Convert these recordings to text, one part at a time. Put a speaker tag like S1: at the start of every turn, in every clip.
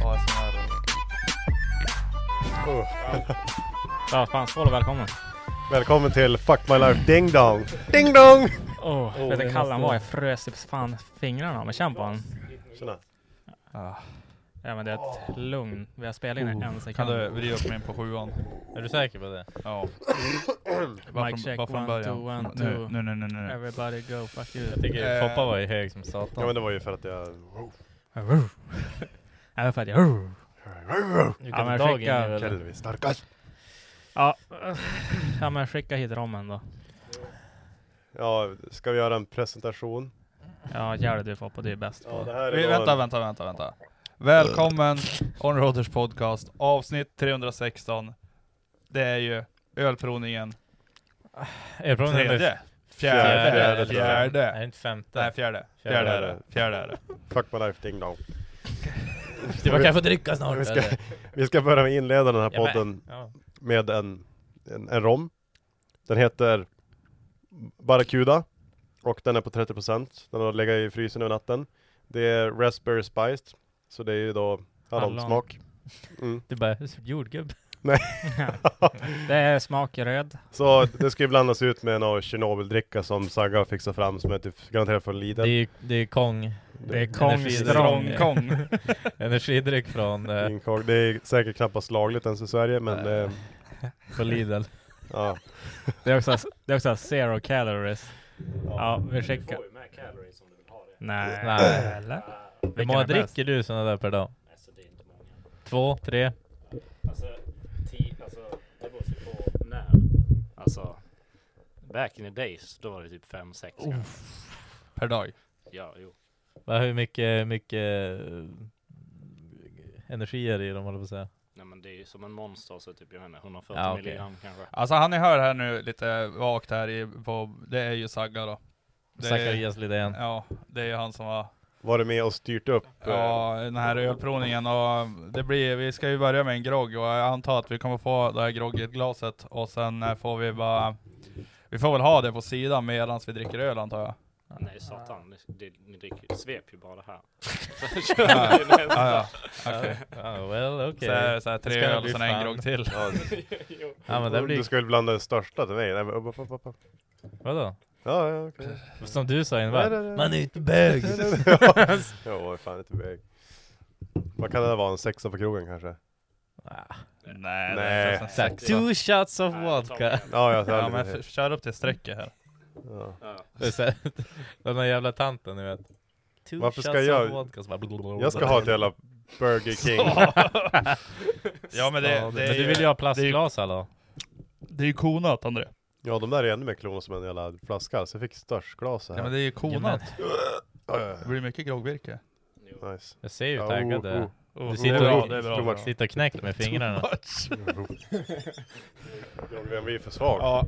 S1: Ja, sån här...
S2: Ja, fan, skål och välkommen.
S3: Välkommen till Fuck My Life Ding Dong! Ding Dong!
S2: Åh,
S3: Åh,
S2: vet du
S3: det
S2: hur kall han
S3: måste-
S2: var? Jag frös i fan fingrarna, men känn på han.
S3: Tjena!
S2: Ja men det är ett lugn. Vi har spelat in en
S1: Oh. Kan
S2: sekund.
S1: du vrida upp mig på sjuan?
S4: Är du säker på det?
S1: Ja.
S2: Mic check, one, two, one, two.
S1: Nu, nu, nu, nu. nu.
S2: Everybody go fuck you.
S4: Jag tycker
S1: Eh.
S4: Foppa var ju hög som
S3: Ja
S4: satan.
S3: men det var ju för att jag...
S2: Även för att jag...
S4: Du
S2: Ja,
S4: kan
S2: men
S4: ta
S2: skicka-
S4: dagen nu, eller?
S3: Kelvin starkast!
S2: Ja. ja men skicka hit rommen då.
S3: Ja, ska vi göra en presentation?
S2: Ja gör det du Foppa, du är bäst
S3: Ja, det
S2: på.
S3: här
S1: Vi,
S3: är
S1: vänta, vänta, vänta, vänta. Välkommen Onroaders podcast avsnitt 316. Det är ju ölprovningen
S4: Ölprovningen är
S1: tredje.
S3: Fjärde,
S1: Fjärde,
S3: fjärde,
S4: Är det
S1: fjärde.
S4: inte femte?
S1: Nej, fjärde. Fjärde är det. Fjärde är det.
S3: Fuck My Life Ding Dong.
S4: det var kanske dricka snart.
S3: Vi ska-
S4: eller?
S3: Vi ska börja med att inleda den här
S4: Ja, men-
S3: podden
S4: Ja.
S3: med en, en, en rom. Den heter Barracuda och den är på 30%. Den har legat i frysen över natten. Det är Raspberry Spiced, så det är ju då hallonsmak. Mm.
S4: Du bara, jordgubb.
S2: Det är smak i röd.
S3: Så det ska ju blandas ut med någon Tjernobyldricka som Saga fixar fram som är typ garanterat från Lidl.
S4: Det är ju det är Kong.
S2: Det är
S4: Energi-
S2: Kongstrong.
S4: Strong.
S1: Kong.
S4: Energidryck från eh,
S3: Inkog. Det är säkert knappast lagligt ens i Sverige men eh,
S4: på Lidl.
S3: ja.
S2: Det är också, det är också zero calories. Ja vi skickar. Nej.
S4: Nej.
S2: Eller?
S4: Hur
S2: Äh, Vilken
S4: många
S2: är bäst?
S4: dricker du sådana där per dag? Två, tre?
S5: Alltså, ti, alltså, det beror ju på när. Alltså, back in the days, då var det typ fem sex kanske.
S1: Per dag.
S5: Ja, jo.
S4: Va, hur mycket, mycket eh, energi är det i dem håller jag på att säga?
S5: Nej men det är ju som en monster, så typ, jag menar 140
S4: Ja, okej.
S5: milligram kanske.
S1: Alltså han ni hör här nu lite vagt här i, på, det är ju Sagga då. Det är-
S4: Zacharias Lidén.
S1: Ja, det är ju han som har
S3: Var du med och styrt upp? eh,
S1: Ja, den här ölprovningen och det blir, vi ska ju börja med en grogg och jag antar att vi kommer få det här groggeglaset och sen eh, får vi bara Vi får väl ha det på sidan medan vi dricker öl antar jag.
S5: Nej satan, ni, det, ni dricker, svep ju bara det här. Så kör ni nästa.
S1: Ja, ja. okej.
S4: Ah, well,
S1: Så är
S4: okej.
S1: det så här, tre
S4: Det ska
S1: öl
S4: bli
S1: och sen en
S4: fan.
S1: grogg till.
S3: ja.
S5: Jo.
S4: Ja men det
S3: Du
S4: blir...
S3: ska väl blanda den största till mig? Nej, men, upp, upp, upp, upp.
S4: Vadå?
S3: Ja, ja, okej.
S4: Som du sa
S3: Nej, nej,
S4: innan,
S3: nej.
S4: man är ju inte bög!
S3: Jo, vad fan inte väg. Vad kan det där vara? En sexa på krogen kanske?
S1: Nej,
S3: Nej.
S1: det känns
S4: Så här,
S1: inte så.
S4: Two shots of
S5: Nej, jag tar
S4: vodka!
S5: med.
S3: Ja, jag tar
S1: Ja
S3: lite
S1: men
S3: till.
S1: f- kör upp till strecket här.
S3: ja.
S5: Ja.
S4: Det är så här, Den där jävla tanten ni vet. Two
S3: Varför ska
S4: shots of
S3: jag-
S4: Vodka, så bara,
S3: Jag ska ha ett jävla Burger King.
S1: Ja men det,
S4: Ja,
S1: det
S4: men
S1: är
S4: du
S1: ju,
S4: vill ju ha plastglas alla.
S1: det är ju konat André.
S3: Ja, de där är ännu mer klonade som en jävla flaska. Så jag fick störstglas
S1: Ja men
S3: här.
S1: det är ju
S4: men-
S1: konat.
S3: Ja, ja,
S1: Det blir mycket groggvirke.
S3: ja. Nice.
S4: Jag ser ju
S3: Ja,
S4: hur taggad
S3: oh,
S4: du är.
S3: oh.
S4: Du
S1: det är
S4: sitter
S1: bra,
S4: och,
S1: det är bra,
S4: du
S1: bra.
S4: sitter och knäcker med fingrarna.
S3: Groggen, vi är för svag.
S1: Ja.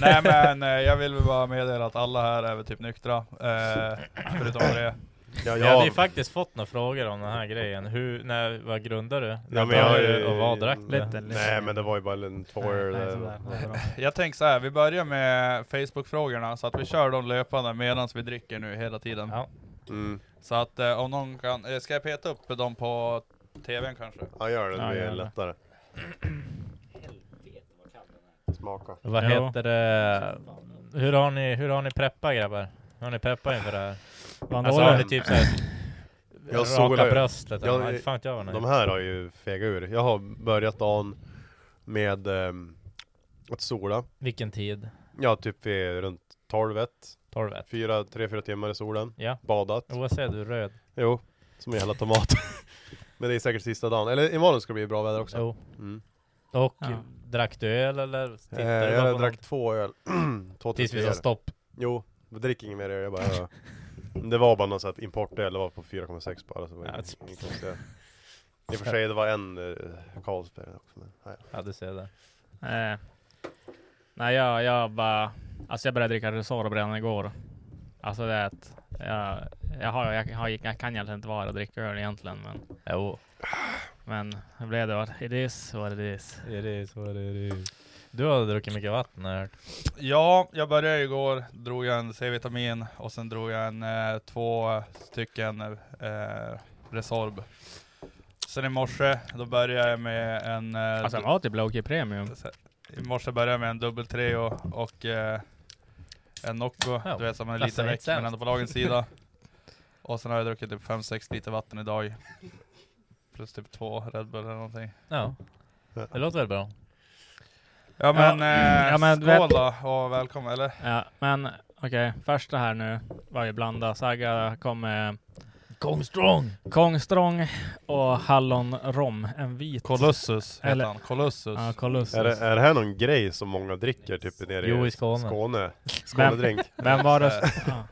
S1: Nej men eh, jag vill väl bara meddela att alla här är väl typ nyktra. Eh, förutom det.
S3: Ja,
S4: Jag hade ju faktiskt fått några frågor om den här grejen. Hur, när, vad grundar du?
S3: Ja,
S4: Vad
S3: men jag
S4: tar
S3: har
S4: du
S3: ju-
S4: och vad drack du?
S2: Lite, lite.
S3: Nej men det var ju bara en eh, tvåer.
S2: Nej,
S3: där.
S2: sådär.
S1: Jag tänker så här, vi börjar med Facebook-frågorna så att vi kör dem löpande medan vi dricker nu hela tiden.
S4: Ja.
S3: Mm.
S1: Så att eh, om någon kan, eh, ska jag peta upp dem på TVn kanske?
S3: Ja gör det, det
S4: Ja,
S3: blir
S4: gör det.
S3: lättare. Smaka.
S4: Vad
S2: Ja.
S4: heter det? Hur har ni, hur har ni preppat grabbar? Hur har ni preppat inför det här? Alltså har
S2: Bandolen.
S4: ni typ såhär
S3: Jag
S4: raka
S3: solar.
S4: bröstet eller
S3: Jag-
S4: vad inte fan vet jag vad ni
S3: De här har ju fegat ur. Jag har börjat dagen med ehm, att sola.
S4: Vilken tid?
S3: Ja typ vid runt 12 ett.
S4: 12 1.
S3: Fyra, tre, fyra timmar i solen.
S4: Ja.
S3: Badat.
S4: Oavsett, du är röd.
S3: Jo, som en jävla tomat. men det är säkert sista dagen. Eller imorgon ska det bli bra väder också.
S4: Jo.
S3: Mm.
S4: Och
S2: Ja.
S4: drack du öl eller?
S3: Eh,
S4: Tittade du bara
S3: jag
S4: på
S3: drack
S4: något?
S3: två öl. två
S4: Tills vi sa
S3: öl.
S4: stopp.
S3: Jo, jag dricker inget mer öl. Jag bara, ja. Det var bara någon sån här importöl, det var på 4,6 bara. Så det var
S4: Ja,
S3: inget-
S4: typ.
S3: inget konstigt. I och för sig, det var en eh, Carlsberg också. Men, nej.
S4: Ja du ser det.
S2: Nej. Eh. Nej, jag, jag bara... Alltså jag började dricka Resor redan igår. Alltså det är att... Jag, jag, har, jag, har, jag kan egentligen inte vara och dricka öl egentligen, men...
S4: Jo.
S2: Men det blev det vad it is what it is.
S4: It is what it is. Du har druckit mycket vatten har jag hört.
S1: Ja, jag började igår, drog jag en C-vitamin och sen drog jag en eh, två stycken eh, Resorb. Sen i morse, då började jag med en... Eh,
S2: Alltså den var typ Loki Premium.
S1: I morse började jag med en dubbel treo och eh, en Nocco,
S4: Ja, Alltså,
S1: du vet som en liten
S4: klassar inte
S1: väck
S4: sämst.
S1: men ändå på lagens sida. Och sen har jag druckit typ 5-6 liter vatten idag. Plus typ två Red Bull eller någonting.
S4: Ja. Det låter väl bra?
S1: Ja men, Eh,
S2: ja, men du
S1: skål
S2: vet-
S1: då och välkommen, eller?
S2: Ja, men okej, första här nu var ju blanda. Saga kom med
S4: Kong strong!
S2: Kongstrong och hallonrom, en vit.
S1: Colossus
S2: heter
S1: heter
S2: Eller-
S1: han, Colossus.
S2: Ja, Colossus.
S3: Är, det, är det här någon grej som många dricker typ nere
S4: Jo, i Skåne.
S3: Skåne? Skånedrink?
S2: Vem var det? Ja.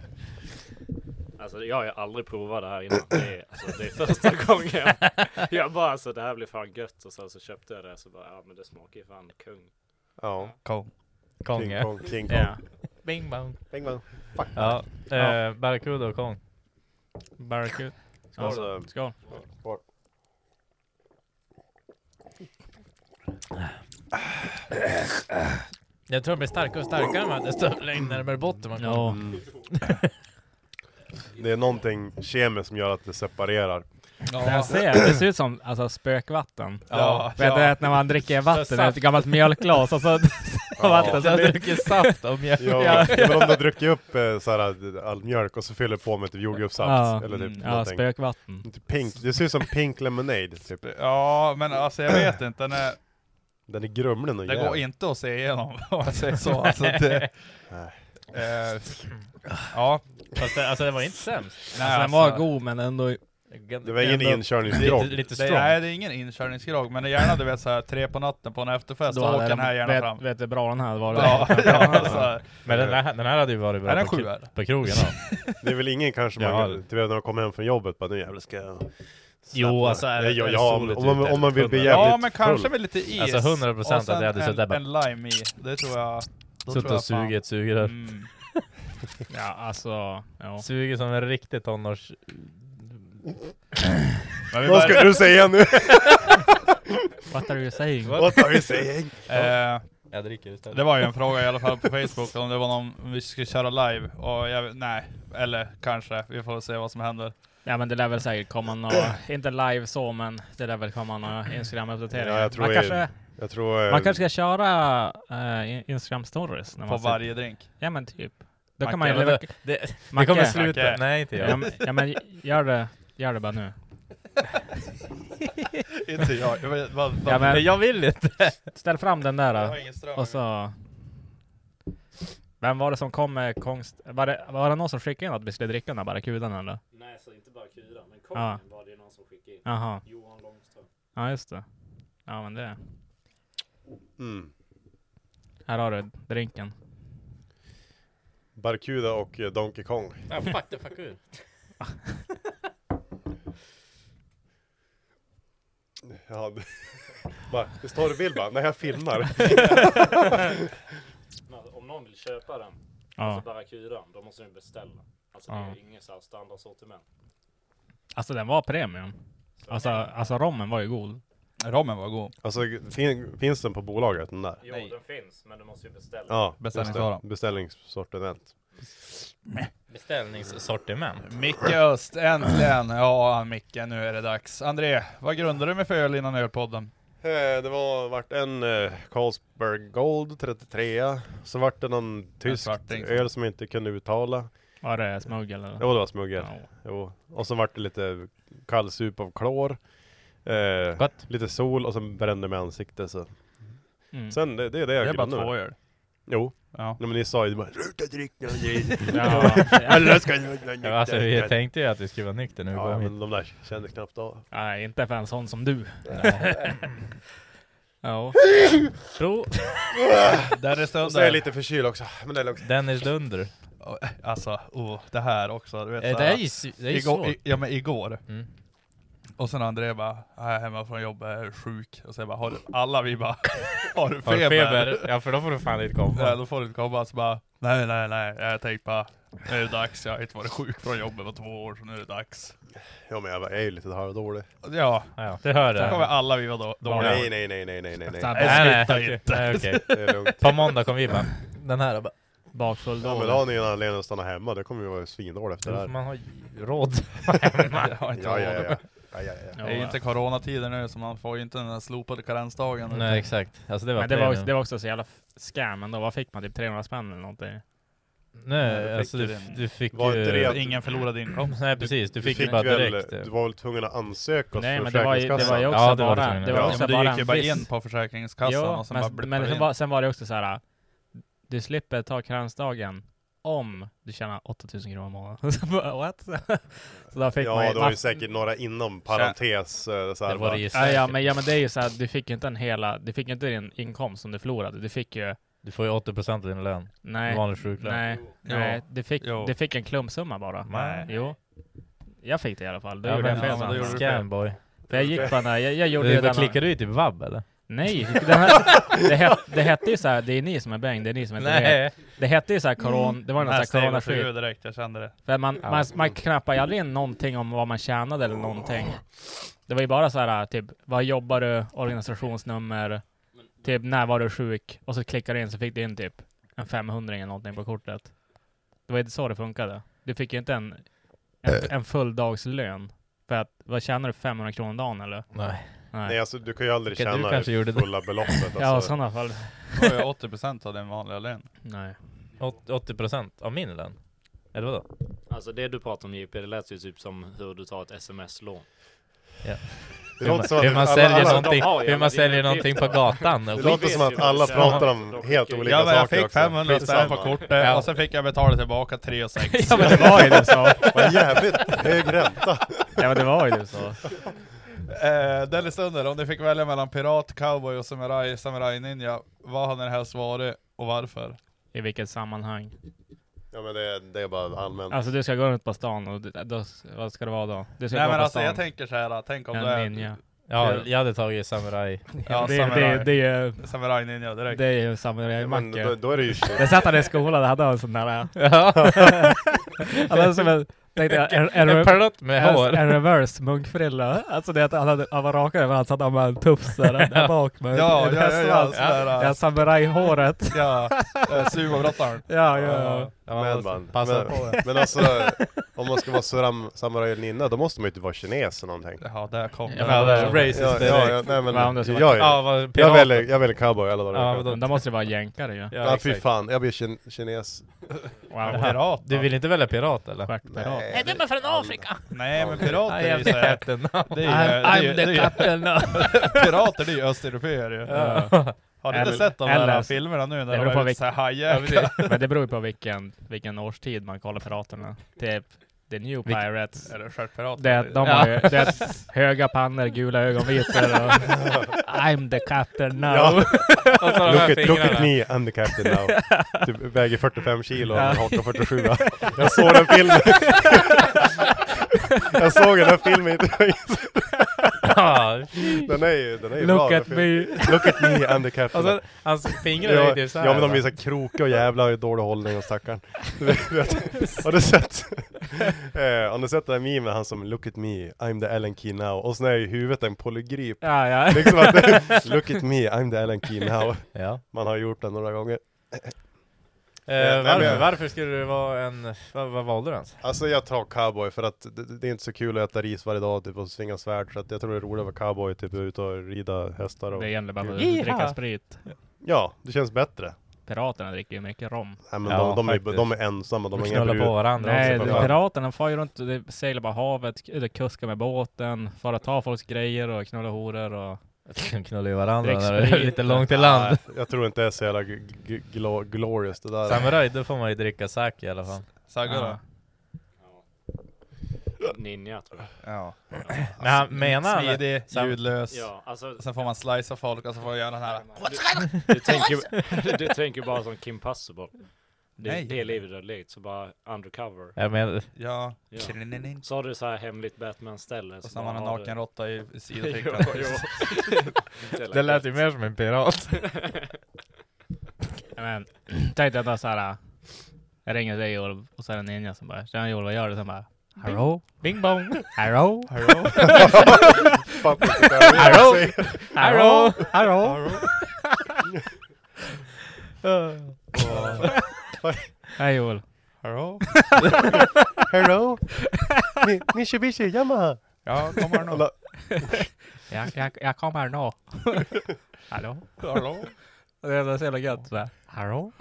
S5: Alltså jag har ju aldrig provat det här innan. Det är, alltså, det är första gången. Jag bara alltså det här blir fan gött och sen så köpte jag det så bara ja men det smakar ju fan kung.
S3: Ja.
S4: Kong
S3: King
S4: ja.
S3: Kong. King Kong.
S2: Ja.
S4: Bing bang.
S3: Bing bang. Fuck.
S4: Ja. Eh, Barracuda och Kong.
S2: Barracuda.
S3: Alltså,
S2: Skål.
S4: Jag tror den blir starkare och starkare med desto längre närmare botten man kommer.
S2: Ja.
S3: mm. Det är någonting kemiskt som gör att det separerar.
S2: Det jag ser, det ser ut som alltså, spökvatten.
S1: Ja,
S2: Vet du
S1: ja.
S2: att när man dricker vatten ur ett
S4: saft.
S2: gammalt mjölkglas och så vatten
S4: Alltså
S2: så
S4: jag
S2: blir
S4: dricker saft och mjölk.
S3: Ja,
S2: Ja.
S3: ja. Men om du dricker upp eh, så här, all mjölk och så fyller på med typ jordgubbssaft
S2: Ja.
S3: eller typ
S1: Mm.
S2: ja,
S3: någonting.
S2: spökvatten.
S3: Typ Pink, det ser ut som pink lemonade typ.
S1: Ja men alltså jag vet inte, den är,
S3: Den är grumlig och
S1: det går
S3: jävlig.
S1: inte att se igenom om man säger så. Alltså, det,
S3: Nej.
S1: eh, ja,
S4: Fast det, alltså det var inte sämst.
S1: nej,
S2: Alltså, den var god men ändå...
S3: Det var ingen inkörningsgrogg.
S4: Lite, lite
S1: Det,
S4: strong.
S1: nej det är ingen inkörningsgrogg, men det är gärna du vet såhär tre på natten på en efterfest, då åker den här gärna
S2: vet,
S1: fram.
S2: Vet du bra den här var?
S1: Ja, ja, så här.
S4: Men den här, den här hade ju varit
S1: Är
S4: bra
S1: den
S4: på,
S1: sju
S4: kro-
S1: eller?
S4: på krogen då.
S3: Det är väl ingen kanske
S4: Ja.
S3: man, typ när man kommer hem från jobbet, bara nu jävlar ska jag...
S4: Jo, alltså, är det-
S3: ja,
S4: är det
S3: ja,
S4: soligt
S3: om, man,
S4: ute
S3: om man vill
S4: efter
S3: bli
S4: klubben?
S3: jävligt
S1: Ja men kanske
S3: full.
S1: med lite is.
S4: Alltså, 100%
S1: Och sen
S4: att jag hade
S1: en,
S4: suttit där
S1: en lime i, det tror jag. då
S4: Suttit
S1: tror
S4: och
S1: jag fan-
S4: sugit, sugit där.
S1: Mm.
S2: Ja, alltså... Ja.
S4: Sugit som en riktig tonårs...
S1: Men
S3: Vad
S1: vi börjar-
S3: ska du säga nu?
S2: What are you saying?
S3: What are you saying?
S1: eh,
S4: Jag dricker istället.
S1: Det var ju en fråga i alla fall på Facebook om det var någon om vi skulle köra live och jag, nej, eller kanske, vi får se vad som händer.
S2: Ja men det lär väl säkert komma några, inte live så men det lär väl komma några Instagram-uppdateringar.
S3: Ja, jag tror
S2: man,
S3: det-
S2: kanske,
S3: Jag tror... eh,
S2: man kanske ska köra eh, Instagram-stories? När
S1: På
S2: man sitter-
S1: varje drink.
S2: Ja men typ. Då
S4: Macke,
S2: kan man ju...
S4: men
S2: Man,
S4: det, det, det
S2: Macke.
S4: kommer sluta...
S1: Macke.
S4: Nej, inte
S2: ja,
S4: jag.
S2: men, ja men gör det, gör det bara nu.
S1: inte jag, jag, vet- vad- vad-
S2: Ja, men-
S4: Men jag vill inte.
S2: Ställ fram den där
S1: jag har
S2: då,
S1: ingen ström.
S2: och så... Vem var det som kom med konst... Var det, var det någon som skickade in att vi skulle dricka den här barracudan eller?
S5: Nej så inte bara kura men kungen
S2: Ja.
S5: var det ju någon som skickade in.
S2: Jaha,
S5: Johan Långström.
S2: ja just det. Ja men det.
S3: Mm.
S2: Här har du drinken.
S3: Barracuda och eh, Donkey Kong.
S4: Ja, fuck the fuck ur.
S3: Ja, det- Bara, visst har du bild bara? Nej jag filmar.
S5: Men Om någon vill köpa den,
S2: Ja.
S5: alltså barracudan, då måste den beställa. Alltså det
S2: Ja.
S5: är inget så här standardsortiment.
S2: Alltså den var premium. Alltså, alltså rommen var ju god.
S1: Rommen var god.
S3: Alltså fin, finns den på bolaget den där?
S5: Jo,
S1: Nej.
S5: den finns, men du måste ju beställa.
S3: Ja, just det.
S1: Beställningsvara.
S3: Beställningssortiment.
S4: Beställningssortiment.
S1: Micke Öst, äntligen! Ja Micke, nu är det dags. André, vad grundar du med för öl innan ölpodden?
S3: Eh, Det var, vart en eh, Carlsberg Gold 33 så vart det någon tysk
S1: svarting.
S3: öl som jag inte kunde uttala.
S2: Var det smuggel eller?
S3: Jo det var smuggel.
S2: Ja.
S3: Jo. Och så vart det lite kallsup av klor. Eh,
S4: Gott.
S3: lite sol och sen brände mig ansiktet så.
S2: Mm.
S3: Sen det, det är det
S1: Det
S3: jag
S1: är bara
S3: grundar
S1: två
S3: med.
S1: öl.
S3: Jo,
S1: Ja.
S3: Nej, men ni sa ju bara Sluta dricka
S2: Ja,
S3: Eller ska
S4: Ja, alltså, vi tänkte ju att vi skulle vara nykter när vi
S3: Ja
S4: kom hit.
S3: men de där kände knappt av.
S2: nej, inte för en sån som du. ja. Prov.
S1: Där är
S3: Och så är jag
S1: stunden.
S3: lite förkyld också. Men det är lugnt.
S4: Dennis Dunder.
S1: Alltså, oh, det här också. Du vet,
S4: Eh,
S1: så
S4: Det
S1: här.
S4: är ju, s- det är ju
S1: igår,
S4: svårt.
S1: i, ja men igår.
S4: Mm.
S1: Och sen André bara, jag är hemma från jobbet, jag är sjuk. Och sen bara, har du, alla vi bara, har du
S4: Har
S1: feber?
S4: du feber? Ja för då får du fan inte
S1: Ja,
S4: komma.
S1: då får du inte komma. Så bara, nej nej nej, jag tänkte bara, nu är det dags, jag har inte varit sjuk från jobbet på två år, så nu är det dags.
S3: Jo men jag bara, jag är ju lite halvdålig.
S1: Ja,
S4: Ja, Ja, det hör
S1: så kommer
S4: jag.
S1: alla vi vara då, dåliga.
S3: Nej nej nej nej nej nej. nej.
S1: Nej, sluta
S4: Nej, nej,
S1: inte.
S4: nej, okej.
S3: Det är lugnt.
S4: På måndag kom vi bara, den här bara,
S2: Bakfull
S3: Ja
S2: då.
S3: men då har ni en anledning att stanna hemma, det kommer ju vara svindåligt efter det här.
S4: man har råd.
S1: Jag har inte
S3: Ja, ja,
S1: råd.
S3: ja. ja, ja, ja.
S1: Det är ju inte coronatider nu, så man får ju inte den här slopade karensdagen.
S4: Nej exakt. Alltså det var
S2: Men det var,
S4: premium.
S2: också, det var också så jävla f- scam ändå. Vad fick man? Typ 300 spänn eller någonting?
S1: Ja, du
S4: Nej,
S1: fick
S4: alltså
S1: ju
S4: du,
S1: det.
S4: f- du fick
S3: Var
S4: ju...
S3: inte det-
S1: Så Ingen förlorad inkomst.
S4: Nej precis, du
S3: Du
S4: fick,
S3: fick
S4: ju bara
S3: väl,
S4: direkt. eh.
S3: du var väl tvungen att ansöka hos
S2: Nej men det var ju, det var ju
S3: Försäkringskassan?
S2: också
S4: Ja, det var
S2: bara,
S4: det
S2: det
S4: tvungen.
S2: var
S3: Ja,
S2: också
S1: men
S2: bara
S1: du gick ju
S2: en
S1: bara
S2: viss-
S1: in på Försäkringskassan
S2: ja,
S1: och sen
S2: men,
S1: bara
S2: men
S1: blippade
S2: sen
S1: in.
S2: var, sen var det också så här. Du slipper ta karensdagen om du tjänar 8000 kronor i månaden. Så bara, What? Så då fick man
S3: Ja,
S2: ju...
S3: det var ju säkert några inom parentes. eh, Så här,
S4: Det var det ju
S2: Ja,
S4: säkert.
S2: ja, men, ja men det är ju så här, du fick ju inte en hela, du fick ju inte din inkomst som du förlorade. Du fick ju,
S4: Du får ju 80% av din lön.
S2: nej,
S4: Vanlig sjuklön.
S2: nej,
S1: Jo.
S2: nej, du fick,
S1: Jo.
S2: du fick en klumpsumma bara.
S4: Nej.
S2: Jo. Jag fick det i alla fall. Då
S4: Ja,
S2: gjorde
S4: men,
S2: jag fel.
S1: ja, men då
S2: sen.
S1: gjorde du fel.
S4: Scamboy.
S2: För jag gick på den här, jag, jag gjorde ju
S4: Du,
S2: den
S4: du
S2: här-
S4: klickade du ju typ vab eller?
S2: Nej, den här, det, het, det hette ju så här, det är ni som är bäng, det är ni som inte vet. Det hette ju så här koron, det var ju något
S1: Nej,
S2: så här
S1: steget tog ju
S2: coronaskydd.
S1: direkt, jag kände det.
S2: För man,
S4: Mm. Ja.
S2: man, man knappar ju aldrig in någonting om vad man tjänade eller någonting. Det var ju bara så här typ, vad jobbar du, organisationsnummer, typ när var du sjuk? Och så klickar du in så fick du in typ en 500 eller någonting på kortet. Det var inte så det funkade. Du fick ju inte en, en, en full dagslön. För att, vad tjänar du 500 kronor om dagen eller?
S4: Nej.
S3: Nej, alltså du kan ju aldrig
S4: Okej, du
S3: tjäna
S4: kanske gjorde
S3: det
S4: det.
S3: fulla beloppet.
S2: Ja, i
S3: Alltså.
S2: sådana fall.
S1: Det var ju 80% av din vanliga lön.
S2: Nej.
S4: Åt- 80% av min lön? Eller vadå?
S5: Alltså det du pratar om JP, det lät ju typ som hur du tar ett sms-lån.
S3: Det låter som
S4: hur man
S3: att,
S4: säljer
S3: alla, alla,
S4: någonting,
S5: Ja, ja,
S4: hur
S5: men
S4: man
S5: det är
S4: säljer
S5: ju
S4: någonting på
S5: uppgifter.
S4: gatan.
S3: det
S4: Och
S3: låter
S5: vet
S3: som att
S5: ju
S3: alla
S5: också.
S3: pratar om
S5: De-
S3: helt
S5: de-
S3: olika
S1: Ja men jag
S3: saker
S1: fick
S3: också.
S1: 500 spänn på
S3: Skitsamma.
S1: kortet
S4: Ja.
S1: och sen fick jag betala tillbaka 3 och 6.
S2: Ja men det var ju det så.
S3: Vad jävligt hög ränta.
S2: Ja men det var ju det så.
S1: Eh, Dennis Dunder, om du fick välja mellan pirat, cowboy och samurai, samurai ninja, vad hade ni helst varit och varför?
S2: I vilket sammanhang?
S3: Ja men det, det är bara allmänt.
S2: Alltså du ska gå runt på stan och du- då, vad ska det vara då? Du ska
S1: Nej
S2: gå
S1: men
S2: på
S1: alltså
S2: stan.
S1: jag tänker så här. tänk om
S2: En
S1: du är typ
S2: ninja.
S4: Ja, jag hade tagit samurai.
S1: ja,
S2: det,
S1: samurai,
S2: det, det, är,
S1: samurai ninja direkt.
S2: det är ju
S3: Ja, men
S2: samurajmacka.
S3: då, då är det ju
S2: Det satt han i skolan, det hade han en sån där...
S4: Ja.
S2: Han hade som en... Tänkte jag, en, en,
S4: En
S2: re-
S4: pilot med
S2: en,
S4: hår.
S2: en reverse munkfrilla. Alltså det att han, hade, han var rakare men han satt han med en tufs där, där bak med
S1: Ja,
S2: en
S1: ja, ja, ja,
S2: hästsvans.
S1: sådär,
S2: Ja, samurajhåret.
S1: ja, eh, sumobrottaren.
S2: Ja, ja, ja.
S3: Men,
S4: man
S3: man,
S4: måste passa på
S3: men, men alltså, om man ska vara sam- samurai eller ninja, då måste man ju inte vara kines eller någonting.
S1: Ja, där kom
S2: Ja,
S1: den.
S2: men-
S4: Ja,
S1: Ja,
S4: racist
S3: Ja,
S4: direkt.
S3: ja, ja, nej men,
S2: Men om det ska vara-
S3: jag,
S4: Ja,
S3: är,
S4: vad
S3: jag,
S4: pirat.
S3: väljer, jag väljer cowboy alla dagar
S4: Ja,
S3: i
S4: men
S3: veckan.
S4: då-
S2: Men Då måste det vara jänkare ju.
S4: Ja,
S3: Ja, fy
S4: exakt.
S3: fan, jag blir kin- kines.
S2: Wow.
S1: Pirat
S4: Du
S1: då?
S4: vill inte välja pirat eller?
S2: Stjärtpirat.
S3: Nej, det-
S4: från Afrika!
S1: Nej men pirater
S4: I
S1: är ju
S4: am
S1: så
S4: the
S1: här-
S4: captain.
S1: det är ju- det är ju- det är
S4: captain now.
S1: ju- Pirater det är ju östeuropéer ju. Har ni inte
S2: Eller-
S1: sett de
S2: eller-
S1: där filmerna nu
S2: beror
S1: när de
S2: på
S1: är ute
S2: vilk-
S1: såhär
S4: Ja,
S1: hajjäklar?
S4: precis.
S2: Men det beror ju på vilken, vilken årstid man kollar Piraterna. Typ The New
S4: Vilken-
S2: Pirates.
S1: Eller stjärtpirater.
S2: Det, de
S4: Ja.
S2: har ju det, är höga pannor, gula ögonvitor och I'm the captain now.
S3: Ja.
S4: Och så de här
S3: Look at, look at
S4: fingrarna.
S3: me, I'm the captain now. Du väger 45 kilo och
S2: Ja.
S3: hakar 47 Jag såg den filmen. jag såg den här filmen.
S4: Ja.
S3: Den är ju, den är ju
S2: Look
S3: bra.
S2: at
S3: den
S2: me.
S3: Look at me and the captain.
S4: Och så, hans fingrar är ju
S3: ja,
S4: typ såhär.
S3: ja men de är så här krokiga och jävla har ju dålig hållning och stackaren. Du vet, har du sett? eh, har ni sett den här memen, han som Look at me, I'm the Alan Key now. Och sen är ju huvudet en polygrip.
S2: Ja, ja.
S3: Liksom att, look at me, I'm the Alan Key now.
S4: Ja.
S3: Man har gjort den några gånger.
S4: Eh,
S3: Nej,
S4: varför,
S3: men-
S4: varför skulle du vara en... Vad, vad valde du ens?
S3: Alltså jag tar cowboy för att det, det är inte så kul att äta ris varje dag typ, och svinga svärd. Så att jag tror det är roligare att vara cowboy, typ ute och rida hästar och...
S2: Det gäller bara att
S4: Jaha.
S2: dricka sprit.
S3: Ja, det känns bättre.
S2: Piraterna dricker ju mycket rom.
S3: Nej, men
S4: Ja,
S3: de, de, är,
S4: faktiskt.
S3: de är ensamma, de
S4: De
S3: har inga
S4: knullar på
S3: brudar.
S4: varandra
S2: Nej,
S4: också.
S3: det-
S4: för fan.
S3: pirat-
S2: piraterna far ju runt, de seglar bara havet, k- de kuskar med båten, far och tar folks grejer och knullar horor och...
S4: De knullar ju varandra när det är
S2: Dricksprit.
S4: lite långt till land.
S3: Nej, jag tror inte det är så jävla g- g- glo- glorious det där.
S4: Samurai, då får man ju dricka sake i alla fall.
S1: Sagga då?
S5: Ninja tror jag.
S1: Ja.
S4: Men han menar han...
S1: Smidig,
S4: Sam-
S1: ljudlös.
S5: Ja, alltså
S1: Sen får man slicea folk och så får man göra den här.
S5: du, tänker, du tänker bara som Kim Possible. Det,
S1: Nej.
S5: det livet du har levt, så bara undercover.
S4: Jag menar,
S1: Ja.
S5: Ja. Så har du så här hemligt Batman-ställe.
S1: Och sen har man en
S5: bara har
S1: naken
S5: du-
S1: råtta i i
S5: Jo,
S1: sidofickan.
S5: jo. Inte
S4: det lät ju mer som en pirat.
S2: Nej, Men, tänkte jag bara såhär... äh, Jag ringer dig Joel och så är det en ninja som bara ”Tjena Joel, vad gör du?” Sen bara ”Hallå? Bing bong! Hallå?
S1: Hallå?
S3: Fattar inte vad jag vill
S2: Hallå?
S3: säga.
S2: Hallå? Hallå?” Hej Joel.
S1: Hallå?
S3: Hello! Mi- Mitsubishi Yamaha!
S1: Ja, kommer någon?
S2: Jag, jag, jag kommer nå. Hallå?
S1: Hallå?
S2: Det är så jävla gött sådär. Hallå?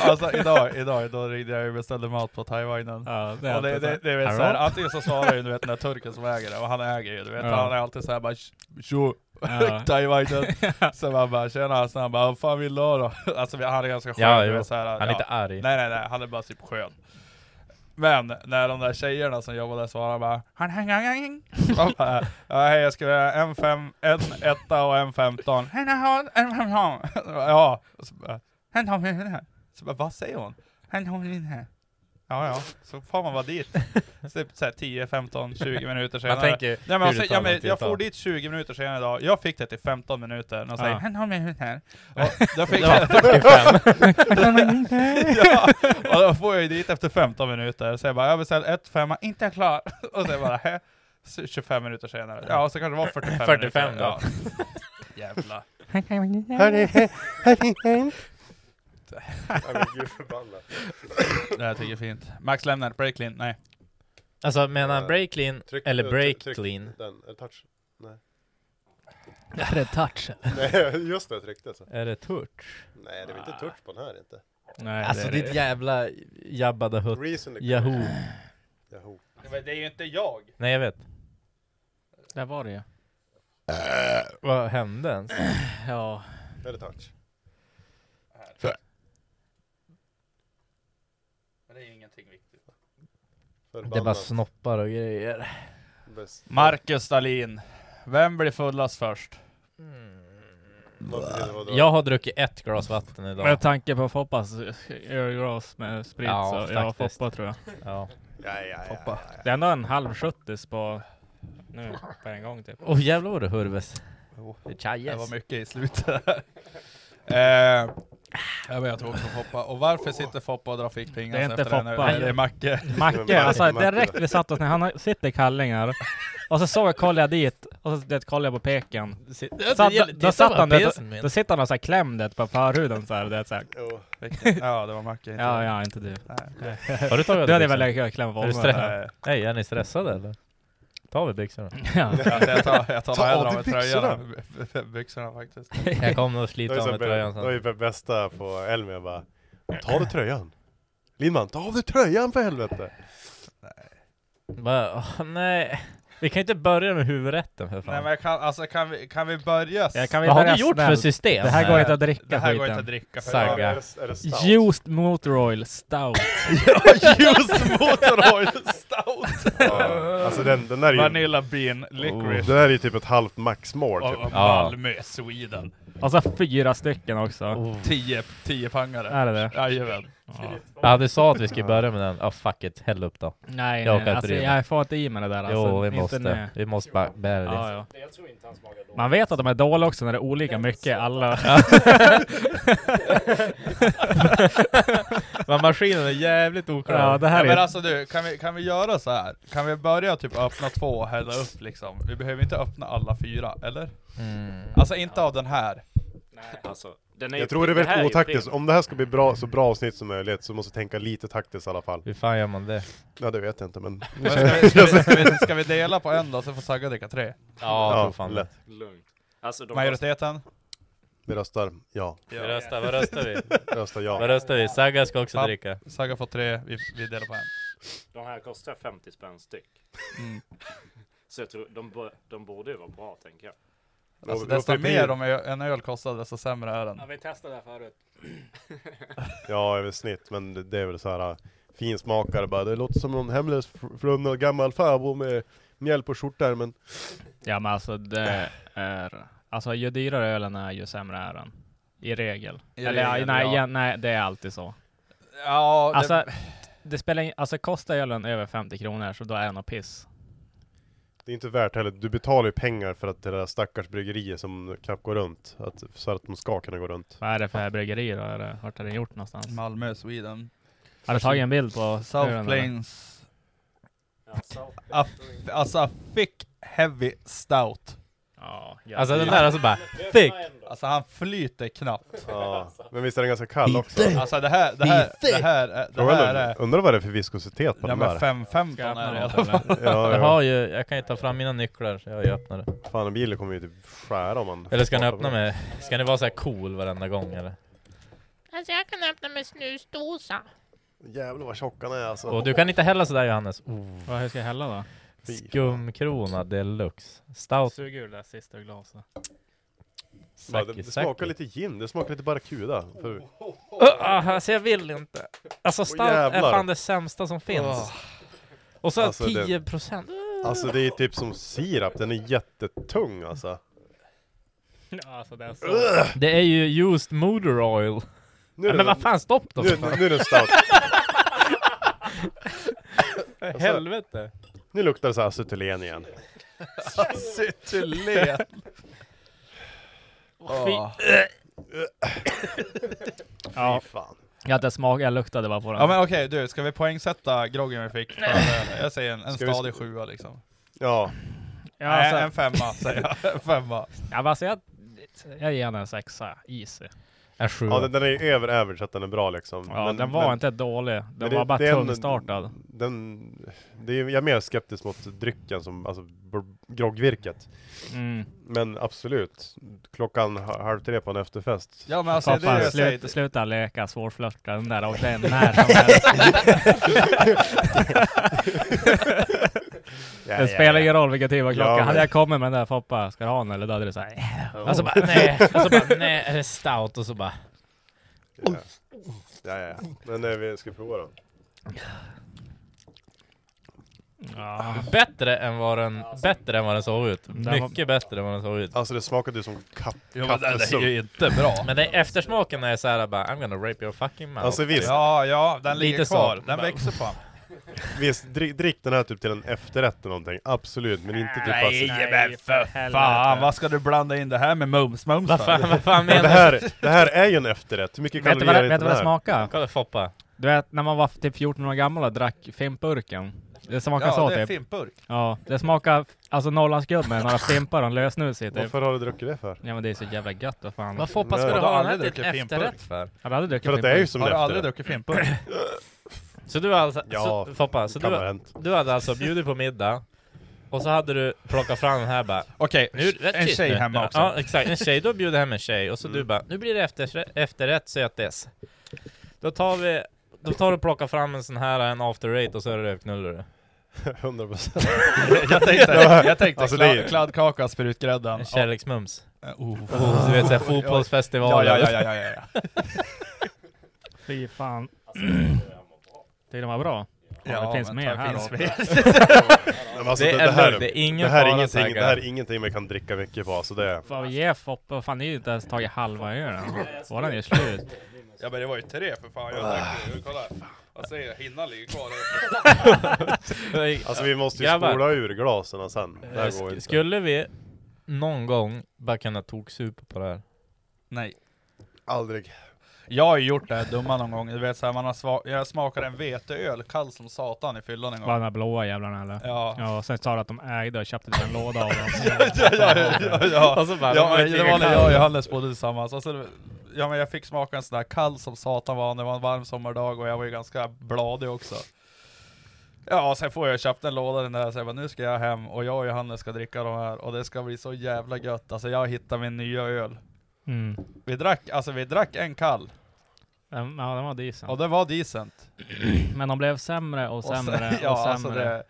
S1: Alltså idag, idag, då ringde jag och beställde mat på Taiwanen.
S2: Ja, det är
S1: Och det, det, det är väl såhär, antingen så svarar ju du vet den där turken som äger det, och han äger ju, du vet,
S2: Ja.
S1: han är alltid såhär bara tjo,
S2: Ja.
S1: Taiwanen. Sen man bara tjena, sen han bara vad fan vill du ha då? Alltså vi- han är ganska skön,
S4: Ja,
S1: du
S4: jo.
S1: vet, så här,
S4: Han är
S1: ja.
S4: inte arg.
S1: Nej nej nej, han är bara typ skön. Men när de där tjejerna som jobbade där svarade bara han hang hang hang De bara, ja, hej jag skulle ha en fem, en etta och en femton. Hen har en- en femton. Ja. Och så bara, hen har en här. Så bara, vad säger hon? Hen har en här. Ja ja, så får man vara dit. Så Typ såhär 10, 15, 20 minuter senare.
S4: Man tänker...
S1: Nej, men
S4: hur
S1: alltså,
S4: det
S1: ja,
S4: tar
S1: men
S4: lång tid
S1: jag
S4: det tar.
S1: for dit 20 minuter senare idag, jag fick det till 15 minuter, och säger
S2: Ja.
S1: han har mig ut här. Och då fick
S4: Det var
S1: jag,
S4: 45.
S1: ja, och då får jag ju dit efter 15 minuter, så jag bara jag beställer ett femma, inte klar. Och sen bara hä, så 25 minuter senare. Ja, och så kanske det var 45
S4: 45
S1: minuter.
S4: då.
S1: Ja. Jävlar.
S3: Ja, men gud förbannat.
S1: Det här tycker jag är fint. Max lämnar, break clean, nej.
S4: Alltså menar han break clean
S3: Tryck-
S4: eller
S3: eh,
S4: break
S3: tryck
S4: clean?
S3: Den, eller touch.
S2: Är det touch?
S3: Nej, just det, jag tryckte så.
S4: Är det touch?
S3: Nej, det är väl inte touch på den här inte.
S2: Nej,
S4: Alltså
S2: det är
S4: ditt jävla Jabba the Hutt.
S3: Reason to-
S4: Yahoo.
S3: Yahoo.
S1: Men det är ju inte jag.
S4: Nej jag vet.
S2: det. Där var det ju.
S4: Eh, Vad hände ens?
S2: Ja.
S3: Eller touch.
S1: Men det är ju ingenting viktigt.
S4: Det är bara
S3: Förbannat.
S4: snoppar och grejer.
S3: Bäst.
S1: Marcus Dahlin, vem blir fullast först?
S4: Jag har druckit ett glas vatten idag.
S2: Med tanke på Foppas ölglas med sprit
S4: Ja,
S2: så, ja
S4: faktiskt.
S2: Foppa tror jag.
S4: Ja.
S3: Ja, ja, ja, ja.
S2: Det är ändå en halv sjuttis på, nu, på en gång typ.
S4: Åh Oh, jävlar vad det hurves.
S1: Jo. Det var
S4: Chajes.
S1: mycket i slutet. eh, ja, men jag tror också Foppa. Och varför sitter Foppa och drar fickpingar
S2: Det är inte
S1: Alltså, efter den här?
S2: Foppa.
S1: Nej, Det är Macke.
S2: Macke, alltså
S3: Macke.
S2: direkt vi satt oss ner, han har- sitter i kallingar. Och så såg jag, kollade jag dit, och så det, kollade jag på peken. Så, då, då satt han där, då, då sitter han såhär klämd vet, på förhuden såhär, det är såhär.
S3: Jo.
S1: ja, det var Macke. inte
S2: Ja,
S1: jag.
S2: ja, inte du.
S1: Nej.
S4: Har du tagit
S2: Du hade
S4: byxorna?
S2: väl kunnat klämma på
S4: Är du
S2: honom?
S4: stressad?
S2: eller?
S1: Eh,
S4: Nej, är ni stressade eller? Tar vi byxorna?
S2: Ja.
S1: alltså, jag tar, jag tar
S3: Ta av
S1: hellre
S3: dig
S1: av mig tröjan än byxorna faktiskt.
S4: Jag kommer att
S3: Det
S4: slita av mig tröjan
S3: var ju
S4: sen.
S3: det bästa på Elmia jag bara Ta av dig tröjan! Lindman, ta av dig tröjan för helvete!
S4: Bara, åh, nej. Vi kan ju inte börja med huvudrätten för
S1: Nej
S4: fan.
S1: men jag kan, alltså, kan, vi, kan vi börja? s-
S2: Jag kan vi
S4: Vad har
S2: börja
S4: du gjort för
S2: snällt?
S4: system?
S2: Det här går inte att dricka
S1: det här går inte
S2: skiten.
S1: att dricka för
S4: Sagga.
S1: jag-
S3: Ja, är det- är det stout?
S2: Used motor oil stout.
S1: Just motor oil stout!
S3: Ja, Alltså den, den där är ju...
S1: Vanilla bean licorice
S3: Det där är ju typ ett halvt maxmål
S1: och,
S3: typ.
S1: och
S4: Ja.
S1: Malmö, Sweden.
S2: Alltså,
S1: Oh.
S2: Och så fyra stycken också.
S1: Tio, tio pangare.
S2: Är det det?
S1: Jajamän.
S4: Ja du sa att vi skulle börja med den, ah fuck it, häll upp då.
S2: Nej,
S4: Jag
S2: jag,
S4: orkar
S2: nej,
S4: inte
S2: alltså,
S4: driva.
S2: jag får inte i mig det där alltså.
S4: jo vi
S2: Inte nu.
S4: måste, vi måste bara bära det.
S2: Ja, ja. Man vet att de är dåliga också när det är olika mycket alla.
S4: Men maskinen är jävligt oklar.
S2: Ja, det här
S1: ja, men
S2: är...
S1: alltså du, kan vi, kan vi göra så här? Kan vi börja typ öppna två och hälla upp liksom? Vi behöver inte öppna alla fyra, eller?
S4: Mm.
S1: Alltså inte av den här.
S5: Alltså, den är ju-
S3: Jag tror det är väldigt
S5: här ju
S3: otaktiskt.
S5: prim-
S3: Om det här ska bli bra, så bra avsnitt som möjligt så måste vi tänka lite taktiskt i alla fall.
S4: Hur fan gör man det?
S3: Ja, det vet jag inte men...
S1: Men Ska vi, ska, vi, ska, vi, ska vi dela på en då, så får Sagga dricka tre?
S4: Ja, jag tror fan det.
S3: lätt.
S5: Lugnt. Alltså, de
S1: Majoriteten?
S3: Vi röstar ja.
S4: Vi röstar, vad röstar vi?
S3: Vi röstar
S4: Vad
S3: ja.
S4: röstar vi? Sagga ska också
S1: Papp.
S4: dricka.
S1: Sagga får tre, vi, vi delar på en. Mm.
S5: De här kostar 50 spänn styck. Så jag tror de, bo- de borde ju vara bra tänker jag.
S1: Alltså
S3: vi får
S1: desto
S3: tre.
S1: mer de ö- en öl kostar, desto sämre är den.
S2: vi testade det här förut.
S3: Ja, över snitt. Men det, det är väl så här äh, finsmakare bara. Det låter som någon hemlös fr- flunna gammal farbror med mjäll på skjortärmen.
S2: Ja men alltså det är... Alltså ju dyrare ölen är ju sämre är den. I regel.
S1: I
S2: Eller
S1: regel,
S2: nej,
S1: ja.
S2: ja. nej, det är alltid så.
S1: Ja, det,
S2: Alltså, det spelar in, alltså kostar ölen över 50 kronor så då är den och piss.
S3: Det är inte värt heller. Du betalar ju pengar för att det där stackars bryggeriet som knappt går runt. Att, så att de ska kunna gå runt.
S2: Vad är det för bryggeri då? Är det, vart är det gjort någonstans?
S1: Malmö, Sweden.
S2: Har du tagit en bild på
S1: South
S2: ölen, eller?
S1: Plains. Aff- Alltså Thick Heavy Stout.
S2: Ja,
S4: Alltså den där alltså bara, thick!
S1: Alltså han flyter knappt.
S3: Ja. Men visst är den ganska kall också?
S1: Alltså det här, det här, det här, är- det här är...
S3: Undrar, undrar vad det är för viskositet på
S1: Ja
S3: den
S1: men
S3: där?
S1: 5-15
S2: Ska jag öppna
S1: är det i
S2: något,
S1: alla fall.
S2: eller?
S3: Ja,
S4: Jag
S3: ja.
S4: har ju, jag kan ju ta fram mina nycklar, så jag har ju öppnat det.
S3: Fan en bil kommer ju typ skära om man...
S4: Eller ska ni öppna med, ska ni vara så här cool varenda gång eller?
S6: Alltså jag kan öppna med snusdosa.
S3: Jävlar vad tjock han är alltså.
S4: Och du kan inte hälla sådär Johannes. Oh.
S2: Vad, hur ska jag hälla då?
S4: Skumkrona deluxe. Stout
S2: Sug ur det där sista glaset.
S3: Ja, det,
S4: säkert,
S3: det smakar
S4: säkert.
S3: lite gin, det smakar lite barracuda. För-
S4: Öh, ah, alltså jag vill inte. Alltså stout är
S3: jävlar.
S4: fan det sämsta som finns.
S1: Åh.
S4: Och så
S3: Alltså, det-
S4: 10 procent.
S3: Alltså det är typ som sirap, den är jättetung alltså.
S2: Ja, alltså det är så.
S4: Det är ju used motor oil.
S3: Nu är
S4: men
S3: den,
S4: vad fan, stopp då!
S3: nu,
S4: för fan.
S3: nu är den stout.
S4: Helvete!
S3: Alltså, Nu luktar det så här acetylen igen.
S1: Acetylen! Åh.
S2: Ja,
S3: Fy fan.
S2: jag hade smak, jag luktade bara på den.
S1: Ja men okej du, ska vi poängsätta groggen vi fick? För, eh, jag säger en, en
S3: Ska vi-
S1: stadig sjua liksom.
S3: Ja,
S2: ja,
S1: Nej,
S2: alltså,
S1: en femma säger jag. En femma.
S2: ja, men alltså jag, jag ger den en sexa, easy.
S4: En sjua.
S3: ja den, den är ju över average att den är bra liksom.
S2: Ja,
S3: Men-
S2: den var
S3: men-
S2: inte dålig. Den
S3: men det-
S2: var bara
S3: det är en-
S2: tungstartad.
S3: Den, det är, jag är mer skeptisk mot drycken som, alltså br- groggvirket.
S2: Mm.
S3: Men absolut, klockan ha- halv tre på en efterfest.
S1: Ja men alltså
S2: Fan,
S1: det är det
S2: fan,
S1: jag säger.
S2: slut, sluta leka svårflörta. Den där åkte en när som helst.
S3: Ja,
S2: Det spelar ingen roll vilken tid var klockan.
S3: Ja, men-
S2: Hade jag kommit med den där Foppa, ska du ha en eller? Då hade du sagt
S1: Oh.
S4: Alltså bara nej, alltså bara nej, är det stout? Och så bara
S3: Ja, ja, ja. Men nej, vi ska prova då. Ah.
S2: ja.
S4: bättre än vad den, bättre än vad den såg ut.
S2: Den var-
S4: Mycket bättre än vad den såg ut.
S3: Alltså det smakade ju som kapp,
S1: Jo men den är
S3: kaffesump.
S1: ju inte bra.
S4: Men det är eftersmaken när jag såhär bara I'm gonna rape your fucking mouth.
S3: Alltså visst,
S1: Ja, ja, den
S4: Lite
S1: ligger
S4: så.
S1: kvar. Den växer fan.
S3: visst drick, drick den här typ till en efterrätt eller någonting. Absolut, men inte typ bara så-
S2: Nej,
S1: men för Fan, vad ska du blanda in det här med mums mums?
S4: vad fan, vad fan
S3: Men det
S4: menar du?
S3: här, det här är ju en efterrätt. Hur mycket
S2: Vet du vad,
S3: kalorier
S2: det-
S3: är
S2: vet du vad
S3: inte
S2: det
S3: den här?
S2: smakar?
S4: Kolla Foppa.
S2: Du vet när man var typ 14 år gammal och drack fimpburken. Det smakar
S1: Ja,
S2: så
S1: det är
S2: typ.
S1: fimpburk.
S2: Ja, det smakar alltså Norrlandsgubb med några fimpar och en lösnus i typ.
S3: Varför har du druckit det för?
S2: Ja men det är så jävla gött, vad fan.
S4: Vad Foppa ska
S3: Nej.
S4: du
S1: Har
S4: ha
S1: du
S4: den här
S1: aldrig
S4: till
S1: druckit
S4: efterrätt för?
S2: Har du aldrig druckit
S3: För att det är ju
S2: fimpburk?
S3: som
S1: Har
S3: en
S1: du aldrig
S3: efterrätt.
S1: druckit fimpburk?
S4: Så du har alltså,
S3: Ja,
S4: så, Foppa, så
S3: kan
S4: du,
S3: ha hänt.
S4: du hade alltså bjudit på middag och så hade du plockat fram den här bara
S1: Okej,
S4: Nu,
S1: en
S4: tyst
S1: tjej
S4: nu.
S1: hemma också.
S4: Ja, exakt. En tjej. Då bjuder hem en tjej och så
S3: Mm.
S4: du bara, nu blir det efter, efterrätt sötis. Då tar vi, då tar du och plockar fram en sån här, en after eight och så är det rövknullar du.
S3: 100%.
S1: jag tänkte, jag tänkte
S3: Alltså, det
S1: kladd,
S3: är-
S1: kladdkaka, sprutgrädden.
S4: En kärleksmums.
S1: Ja, oh.
S4: Du vet såhär
S1: Ja,
S4: fotbollsfestival.
S1: ja, ja, ja, ja, ja. Alltså,
S2: Fy fan. Tycker den var bra? Ja, det finns
S1: men
S2: mer här
S1: finns
S2: då.
S1: mer.
S3: Men alltså,
S4: Det
S3: det,
S4: är
S3: det, här,
S4: lugnt, det är ingen
S3: det här
S4: fara,
S3: är ingenting,
S4: Saga.
S3: det här är ingenting man kan dricka mycket på. Alltså det,
S2: Vad vi ger Foppa, fan ni har ju inte ens tagit halva ölen. Våran är slut.
S1: Ja men det var ju tre för fan, jag
S3: Ah.
S1: drack ju. Kolla. Vad säger jag? Hinnan ligger kvar.
S3: Alltså vi måste ju
S4: Grabbar.
S3: spola ur glasen sen. Det här går
S4: Sk-
S3: inte.
S4: Skulle vi någon gång bara kunna toksupa på det här?
S1: Nej.
S3: Aldrig.
S1: Jag har ju gjort det här dumma någon gång, du vet såhär, man har sva- jag smakade en veteöl kall som satan i fyllan en gång.
S2: Var de där blåa jävlarna eller?
S1: Ja.
S2: Ja, och sen sa du att de ägde och köpte en låda av dem.
S1: ja, ja, ja, ja.
S4: Och så bara, de
S1: ja
S4: var
S1: men
S4: inte
S1: det var
S4: lika
S1: när jag och
S4: kall.
S1: Johannes bodde tillsammans. Alltså, ja, men jag fick smaka en sån där kall som satan var, det var en varm sommardag och jag var ju ganska bladig också. Ja, och sen får jag köpt en låda den där, så jag bara, nu ska jag hem och jag och Johannes ska dricka de här och det ska bli så jävla gött. Alltså jag hittar min nya öl.
S2: Mm.
S1: Vi drack, alltså vi drack en kall
S2: Den- Mm, Ja, den var decent.
S1: och det var decent.
S2: Men de blev sämre och
S1: sen-
S2: sämre och,
S1: ja, alltså
S2: sämre.
S1: det,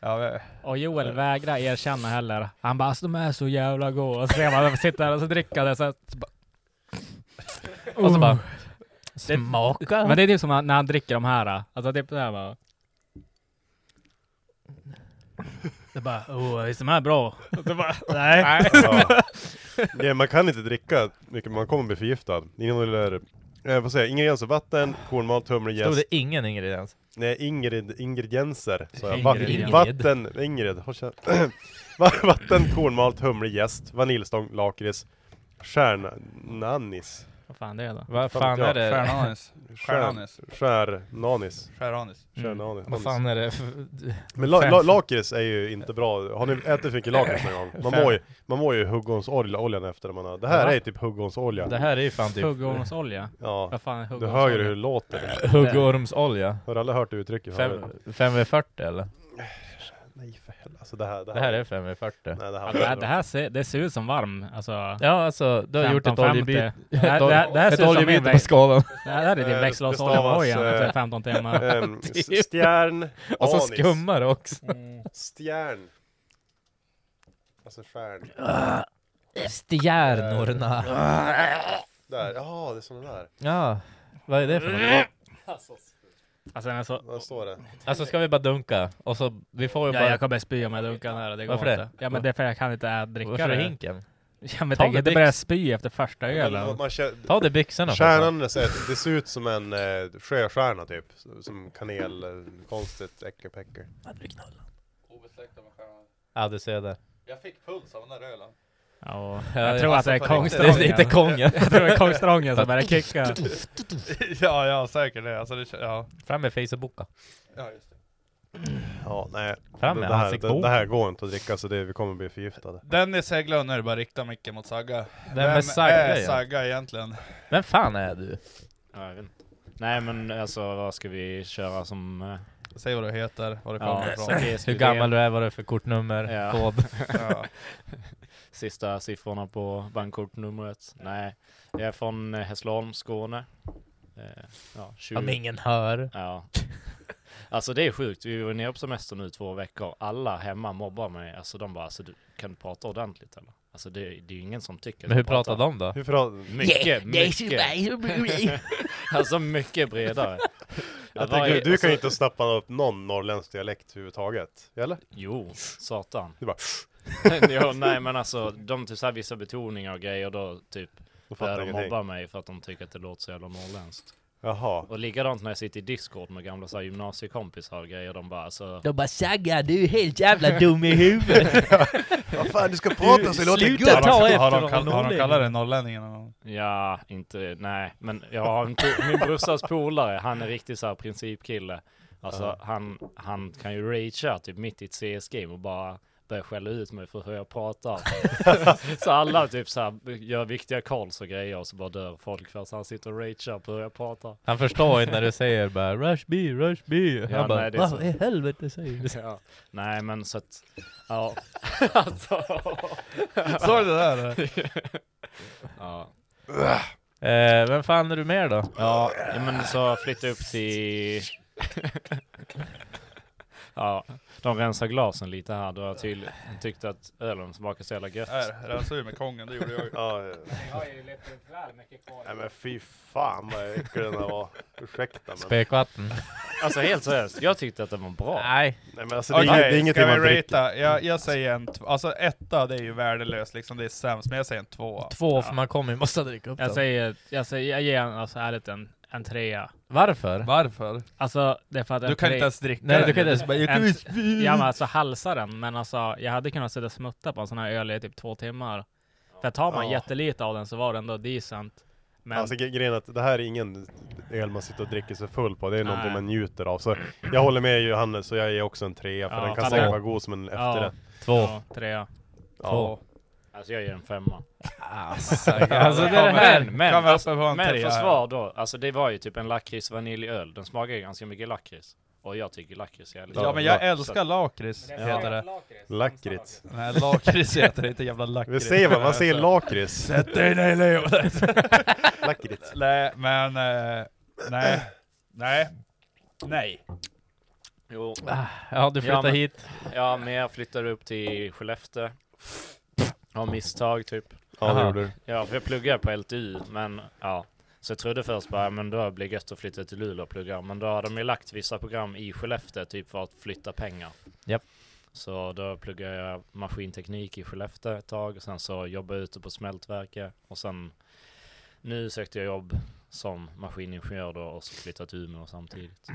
S1: ja, men-
S2: Och Joel vägrar erkänna heller. Han bara alltså, de är så jävla goda. Och så ser man dem sitta där och så dricka det så, att- så bara...
S4: Och så bara,
S2: Det-
S4: smaka!
S2: Men det är typ som när han dricker de här. Alltså typ det här bara... Det bara, oh, visst är de här bra? Och så bara, nej.
S3: Ja. Nej, man kan inte dricka mycket, man kommer bli förgiftad. Innehåller, eh, vad säger jag, ingredienser, vatten, kornmal, humle,
S4: Stod
S3: jäst.
S4: det ingen ingrediens?
S3: Nej, Ingrid, ingredienser sa jag.
S2: Ingrid.
S3: Va- vatten, Ingrid, håll käften. Va- Vatten, kornmalt, humle, jäst, vaniljstång, lakrits, stjärnanis.
S2: Vad fan det är då?
S4: Vad
S3: Fan
S4: fan
S3: vet
S4: är
S3: jag.
S4: det?
S1: Stjärnanis. Stjärnanis.
S3: Stjärnanis.
S1: Stjärnanis.
S3: Stjärnanis.
S4: Mm. Vad fan är det? för-
S3: Men la, la, lakrits är ju inte bra. Har ni ätit för mycket lakrits någon gång? Man mår ju, man mår ju huggonsolja oljan efter man har... Det här
S2: Va?
S3: är ju typ huggonsolja.
S4: Det här är ju fan typ
S2: Huggormsolja?
S3: Ja.
S2: Vad fan är
S3: Du
S2: huggormsolja?
S3: hör ju hur det låter.
S4: huggormsolja.
S3: Har du aldrig hört det uttrycket?
S4: Fem- 5V40 eller?
S3: Nej för helvete. Alltså det här,
S4: Det här är 5V40.
S3: Nej det
S2: Ja,
S3: här,
S2: det, här, det här ser, det ser ut som varm. Alltså...
S4: Ja alltså, du har gjort ett
S2: 15-50.
S4: oljebyte.
S2: Det här- det här- det här
S4: Ett
S2: ser ut som min
S4: oljebyte på
S2: väg.
S4: skalan.
S2: Det här är din
S3: Eh,
S2: växellådsolja på
S3: bestavas,
S2: hojen
S3: eh,
S2: efter 15 timmar.
S3: Ehm, s- stjärn,
S4: Och så
S3: anis.
S4: skummar det också.
S3: Mm. Stjärn. Alltså stjärn.
S4: Stjärnorna.
S3: Där, jaha det är sådana där.
S4: Ja, vad är det för något?
S2: Alltså den är så...
S3: Vad står det?
S4: Alltså ska vi bara dunka? Och så, vi får ju
S2: Ja, jag
S4: bara...
S2: kommer spy om jag dunkar den här och det går
S4: Varför det?
S2: inte. Ja men det är för jag kan inte ä- dricka
S4: Varför
S2: det.
S4: är hinken?
S2: Ja men
S4: Ta
S2: tänk
S4: det
S2: inte
S4: dricks.
S2: börja spy efter första ölen.
S3: Men man känner-
S4: Ta det i byxorna. för fan.
S3: Stjärnan, det ser ut som en eh, sjöstjärna typ. Som kanel, eh, konstigt, äckerpäcker.
S4: Ja du ser det.
S1: Jag fick puls av den där ölen.
S2: Ja,
S4: Ja,
S2: jag tror att det är
S1: alltså, för riktigt.
S4: Det
S2: kongstrången.
S4: är inte kongen.
S2: Jag tror det är kongstrången som börjar kicka.
S1: ja, ja säkert det. Alltså, det ja.
S4: Fram med Facebooka.
S1: ja, just det.
S3: Ja, nej.
S4: Fram
S3: det,
S4: med
S3: det, här, det,
S4: ansiktsboken.
S3: det här går inte att dricka så det, vi kommer bli förgiftade.
S1: Dennis Hägglund, nu är det bara att rikta mycket mot Sagga.
S4: Vem är Sagga
S1: är
S4: igen?
S1: Sagga egentligen?
S4: Vem fan är du?
S5: Ja, jag vet inte. Nej men alltså vad ska vi köra som... eh,
S1: Säg vad du heter, var du kommer
S5: Ja,
S1: ifrån.
S5: Sakes
S4: Hur
S5: idé?
S4: gammal du är, vad det är för kortnummer,
S5: Ja.
S4: kod.
S1: Ja.
S5: Sista siffrorna på bankkortnumret. Nej, jag är från eh, Hässleholm, Skåne. Eh, Ja, 20.
S4: Om ingen hör.
S5: Ja. Alltså det är sjukt, vi var nere på semester nu i två veckor. Alla hemma mobbar mig. Alltså de bara, alltså, du, kan du prata ordentligt eller? Alltså det, det är ju ingen som tycker att
S4: Men hur
S5: jag
S4: pratar de då?
S3: Hur förhåll-
S5: Mycket, mycket. Alltså mycket bredare.
S3: Jag
S5: vad
S3: tänker,
S5: är-
S3: du
S5: alltså-
S3: kan ju inte snappa upp någon norrländsk dialekt överhuvudtaget. Eller?
S5: Jo, satan.
S3: Du bara...
S5: jo, nej men alltså de typ så här vissa betoningar och grejer då typ
S3: Då fattar
S5: börjar
S3: jag
S5: de
S3: ingenting.
S5: mobba mig för att de tycker att det låter så jävla norrländskt.
S3: Jaha.
S5: Och likadant när jag sitter i discord med gamla så här, gymnasiekompisar och grejer, de bara alltså
S4: De bara saggar, du är helt jävla dum i huvudet.
S3: Vad fan, du ska prata så det låter
S4: Sluta
S3: gött!
S4: ta
S1: Har de,
S4: efter
S1: har, de
S4: någon
S1: kall, har de
S4: norrlänning.
S1: kallat dig norrlänningen någon gång?
S5: Ja, inte, nej, men jag har en, po- min brorsas polare, han är riktigt så här principkille. Alltså han, han kan ju ragea typ mitt i ett CS-game och bara börja skälla ut mig för hur jag pratar. så alla typ så här gör viktiga calls och grejer och så bara dör folk för att han sitter och ragear på hur jag pratar.
S4: Han förstår inte när du säger bara 'Rush B, Rush B' Han
S5: Ja,
S4: bara
S5: nej, det är
S4: 'Vad
S5: så.
S4: i helvete säger du?'
S5: Ja. Nej men så att, ja. alltså,
S1: Såg du det där?
S5: ja.
S4: Eh, vem fan är du mer då?
S5: Ja, ja, men så flytta upp till... ja, de rensar glasen lite här. Då har jag tydligen tyckt att ölen smakar så jävla gött.
S1: Här, rensa
S3: alltså-
S1: ur med kongen, det gjorde jag ju.
S3: Ja, ja. Nej men fy fan vad äcklig den här var. Ursäkta men.
S4: Spekvatten?
S5: Alltså helt seriöst, jag tyckte att den var bra.
S4: Nej.
S3: Nej men alltså det är,
S1: Okej,
S3: inget- det är ingenting
S1: ska
S3: man
S1: vi
S3: dricker.
S1: ratea? Jag, jag säger en tv- Alltså etta, det är ju värdelöst liksom, det är sämst. Men jag säger en tvåa.
S4: Två, för man kommer ju måste dricka upp
S2: Jag
S4: den.
S2: säger, jag säger, jag ger en, alltså ärligt en en trea.
S4: Varför?
S1: Varför?
S2: Alltså, det är för att en
S1: Du kan
S2: tre-
S1: inte ens dricka
S4: Nej,
S1: den.
S4: du kan inte
S1: bara, jag kan
S2: ens-
S1: inte spy.
S2: Ja men alltså halsa den, men alltså jag hade kunnat sitta och smutta på en sån här öl i typ två timmar. För tar man
S3: Ja.
S2: jättelite av den så var det ändå decent. Men
S3: Alltså gre- grejen är att det här är ingen öl man sitter och dricker sig full på, det är
S2: Nej.
S3: någonting man njuter av. Så jag håller med Johannes, så jag ger också en trea, för
S2: Ja,
S3: den kan
S2: fan,
S3: säkert
S2: det-
S3: vara god som en
S2: ja,
S3: efterrätt.
S4: Två.
S2: Ja, trea.
S4: Två.
S5: Alltså jag ger en femma.
S4: Alltså, alltså det är det
S5: Men,
S4: här.
S5: men,
S1: Kan vi
S5: alltså,
S1: öppna på en
S5: men
S1: trea här?
S5: försvar då. Alltså det var ju typ en lakrits vaniljöl. Den smakar ju ganska mycket lakrits. Och jag tycker lakrits är jävligt
S1: Ja men jag älskar lakrits, heter det.
S3: Lakrits.
S1: Nej lakrits heter det inte, jävla
S3: Vi
S1: lakrits.
S3: säger vad, man säger lakrits.
S1: Sätt dig ner Leo!
S3: Lakrits.
S1: nej men, eh, nej. Nej. Nej.
S5: Jo,
S4: Ja, du flyttar
S5: Ja, men-
S4: hit.
S5: ja men jag flyttade upp till Skellefteå. Av misstag typ.
S3: Ja det
S4: Aha.
S3: gjorde du.
S5: Ja, för jag pluggar på LTU, men ja. Så jag trodde först bara, men då blir det gött att flytta till Luleå och plugga. Men då har de ju lagt vissa program i Skellefteå, typ för att flytta pengar.
S4: Japp.
S5: Så då pluggade jag maskinteknik i Skellefteå ett tag, och sen så jobbade jag ute på smältverket. Och sen nu sökte jag jobb som maskiningenjör då, och så flyttade till Umeå samtidigt.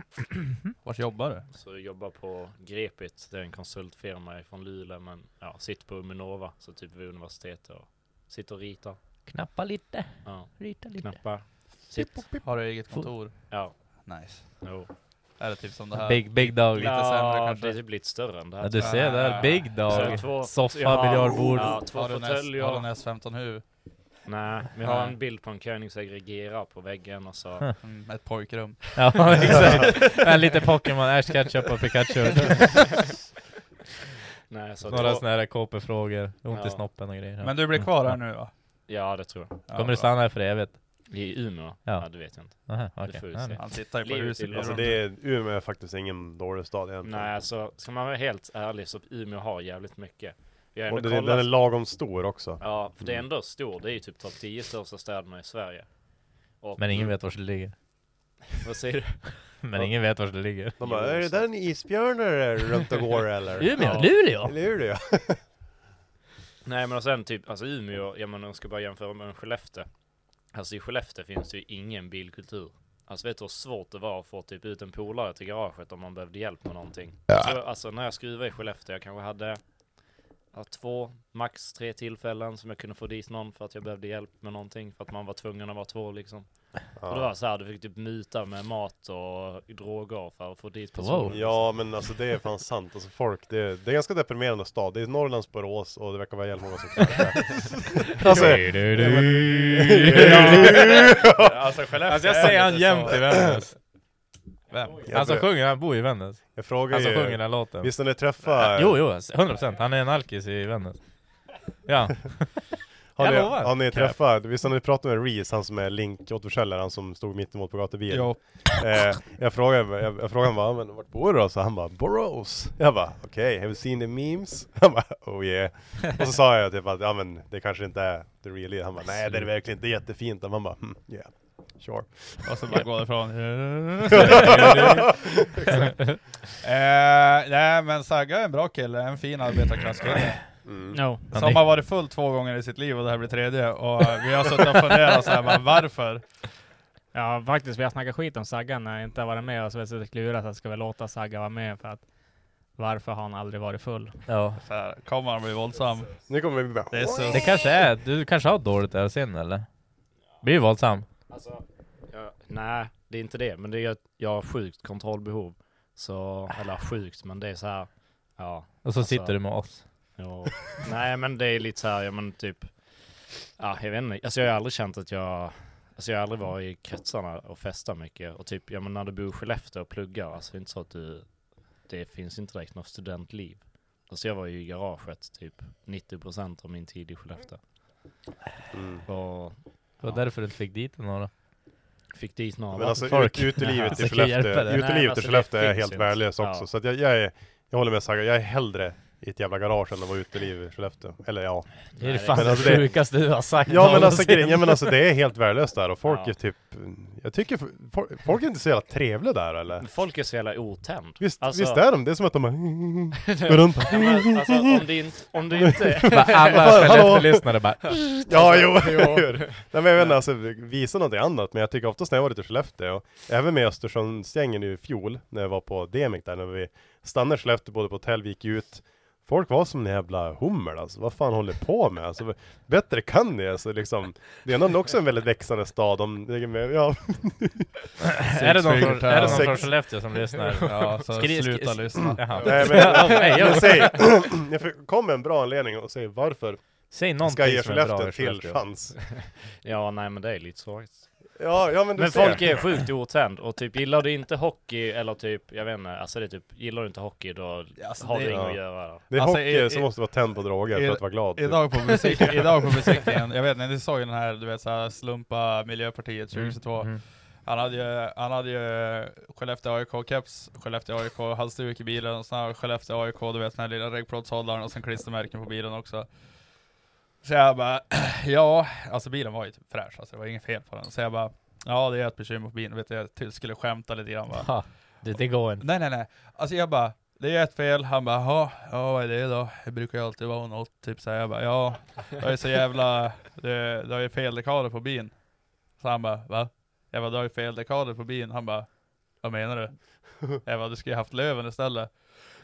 S1: Vart jobbar du?
S5: Så jag jobbar Alltså, på Grepit, det är en konsultfirma från Luleå, men ja, sitter på Uminova, så typ vid universitetet och sitter och ritar.
S4: Knappa lite,
S5: Ja,
S4: rita
S5: knappar. Sitt.
S1: Har du eget kontor?
S5: Ja,
S1: Nice.
S5: jo.
S1: Är det typ som det här?
S4: Big, big dog.
S1: Lite
S5: ja,
S1: sämre kanske.
S5: det är typ lite större än det här.
S4: Ja, du ser där, big dog.
S5: två-
S4: Soffa,
S5: jag har-
S4: biljardbord.
S5: Ja, två
S1: Har du en S- har du en
S5: fåtöljer.
S1: S15 huvud?
S5: Nej, vi har
S1: Nej.
S5: en bild på en königsegregerare på väggen och så.
S1: Mm, ett pojkrum.
S4: Ja, exakt. Men lite Pokémon, Ash Ketchup och Pikachu.
S5: Nej, så
S4: Några
S5: två,
S4: såna här KP-frågor. Ont i
S5: Ja.
S4: snoppen och grejer. Mm.
S1: Men du blir kvar här nu va?
S5: ja, det tror jag.
S1: Ja,
S4: Kommer
S1: bra.
S4: du stanna här för evigt?
S5: I Umeå?
S4: Ja.
S5: Ja, det vet jag inte.
S4: Aha, okej.
S5: Det får vi
S4: Ja,
S5: se.
S1: Han tittar ju på
S5: Livet
S1: huset.
S5: till-
S3: Alltså det är, Umeå är faktiskt ingen dålig stad egentligen.
S5: Nej, alltså ska man vara helt ärlig så Umeå har jävligt mycket. Vi har
S3: Och
S5: ändå
S3: den, den är
S5: kollat.
S3: lagom stor också.
S5: Ja, för det är
S4: Mm.
S5: ändå stor. Det är ju typ topp 10 största städerna i Sverige. Och,
S4: Men ingen vet var det ligger.
S5: Vad säger du?
S4: Men ingen vet var det ligger.
S3: De bara, är det där en isbjörn där runt och går eller?
S4: Umeå,
S5: Ja.
S4: Luleå!
S3: Luleå?
S5: Nej men och sen typ, alltså Umeå, ja men om jag ska bara jämföra med Skellefteå. Alltså i Skellefteå finns det ju ingen bilkultur. Alltså vet du hur svårt det var att få typ ut en polare till garaget om man behövde hjälp med någonting? Så, alltså när jag skruvade i Skellefteå, jag kanske hade ja, två, max tre tillfällen som jag kunde få dit någon för att jag behövde hjälp med någonting. För att man var tvungen att vara två liksom. Och det var så här, du fick typ muta med mat och droger för att få dit personer.
S4: Wow.
S3: Ja men alltså det är fan sant, alltså folk, det är, det är en ganska deprimerande stad, det är Norrlands Borås och det verkar vara jävligt många som knarkar. Alltså,
S4: Du, du, du.
S1: Alltså Skellefteå
S4: Alltså jag
S1: är
S4: ser han
S1: lite
S4: jämt
S1: så.
S4: i Vännäs.
S1: Vem?
S3: jag,
S4: Han som
S3: frå-
S4: sjunger, han bor i Vännäs.
S3: jag frågar
S4: Han som sjunger
S3: ju,
S4: Alltså, den här låten.
S3: visst när ni träffar,
S4: Jo, jo, 100%. Han är en alkis i Vännäs. Ja.
S3: har ni,
S4: jag lovar.
S3: har ni
S4: Crap.
S3: träffat, visst har ni pratat med Reese, han som är Link-återförsäljare, han som stod mitt emot på gatubilen?
S1: Jo.
S3: Eh, jag frågade, jag, jag frågade honom bara, men vart bor du då? Så han bara, Borås. Jag bara, okej, have you seen the memes? Han bara, oh yeah. Och så sa jag typ att, ja men det kanske inte är the real deal. Han bara, nej det är det verkligen inte, det är jättefint. Och man bara, hm, yeah, sure.
S1: Och så bara gå därifrån. eh, nej men Sagga är en bra kille, en fin arbetarklasskille.
S3: Mm.
S2: No.
S1: Som har varit full två gånger i sitt liv och det här blir tredje. Och eh, vi har suttit och funderat såhär, men varför?
S2: Ja faktiskt, vi har snackat skit om Sagga när jag inte har varit med och så har jag suttit och klurat att ska vi låta Sagga vara med för att varför har han aldrig varit full?
S4: Ja.
S1: Så här, kommer han bli våldsam?
S3: Nu kommer vi bara,
S1: Det är så.
S4: Det kanske är, du kanske har dåligt ölsinne eller? Blir du våldsam?
S5: Alltså, jag, nej, det är inte det. Men det är att jag har sjukt kontrollbehov. Så, eller sjukt, men det är så här. Ja,
S4: Och så
S5: Alltså-
S4: sitter du med oss.
S5: jo. Nej, men det är lite så här, ja men typ. Ja, jag vet inte. Alltså jag har aldrig känt att jag, alltså jag har aldrig varit i kretsarna och festat mycket. Och typ, ja men när du bor i Skellefteå och pluggar, alltså det är inte så att du, det finns inte direkt något studentliv. Alltså jag var ju i garaget typ 90% av min tid i Skellefteå.
S3: mm.
S5: Och
S4: Det var därför du inte fick dit några.
S5: fick dit några
S3: Men alltså
S4: folk.
S3: ut, utelivet
S4: Alltså,
S3: i
S4: kan
S3: Skellefteå,
S4: hjälpa det.
S5: Nej,
S3: utelivet
S5: alltså,
S3: i
S5: det
S3: Skellefteå är
S5: finns
S3: helt
S5: inte.
S3: värdelöst också.
S5: Ja.
S3: Så att jag, jag är, jag håller med Saga, jag är hellre i ett jävla garage än det var uteliv i Skellefteå. Eller ja.
S4: Det är det
S5: Nej,
S4: fan
S3: men
S4: det
S3: alltså det-
S4: sjukaste du har sagt
S3: Ja men alltså
S4: någonsin.
S3: grejen, ja, men alltså det är helt värdelöst där och folk
S5: Ja.
S3: är typ, jag tycker folk, folk är inte så jävla trevliga där eller?
S5: Men Folk är så jävla otämd.
S3: Visst,
S5: Alltså-
S3: visst är de? Det är som att de bara... går runt.
S5: Ja, men alltså, om det inte... Om det inte
S4: Bara Alla
S3: Hallå?
S4: Skellefteå-lyssnare bara
S3: Ja, jo, jo. Nej, men jag vet inte, alltså, visa någonting annat. Men jag tycker oftast när jag varit i Skellefteå, och även med Östersundsgängen i fjol, när jag var på Demic där, när vi stannade i Skellefteå både på hotell, vi gick ut. Folk var som en jävla hummer alltså, vad fan håller ni på med? Alltså, bättre kan ni alltså liksom. Det är ändå också en väldigt växande stad. Om, ja,
S4: Är det någon
S1: Six
S4: från, är det någon
S3: Sex.
S4: från Skellefteå som lyssnar?
S1: Ja, så sluta lyssna.
S4: Jaha.
S3: nej, men,
S4: Nej, jag-
S3: men säg, jag fick- kom med en bra anledning och säg varför
S4: Säg
S3: ska jag
S4: någonting
S3: ge
S4: som är bra
S3: Skellefteå
S4: i
S3: till
S4: Skellefteå.
S3: chans?
S5: Ja, nej men det är lite sorgligt.
S3: Ja, ja men du
S5: Men
S3: ser.
S5: folk är sjukt otänd och typ gillar du inte hockey eller typ, jag vet inte, alltså det är typ, gillar du inte hockey då
S1: Alltså,
S5: har
S1: det-
S5: du inget
S3: ja.
S5: att göra.
S3: Det är
S1: Alltså,
S3: hockey
S1: i- i-
S3: som måste vara tänd på droger
S1: i-
S3: för att vara glad. typ.
S1: Idag på musik, idag på musiken, jag vet inte, ni såg ju den här, du vet såhär slumpa Miljöpartiet 2022. Han hade ju, han hade ju Skellefteå AIK-keps, Skellefteå AIK halsduk i bilen, och sen har Skellefteå AIK, du vet den här lilla reggplåtshållaren, och sen klistermärken på bilen också. Så jag bara, ja, alltså bilen var ju typ fräsch, alltså det var inget fel på den. Så jag bara, ja det är ett bekymmer på bilen, vet du, jag ty- skulle skämta lite grann bara.
S4: Ha, Det, det går inte.
S1: Nej nej nej, alltså jag bara, det är ett fel, han bara jaha, ja vad är det då? Det brukar ju alltid vara något, typ såhär, jag bara ja, det är så jävla, det, det har ju fel dekaler på bin. Så han bara va? Jag bara, du har ju fel dekaler på bin, han bara vad menar du? Jag bara, du skulle ju haft löven istället.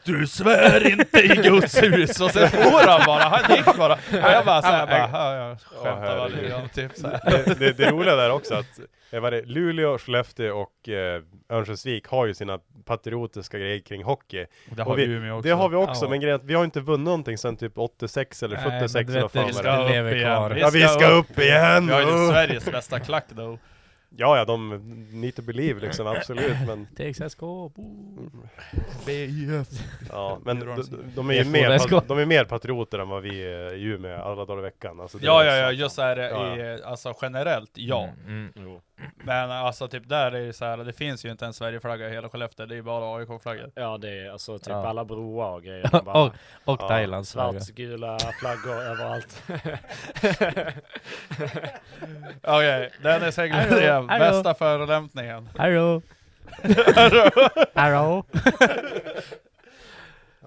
S1: Du svär inte i Guds hus! Och sen får han bara, han gick bara. Och jag bara såhär, bara, ja, jag skämtar bara lite grann, typ såhär.
S3: det, det, det roliga där också att eh, vad är det, Luleå, Skellefteå och eh, Örnsköldsvik har ju sina patriotiska grejer kring hockey.
S1: Det
S3: Och
S1: har vi i Umeå också.
S3: Det har vi också,
S4: Ja.
S3: men grejen är att vi har inte vunnit någonting sedan typ 86 eller 76
S4: Nej, men
S3: eller vad fan
S4: du vet,
S3: var det
S4: det ska
S1: upp
S4: lever
S1: igen.
S4: kvar.
S1: Vi
S3: Ja, vi ska upp igen!
S1: Vi har ju
S3: uh.
S1: typ Sveriges bästa klack då.
S3: Ja, ja, de need to believe liksom, absolut. Men,
S4: TXSK,
S1: BIF.
S3: ja, men
S1: Det drar
S3: de,
S1: sig.
S3: de, är ju
S4: Det
S3: mer,
S4: får det
S3: pat- de är mer patrioter än vad vi är i Umeå alla dagar i veckan. Alltså, det
S1: Ja,
S3: är
S1: ja, ja,
S3: så-
S1: just så här
S3: Ja,
S1: i, alltså generellt, ja.
S4: Mm.
S5: Jo.
S1: Men alltså typ där är ju så här, det finns ju inte en Sverigeflagga i hela Skellefteå, det är ju bara AIK-flaggor.
S5: Ja det är alltså typ
S4: Ja.
S5: alla broar och grejer. de Bara,
S4: Och, och
S3: Ja.
S4: Thailands flagga.
S5: Svartgula flaggor överallt.
S1: Okej, den är säkert igen.
S4: Hallå.
S1: Bästa förolämpningen.
S4: Hallå! Hallå!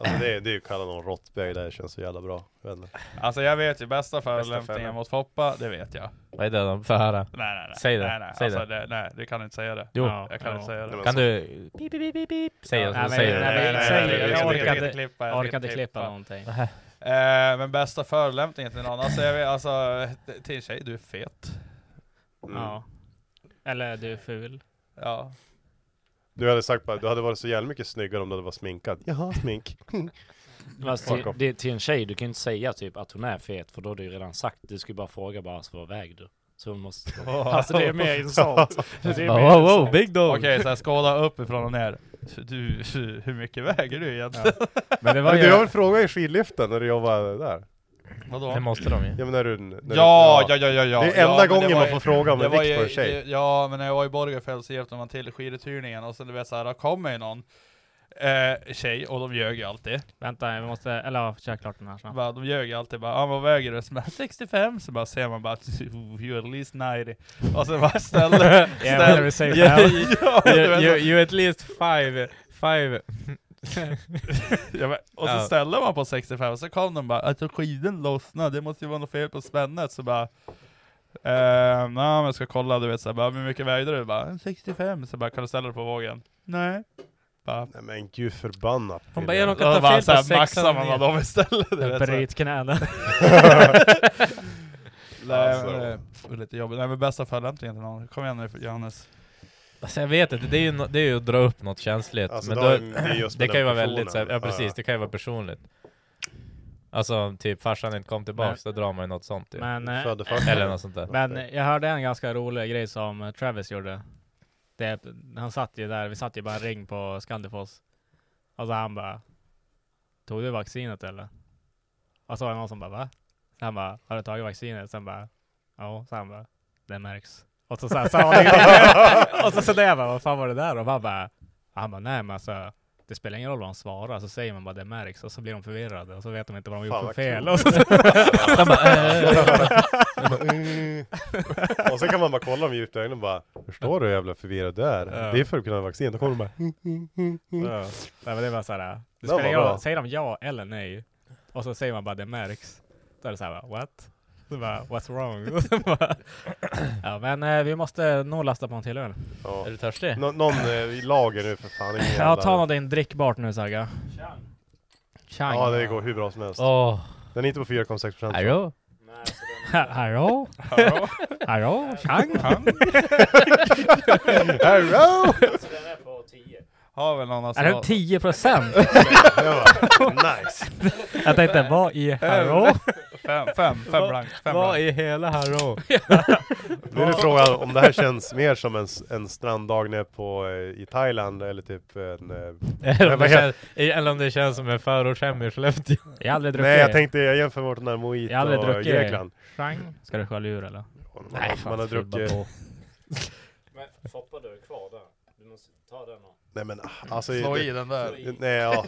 S3: Alltså, det, är- det är ju kalla någon råttböj där, det känns så jävla bra. Jag vet inte.
S1: Alltså jag vet ju bästa förolämpningen
S3: förolämp-
S1: mot Foppa, det vet jag.
S4: Vad är det de får höra?
S1: Nej, nej, nej.
S4: Säg det.
S1: Nej, nej.
S4: Säg
S1: alltså, det. nej, du kan inte säga det.
S4: Jo.
S1: Jag kan inte säga det.
S3: Nej,
S4: Kan du... Pip, pip, pip, pip. Säg
S2: Nej,
S4: det.
S2: men- nej,
S4: Säg det.
S2: men- säg det. Jag orkar
S1: ska
S2: inte-
S1: klippa.
S2: Jag
S1: ska
S2: orkar inte klippa någonting.
S1: Eh, men bästa förolämpningen till någon, alltså, jag vet, alltså till en tjej, du är fet.
S3: Mm.
S2: Ja. Eller du är ful.
S1: Ja.
S3: Du hade sagt bara, du hade varit så jävla mycket snyggare om du hade varit sminkad. Jaha, smink.
S5: Men alltså, till, det, till en tjej, du kan ju inte säga typ att hon är fet för då har du ju redan sagt. Du ska ju bara fråga bara alltså, vad väg du? Så hon måste... Alltså det är mer insult. Det är mer
S4: Wow, wow,
S5: insult.
S4: big dog!
S1: Okej, så här skåla uppifrån och ner. Du, hur mycket väger du egentligen?
S2: Men det var
S3: Men
S2: ju...
S3: du har väl frågat i skidliften när du jobbade där?
S1: Vadå?
S4: Det måste de ju.
S3: Ja, men när du... När
S1: Ja,
S3: du,
S1: ja, ja, ja, ja.
S3: Det är
S1: ja,
S3: enda
S1: men
S3: gången
S1: var
S3: man
S1: ju-
S3: får fråga om
S1: det
S3: en
S1: var
S3: vikt på
S1: ju-
S3: en tjej.
S1: det- Ja, men när jag var i Borgafjäll så hjälpte man till skiduthyrningen och så du vet såhär, då kommer ju någon eh, tjej och de ljög ju alltid.
S2: Vänta, vi måste... Eller ja, kör klart den här snabbt.
S1: Bara, de ljög ju alltid bara ah, vad väger du? Så bara, 65, så bara ser man bara you're at least 90. Och så bara ställer, ställer
S2: vi säger
S4: Yeah,
S2: det.
S4: you,
S1: ja, du vet,
S4: you,
S1: så-
S4: you at least five, five.
S1: ja, men- och så
S4: Ja.
S1: ställer man på 65, så kom de bara att skiden lossnade, det måste ju vara något fel på spännet, så bara Eh, nej men jag ska kolla, du vet såhär, bara, hur mycket vägde du? Bara, 65, så bara, kan du ställa dig på vågen? Nej. Bara,
S3: Nej men gud förbannat.
S4: Hon bara,
S1: Och
S4: jag råkar
S1: då
S4: ta
S1: bara
S4: fel på
S1: såhär
S4: sexan.
S1: maxar man av dem istället. du vet, så här.
S2: Bryt knäna.
S1: Nej, men eh,
S3: Alltså.
S1: det var lite jobbigt. Nej men bästa förolämpningen till någon. Kom igen nu Johannes.
S4: Alltså jag vet inte, det är ju, no- det är ju att dra upp något känsligt.
S3: Alltså,
S4: men
S3: då
S4: då,
S3: är det just
S4: det
S3: med
S4: kan ju
S3: den
S4: vara väldigt så här,
S3: personen.
S4: ja precis,
S3: Ja.
S4: det kan ju vara personligt. Alltså typ farsan inte kom tillbaks, då drar man ju något sånt ju.
S2: Men, eh,
S3: Födde först.
S4: Eller något sånt där.
S2: men jag hörde en ganska rolig grej som eh, Travis gjorde. Det, han satt ju där, vi satt ju bara en ring på Scandifoss. Och så han bara Tog du vaccinet eller? Och så var det någon som bara va? Så han bara Har du tagit vaccinet? Sen bara Ja, så han bara Det märks. Och så sa så, så, och så, så, så, där jag bara Vad fan var det där? Och han bara Han bara nej men alltså det spelar ingen roll vad han svarar, så säger man bara det märks och så blir de förvirrade och så vet de inte vad de har
S3: Fan, vad
S2: gjort för fel.
S3: kul.
S2: Och så...
S4: De bara,
S2: "Äh."
S4: eh.
S3: "Äh." Och sen kan man bara kolla dem djupt i ögonen och bara Förstår du hur jävla förvirrad du är? Det är för att kunna ha vaccin, då kommer de bara
S2: Ja. Nej, men det är bara så här, eh, det
S3: Det
S2: spelar
S3: var
S2: ingen roll,
S3: bra.
S2: säger de ja eller nej, och så säger man bara det märks, då är det så här, bara, what? Så bara, What's wrong? Och så bara, ja, men eh, vi måste nog lasta på en till öl.
S3: ja.
S4: Är du törstig?
S3: Nå- Någon eh, i lager nu för fan ingen
S2: Ja,
S3: jävla-
S2: ta någonting drickbart nu Saga. Chang.
S3: Ja det går hur bra som helst
S4: Åh,
S3: Den är inte på 4,6%
S4: hallå?
S2: Hallå?
S1: Hallå?
S2: Hallå? Chang?
S3: Hello!
S1: Har väl någon
S4: Alltså,
S2: Är det
S1: asiat?
S2: 10 procent?
S3: Jag bara, nice!
S2: Jag tänkte, vad i hallå?
S1: Fem, fem, fem blankt. Fem
S4: Vad
S1: blankt.
S4: i hela hallå?
S3: Nu är det frågan om det här känns mer som en, s- en stranddag nere på, eh, i Thailand eller typ en... Eh,
S4: Eller om det
S3: vad heter-
S4: känns- Eller om det känns som en förortshem i Skellefteå.
S2: Jag har aldrig druckit.
S3: nej jag tänkte, jag jämför vårt när
S2: Jag har
S3: Mojito
S2: aldrig
S3: och
S2: druckit.
S3: Grekland
S2: Chang? Ska du skölja ur eller?
S3: man, man har druckit...
S5: Men Foppa, du är kvar där. Du måste ta den och...
S3: Nej men ah,
S2: Mm.
S3: alltså...
S1: Slå
S3: det-
S1: i den där.
S3: Nej ja,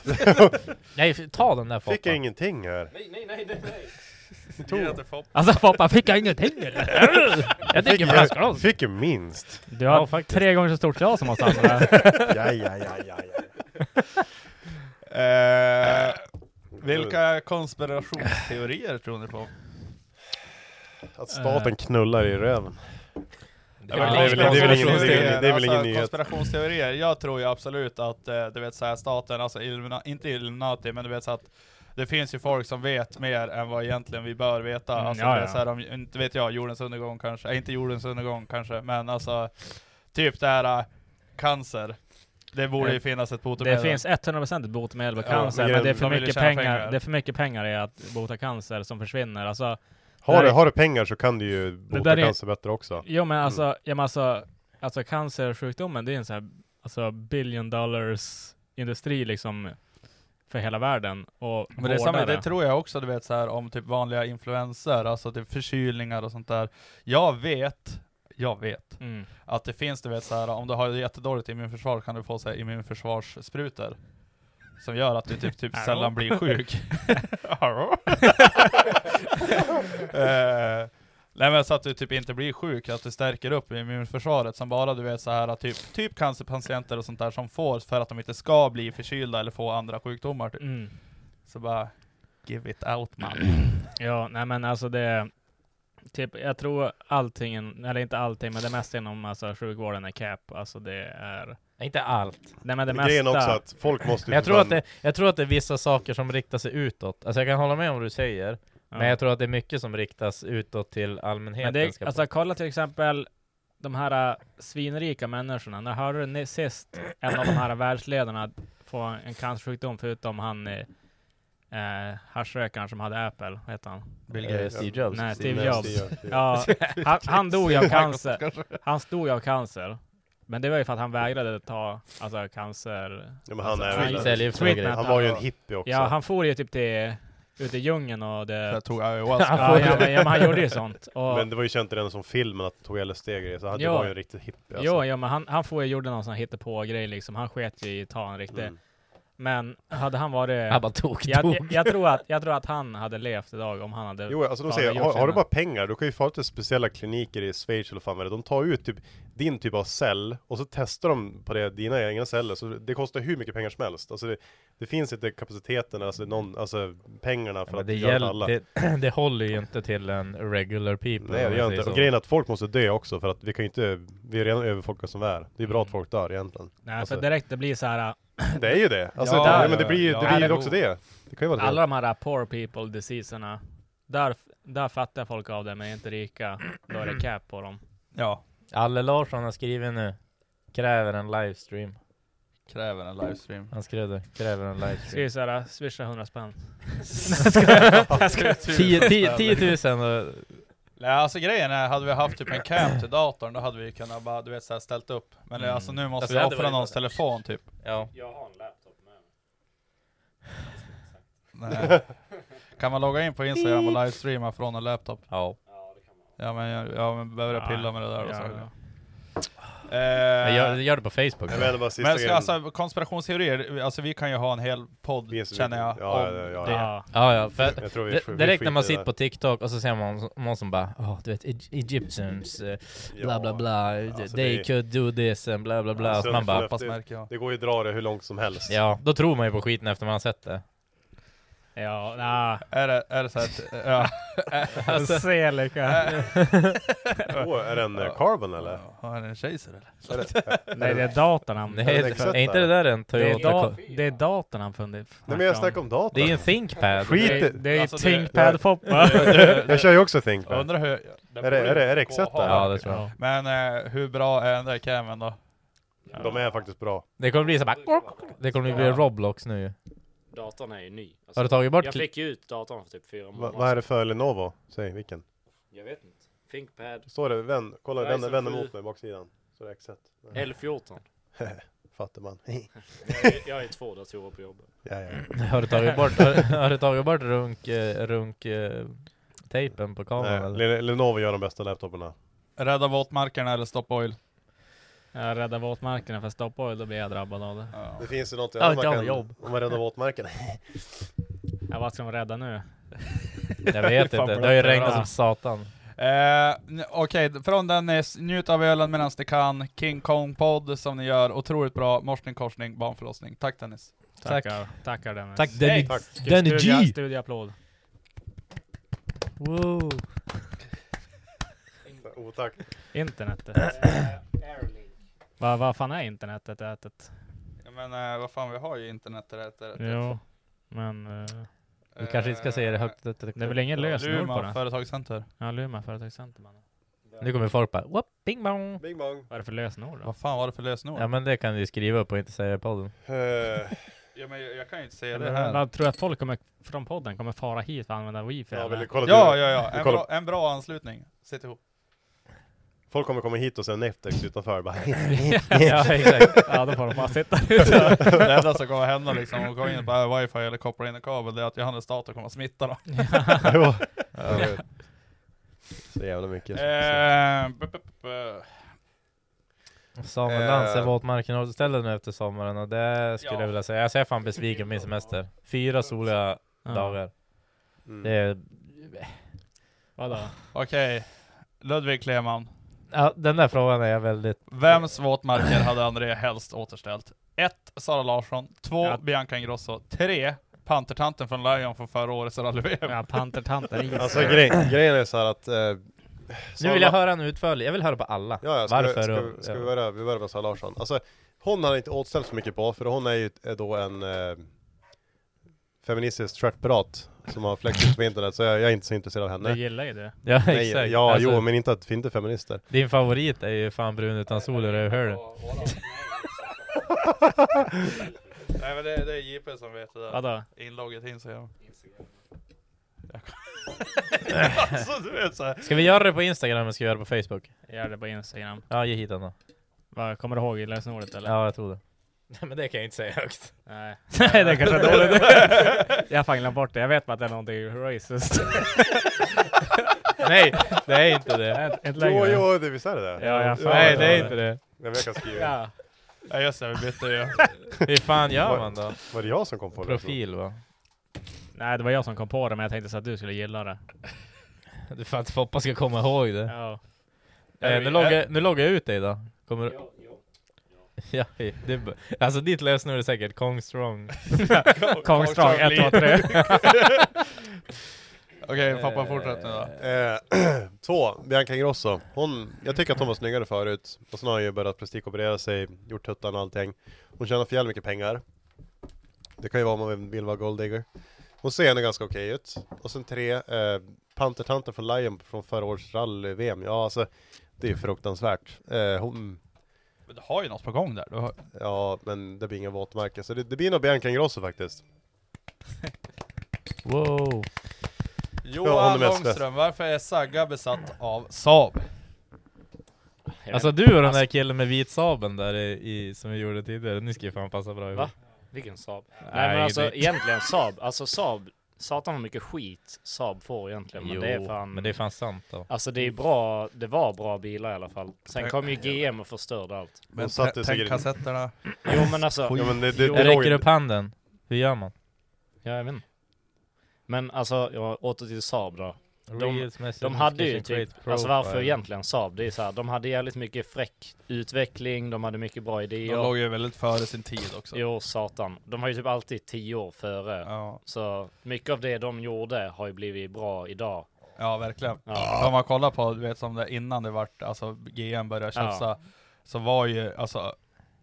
S4: Nej, f- ta den där
S3: fick
S4: Foppa.
S3: jag ingenting här.
S5: Nej, nej, nej, nej, nej!
S1: Ge den till Foppa.
S2: Alltså Foppa, fick jag ingenting eller? Jag dricker
S3: Jag
S2: flaskglas.
S3: fick ju minst.
S2: Du har
S4: Ja, faktiskt.
S2: tre gånger så stort glas som oss andra.
S3: Ja, ja, ja, ja, ja.
S1: Eh,
S3: Mm.
S1: vilka konspirationsteorier tror ni på?
S3: Att
S2: Eh.
S3: staten knullar i röven.
S4: Det
S3: väl- det är väl- det är väl ingen- det är väl- det är väl ingen
S1: alltså,
S3: nyhet.
S1: Konspirationsteorier, jag tror ju absolut att eh, du vet såhär staten, alltså Illumina, inte Illuminati, men du vet så att det finns ju folk som vet mer än vad egentligen vi bör veta.
S2: Mm,
S1: alltså,
S2: ja,
S1: du vet,
S2: ja.
S1: Så här, om, inte vet jag, jordens undergång kanske, eh, inte jordens undergång kanske, men alltså typ det här eh, cancer. Det borde ju
S2: Eh,
S1: finnas ett botemedel.
S2: Det finns 100% botemedel på
S1: Ja,
S2: cancer,
S3: men
S2: men det är
S3: de
S2: för
S1: vill ju
S2: mycket
S1: tjäna
S2: pengar.
S1: pengar.
S2: Det är för mycket pengar i att bota cancer som försvinner. Alltså,
S3: Har du,
S2: Nej.
S3: har du pengar så kan du ju
S2: där
S3: bota
S2: är-
S3: cancer bättre också. Mm.
S2: jo men alltså, ja, men alltså, alltså cancersjukdomen, det är en sån här, alltså billion dollars industri liksom för hela världen. Och
S1: Men det, är samma,
S2: vårdare.
S1: det tror jag också, du vet så här om typ vanliga influenser, alltså typ förkylningar och sånt där. Jag vet, jag vet,
S2: Mm.
S1: att det finns du vet så här om du har jättedåligt immunförsvar kan du få så här immunförsvarssprutor. Som gör att du typ, typ
S2: Hallå?
S1: sällan blir sjuk. Hallå? Eh, Nej men så att du typ inte blir sjuk, att du stärker upp immunförsvaret som bara du vet så här typ, typ cancerpatienter och sånt där som får för att de inte ska bli förkylda eller få andra sjukdomar typ.
S2: Mm.
S1: Så bara, give it out man.
S3: Mm.
S2: Ja, nej men alltså det... Typ, jag tror allting, eller inte allting, men det mesta inom alltså, sjukvården är cap. Alltså det är...
S4: Inte allt.
S2: Nej men det
S3: Men Grejen är
S2: mesta...
S3: också att folk måste ju
S4: Men jag
S3: för
S4: tror, att
S3: fan-
S4: det, jag tror att det är vissa saker som riktar sig utåt. Alltså jag kan hålla med om vad du säger,
S2: ja.
S4: men jag tror att det är mycket som riktas utåt till allmänheten.
S2: Men det,
S4: ska
S2: är- alltså kolla till exempel de här äh, svinrika människorna. När hörde du ni- sist en av de här världsledarna få en cancersjukdom förutom han eh, eh, haschrökaren som hade Apple, vad heter han?
S1: Bill
S4: Eh, Steve Jobs.
S2: Nej,
S3: Steve
S2: Steve
S3: Jobs.
S2: Jobs. Ja, han, han dog ju av cancer. Han stod ju av cancer. Men det var ju för att han vägrade ta alltså, cancer...
S3: Ja, men han
S2: alltså,
S3: är
S4: Han
S3: väl-
S4: säljer ju för
S2: Treatment. alltså.
S4: grejer.
S3: Han var ju en hippie också.
S2: Ja, han for ju typ till... Ut i djungeln och det...
S1: Jag tog ayahuasca.
S2: Ja, ja, men, ja, men han gjorde ju sånt. Och,
S3: Men det var ju känt redan som filmen att han tog LSD-grejer, så han det
S2: Ja.
S3: var ju en riktig hippie alltså.
S2: Jo, ja, men han, han får ju gjorde någon sån här hittepå-grej liksom. Han sket ju i att ta en riktig...
S3: Mm.
S2: Men hade han varit...
S4: Han bara tog, tog.
S2: jag, jag, jag, tror att, jag tror att han hade levt idag om han hade...
S3: Jo, alltså de
S2: Ja,
S3: säger,
S2: det gör
S3: har, har du
S2: skillnad.
S3: bara pengar, då kan ju fara till speciella kliniker i Schweiz eller fan vad det är. De tar ut typ din typ av cell, och så testar de på det, dina egna celler, så det kostar hur mycket pengar som helst. Alltså det, det finns inte kapaciteten, alltså, någon, alltså pengarna för
S4: Men
S3: att
S4: det,
S3: göra det
S4: gäll,
S3: alla.
S4: det, det håller ju inte till en regular people.
S3: Nej det
S4: om vi
S3: gör
S4: säger
S3: inte. Och
S4: så.
S3: grejen är att folk måste dö också för att vi kan ju inte, vi är redan överfolkade som vi är. Det är
S4: Mm.
S3: bra att folk dör egentligen.
S2: Nej,
S3: alltså-
S2: för direkt det blir så här... äh,
S3: Det är ju det! Alltså,
S1: Ja,
S3: det,
S1: ja,
S3: men det blir ju
S1: ja.
S3: det blir ju
S1: Ja,
S3: också
S1: det-
S3: det. Det kan ju vara
S2: Alla
S3: det.
S2: de här poor people diseaserna. Där, där fattar folk av det, men inte rika. Då är det cap på dem.
S1: ja,
S4: Alle Larsson har skrivit nu, kräver en livestream.
S1: kräver en livestream.
S4: Han skrev det, kräver en livestream.
S2: Skriv såhär, äh, swisha 100 spänn.
S4: 10 000 och
S1: Nej, alltså grejen är, hade vi haft typ en cam till datorn, då hade vi kunnat bara, du vet såhär ställt upp. Men
S4: Mm.
S1: alltså nu måste
S4: Alltså, det
S1: vi
S4: hade
S1: offra
S4: varit-
S1: någons telefon typ.
S4: ja.
S1: Nej. kan man logga in på Instagram och livestreama från en laptop?
S4: ja.
S1: Ah, Ja men, jag- ja, men behöver jag pilla med det där och
S2: Ja,
S1: så.
S2: ja.
S1: Eh,
S4: Jag gör, jag gör det på Facebook.
S3: Jag menar bara sista
S1: men ska,
S3: grejen.
S1: alltså, konspirationsteorier, alltså vi kan ju ha en hel podd
S3: Yes, vi-
S1: känner jag
S3: ja, ja,
S1: om
S3: ja,
S1: det.
S3: ja.
S4: Ja, ja, för
S3: Jag tror vi-
S4: det-
S3: vi
S4: direkt när man
S3: skiter i
S4: sitter
S3: det.
S4: på TikTok och så ser man någon som bara oh, du vet, Egy- Egyptians, eh, bla bla bla,
S3: alltså
S4: they
S3: det-
S4: could do this and bla bla bla.
S3: Alltså,
S4: så man bara,
S1: Fast märker jag.
S3: Det går ju att dra det hur långt som helst.
S4: ja, då tror man ju på skiten efter man har sett det.
S2: Ja, nej.
S1: Är det, är det så att, ja. Äh,
S2: Alltså. Selika.
S3: Åh, är det en eh, carbon eller?
S1: Har den en kejsare eller?
S2: Nej, det är datorn han...
S4: Nej,
S2: Det
S3: det
S4: är,
S3: Exet
S4: är inte det
S3: där?
S4: där en
S2: är,
S4: Toyota?
S2: da- det är datorn han funderar
S3: Nej men jag snackar om datorn.
S4: Det är ju en ThinkPad.
S3: Skit
S2: Det, det är ju
S1: Alltså, det-
S2: Thinkpad Foppa.
S3: Jag kör ju också ThinkPad.
S1: Undrar hur...
S3: Är det, är det, är det XZ där?
S4: Ja, det tror jag.
S2: Ja.
S1: Men eh, hur bra är den där camen då?
S3: De är faktiskt bra.
S4: Det kommer bli så bara, det kommer bli Roblox nu ju.
S5: Datorn är ju ny. Alltså,
S4: Har du tagit bort
S5: jag fick ju ut datorn för typ fyra
S3: Va,
S5: månader
S3: vad är det för Lenovo? Säg vilken.
S5: Jag vet inte. Thinkpad
S3: Står det, vänd, kolla,
S5: Ryzen
S3: vänd, vänd
S5: sju.
S3: emot mig baksidan. Så är det XZ. Nej,
S5: L14.
S3: Fattar man.
S5: Jag är- Jag har ju två datorer på jobbet.
S3: ja, ja.
S4: Har du tagit bort, har, har du tagit bort runk, eh, runk eh, tejpen på kameran
S3: Nej,
S4: eller?
S3: Le- Lenovo gör de bästa laptoparna.
S1: Rädda våtmarkerna eller stoppa oil?
S2: Jag räddar våtmarkerna för stoppa oil, då blir jag drabbad av det.
S1: Ja.
S3: Det finns ju något
S4: Ja, ett jävla jobb.
S3: om man räddar våtmarken.
S2: Ja, vad ska de rädda nu?
S4: Jag vet
S1: Fan,
S4: inte, det har ju
S1: blöt.
S4: regnat
S1: Ja.
S4: som satan.
S1: Eh, n- Okej, från den är s- njut av ölen medan ni kan, King Kong-podd som ni gör, otroligt bra, morsning, korsning, barnförlossning. Tack Dennis!
S4: Tack.
S2: Tackar, tackar Dennis.
S4: Tack Denny,
S3: tack.
S4: Denny
S2: Studia-
S4: G!
S2: Studioapplåd.
S4: Wow.
S3: Otack.
S2: Internetet. Vad vad fan är internetet? Ätet?
S1: Ja, Men eh, vad fan, vi har ju internet där rätt. rätt,
S2: Jo, men eh,
S4: Vi kanske inte ska säga det högt.
S2: det är väl ingen lösenord på
S1: Luma
S2: det?
S1: företagscenter.
S2: Ja, Luma företagscenter. man.
S4: Nu kommer folk bara whoop, bing bong.
S3: Bing bong.
S2: Vad är det för lösenord då?
S1: Vad fan var det för lösenord?
S4: Ja men det kan du skriva upp och inte säga i podden.
S3: Eh,
S1: Ja, men jag, jag kan ju inte säga det här.
S2: Jag tror att folk kommer, från podden kommer fara hit för att använda wifi?
S3: ja,
S2: eller?
S3: vill du kolla
S1: Ja,
S3: du-
S1: ja, ja.
S3: Vi
S1: En
S3: kollar.
S1: bra, en bra anslutning. Sitt ihop.
S3: Folk kommer komma hit och se Netflix utanför bara.
S4: ja exakt.
S2: ja, då får de bara sitta.
S1: Det enda som kommer hända liksom, om de kommer in på wifi eller kopplar in en kabel, det är att Johannes dator kommer att smitta dem.
S3: Jo. Ja, jag vet. Så jävla mycket.
S1: Eh, bu- bu- bu-
S4: Samuel
S1: Eh.
S4: Lantz är våtmarken och stället nu efter sommaren och det skulle
S1: Ja.
S4: jag vilja säga. Alltså, jag är fan besviken på min semester. Fyra soliga dagar.
S3: Mm.
S4: Det är,
S2: Vadå?
S1: Okej, Ludvig Kleman.
S4: ja, den där frågan är jag väldigt...
S1: Vems våtmarker hade André helst återställt? 1. Sara Larsson 2.
S2: Ja.
S1: Bianca Ingrosso 3. Pantertanten från Lion från förra årets rally-VM.
S2: Ja, pantertanter is.
S3: Alltså grej, grejen är så här att... Eh,
S4: Nu
S3: Sara-
S4: vill jag höra en utförlig, jag vill höra på alla.
S3: Ja, ja, ska
S4: Varför?
S3: Vi, ska, vi-
S4: och-
S3: ska vi
S4: ja.
S3: börja, vi börjar med Sara Larsson. Alltså, hon har inte åtställt så mycket på, för hon är ju är då en eh, feministisk tröttpirat som har fläckts på internet, så jag, jag är inte så intresserad av
S2: Du
S3: henne.
S2: gillar ju det.
S4: Ja exakt.
S3: Nej, ja,
S4: Alltså,
S3: jo, men inte att vi inte är feminister.
S4: Din favorit är ju fan brun utan sol och rövhålet.
S1: Nej men det, det är JP som vet det där.
S2: Vadå?
S1: Inlogget Instagram. alltså du vet såhär.
S4: Ska vi göra det på Instagram eller ska vi göra det på Facebook?
S2: Gör det på Instagram.
S4: Ja, ge hit den då.
S2: Vad, kommer du ihåg i lösenordet eller?
S4: Ja, jag tror det. Nej men det kan jag inte säga högt.
S2: Nej. Nej, det kanske är dåligt. jag har fan glömt bort det. Jag vet bara att det är någonting racist.
S4: Nej, det är inte det.
S2: Ett, ett
S3: Jo,
S2: längre.
S3: jo, det, visst är det det?
S2: Ja, jag fan.
S4: Nej, det är inte det.
S3: Ja, men jag kan skriva.
S2: Ja.
S1: Ja just det, vi bytte ju.
S4: Hur fan gör man då?
S3: Var det jag som kom på det?
S4: Profil va?
S2: Nej, det var jag som kom på det, men jag tänkte så att du skulle gilla det.
S4: Du fan att Foppa ska komma ihåg det.
S2: Ja.
S4: Eh, nu, loggar, nu loggar jag ut dig då. Kommer du... Ja, det är b- alltså ditt lösenord är säkert Kong strong.
S2: Kongstrang 1, 2, 3.
S1: Okej pappa fortsätt nu då.
S3: Eh, två, Bianca Ingrosso. Hon, jag tycker att hon var snyggare förut. Och sen har hon ju börjat plastikoperera sig, gjort tuttan och allting. Hon tjänar för jävligt mycket pengar. Det kan ju vara om man vill vara golddigger. Hon ser ändå ganska okej ut. Och sen tre, eh, Pantertanten från Lion från förra årets rally-VM. Ja, alltså det är ju fruktansvärt. Eh, hon,
S1: Men du har ju något på gång där. Du har...
S3: ja, men det blir ingen våtmarker. Så det, det blir nog Bianca Ingrosso faktiskt.
S4: Wow.
S3: Ja, hon
S1: Johan
S3: är mest
S1: Långström, varför är Sagga besatt av Saab?
S4: Alltså du och den där killen med vit sabeln där i, i, som vi gjorde tidigare, ni ska ju fan passa bra ihop.
S5: Va? Vilken Saab? Nej,
S4: Nej,
S5: men alltså
S4: det-
S5: egentligen Saab, alltså Saab satan vad mycket skit Saab får egentligen. Men
S4: Jo,
S5: det är fan...
S4: men det är fan sant då.
S5: Alltså det är bra, det var bra bilar i alla fall. Sen kom ju GM och förstörde allt.
S1: Men tä- tänk kassetterna.
S5: Jo men alltså,
S1: Ja, men
S4: det,
S1: det-
S5: det- det låg
S4: räcker
S5: ju-
S4: upp handen. Hur gör man?
S5: ja, jag vet inte. Men alltså, ja, åter till Saab då. De,
S4: Reels message
S5: de hade ju
S4: discussion
S5: typ,
S4: create
S5: alltså
S4: profile.
S5: varför egentligen Saab? Det är så här, de hade jävligt mycket fräck utveckling, de hade mycket bra
S1: De
S5: idéer.
S1: låg ju väldigt före sin tid också.
S5: Jo, satan. De har ju typ alltid tio år före.
S1: Ja,
S5: Så mycket av det de gjorde har ju blivit bra idag.
S1: ja verkligen.
S5: Ja.
S1: Om man kollar på, du vet som det innan det vart, alltså GM började tjafsa, så var ju alltså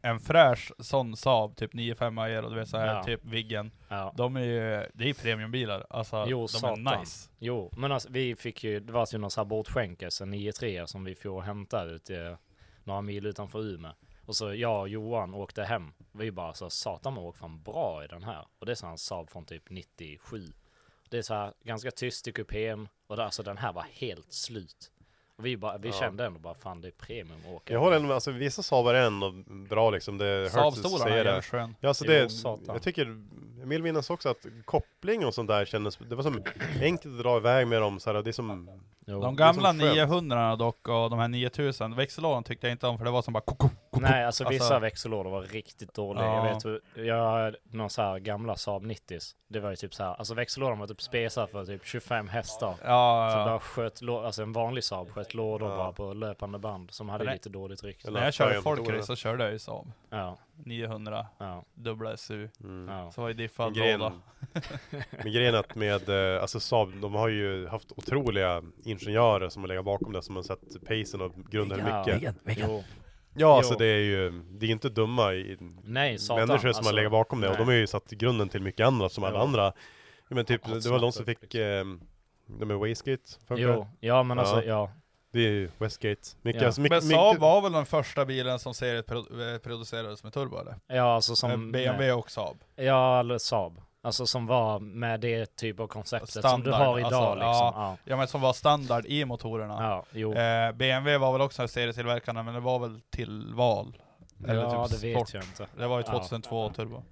S1: en fräsch sån Saab, typ 95 Aero, du vet såhär,
S5: Ja.
S1: typ Viggen.
S5: Ja.
S1: De är ju, det är ju premiumbilar, alltså
S5: Jo,
S1: de är
S5: satan.
S1: nice.
S5: Jo, men alltså, vi fick ju, det var ju någon så här bortskänkes, en 9-3 som vi får hämta ute några mil utanför Umeå. Och så jag och Johan åkte hem. Vi bara så satan man åker fan bra i den här. Och det är så här en Saab från typ 97. Det är så här ganska tyst i kupén och det, alltså den här var helt slut. Och vi bara, vi
S3: Ja.
S5: kände ändå bara fan det är premium att åka.
S3: Jag håller ändå med, alltså vissa Saabar är ändå bra liksom, det hurts att
S1: Saab-stolarna är
S3: säga det.
S1: jävligt skön.
S3: Ja, alltså
S5: Jo,
S3: det,
S5: satan.
S3: jag tycker, Emil minns också att koppling och sånt där kändes, det var som enkelt att dra iväg med dem så här, det är som,
S5: Jo.
S1: De gamla
S3: som skönt.
S1: 900 dock och de här 9000, växellådan tyckte jag inte om för det var som bara koko, koko.
S5: Nej, alltså vissa
S1: Alltså-
S5: växellådor var riktigt dåliga.
S1: Ja.
S5: Jag vet hur, jag, någon så här gamla Saab 90 Det var ju typ så här, alltså växellådan var typ spesad för typ 25 hästar.
S1: Ja,
S5: Så
S1: ja.
S5: bara sköt, lå- alltså en vanlig Saab sköt lådor bara på löpande band som hade
S1: Nej.
S5: lite dåligt rykte.
S1: när
S3: Eller
S1: jag körde
S3: färgen på
S1: folkrace
S3: dåren.
S1: så körde jag ju Saab.
S5: Ja,
S1: 900,
S5: ja, Mm.
S1: dubbla SU.
S5: ja.
S1: Så var ju diffad
S3: Gren,
S1: låda.
S3: men grejen är att med, eh, alltså Saab, de har ju haft otroliga ingenjörer som har legat bakom det, som har sett pacen och grunden
S5: Ja.
S3: mycket.
S5: Jo.
S3: Ja, alltså
S5: Jo.
S3: det är ju, det är inte dumma i,
S5: Nej, satan.
S3: människor som
S5: alltså,
S3: har legat bakom det, och
S5: nej.
S3: de har ju satt grunden till mycket annat, som alla
S5: Ja.
S3: andra. Ja, men typ,
S5: Allt
S3: det var de
S5: snabbt
S3: som
S5: upp,
S3: fick, eh, de med Wastegate, för mig.
S5: Jo, ja men alltså, ja.
S3: det är ju Westgate. Mycket,
S5: Ja.
S3: alltså, mycket,
S1: Men Saab
S3: mycket-
S1: var väl den första bilen som serieproducerades med turbo eller? Eh,
S5: Ja, alltså
S1: Som
S5: som...
S1: BMW och Saab.
S5: Ja, eller Saab. Alltså som var med det typ av konceptet som du
S1: Standard,
S5: har idag
S1: alltså,
S5: liksom.
S1: ja.
S5: Ja,
S1: Ja men som var standard i motorerna.
S5: ja, jo.
S1: Eh, BMW var väl också serietillverkarna men det var väl tillval. Eller
S5: ja,
S1: typ
S5: det
S1: sport.
S5: vet jag inte.
S1: Det var ju
S5: Ja.
S1: 2002 turbo.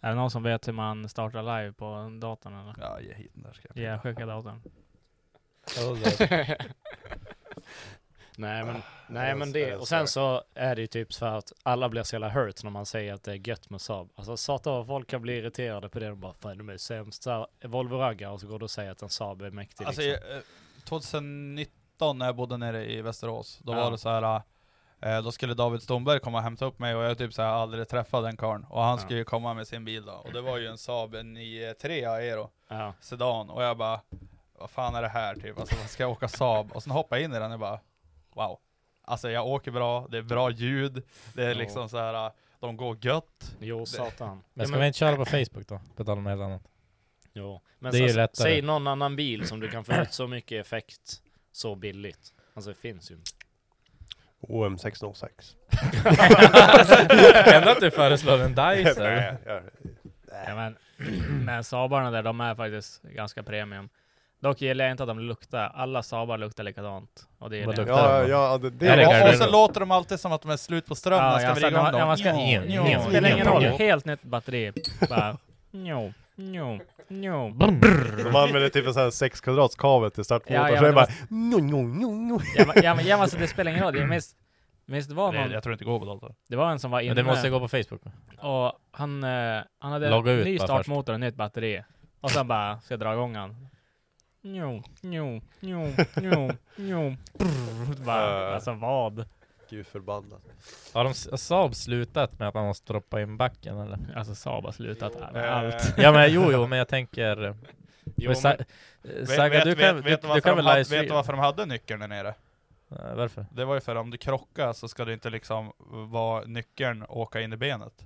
S2: Är det någon som vet hur man startar live på datorn eller?
S1: Ja ge hit den där ska jag
S2: Ja, skicka datorn.
S1: Ah,
S5: nej men,
S3: det
S5: nej,
S3: var-
S5: men
S3: det
S5: det,
S3: var
S5: och sen så är det ju typ så här att alla blir så jävla hurt när man säger att det är gött med Saab. Alltså satan vad folk kan bli irriterade på det. De bara fan de är sämst. Så här, Volvo-raggar och så går du och säger att en Saab är mäktig
S1: Alltså,
S5: liksom.
S1: eh, 2019 när jag bodde nere i Västerås, då
S5: Ja.
S1: var det så här. eh, Då skulle David Stomberg komma och hämta upp mig och jag typ såhär aldrig träffade den karln. Och han
S5: Ja.
S1: skulle ju komma med sin bil då. Och det var ju en Saab 93 Aero
S5: Ja.
S1: E Sedan. Och jag bara, vad fan är det här typ? Alltså vad ska jag åka Saab? Och sen hoppade jag in i den och bara, wow. Alltså jag åker bra, det är bra ljud, det är
S5: Ja.
S1: liksom så här. eh, de går gött.
S5: Jo satan.
S4: Men
S5: Ja,
S4: ska vi inte köra på Facebook då? På tal om helt annat.
S5: Jo. Men
S4: Det är
S5: så,
S4: ju lättare.
S5: säg någon annan bil som du kan få ut så mycket effekt så billigt. Alltså det finns ju inte.
S3: OM 606.
S4: Ändå att du föreslår en Dyson.
S3: Nej, jag-
S2: Ja, men, men Saabarna där, de är faktiskt ganska premium. Dock gillar jag inte att de luktar. Alla Saabar luktar likadant. Och det gillar
S4: Vad
S2: jag inte.
S4: luktar
S3: Ja,
S4: det?
S3: ja, det, det
S4: Är det
S1: Och, och
S4: garderob?
S1: så låter de alltid som att de är slut på ström när
S2: Ja,
S1: ska
S2: jag
S1: vi
S2: ska,
S1: ringa
S2: när,
S1: om
S2: när
S1: dem.
S2: man ska,
S4: Njo,
S2: njo,
S4: njo,
S2: spelar ingen
S4: njo.
S2: roll. Helt nytt batteri. Bara, njo, njo, njo.
S3: De använder typ en sån här 6 kvadrats kabel till startmotorn,
S2: Ja, ja,
S3: så det är
S2: men
S3: bara
S2: det
S3: njo, njo, njo, njo.
S2: Ja, men- ja, men- ja, men alltså, det spelar ingen roll. Jag minns, minns det, var
S1: Nej,
S2: någon,
S1: jag tror inte det går på datorn.
S2: det var en som var inne
S4: Men det måste gå på Facebook. va?
S2: och han, eh, han hade
S4: Logga ut
S2: ny
S4: bara
S2: startmotor och nytt batteri. Och sen bara, ska jag dra igång han? Njo, njo, njo, njo, njo. Brrr, bara,
S3: Ja.
S2: alltså vad?
S3: Gud förbannat.
S4: Har de s- Saab slutat med att man måste droppa in backen eller?
S2: Alltså Saab har slutat
S4: Äh.
S2: med
S1: Eh,
S2: allt.
S4: Ja men jo jo men jag tänker... eh, men Sa- eh,
S1: Vet-
S4: Saga
S1: vet-
S4: du kan,
S1: vet-
S4: du,
S1: vet du
S4: du
S1: varför
S4: kan
S1: de
S4: väl
S1: hade-
S4: livestreama?
S1: Vet du varför de hade nyckeln där nere?
S4: Eh, Varför?
S1: Det var ju för om du krockar så ska det inte liksom vara nyckeln åka in i benet.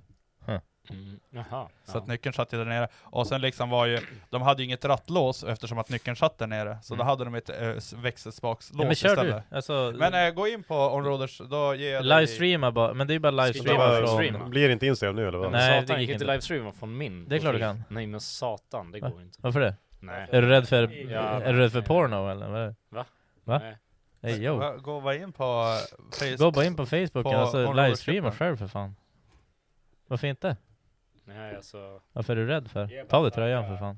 S5: Mm. Jaha.
S1: Så
S5: ja.
S1: att nyckeln satt ju där nere. Och sen liksom var ju, de hade ju inget rattlås eftersom att nyckeln satt där nere. Så då hade de ett äh, växelspakslås
S4: Mm. Ja, men kör du!
S1: istället.
S4: Alltså,
S1: Men eh, gå in på Onroaders, då ger jag dig-
S4: livestreama bara, men det är bara livestreama
S5: bara
S4: från...
S5: streama?
S3: Blir det inte Instagram nu eller vad?
S4: Nej,
S5: Nej,
S4: det
S5: satan, jag
S4: gick
S5: kan inte
S4: inte.
S5: livestreama från min.
S4: Det är klart du
S5: profil.
S4: kan.
S5: Nej men satan, det
S4: Va?
S5: går inte.
S4: Varför det?
S5: Nej.
S4: Är du rädd för,
S5: Ja.
S4: är du rädd för porno eller? Vad är det? Va?
S5: Nej.
S4: Hey, yo.
S1: Va- Gå bara in på Facebook.
S4: Gå bara in på Facebook
S1: På-
S4: och alltså
S1: på Rover
S4: livestreama
S1: Shippen.
S4: själv för fan. Varför inte?
S5: Nej, alltså.
S4: Varför är du rädd för? Ta av dig tröjan för fan.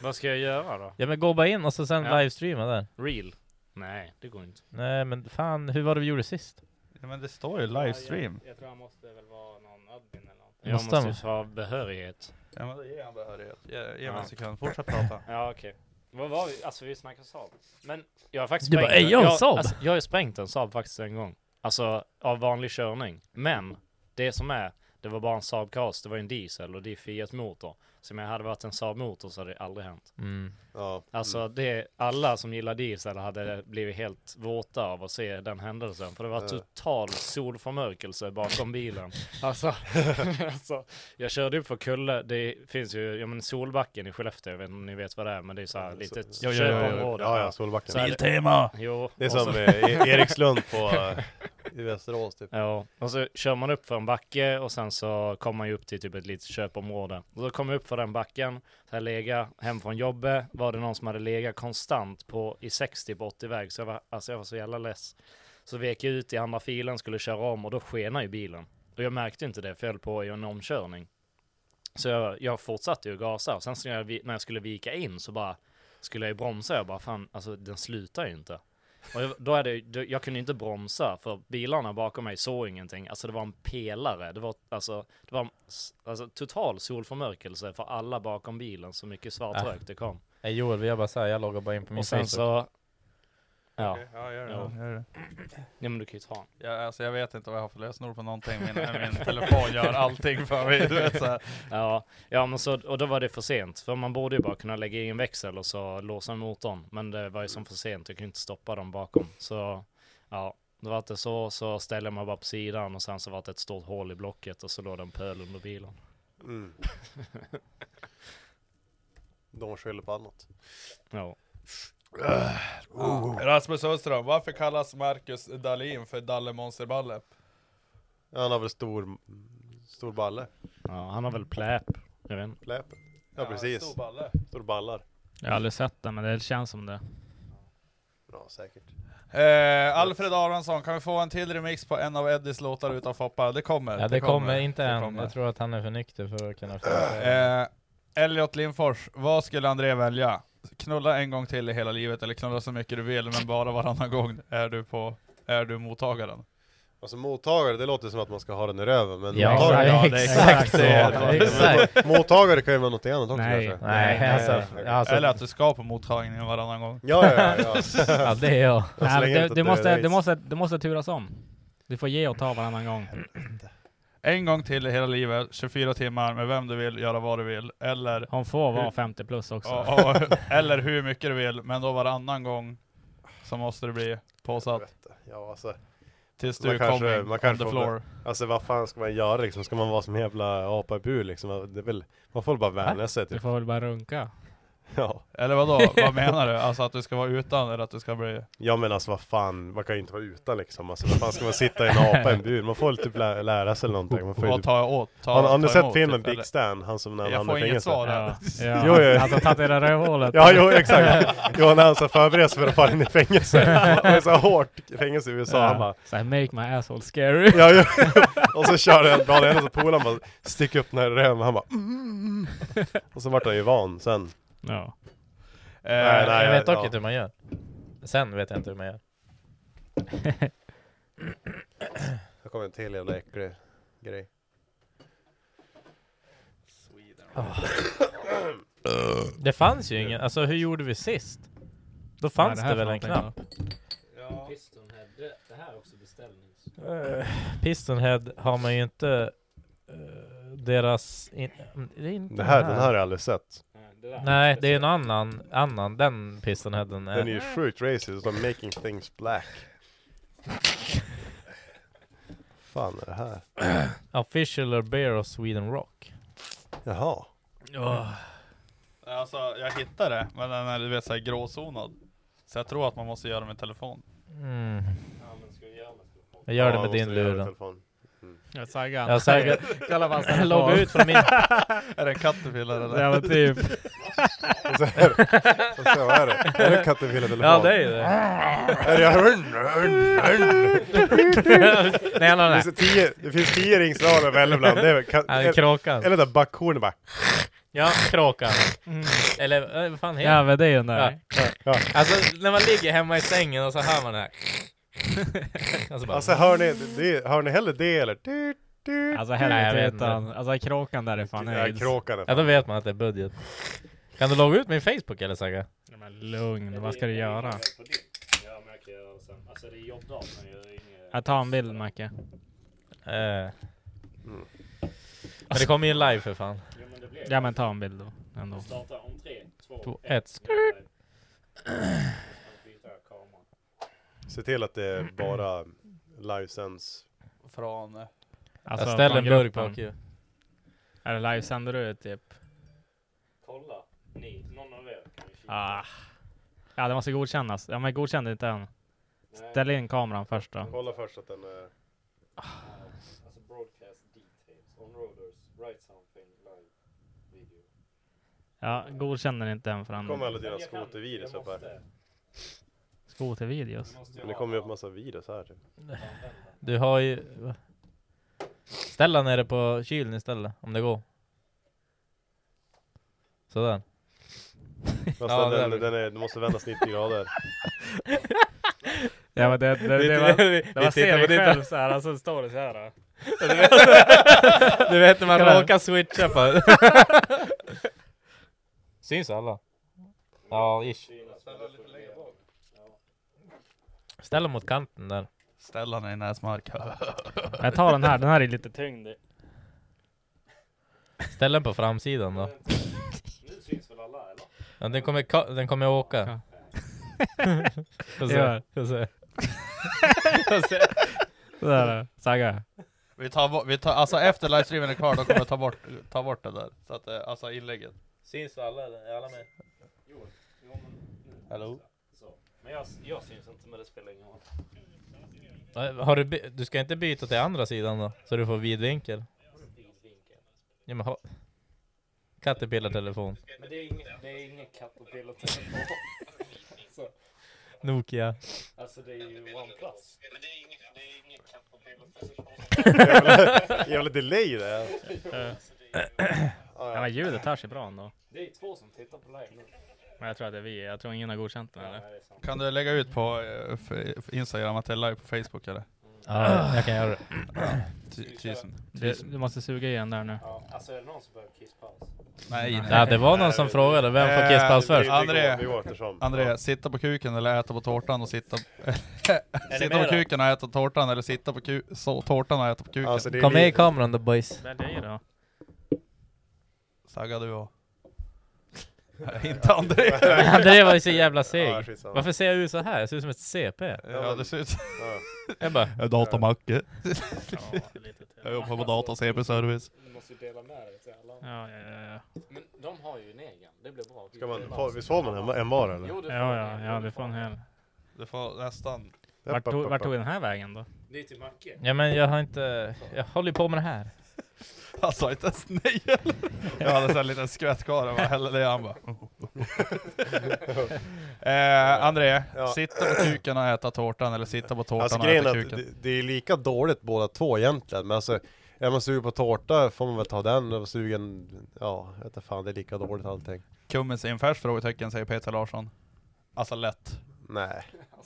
S5: Vad ska jag göra då?
S4: Ja men gå bara in och så sen
S5: Ja.
S4: livestreama där.
S5: Real? Nej, det går inte.
S4: Nej men fan, hur var det vi gjorde sist?
S1: Ja, men det står ju livestream.
S5: Jag, tror han måste väl vara någon admin eller något.
S4: Det
S5: Jag
S4: måste
S5: måste,
S4: han
S5: måste ha behörighet.
S1: Ja men då ger han behörighet. Ge, ge mig
S5: Ja.
S1: en sekund, fortsätt prata.
S5: Ja, okej. Vad var vi? Alltså vi snackade Saab. Men jag har faktiskt
S4: Du
S5: sprängt
S4: bara, "Ey, jag har en Saab."
S5: Alltså, jag har ju sprängt en Saab faktiskt en gång. Alltså av vanlig körning. Men det som är, det var bara en Saab Kaos, det var ju en diesel och det är Fiat motor. Så om jag hade varit en Saab motor så hade det aldrig hänt.
S4: Mm.
S3: Ja.
S5: Alltså det, alla som gillar diesel hade blivit helt våta av att se den händelsen. För det var
S3: Ja.
S5: total solförmörkelse bakom bilen. Alltså, alltså jag körde upp för Kulle, det finns ju, ja men Solbacken i Skellefteå, jag vet inte om ni vet vad det är, men det är så här litet
S1: jo, jo, jo, jo.
S5: köpområde.
S3: Ja, ja, Solbacken.
S5: Så här-
S1: Biltema!
S5: Jo,
S3: Det är
S5: och
S3: som
S5: så-
S3: eh, E- Erikslund på, eh, i Västerås typ.
S5: Ja, och så kör man upp för en backe och sen så kommer man ju upp till typ ett litet köpområde. Och då kom jag upp för den backen, så här lega hem från jobbet, var det någon som hade legat konstant på i 60 på 80 väg, så jag var, alltså jag var så jävla less. Så vek jag ut i andra filen, skulle köra om och då skenade ju bilen. Och jag märkte inte det, för jag höll på i en omkörning. Så jag, jag fortsatte ju gasa och sen så när jag, vi- när jag skulle vika in så bara skulle jag ju bromsa, jag bara fan, alltså den slutar ju inte. Och jag- då är det, då, jag kunde inte bromsa för bilarna bakom mig såg ingenting. Alltså det var en pelare. Det var, alltså, det var en s- alltså, total solförmörkelse för alla bakom bilen. Så mycket svart
S4: Äh.
S1: Ah.
S5: rök det kom.
S4: Ey Joel, vi gör bara såhär, jag loggar bara in på min
S5: Och sen
S4: Facebook.
S5: så... Ja,
S1: Okej, Ja, gör det.
S5: Ja.
S1: Gör det.
S5: ja men du kan ju ta den.
S1: Ja, alltså, jag vet inte vad jag har för lösenord på någonting. Min, eh, min telefon gör allting för mig. Du vet, så här.
S5: Ja, ja men så, och då var det för sent. För man borde ju bara kunna lägga in en växel och så låsa motorn. Men det var ju som för sent, jag kunde inte stoppa dem bakom. Så ja, då var det så, så ställde jag mig bara på sidan och sen så var det ett stort hål i blocket och så låg det en pöl under bilen.
S3: Mm. De skyller på annat.
S5: Ja.
S4: Ah.
S1: Rasmus Öström, varför kallas Marcus Dahlin för Dalle Monsterballe?
S3: Han har väl stor, stor balle,
S5: Ja, han har väl pläp. Jag vet inte.
S3: fläpen. Ja, precis.
S1: Stor balle.
S3: Stor ballar.
S2: Jag har aldrig sett den, men det känns som det.
S3: Bra, säkert.
S1: Eh, Alfred Aronsson, kan vi få en till remix på en av Eddies låtar utan Foppa? Det kommer.
S4: Ja det kommer, inte
S1: det
S4: än.
S1: kommer.
S4: Jag tror att han är för nykter för att kunna förstå.
S1: Eh, Elliot Lindfors, vad skulle André välja? Knulla en gång till i hela livet, eller knulla så mycket du vill, men bara varannan gång är du på är du mottagaren?
S3: Alltså mottagare, det låter som att man ska ha den i röven, men
S4: Ja,
S3: mottagare,
S4: ja, det är exakt
S1: det är
S4: så.
S1: det.
S4: Exakt.
S3: mottagare kan ju vara något annat också
S2: Nej.
S3: kanske.
S4: Nej, alltså,
S3: nej.
S4: alltså
S1: Eller att du ska på mottagningen varannan gång.
S3: Ja, ja, ja. ja.
S4: ja, det är jag.
S3: Så länge
S2: Nej, Alltså, det,
S3: inte
S2: det,
S3: det
S2: måste,
S3: röjs.
S2: det, måste, det måste turas om. Du får ge och ta varannan gång.
S1: En gång till i hela livet, 24 timmar med vem du vill, göra vad du vill, eller,
S2: Hon får vara 50 plus också.
S1: och, och, eller hur mycket du vill, men då varannan gång så måste det bli påsatt.
S3: ja alltså,
S1: Tills
S3: Man
S1: du
S3: kanske-
S1: kommer
S3: man
S1: on
S3: kanske
S1: the
S3: får-
S1: floor.
S3: alltså vad fan ska man göra liksom? Ska man vara som en jävla apa i bur liksom? Det är väl, man får väl bara vänja sig
S2: Du
S3: typ.
S2: får väl bara runka.
S3: Ja.
S1: Eller vadå? Vad menar du? Alltså att du ska vara utan eller att du ska bli...
S3: ja men alltså vad fan, man kan ju inte vara utan liksom. Alltså vad fan ska man sitta i en apa i en bur? Man får väl typ lä- lära sig eller någonting. Man får ju
S1: Vad
S3: typ...
S1: tar jag åt? Ta,
S3: Har har ni
S1: ta
S3: sett
S1: emot,
S3: filmen
S1: typ,
S3: Big
S1: eller?
S3: Stan? Han som när han
S1: Jag får
S3: hamnade i
S1: inget
S3: fängelse?
S1: svar här.
S2: Ja, ja.
S3: Jo, jo.
S2: Alltså tatuera rövhålet.
S3: Ja, jo, exakt. Jo, när han så förbereds för att falla in i fängelse. Och det är så hårt fängelse i USA. Han bara,
S2: Så här, make my asshole scary.
S3: ja, ja. Och så kör han, drar han och polaren bara, stick upp den här röven. Han bara, mm. Och så vart han ju van sen.
S2: Ja.
S1: Eh,
S3: nej,
S4: jag vet
S3: ja.
S4: dock inte hur man gör. Sen vet jag inte hur man gör.
S3: Här kommer en till jävla äcklig grej.
S4: Det fanns ju ingen, alltså hur gjorde vi sist? Då
S2: Nej,
S4: fanns
S2: det
S4: det,
S2: här
S4: väl
S2: får
S4: en
S2: man tänka
S4: knapp?
S5: Det, här är också beställning.
S4: Eh, Pistonhead har man ju inte eh, deras... In, det är inte
S3: Det här, den här har jag aldrig sett.
S4: Nej, det är en annan, annan, den Pistonheaden är...
S3: Den är ju sjukt racist, de making things black. fan är det här?
S4: Official Bear of Sweden Rock.
S3: Jaha.
S1: Alltså jag hittade det, men den är du vet såhär gråzonad. Så jag tror att man måste göra med telefon.
S4: Mm. Jag gör det
S3: Ja,
S4: med
S3: måste
S4: din
S3: jag göra i
S4: lur då.
S3: telefon.
S2: Jag saggar.
S4: Jag säger,
S2: Kolla vad han ställer på.
S4: logga ut från min...
S1: Är det en Caterpillar eller?
S2: Ja men typ.
S3: Och så är det. Och så är det. Är det kattefilatelefon?
S4: Ja, det är ju det.
S3: Är det hörn, hörn, hörn?
S4: Nej, nej, nej.
S3: Det, finns tio, det finns tio ringsignaler att välja bland. Det är väl ka-
S4: Ja, det är kråkan.
S3: Eller där backhornet bara.
S4: Ja, kråkan. Mm. Eller eh, vad fan heter
S2: Ja, men det är den
S4: Ja.
S2: där.
S3: Ja.
S4: Alltså när man ligger hemma i sängen och så hör man det här. alltså bara,
S3: Alltså hör ni, det, hör ni hellre det eller? Du, du,
S2: Alltså
S4: Nej, jag vet
S2: helvete
S4: inte.
S2: utan, alltså kråkan där är fan
S3: ja,
S2: höjd.
S3: kråkan.
S4: ja, då vet man att det är budget. Kan du logga ut min Facebook eller Saga?
S2: Ja, men Lugn, vad ska du göra?
S5: Ja, men jag kan göra det sen. Alltså det är jobbdagen. Jag gör inget-
S2: Jag tar en bild Macke.
S4: Eh. Men det kommer ju live för fan.
S5: Jo, men det blir
S2: Ja men ta en bild då. Ändå.
S5: Starta om tre, två,
S4: Två,
S5: ett.
S4: ett. Skrrt.
S5: Byta kamera.
S3: Se till att det är bara livesänds.
S1: Från... eh,
S2: Alltså,
S4: Jag ställer en
S2: från
S4: burk
S2: gruppen.
S4: bak ju.
S2: Eller livesänder du typ?
S5: Kolla, ni, någon av er kan ju kika.
S2: Ah. Ja det måste godkännas. Ja men godkänn det inte än.
S5: Nej,
S2: Ställ in kameran först då.
S3: Kolla först att den eh, är...
S5: alltså broadcast details, onroaders, right something, live, video.
S2: Ja, godkänner inte än
S3: kommer
S2: förrän.
S3: alla dina
S5: Jag kan,
S3: skotervirus
S5: jag
S3: upp här.
S5: måste-
S2: Skotervideos.
S5: måste
S3: Men
S5: jag
S3: det
S5: ha
S3: kommer ju upp
S5: den.
S3: massa virus här typ.
S4: Du har ju... va? Ställ den nere på kylen istället, om det går. Sådär.
S3: Fast
S4: Ja,
S3: den,
S4: det
S3: den,
S4: är-
S3: den är, du måste vändas 90 grader.
S2: Ja men det, det, det var...
S4: det
S2: Det var ser dig själv
S4: så här, alltså står det så
S2: här, då.
S4: Du vet när man
S2: Kolla.
S4: råkar switcha på... Syns alla? Ja, ish. Ställ dem mot kanten där.
S1: Ställ han i näsmark.
S2: Jag tar den här, den här är lite tyngd. i.
S4: Ställ den på framsidan då. Ja, den, kommer, ka- den kommer åka. Får se,
S2: Gör.
S4: får se.
S2: Sådär. Saga.
S1: vi tar, bo- vi tar, alltså efter livestreamen är klar, då kommer jag ta bort, ta bort det där. Så att, eh, alltså inlägget.
S4: Syns alla? Är alla med?
S1: Hello?
S5: Men jag, jag syns inte men det spelar ingen roll.
S4: Har du, by- du ska inte byta till andra sidan då? Så du får vidvinkel? Ja, men ha- Caterpillar-telefon.
S5: Men det är ingen, det är ingen caterpillar
S4: Nokia.
S5: Alltså det är ju OnePlus.
S3: Jävla delay det är.
S2: Ja men ljudet hörs ju bra ändå.
S5: Det är två som tittar på live nu.
S2: Men jag tror att det är vi. Jag tror ingen har godkänt den eller?
S1: Kan du lägga ut på eh, f- f- Instagram att det är live på Facebook eller?
S4: Ja, jag kan göra det.
S1: Ty- Tusen.
S2: Du, du måste suga igen där nu.
S5: Ja, alltså är det någon som behöver kisspaus?
S1: Nej,
S4: Ja,
S1: nej.
S4: det var någon som frågade vem får kisspaus
S1: Eh,
S4: först?
S3: Vi- vi går-
S1: André.
S3: Vi går eftersom.
S1: André, sitta på kuken eller äta på tårtan och sitta... sitta
S4: med
S1: på
S4: då?
S1: kuken och äta tårtan eller sitta på ku- så, tårtan och äta på kuken.
S3: Alltså, det är
S4: Kom med i
S3: lite-
S4: kameran då boys.
S2: Välj dig då.
S1: Sagga du och... Nej, Inte André!
S4: André var ju så jävla
S3: Ja,
S4: seg.
S3: skitsamma.
S4: Varför ser jag ut så här? Jag ser ut som ett CP.
S1: ja, det ser ut som...
S3: Ja.
S4: Jag bara,
S1: Jag är datamacke. Jag jobbar på data och CP-service.
S5: Du måste ju dela med dig till alla.
S2: Ja, ja, ja, ja.
S5: Men de har ju en egen. Det blir bra.
S3: Ska man, får, visst får man en, en var eller?
S5: Jo, du får
S2: Ja,
S5: en
S2: ja,
S5: egen.
S2: ja, du får en hel.
S1: Du får nästan...
S2: Vart tog, vart tog den här vägen då?
S5: Det är till Macke.
S4: ja men jag har inte, jag håller ju på med det här.
S1: Han sa inte ens nej eller? Jag hade en sån här liten skvätt kvar och bara hällde det han bara... eh, André,
S3: Ja.
S1: sitta på kuken och äta tårtan eller sitta på tårtan
S3: Alltså
S1: och
S3: grejen är
S1: äta
S3: att
S1: kuken?
S3: det, det är lika dåligt båda två egentligen, men alltså är man sugen på tårta får man väl ta den, är man sugen, ja, jag vet inte fan, det är lika dåligt allting.
S1: Kummens i en färs? Frågetecken säger Peter Larsson. Alltså lätt.
S3: Nej,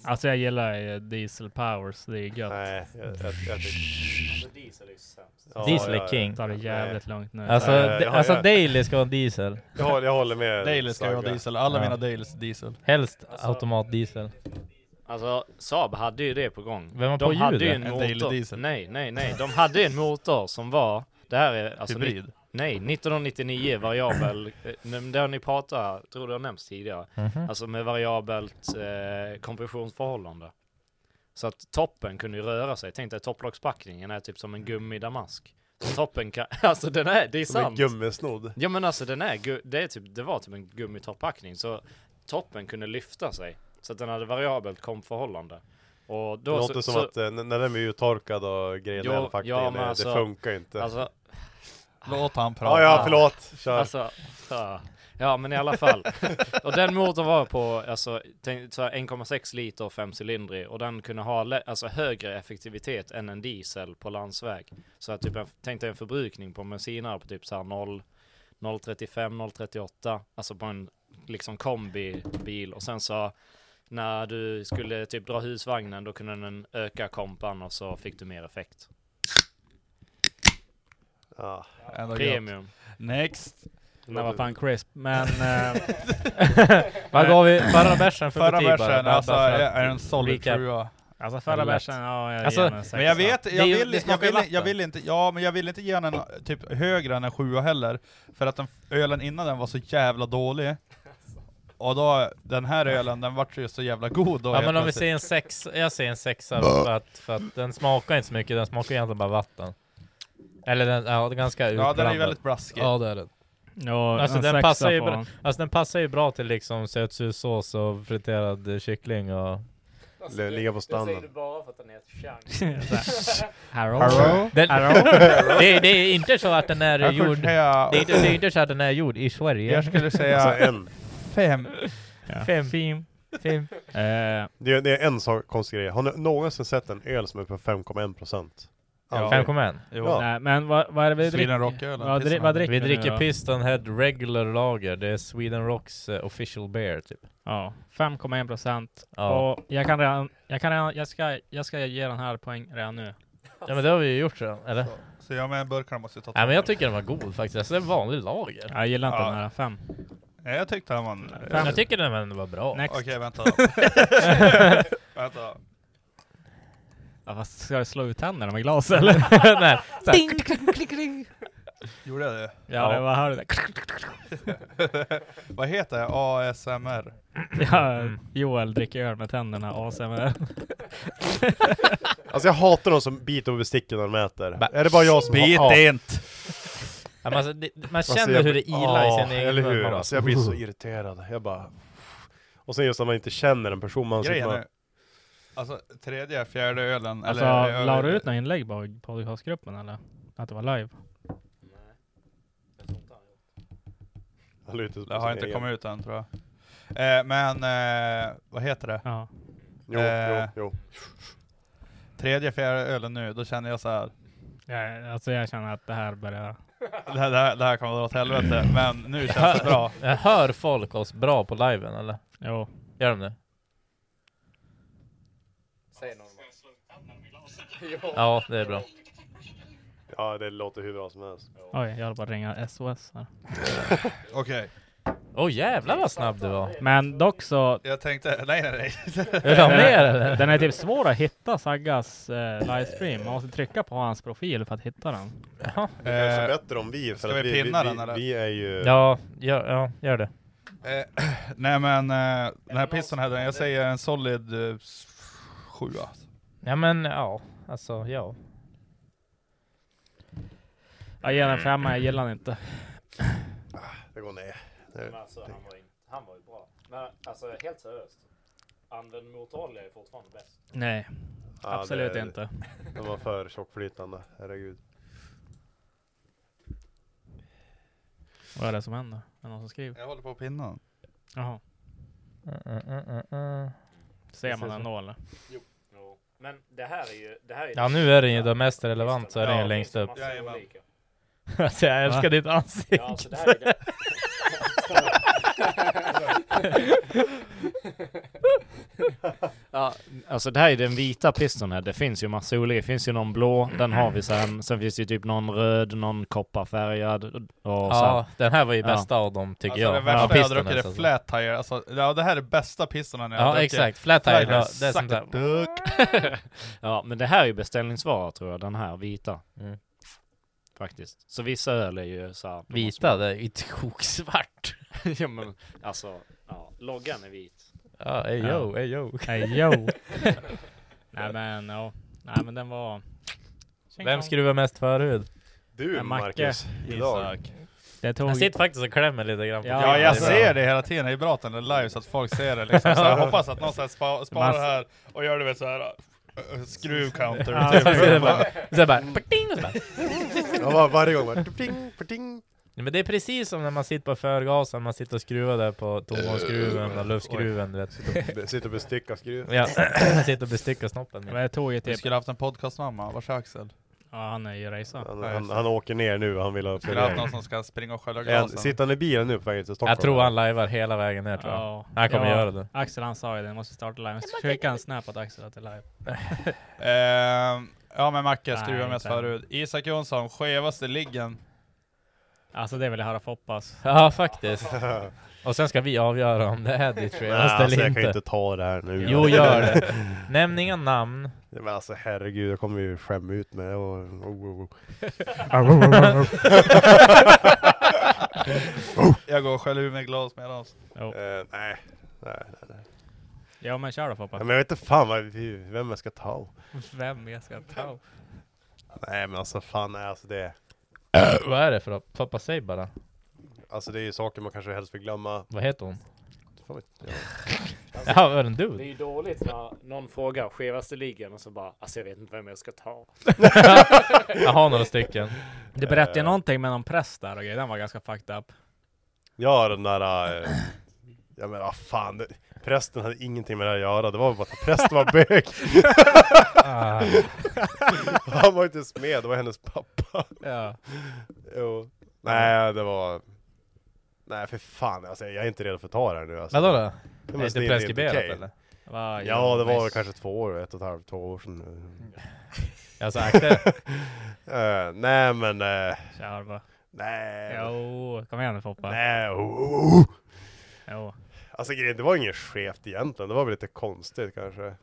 S2: Alltså jag gillar ju diesel powers, det är gött.
S3: nej, jag, jag, jag tycker...
S5: Alltså diesel är ju sämst.
S3: Ja,
S4: Diesel
S3: ja,
S4: är king.
S2: Tar det jävligt lugnt nu.
S4: Alltså,
S3: Nej, jag
S4: de,
S3: har-
S4: alltså
S3: jag-
S4: Daily ska ha diesel.
S3: Jag, håller- jag håller med.
S1: Daily ska ju ha
S3: Saga.
S1: diesel, alla
S4: Ja.
S1: mina Dailys är diesel.
S4: Helst automatdiesel.
S5: Alltså Saab hade ju det på gång.
S4: Vem var
S5: de
S4: på
S5: hade ju
S4: ljudet?
S5: en
S1: En Daily
S5: motor.
S1: Diesel.
S5: Nej, nej, nej. De hade ju en motor som var, det här är alltså ni-
S1: Hybrid.
S5: Nej, 1999 variabel, eh, men det har ni pratat, tror det har nämnts tidigare,
S4: Mhm.
S5: alltså med variabelt eh, kompressionsförhållande. Så att toppen kunde ju röra sig, tänk dig topplockspackningen är typ som en gummidamask. Så toppen kan, alltså den är, det är
S3: Som en
S5: sant.
S3: gummisnodd.
S5: Ja men alltså den är, gu- det, är typ, det var typ en gummitopppackning så toppen kunde lyfta sig. Så att den hade variabelt kompförhållande. Och
S3: Det
S5: då
S3: låter
S5: så,
S3: som
S5: så,
S3: att eh, när den är uttorkad och grejen
S5: Jo,
S3: är faktiskt,
S5: ja, men
S3: det,
S5: alltså-
S3: det funkar ju inte.
S5: Alltså,
S1: Låt han
S3: ja,
S1: prata.
S3: ja, förlåt, kör.
S5: alltså, ja. Alltså, Ja men i alla fall. och den motorn var på alltså, tänk- så här 1,6 liter femcylindrig och den kunde ha lä- alltså, högre effektivitet än en diesel på landsväg. Så att typ, en- tänk dig en förbrukning på bensinare på typ så här 0, 0,35, 0,38. Alltså på en liksom kombibil och sen så när du skulle typ dra husvagnen då kunde den öka kompan och så fick du mer effekt.
S3: Ja.
S1: Ändå gött.
S5: Premium.
S1: Next!
S2: Den där var fan crisp, men... eh,
S4: Vad gav vi förra bärsen för
S1: Förra
S4: betyg bara?
S1: bärsen, alltså,
S4: Bara för
S1: är
S4: att
S1: är en solid
S4: recap.
S1: sjua.
S2: alltså förra
S4: Lätt.
S2: bärsen, ja jag
S4: Alltså,
S2: ger den en sexa.
S1: Men jag vet,
S4: Det
S1: jag
S4: är ju-
S1: vill,
S4: det
S1: jag
S4: smakar
S1: vill, jag
S4: vatten.
S1: vill inte, ja men jag vill inte ge den typ högre än en sjua heller, för att den f- ölen innan den var så jävla dålig. Och då, den här ölen, den vart ju så jävla god då
S4: Ja
S1: helt
S4: men om vi
S1: plötsligt.
S4: ser en sexa, jag ser en sexa för att, för att den smakar inte så mycket, den smakar egentligen bara vatten. Eller den, ja det är ganska
S1: Ja den är ju
S4: utblandad.
S1: väldigt blaskig.
S4: Ja det är den.
S2: Ja,
S4: Alltså,
S2: en
S4: den
S2: sexa
S4: passar ju
S2: får
S4: bra.
S2: den.
S4: Alltså den passar ju bra till liksom sötsursås och friterad eh, kyckling och...
S1: Alltså,
S3: L- ligga på standard.
S5: bara för att den är ett chang.
S2: Harrow.
S4: Den, det, det är inte så att den är
S1: Jag skulle
S4: gjord...
S1: säga,
S4: Det är, inte, det är inte så att den är gjord i Sverige.
S1: jag skulle
S3: Alltså
S1: säga
S3: en.
S1: fem.
S4: Fem. Fem. Fem.
S2: Eh,
S3: Det är, det är en sak, konstig grej. Har ni någonsin sett en öl som är på 5,1%?
S1: Ja.
S4: 5,1.
S1: Jo.
S3: Ja.
S2: nej, men vad, vad är det vi dricker?
S1: Sweden Rock-ölen.
S2: Vad, dri-
S1: Pilsen.
S2: vad dricker
S4: Vi
S2: nu
S4: dricker
S2: då?
S4: Piston Head Regular Lager. Det är Sweden Rocks eh, official beer typ.
S2: Ja, 5,1 procent.
S4: Ja.
S2: Och jag kan redan, jag kan redan, jag ska, jag ska ge den här poäng redan nu.
S4: ja men det har vi ju gjort redan, eller?
S1: Så jag med burkarna måste ju ta
S4: Nej men jag
S1: två.
S4: tycker den var god faktiskt. Alltså det är en vanlig lager.
S2: Jag gillar inte
S1: Ja.
S2: den här, 5.
S1: Nej, jag tyckte han vann.
S2: Fem.
S4: Jag tycker den ändå var bra.
S2: Next.
S1: Okej, vänta. vänta.
S2: Ja, fast ska du slå ut tänderna med glas eller?
S4: Nej. så här.
S1: Gjorde jag det?
S2: ja, det var hörde det.
S1: Vad heter det? ASMR?
S2: Ja, Joel dricker öl med tänderna, ASMR.
S3: Alltså jag hatar de som biter på besticken när de äter. är det bara jag som
S1: Bit
S3: har... ja.
S1: inte!
S4: Ja, men alltså, det, man
S3: Alltså,
S4: känner
S3: jag-
S4: hur det ilar i
S3: Ja,
S4: sin egen
S3: Eller
S4: mun.
S3: hur?
S4: Man bara,
S3: Alltså jag blir så irriterad. Jag bara... Och sen just när man inte känner en person. Man
S1: Grejen
S3: man...
S1: är, alltså tredje, fjärde ölen,
S2: Alltså,
S1: eller, eller
S2: la du ut några inlägg på podcastgruppen eller? Att det var live?
S3: Han lutar sig på
S1: Det har
S3: sin
S1: inte
S3: egen.
S1: kommit ut än tror jag. Eh, men, eh, vad heter det?
S2: Ja.
S3: Jo,
S1: Eh.
S3: jo, jo.
S1: Tredje, fjärde ölen nu, då känner jag så här.
S2: Ja, alltså jag känner att det här börjar...
S1: Det här, det här, det här kommer dra åt helvete, men nu känns det bra.
S4: Jag hör folk oss bra på liven eller?
S2: Jo.
S4: Gör de det? Ja, det är bra.
S3: Ja, det låter hur bra som helst.
S2: Oj, jag håller på att ringa SOS här.
S1: Okej,
S4: Åh jävlar vad snabb du var.
S2: Men dock så,
S1: jag tänkte, nej nej nej.
S4: Är de mer eller?
S2: den är typ svår att hitta Saggas eh, livestream. Man måste trycka på hans profil för att hitta den.
S3: Det är kanske
S1: Eh,
S3: bättre om vi, för
S1: ska
S3: att
S1: vi
S3: vi,
S1: pinna
S3: vi,
S1: den, eller?
S3: vi är ju...
S4: Ja, gör, ja, gör det.
S1: eh, nej men, eh, den här piston här, jag säger en solid eh, s- alltså. sjua.
S4: Ja men ja, alltså ja.
S2: Jag ger den femma, jag gillar den inte.
S3: Det går ner.
S5: Men alltså, han, var in, han var ju bra. Men alltså helt seriöst. Använd motorolja är fortfarande bäst.
S2: Nej,
S3: Ja,
S2: absolut
S3: det,
S2: inte.
S3: De var för tjockflytande, herregud.
S2: Vad är det som händer? Är det någon som skriver?
S1: Jag håller på att pinna den.
S2: Jaha.
S4: Mm, mm, mm, mm.
S2: Ser man den då eller?
S5: Jo. Men det här är ju... Det här är ju
S4: Ja nu är den ju den mest relevant så är den ju
S5: Ja,
S4: längst upp.
S5: det finns ju massa
S1: Jajamän.
S5: olika.
S4: Alltså jag älskar ditt
S5: Ja,
S4: ansikte.
S5: alltså det här är ju det. ja, alltså det här är den vita piston här. Det finns ju massa olika. Det finns ju någon blå, den har vi sen. Sen finns det ju typ någon röd, någon kopparfärgad. Och
S4: Ja, den här var ju
S5: Ja.
S4: bästa av dem tycker
S1: Alltså
S4: jag.
S1: det
S4: Ja,
S1: värsta jag
S4: piston
S1: har druckit är
S4: alltså.
S1: flat tire, alltså, ja, det här är bästa pistorna jag har
S4: Ja
S1: druckit.
S4: exakt, flat tire.
S1: Flat tire
S4: ja, Det är sånt
S1: sucked
S4: där.
S1: duck.
S5: Ja, men det här är ju beställningsvara tror jag, den här vita.
S4: Mm.
S5: Faktiskt. Så vissa öl är ju så här, de
S4: Vita, det är ju koksvart.
S5: har små- ja, men, alltså, ja, loggan är vit.
S4: Ja, ey yo, ey yo.
S2: Nej, jo. Nej men, ja. Nej men den var...
S4: Vem skruvar mest förhud?
S3: Du
S2: Ja, Macke.
S3: Marcus, idag.
S2: Det tog...
S4: Jag sitter faktiskt och klämmer lite grann på
S2: Ja,
S1: Ja
S4: det är
S1: jag
S4: bra.
S1: ser det hela tiden, det är bra att den är live så att folk ser det liksom. Så jag hoppas att någon så här spa, sparar det här och gör det med såhär uh, uh, screw counter
S2: Ja,
S1: typ.
S4: Så är det bara- så är det bara, ping, och så bara,
S3: Ja, var, varje gång bara... Pling, pling.
S4: Ja, Men det är precis som när man sitter på förgasen, man sitter och skruvar där på tomgångsskruven, och luftskruven du vet.
S3: Be- Eh, Sitter och bestickar skruv.
S4: Ja, sitter och bestickar snoppen.
S2: Vad är tåget
S1: Vi
S2: typ?
S1: skulle haft en podcastnamn va? Vars är Axel?
S2: Ja, han är ju rejsa.
S3: Han, han, han åker ner nu, han vill ha
S1: Skulle haft någon
S3: premiär.
S1: som ska springa och skölja
S3: Är han-
S1: glasen.
S3: Sitter han i bilen nu på vägen till Stockholm?
S4: Jag tror han lajvar hela vägen ner tror jag.
S2: Ja.
S4: Han kommer
S2: Ja,
S4: göra det.
S2: Axel han sa ju det, jag måste starta live. Jag ska skicka en snap att Axel att det är live.
S1: Ehm, ja men Macke,
S2: Nej,
S1: skruva mest
S2: inte.
S1: förut. Isak Jonsson, skevaste liggen.
S2: Alltså det vill jag höra Foppas.
S4: Ja faktiskt. Och sen ska vi avgöra om det är ditt
S3: Nej,
S4: skevaste
S3: alltså,
S4: eller
S3: jag kan ju
S4: inte.
S3: inte ta det här nu.
S4: Jo gör det. Nämn inga namn.
S3: Ja, Men alltså herregud, jag kommer ju skämma ut mig. Och, oh, oh, oh.
S1: Jag går och sköljer ur mig glas medan. oss.
S2: Jo.
S3: Eh, nej. Nej, nej, nej.
S2: Ja men kör då Foppa.
S3: Ja, Men jag vet inte fan vad vi, vem jag ska ta.
S2: Vem jag ska ta?
S3: Nej men alltså fan, nej, alltså det.
S4: Vad är det för något? Pappa säg bara.
S3: Alltså det är ju saker man kanske helst vill glömma.
S4: Vad heter hon?
S3: Fan vet jag. Alltså,
S4: Ja, var det en
S5: Det är
S4: dude?
S5: ju dåligt när någon frågar skevaste ligan och så bara alltså jag vet inte vem jag ska ta.
S4: Jag har några stycken.
S2: Det berättade jag någonting med någon präst där och grejer. Den var ganska fucked up.
S3: Ja den där... Eh, ja men vad fan. Det, prästen hade ingenting med det här att göra. Det var bara att prästen var bög.
S4: Ah,
S3: Han var ju inte smed, det var hennes pappa.
S2: Ja.
S3: Jo. Nej det var... Nej för fan, alltså, jag är inte redo för att ta det här nu alltså.
S4: vadå då?
S3: Ja, men
S4: Är
S3: så
S4: det
S3: är inte
S4: preskriberat
S3: okej.
S4: eller?
S2: Vad
S3: Ja det
S2: gör
S3: var
S2: miss?
S3: kanske två år, ett och ett halvt, två år sedan.
S4: Alltså akta
S3: Eh, nej men... eh,
S2: Kör bara.
S3: nej.
S2: Jo, kom igen nu Foppa.
S3: Nej. Oh, oh, oh.
S2: Jo.
S3: Alltså grejen, det var inget skevt egentligen. Det var väl lite konstigt kanske.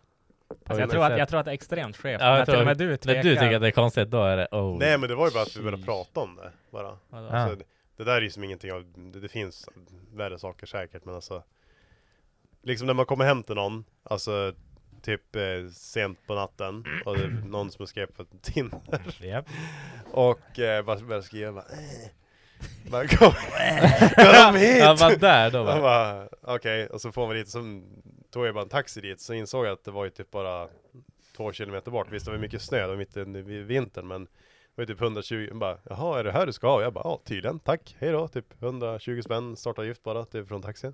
S2: Alltså, jag, tror att, jag tror att det är extremt skevt.
S4: Ja, jag
S2: när till och
S4: tror-
S2: med du
S4: När
S2: tvekar.
S4: du tycker att det är konstigt, då är det oh.
S3: Nej men det var ju bara att vi började
S2: Sheesh.
S3: prata om det bara.
S2: Vadå?
S4: Ja.
S3: Alltså, det, det där är ju som ingenting av, det, det finns värre saker säkert men alltså Liksom när man kommer hem till någon, alltså typ eh, sent på natten och det är någon som har skrivit på Tinder
S4: Japp.
S3: och eh, bara börjar skriva bara, eh. Man kommer, kom hit!
S4: Han var där då
S3: Man
S4: va?
S3: bara, okej, och så får man dit, så tog jag bara en taxi dit, så insåg jag att det var ju typ bara två kilometer bort. Visst det var mycket snö, det var mitt i vintern, men det var ju typ 120, jag bara, jaha är det här du ska ha? Och jag bara, ja tydligen, tack, hej då, typ 120 spänn startavgift bara, typ från taxin.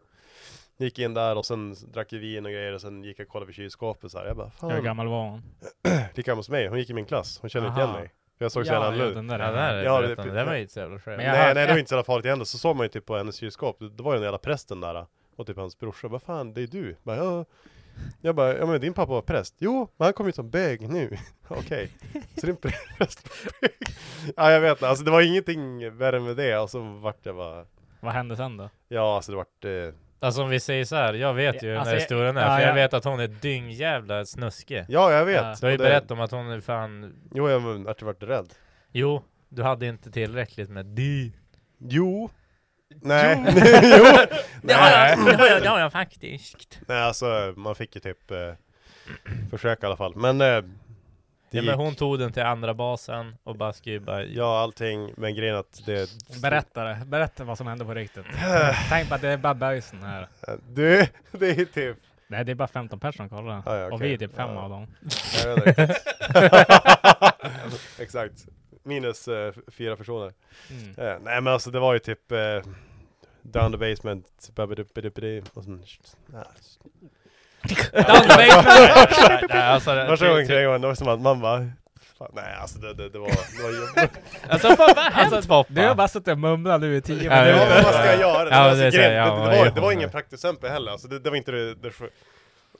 S3: Gick in där och sen drack vi vin och grejer och sen gick jag och kollade vid kylskåpet så här. Jag bara,
S2: Hur
S3: fan,
S2: gammal var hon?
S3: lika gammal som mig, hon gick i min klass, hon kände inte igen
S2: Aha.
S3: mig. För jag såg så jävla
S2: ja,
S3: annorlunda ut.
S2: den där.
S4: Ja, det här är
S3: Ja,
S4: ja,
S3: det-
S4: det, det var ju inte så jävla skönt.
S2: Men jag-
S3: Nej,
S2: har-
S3: nej, det var inte så jävla farligt ändå. Så såg man ju typ på hennes kylskåp, det det var ju den jävla prästen där. Och typ hans brorsa, vad fan, det är du. Bara, ja. Jag bara, ja men din pappa var präst. Jo, men han kom ju som bög nu. Okej. Så din präst var bög. Ja, jag vet inte. Alltså det var ingenting värre med det. Och så vart jag bara,
S2: Vad hände sen då?
S3: ja alltså det vart, eh,
S4: Alltså om vi säger så här, jag vet ju
S2: Ja,
S4: den
S2: alltså,
S4: här historien är,
S2: ja,
S4: för jag
S2: ja.
S4: vet att hon är dyngjävla snuskig.
S3: ja jag
S2: Ja.
S3: vet.
S4: Du har ju
S3: Och det-
S4: berättat om att hon är fan,
S3: Jo, jag men att jag vart rädd.
S4: jo, du hade inte tillräckligt med dy.
S3: Jo. Nej. jo. Nej.
S4: det har jag, det har jag faktiskt.
S3: nej, alltså man fick ju typ eh, försöka i alla fall. Men eh, det
S4: Ja, men
S3: gick.
S4: hon tog den till andra basen och bara skrev bara, ja.
S3: Ja, allting, men grejen att det...
S2: Berätta det. Berätta vad som hände på riktigt. Tänk på att det är bara böjsen här.
S3: Du, det är typ... Ah,
S2: Nej, det är bara 15 personer som kollar.
S3: Ja, ja,
S2: Och
S3: okej.
S2: vi är typ fem
S3: Ja.
S2: av dem.
S3: Jag vet inte riktigt. Exakt. Minus eh, fyra personer.
S2: Mm.
S3: Eh, nej men alltså det var ju typ... Eh, down the basement, babadubadubadi, och sen... Nej.
S1: Nej, nej, alltså, det-
S3: Första gången kring det var som att man bara... Fan, nej alltså det, det, det var... Det var jobbigt.
S4: Alltså fan vad har hänt Foppa?
S2: Du har bara suttit och mumlat nu i tio
S4: Ja,
S3: ja,
S2: minuter.
S3: men vad ska jag göra? Det,
S4: Ja,
S3: alltså,
S4: det är så här,
S3: grejen,
S4: ja,
S3: det,
S4: vad
S3: det, var,
S4: gör
S3: det var
S4: man?
S3: ingen praktexempel heller, alltså det, det var inte det, det ske-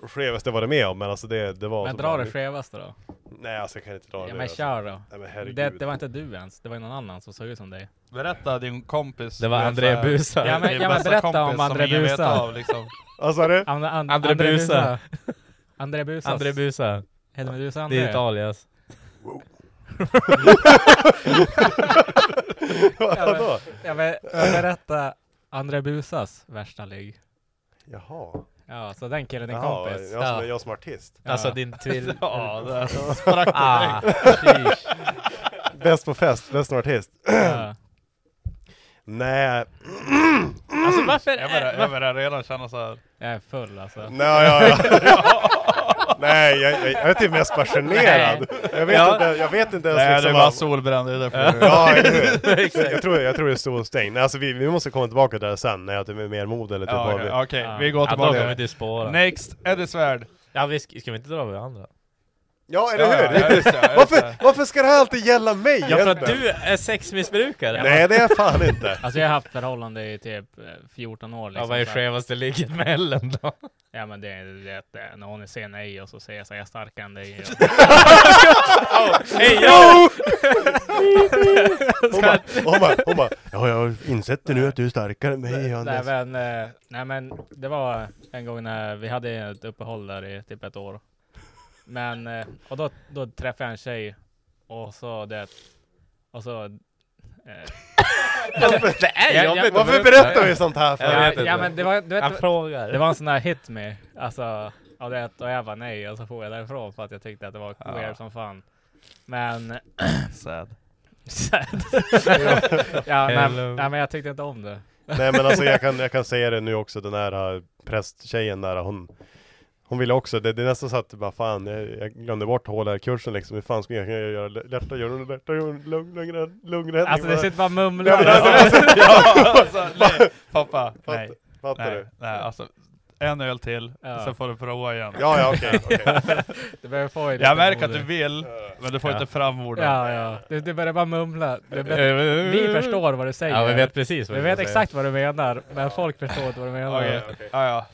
S3: skevaste jag varit med om, men alltså det, det var...
S2: Men
S3: så
S2: dra
S3: bara-
S2: det skevaste då.
S3: Nej alltså jag kan inte dra det nu,
S2: Ja, men
S3: alltså.
S2: kör då.
S3: Nej men herregud.
S2: Det, det var inte du ens, det var ju någon annan som såg ut som dig.
S1: Berätta din kompis.
S4: Det var André Busa.
S2: Ja, men-
S1: Din
S2: ja, men
S1: bästa
S2: berätta
S1: kompis
S2: om
S1: som
S2: André
S1: ingen vet
S2: Busa.
S1: av, liksom.
S3: Vad sa du?
S2: And, and,
S4: André Busa.
S2: André Busa.
S4: André Busa,
S2: Heter Medusa
S4: det är
S2: André?
S4: ditt alias.
S3: Vadå?
S2: Jag vill berätta André Busas värsta ligg.
S3: Jaha.
S2: Ja, så den killen är
S3: Jaha,
S2: kompis.
S3: Jag, som,
S4: Ja.
S3: jag som artist.
S2: Ja.
S4: Alltså din tvill... Ja,
S1: Mm.
S4: det
S1: Sprack
S4: Ah,
S1: direkt.
S4: sheesh.
S3: Bäst på fest, bäst som artist.
S2: Ja.
S3: Nej,
S4: Alltså
S2: Mm.
S4: varför
S1: Jag
S4: är...
S1: börjar, jag börjar redan känna så här.
S2: Jag är full alltså.
S3: nej, ja, ja. Nej, jag, jag, jag är typ mest passionerad. Jag vet,
S1: Ja.
S3: inte, jag vet inte ens
S1: Nej,
S3: liksom
S1: du är bara
S3: vad-
S1: solbränd, det är därför du-
S3: Ja, eller hur?
S1: Exakt.
S3: jag, tror, jag tror det är solstängd. Nej, Alltså vi, vi måste komma tillbaka där sen, när jag typ är mer mod eller typ
S1: Ja,
S3: vad
S1: okej,
S3: vi-
S1: okej, vi går
S4: Ja, då
S1: tillbaka.
S4: kommer vi till spåren.
S1: Next, Eddie Svärd.
S4: Ja, vi ska, ska vi inte dra varandra?
S3: Ja, eller
S1: Ja,
S3: hur?
S1: ja, just det, just
S3: varför,
S1: det.
S3: varför ska det här alltid gälla mig?
S4: Ja, för att
S3: egentligen?
S4: du är sexmissbrukare!
S3: Nej, det är jag fan inte.
S2: Alltså jag har haft förhållande i typ eh, 14 år
S4: Ja,
S2: liksom.
S4: vad är
S2: så-
S4: skevaste ligget med Ellen då?
S2: Ja men det är det, när hon säger nej och så säger jag så här, jag är starkare än dig.
S4: Hej, jag!
S3: Hon bara, hon bara, hon bara, ja, jag har insett det nu att du är starkare än mig,
S2: nej,
S3: Anders.
S2: men, eh, nej men det var en gång när vi hade ett uppehåll där i typ ett år. Men eh, och då, då träffade jag en tjej och så det och så eh,
S4: Det är
S2: Jag- jag-
S4: jobbigt!
S3: Varför berättar vi sånt här
S4: Jag
S3: för?
S4: vet
S2: ja,
S4: inte.
S2: ja, men det var, du
S4: Han
S2: vet,
S4: frågar.
S2: det var en sån där hit me. Alltså, och, det, och jag bara nej och så får jag därifrån för att jag tyckte att det var
S1: Ja.
S2: weird som fan. Men
S1: Sad.
S2: Sad. ja, nej,
S4: Hello.
S2: nej, men jag tyckte inte om det.
S3: Nej men alltså jag kan, jag kan säga det nu också, den här eh, prästtjejen där, hon hon ville också, det, det är nästan så att bara fan, jag, jag glömde bort HLR-kursen liksom, hur fan skulle jag kunna göra lä- lätta hjärnor, lätta hjärnor, lugn, lugn, lugnräddning?
S2: Alltså det
S3: bara-
S2: sitter bara och
S3: Ja,
S2: mumlar.
S3: men alltså,
S1: ja, alltså, nej, pappa, nej,
S3: Fattar
S1: nej,
S3: du?
S1: nej, alltså en öl till,
S2: Ja.
S1: sen får du prova igen.
S3: Ja, ja okej, okej.
S2: Du börjar få lite
S1: Jag märker att
S2: mod.
S1: du vill, men du får
S4: Ja.
S1: inte fram orden. Eh,
S2: Ja, ja. Du, du börjar bara mumla. Du, vet, vi
S4: Vi
S2: förstår vad du säger.
S4: Ja, vi vet precis vad
S2: vi
S4: du
S2: vet
S4: säger.
S2: exakt vad du menar, men folk förstår inte vad du menar.
S1: Okej, ja, ja.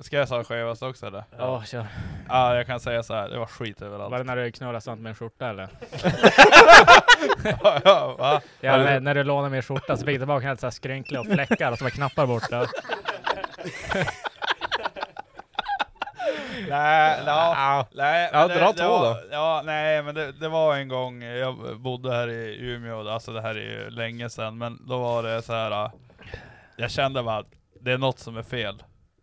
S1: Ska jag säga skevast också eller?
S2: Ja, kör.
S1: Ja, jag kan säga så här. det var skit överallt.
S2: Var det när du knullade sånt med en skjorta eller?
S1: ja, ja, va?
S2: Ja, när, när du lånade min skjorta så fick jag tillbaka helt så här skrynkliga och fläckar och så var knappar borta.
S1: Nej, ja, nej,
S4: Ja,
S1: men
S4: dra
S1: det
S4: två
S1: var,
S4: då.
S1: Ja, nej, men det, det var en gång, jag bodde här i Umeå, alltså det här är ju länge sedan, men då var det så här. äh, jag kände bara att det är något som är fel,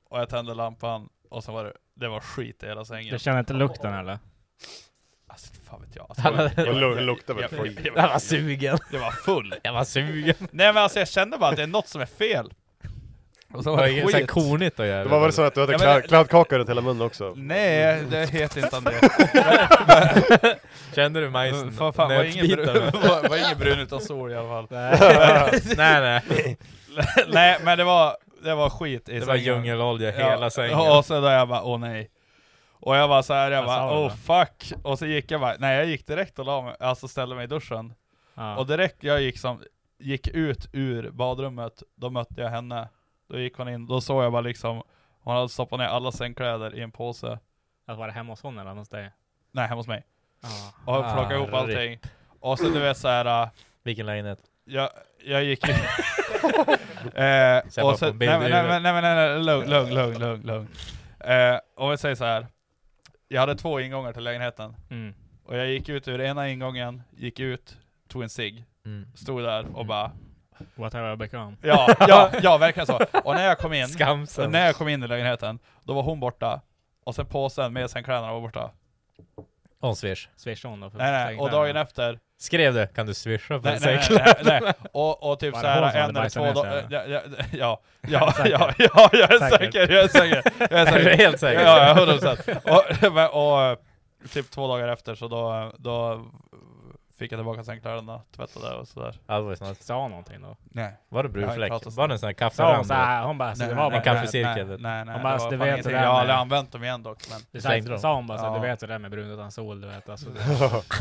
S1: och jag tände lampan, och så var det, det var skit i hela sängen.
S2: Du känner inte lukten eller?
S1: Alltså fan vet jag. Alltså,
S3: Det lu- det luktar väl
S1: jag, jag,
S3: skit.
S1: jag,
S4: Jag
S1: jag,
S4: var sugen.
S1: jag var full.
S4: Jag var sugen.
S1: Nej men alltså jag kände bara att det är något som är fel. Och så
S4: Det
S1: var
S4: var
S1: det
S4: ju så här
S1: skit.
S4: kornigt att göra.
S3: Det var väl så att du hade
S1: Ja, men-
S3: kla- kladdkaka runt hela munnen också?
S1: Nej, det heter inte André.
S4: Kände du majsen?
S1: Fan, fan, var ingen, brun,
S4: Nötbitarna?
S1: var, var ingen brun utan sol i alla fall.
S4: Nej, nej.
S1: nej men det var, det var skit i
S4: Det var
S1: sängen.
S4: djungelolja
S1: Ja,
S4: hela sängen.
S1: Och så då jag bara, åh nej. Och jag var så här, jag
S2: Vad sa
S1: bara,
S2: du
S1: oh fuck. Och så gick jag bara, nej jag gick direkt och la mig, alltså ställde mig i duschen.
S2: Ja.
S1: Och direkt jag gick som, gick ut ur badrummet, då mötte jag henne. Då gick hon in, då såg jag bara liksom, hon hade stoppat ner alla sängkläder i en påse.
S2: Alltså, var det hemma hos hon eller hos dig?
S1: Nej, hemma hos mig.
S2: Ja.
S1: Och jag plockade
S4: Ah,
S1: ihop allting. Och så du vet såhär, äh,
S4: Vilken lägenhet?
S1: jag, jag gick ju... eh,
S4: Sen bara
S1: och så,
S4: på
S1: nej, men-
S4: en bild i
S1: nej,
S4: huvudet.
S1: men- nej, men- nej, nej, lugn, lugn, lugn, lugn, lugn. Eh, och vi säger så här. Jag hade två ingångar till lägenheten.
S2: Mm.
S1: Och jag gick ut ur ena ingången, gick ut, tog en cigg,
S4: Mm.
S1: stod där och bara
S2: What have I become?
S1: Ja, ja, ja verkligen så. Och när jag kom in,
S4: Skamsen.
S1: när jag kom in i lägenheten, då var hon borta. Och sen påsen med sängkläderna var borta.
S4: Hon swish.
S2: Swish on då. för
S1: Nej nej,
S2: pengarna.
S1: och dagen efter
S4: Skrev du? Kan du swisha för
S1: Nej,
S4: en
S1: nej,
S4: säng?
S1: nej, nej, nej. Och, och typ
S2: Var det
S1: såhär
S2: hon
S1: en
S2: som hade
S1: eller
S2: bajsat
S1: två
S2: ner
S1: dagar,
S2: sig,
S1: ja, ja, ja, ja,
S2: Säker?
S1: ja, ja, jag är
S2: Säker?
S1: säker, jag är säker, jag är
S4: Är du
S1: säker.
S4: helt
S1: Ja,
S4: säker?
S1: ja, 100 procent. Och, men- och eh, typ två dagar efter så då, då fick jag tillbaka sängkläderna, tvättade och sådär.
S4: Ja, det var ju snart.
S2: Sa hon någonting då?
S1: Nej.
S4: Var det
S1: Jag har
S4: brunfläck?
S1: pratat om
S4: Var det en sån här
S2: Sa hon
S4: kafferand?
S2: så här, hon bara, så det var bara
S4: En kaffecirkel.
S1: Nej, nej, nej
S2: Om
S1: det
S2: man-
S1: var
S2: du
S1: fan
S2: vet det
S1: ingenting.
S2: där
S1: Jag har
S2: med-
S1: aldrig använt dem igen dock, men
S2: Du
S4: Slängde
S2: sa,
S4: dem.
S2: sa hon bara så här, du
S1: Ja.
S2: vet det där med brun utan sol, du vet alltså.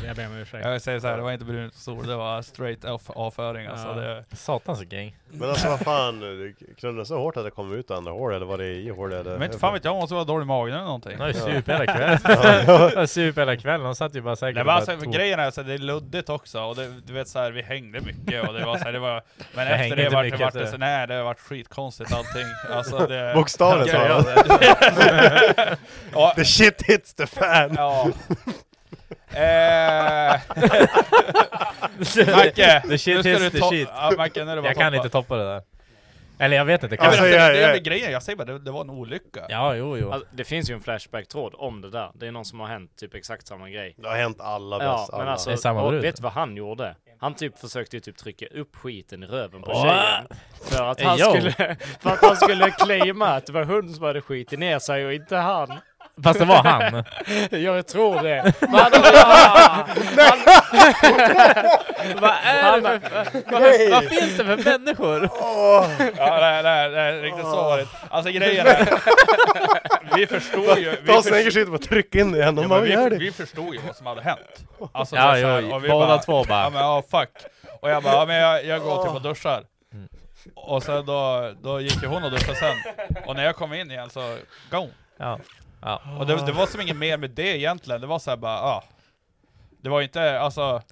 S2: Det, jag ber om ursäkt.
S1: jag säger såhär, det var inte brunt sol, det var straight off- avföring alltså.
S2: Ja.
S1: Det,
S4: Satans gäng.
S3: Men alltså vad fan, knöllade så hårt att det kom ut andra hål eller var det i hål eller?
S1: men inte fan vet jag, hon måste vara dålig i magen eller någonting.
S4: De har ju sup hela kvällen. De har sup hela kvällen. De satt ju bara säkert
S1: Nej,
S4: och
S1: men
S4: bara
S1: alltså,
S4: tog-
S1: grejen är så att det är luddigt också, och det, du vet så här, vi hängde mycket och det var så här, det var, men
S4: Jag
S1: efter
S4: hängde
S1: det
S4: inte
S1: vart det,
S4: mycket
S1: vart det
S4: efter
S1: så, nej det har varit skitkonstigt allting. Alltså det...
S3: Bokstavligt
S1: Ja,
S3: talat.
S1: ja,
S3: The shit hits the fan!
S1: ja. Eh, Macke!
S4: The shit
S1: nu ska
S4: hits
S1: du
S4: the
S1: to-
S4: shit.
S1: Ja, Macke, nu är det bara
S4: Jag kan
S1: toppa.
S4: inte toppa det där. Eller jag vet inte.
S1: Ja, men
S4: Kan
S3: Alltså,
S1: alltså, det,
S4: jag...
S3: jag-
S1: det är
S3: jag-
S1: väl grejen, jag säger bara det, det var en olycka.
S4: Ja, jo, jo.
S5: Alltså, det finns ju en Flashback-tråd om det där. Det är någon som har hänt typ exakt samma grej.
S3: Det har hänt alla
S5: Ja,
S3: bäst,
S5: men
S3: alla.
S5: alltså,
S4: Det är samma
S5: och
S4: brud.
S5: vet du vad han gjorde? Han typ försökte ju typ trycka upp skiten i röven på
S4: Åh.
S5: tjejen. För att, han
S4: Yo.
S5: skulle, för att han skulle claima att det var hon som hade skitit ner sig och inte han.
S4: Fast det var han.
S5: Jag tror det. Vad hade han-
S4: Vad är det för... Vad, vad finns det för människor?
S1: Ja, det, här- det, här- det här är riktigt sårigt. Alltså grejen är, vi förstod ju...
S3: Ta
S1: Vi förstod,
S3: snegerskydd och tryck in det igen,
S1: ja,
S3: om
S1: men
S3: man gör
S1: vi,
S3: det.
S1: vi förstod ju vad som hade hänt. Alltså, det
S4: Ja,
S1: är så här,
S4: jo,
S1: och vi
S4: båda två bara.
S1: Ja men ja, fuck. Och jag bara, ja, men jag, jag går typ och duschar.
S4: Mm.
S1: Och sen då, då gick ju hon och duschade sen. Och när jag kom in igen så, go.
S4: Ja. Ja.
S1: Och det, det var som inget mer med det egentligen, det var såhär bara, ja. Det var inte, alltså...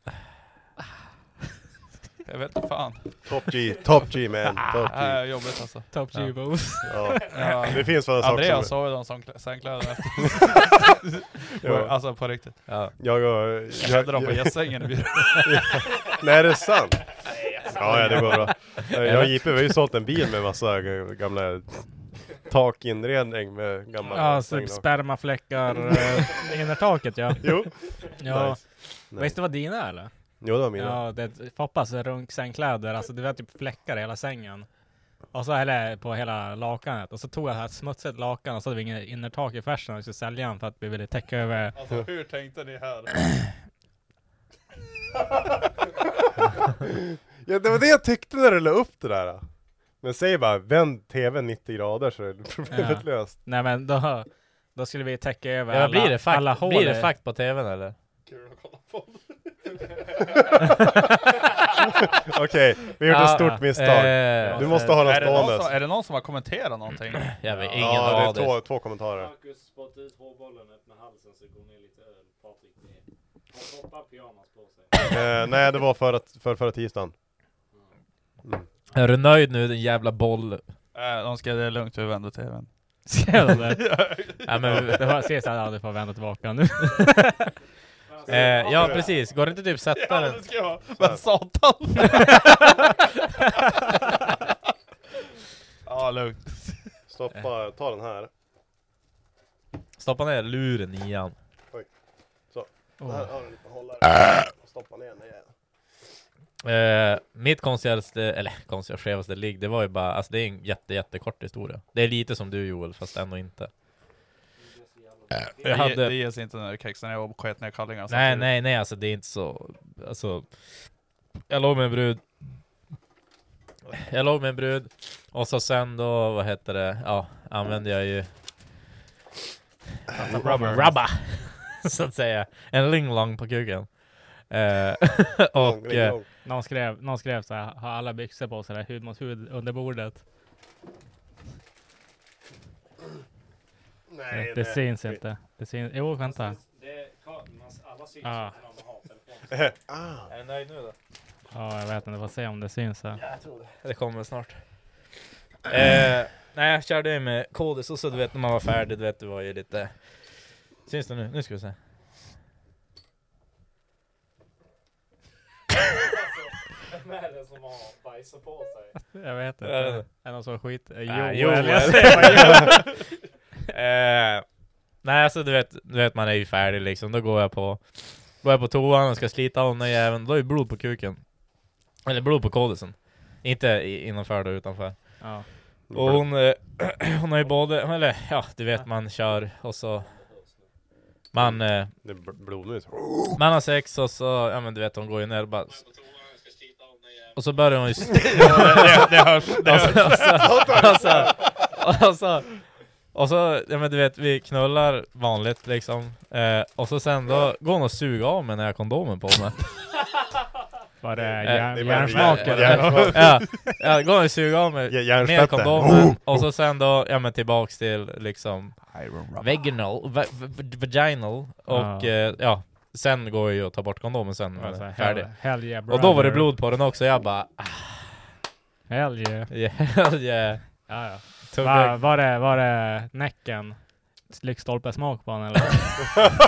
S1: Jag vet inte fan.
S3: Top G, top G man, top
S1: Det här
S3: G.
S1: är jobbigt alltså.
S2: Top G Bones.
S3: Ja.
S1: Ja.
S3: Det finns sådana saker som...
S1: Andreas sov ju de som klä- sängkläderna efter.
S3: Ja.
S1: Alltså på riktigt.
S3: Jag, jag,
S1: Jag
S3: jag,
S1: hade dem på gästsängen i byrån.
S3: Nej, är det sant? Ja, ja, det går bra. Jag och JP, vi har ju sålt en bil med massa g- gamla takinredning med gamla...
S2: Ja,
S3: slängda-
S2: typ spermafläckar eh, innertaket ja.
S3: Jo.
S2: ja.
S3: Nice. Nej.
S2: Visst det var dina eller?
S3: Jo, det var mina.
S2: Ja, det, Foppas runksängkläder, alltså det var typ fläckar i hela sängen. Och så eller på hela lakanet. Och så tog jag det här smutsigt lakan och så hade vi inget innertak i färsen och vi skulle sälja den för att vi ville täcka över.
S1: Alltså hur tänkte ni här?
S3: Ja, det var det jag tyckte när du la upp det där. Men säg bara, vänd TV 90 grader så är problemet
S2: Ja.
S3: löst.
S2: Nej men då, då skulle vi täcka över
S4: Ja,
S2: alla,
S4: blir det
S2: alla
S4: fakt,
S2: hål.
S4: blir det
S2: i-
S4: fakt på tvn eller?
S3: Okej, vi gjorde
S4: Ja,
S3: ett stort
S4: ja.
S3: misstag.
S4: Eh,
S3: Du måste ha den
S1: Är det, någon som,
S3: stående.
S1: är det någon som har kommenterat någonting?
S4: Jag vet ingen
S3: Ja,
S4: av
S3: det är två, två kommentarer.
S5: Marcus spottar ut hårbollen upp med halsen så går ner lite öl. Patrik ner. Han hoppar pyjamas på sig.
S3: Eh, nej, det var för, att, för förra tisdagen.
S4: Är du nöjd nu din jävla boll?
S1: Eh, De skrev det är lugnt, vi vänder tvn.
S2: Ser du det?
S4: Ja, men,
S2: Det var ses att du får vända tillbaka nu.
S4: eh, ja precis, går det inte typ sätta den?
S1: skrev jag. Men satan! Ja, lugnt.
S3: Stoppa, ta den här.
S4: Stoppa ner luren i han.
S3: Här har du en liten hållare.
S4: Äh.
S3: Stoppa ner den igen.
S4: Eh, mitt konstigaste, eller konstigaste, skevaste ligg, det var ju bara, alltså det är en jätte, jättekort historia. Det är lite som du Joel, fast ändå inte.
S1: Det,
S4: Jag hade,
S1: det ges inte när kexen är och sket ner kallingarna
S4: nej,
S1: samtidigt.
S4: nej, nej, alltså det är inte så, alltså. Jag låg med en brud. Jag låg med en brud, och så sen då, vad heter det, ja, använde jag ju
S1: Alltså, rubber.
S4: Rabba! Så att säga. En linglong på kuken. Eh,
S3: Lång,
S4: och
S3: lång,
S4: eh,
S3: lång.
S2: Någon skrev, någon skrev så här, har alla byxor på sig där, hud mot hud under bordet.
S3: Nej,
S2: det
S3: nej.
S2: syns inte. Det syns, jo vänta.
S4: Ah.
S2: Ja,
S4: Är du nöjd nu då?
S2: ja, jag vet inte, får se om det syns här.
S4: Det kommer snart. Eh, nej, jag körde ju med kodis och så du vet när man var färdig, du vet det var ju lite... Syns det nu? Nu ska vi se.
S5: Vem är det alltså som har bajsat på sig?
S2: Jag vet inte.
S4: Jag vet inte.
S2: Är någon som skit? Eh,
S4: Ah,
S2: Joel.
S4: Joel.
S2: Jag ser vad Joel.
S4: Eh, nej, alltså du vet, du vet, man är ju färdig liksom. Då går jag på, går jag på toan och ska slita av den där jäveln. Då är det blod på kuken. Eller blod på kodisen. Inte i, innanför då, utanför.
S2: Ja.
S4: Och hon, eh, hon har ju både, eller ja, du vet man kör och så man, eh,
S3: Det är bl- blodmus.
S4: man har sex och så, ja men du vet hon går ju ner och bara Och så börjar hon ju s-
S1: det, det hörs. Det
S4: och
S1: hörs.
S4: så, och så, och så, och så, och så, ja men du vet vi knullar vanligt liksom eh, Och så sen då går hon och suger av mig när jag har kondomen på mig
S2: Var det
S4: det
S2: järn-
S3: bara-
S2: järnsmaken?
S3: Ja, ja.
S4: Ja, ja går hon och suger av mig
S3: Ja,
S4: med
S3: Järnfetten.
S4: kondomen Och så sen då, ja men tillbaks till liksom Vaginal, va- va- vaginal och
S2: Ja.
S4: eh, ja, sen går jag ju att ta bort kondomen sen när
S2: Ja,
S4: den
S2: så
S4: är
S2: här,
S4: färdig.
S2: hell- Hell yeah
S4: Och då var det
S2: brother.
S4: blod på den också, jag bara ah,
S2: Hell yeah.
S4: yeah, yeah.
S2: Ja, ja.
S4: Tog
S2: Va,
S4: det-
S2: var, det, var det näcken? Lyktstolpe smak på den eller?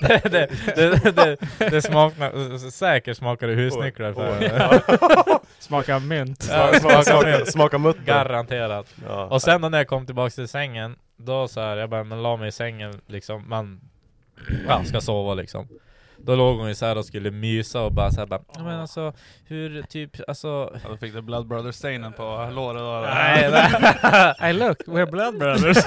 S4: det, det, det, det, det smakna, säkert smakade husnycklar för
S2: Smaka mynt.
S4: Ja,
S3: Smaka,
S4: smaka-
S3: smaka, smaka mutter.
S4: Garanterat.
S3: Ja.
S4: Och sen då när jag kom tillbaks till sängen, då så här, jag bara men la mig i sängen liksom, man ja, ska sova liksom. Då låg hon ju såhär och skulle mysa och bara såhär bara, "Ja, men alltså hur typ, alltså
S1: Ja, då fick du Blood Brothers-stainen på låret. då.
S4: Nej, nej.
S2: Hey look, we're blood brothers.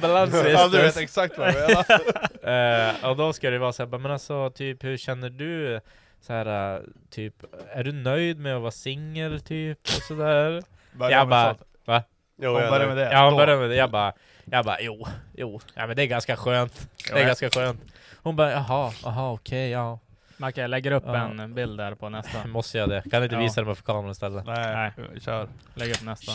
S4: Balans
S1: Ja, du vet exakt vad jag menar.
S4: Eh, och då ska det vara såhär, men alltså typ hur känner du så här, eh, typ, är du nöjd med att vara singel typ? Och sådär.
S1: Börja med
S4: Jag bara,
S1: sånt.
S4: va?
S3: Jo,
S1: Hon
S3: jag-
S1: börjar med det.
S4: Ja, hon
S1: Då.
S4: började med det. Jag bara, jag bara, jo, jo, ja men det är ganska skönt. Det är ganska skönt. Hon bara, jaha, jaha, okej, ja.
S2: Macke, jag lägger upp
S4: Ja.
S2: en bild där på nästa.
S4: Måste jag det? Kan du inte
S2: Ja.
S4: visa det för kameran istället?
S1: Nej, vi kör.
S2: Lägg upp nästa.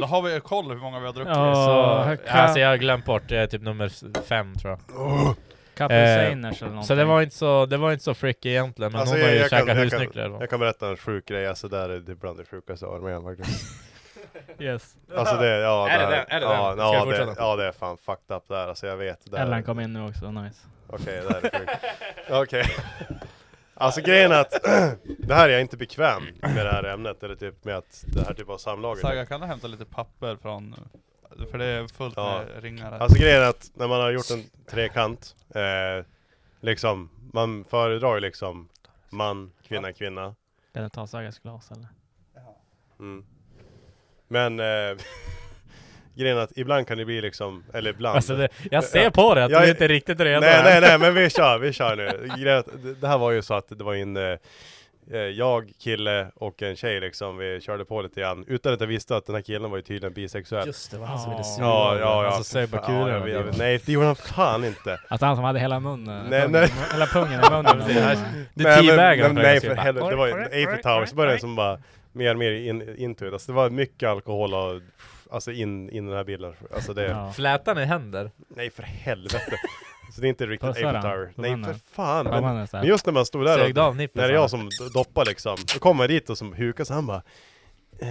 S1: Då har vi ju koll hur många vi har druckit.
S2: Ja.
S4: Så,
S2: kan-
S4: alltså jag har glömt bort, det är typ nummer s- fem tror jag. Eh,
S2: Kapelsainers eller någonting.
S4: Så det var inte så, det var inte så freaky egentligen, men
S3: Alltså,
S4: hon har ju
S3: jag kan-
S4: käkat
S3: jag kan-
S4: husnycklar. va?
S3: Jag kan berätta en sjuk grej, alltså där är det bland det sjukaste jag har varit med om faktiskt.
S2: Yes.
S3: Alltså det, ja,
S4: Är det
S3: där-
S4: den? Är det
S3: ja,
S4: den? Ska
S3: Ja,
S4: jag
S3: det,
S4: fortsätta?
S3: ja, det är fan fucked up där, alltså jag vet. Där,
S2: Ellen kom in nu också, nice.
S3: Okej, det här är sjukt. Okej. Alltså grejen är att, det här är jag inte bekväm med det här ämnet, eller typ med att det här typ av samlag.
S1: Saga, kan du hämta lite papper från... För det är fullt
S3: Ja.
S1: med ringar här.
S3: Alltså grejen är att när man har gjort en trekant, eh, liksom, man föredrar ju liksom man, kvinna, kvinna.
S2: Kan du ta Sagas glas eller?
S3: Mm. Men eh, grejen är att ibland kan det bli liksom, eller ibland.
S4: Alltså det, jag ser på dig att
S3: Jag
S4: du
S3: är-
S4: inte är riktigt redo
S3: nej,
S4: än.
S3: nej, nej, men vi kör, vi kör nu. Grejen är att det- Det här var ju så att det var ju en, eh, eh, jag, kille och en tjej liksom, vi körde på lite grann. Utan att jag visste att den här killen var ju tydligen bisexuell.
S4: Just det, var han som ville
S2: Ja.
S4: suga
S3: Ja, ja, ja.
S4: Alltså sög på
S3: Fan, ja, jag
S4: kulan.
S3: vet- jag vet. Nej, det gjorde han fan inte.
S2: Alltså han som hade hela munnen,
S3: Nej,
S2: pungen,
S3: nej.
S2: hela pungen i munnen.
S4: Du
S3: Nej, men-
S4: teabagade
S3: men
S4: honom
S3: Nej
S4: precis.
S3: för helvete, det var ju Eiffel Towers började som bara mer och mer in, into it. Alltså det var mycket alkohol och alltså in, in i den här bilen. Alltså det,
S2: Ja.
S4: Flätan i händer.
S3: nej för helvete. Så det är inte riktigt
S2: Pussar
S3: Eiffel
S2: han?
S3: Tower.
S2: Pussar
S3: Nej
S2: han
S3: för
S2: den?
S3: fan.
S2: Ja,
S3: Men,
S2: man är så
S3: men
S2: här.
S3: just när man stod där och
S4: Sögde av nippeln.
S3: när det är jag som d- doppar liksom, då kommer jag dit och som hukar så han bara eh,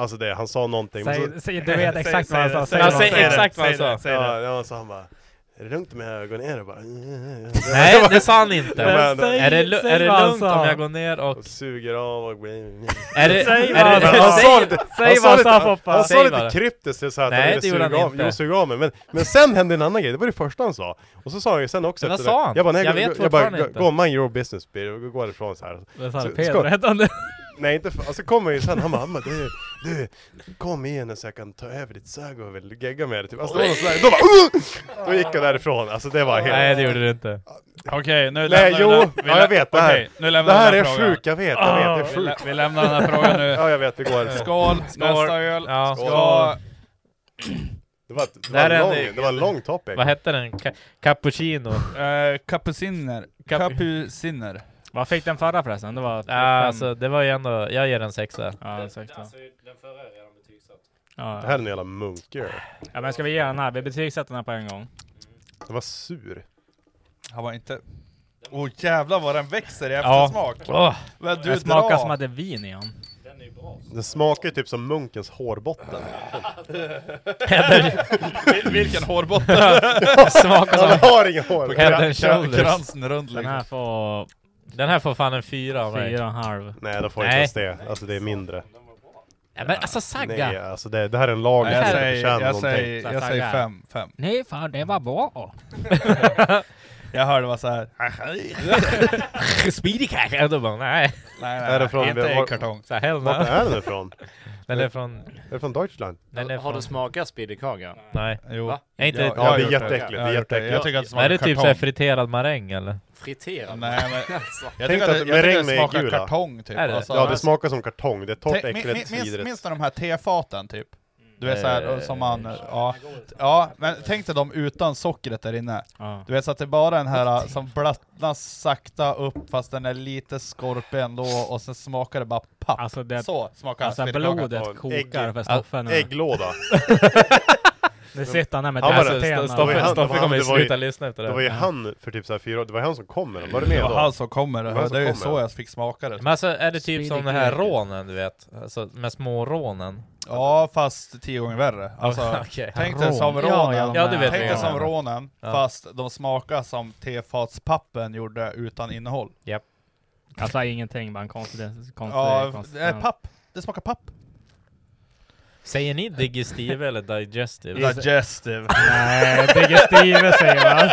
S3: Alltså det, han sa någonting men så,
S2: Säg, säg, du vet
S1: Säg-
S2: exakt vad han
S1: säg-
S2: sa. säg
S4: säg-
S2: någonting.
S4: exakt vad han
S1: säg det,
S4: sa.
S1: säg
S3: ja,
S1: det.
S3: ja, så han bara Är det lugnt om jag går ner och bara "Mm,
S4: Nej, det sa han inte.
S3: Men-
S4: Är det, lu- är det
S2: vad han
S4: lugnt
S2: sa.
S4: om jag går ner och...
S3: Och suger av och
S4: Är det,
S2: Säg
S4: är
S2: vad han
S4: det,
S3: Men
S2: sa.
S3: han sa lite,
S2: Säg
S3: han
S2: vad han
S3: lite-
S2: sa Foppa!
S3: Han
S4: Säg
S3: sa lite
S4: bara.
S3: kryptiskt så här att
S4: Nej,
S3: han ville
S4: det
S3: suga
S4: gjorde han
S3: av,
S4: inte.
S3: jo, suga av mig. Men, men sen hände en annan grej, det var det första han sa. Och så sa han ju sen också
S4: Men vad
S3: efter det.
S4: sa han?
S3: Jag bara, nej,
S4: Jag
S3: gå-
S4: vet
S3: jag bara,
S4: fortfarande
S3: gå-
S4: inte.
S3: gå mind your business Peter, och gå härifrån så här.
S2: Det sa
S3: Så-
S2: Peder
S3: skål.
S2: redan nu.
S3: Nej inte, för- och så kommer ju sen, han bara, han bara du, du, kom igen så jag kan ta över ditt sög och väl gegga med det typ. Alltså, då, var det så här, då bara, "Ugh!" då gick jag därifrån. Alltså det var helt...
S4: Nej, det gjorde du inte.
S1: Okej, nu
S3: Nej,
S1: lämnar
S3: jo,
S1: vi den. Vi
S3: ja,
S1: lä-
S3: jag vet, det här-
S1: okej, nu lämnar
S3: det
S1: vi
S3: här
S1: den
S3: är
S1: frågan.
S3: sjukt, jag vet, jag vet, det är
S1: Vi, lä-
S3: sjukt.
S1: vi lämnar den här frågan nu.
S3: Ja jag vet, vi går härifrån.
S1: Skål, nästa öl.
S4: Ja,
S3: Skål.
S1: Skål.
S3: Det var, det
S4: Det här
S3: var,
S4: är
S3: lång,
S4: en-
S3: det var en lång topic.
S4: Vad hette den? Ka cappuccino?
S1: Eh, Kapuciner.
S4: Kap-
S1: Kapuciner.
S2: Vad fick den förra förresten? Det var
S4: Ja,
S2: fem.
S4: alltså det var ju ändå... Jag ger den sexa.
S2: ja, exakt. ja.
S5: Alltså, Den förra är redan betygsatt.
S2: Ja,
S3: Det här
S2: ja.
S3: är en jävla munkgöl.
S2: ja, men ska vi ge den här? Vi betygsätter den här på en gång.
S3: Den var sur.
S1: Han var inte... Åh oh, jävlar vad den växer i
S4: Ja.
S1: eftersmak!
S4: Åh,
S1: Men du
S2: Den smakar
S1: drar.
S2: som att det är vin i den.
S3: Den smakar ju typ som munkens hårbotten.
S1: Vil- Vilken hårbotten!
S4: smakar
S3: Han
S4: som...
S3: har inga hår!
S4: Head and shoulders.
S1: Kransen runt
S2: Den här
S1: liksom.
S2: får
S4: Den här får fan en fyra av mig.
S2: fyra och en halv.
S3: Nej, de får inte
S4: Nej.
S3: ens det. Alltså det är mindre.
S4: Ja, men alltså
S3: Nej,
S4: Sagga!
S3: alltså det, det här är en lager
S1: Nej, jag
S3: som
S1: säger,
S3: förtjänar
S1: jag
S3: någonting.
S1: säger, jag säger fem, fem.
S2: Nej fan, det var bra!
S1: Jag hörde bara såhär...
S4: Speedy kanske? Ja, då bara nej.
S1: Nej,
S3: Är
S1: nej,
S3: det
S1: nej.
S3: från-
S1: inte
S3: var-
S1: i kartong.
S4: Så här, hell no.
S3: Vart är den ifrån?
S4: Den är från...
S3: Är det från Deutschland?
S4: Den är
S5: Har du
S4: från...
S5: smakat speedykaka?
S4: Nej.
S1: Jo.
S5: Va?
S4: Är inte...
S1: Ja,
S3: Ja,
S1: jag har
S3: det är
S1: gjort det.
S3: jätteäckligt. Det
S1: Jag, har
S3: är
S1: gjort det. jag
S3: jätteäckligt.
S1: tycker att det
S4: Är
S1: smakar
S4: det typ såhär
S1: kartong.
S4: friterad maräng eller?
S5: Friterad?
S1: Nej, men, jag
S3: Tänk
S1: tycker att,
S3: att
S1: jag tycker att
S3: maräng
S1: det
S3: med
S1: smakar
S3: gula.
S1: kartong typ.
S4: Är det?
S1: Alltså,
S3: Ja, det smakar som kartong. Det är torrt,
S1: Tänk- min-
S3: äckligt,
S1: min- minns, minns
S3: vidrigt.
S1: du de här tefaten typ? Du vet såhär som man,
S2: Eh,
S1: ja, ja, men tänk dig dem utan sockret där inne.
S2: Ja.
S1: Du vet så att det är bara den här äh, som blattnas sakta upp fast den är lite skorpig ändå och sen smakar det bara papp.
S2: Alltså det...
S1: så smakar
S2: Alltså
S1: speedkaka.
S2: blodet
S3: Ägg-
S2: kokar för Stoffen nu.
S3: Ägglåda.
S2: Nu sitter han där med
S3: Han var
S4: Alltså,
S3: det.
S2: tena.
S3: Det
S4: Sto-
S3: var ju
S4: Stoffe
S3: han-
S4: Stoffe kommer ju
S3: det var ju-
S4: sluta lyssna efter det
S3: Det var ju
S4: här.
S3: han för typ så här fyra år, det var han som kom med den. Var du
S1: Det
S3: med
S1: var han
S3: då?
S1: som kommer, det,
S3: Det var han
S1: det
S3: som
S1: är ju
S3: kommer.
S1: så jag fick smaka det.
S4: Men alltså är det typ
S2: Speedy
S4: som den här
S2: Greker.
S4: rånen du vet? Alltså med små rånen?
S1: Ja, fast tio gånger värre. Alltså,
S4: Okej.
S1: tänk dig som
S2: Rån. Ja, ja,
S1: rånen.
S2: de
S4: Ja, du
S2: där.
S4: vet
S1: Tänk dig
S4: vilken.
S1: som rånen,
S4: Ja.
S1: fast de smakar som tefatspappen gjorde utan innehåll.
S2: Alltså ingenting, bara en konstig... konstig
S1: Ja, det är
S2: konsistens.
S1: papp. Det smakar papp.
S4: Säger ni digestive eller digestive?
S1: Digestive.
S2: Nej, digestive säger man.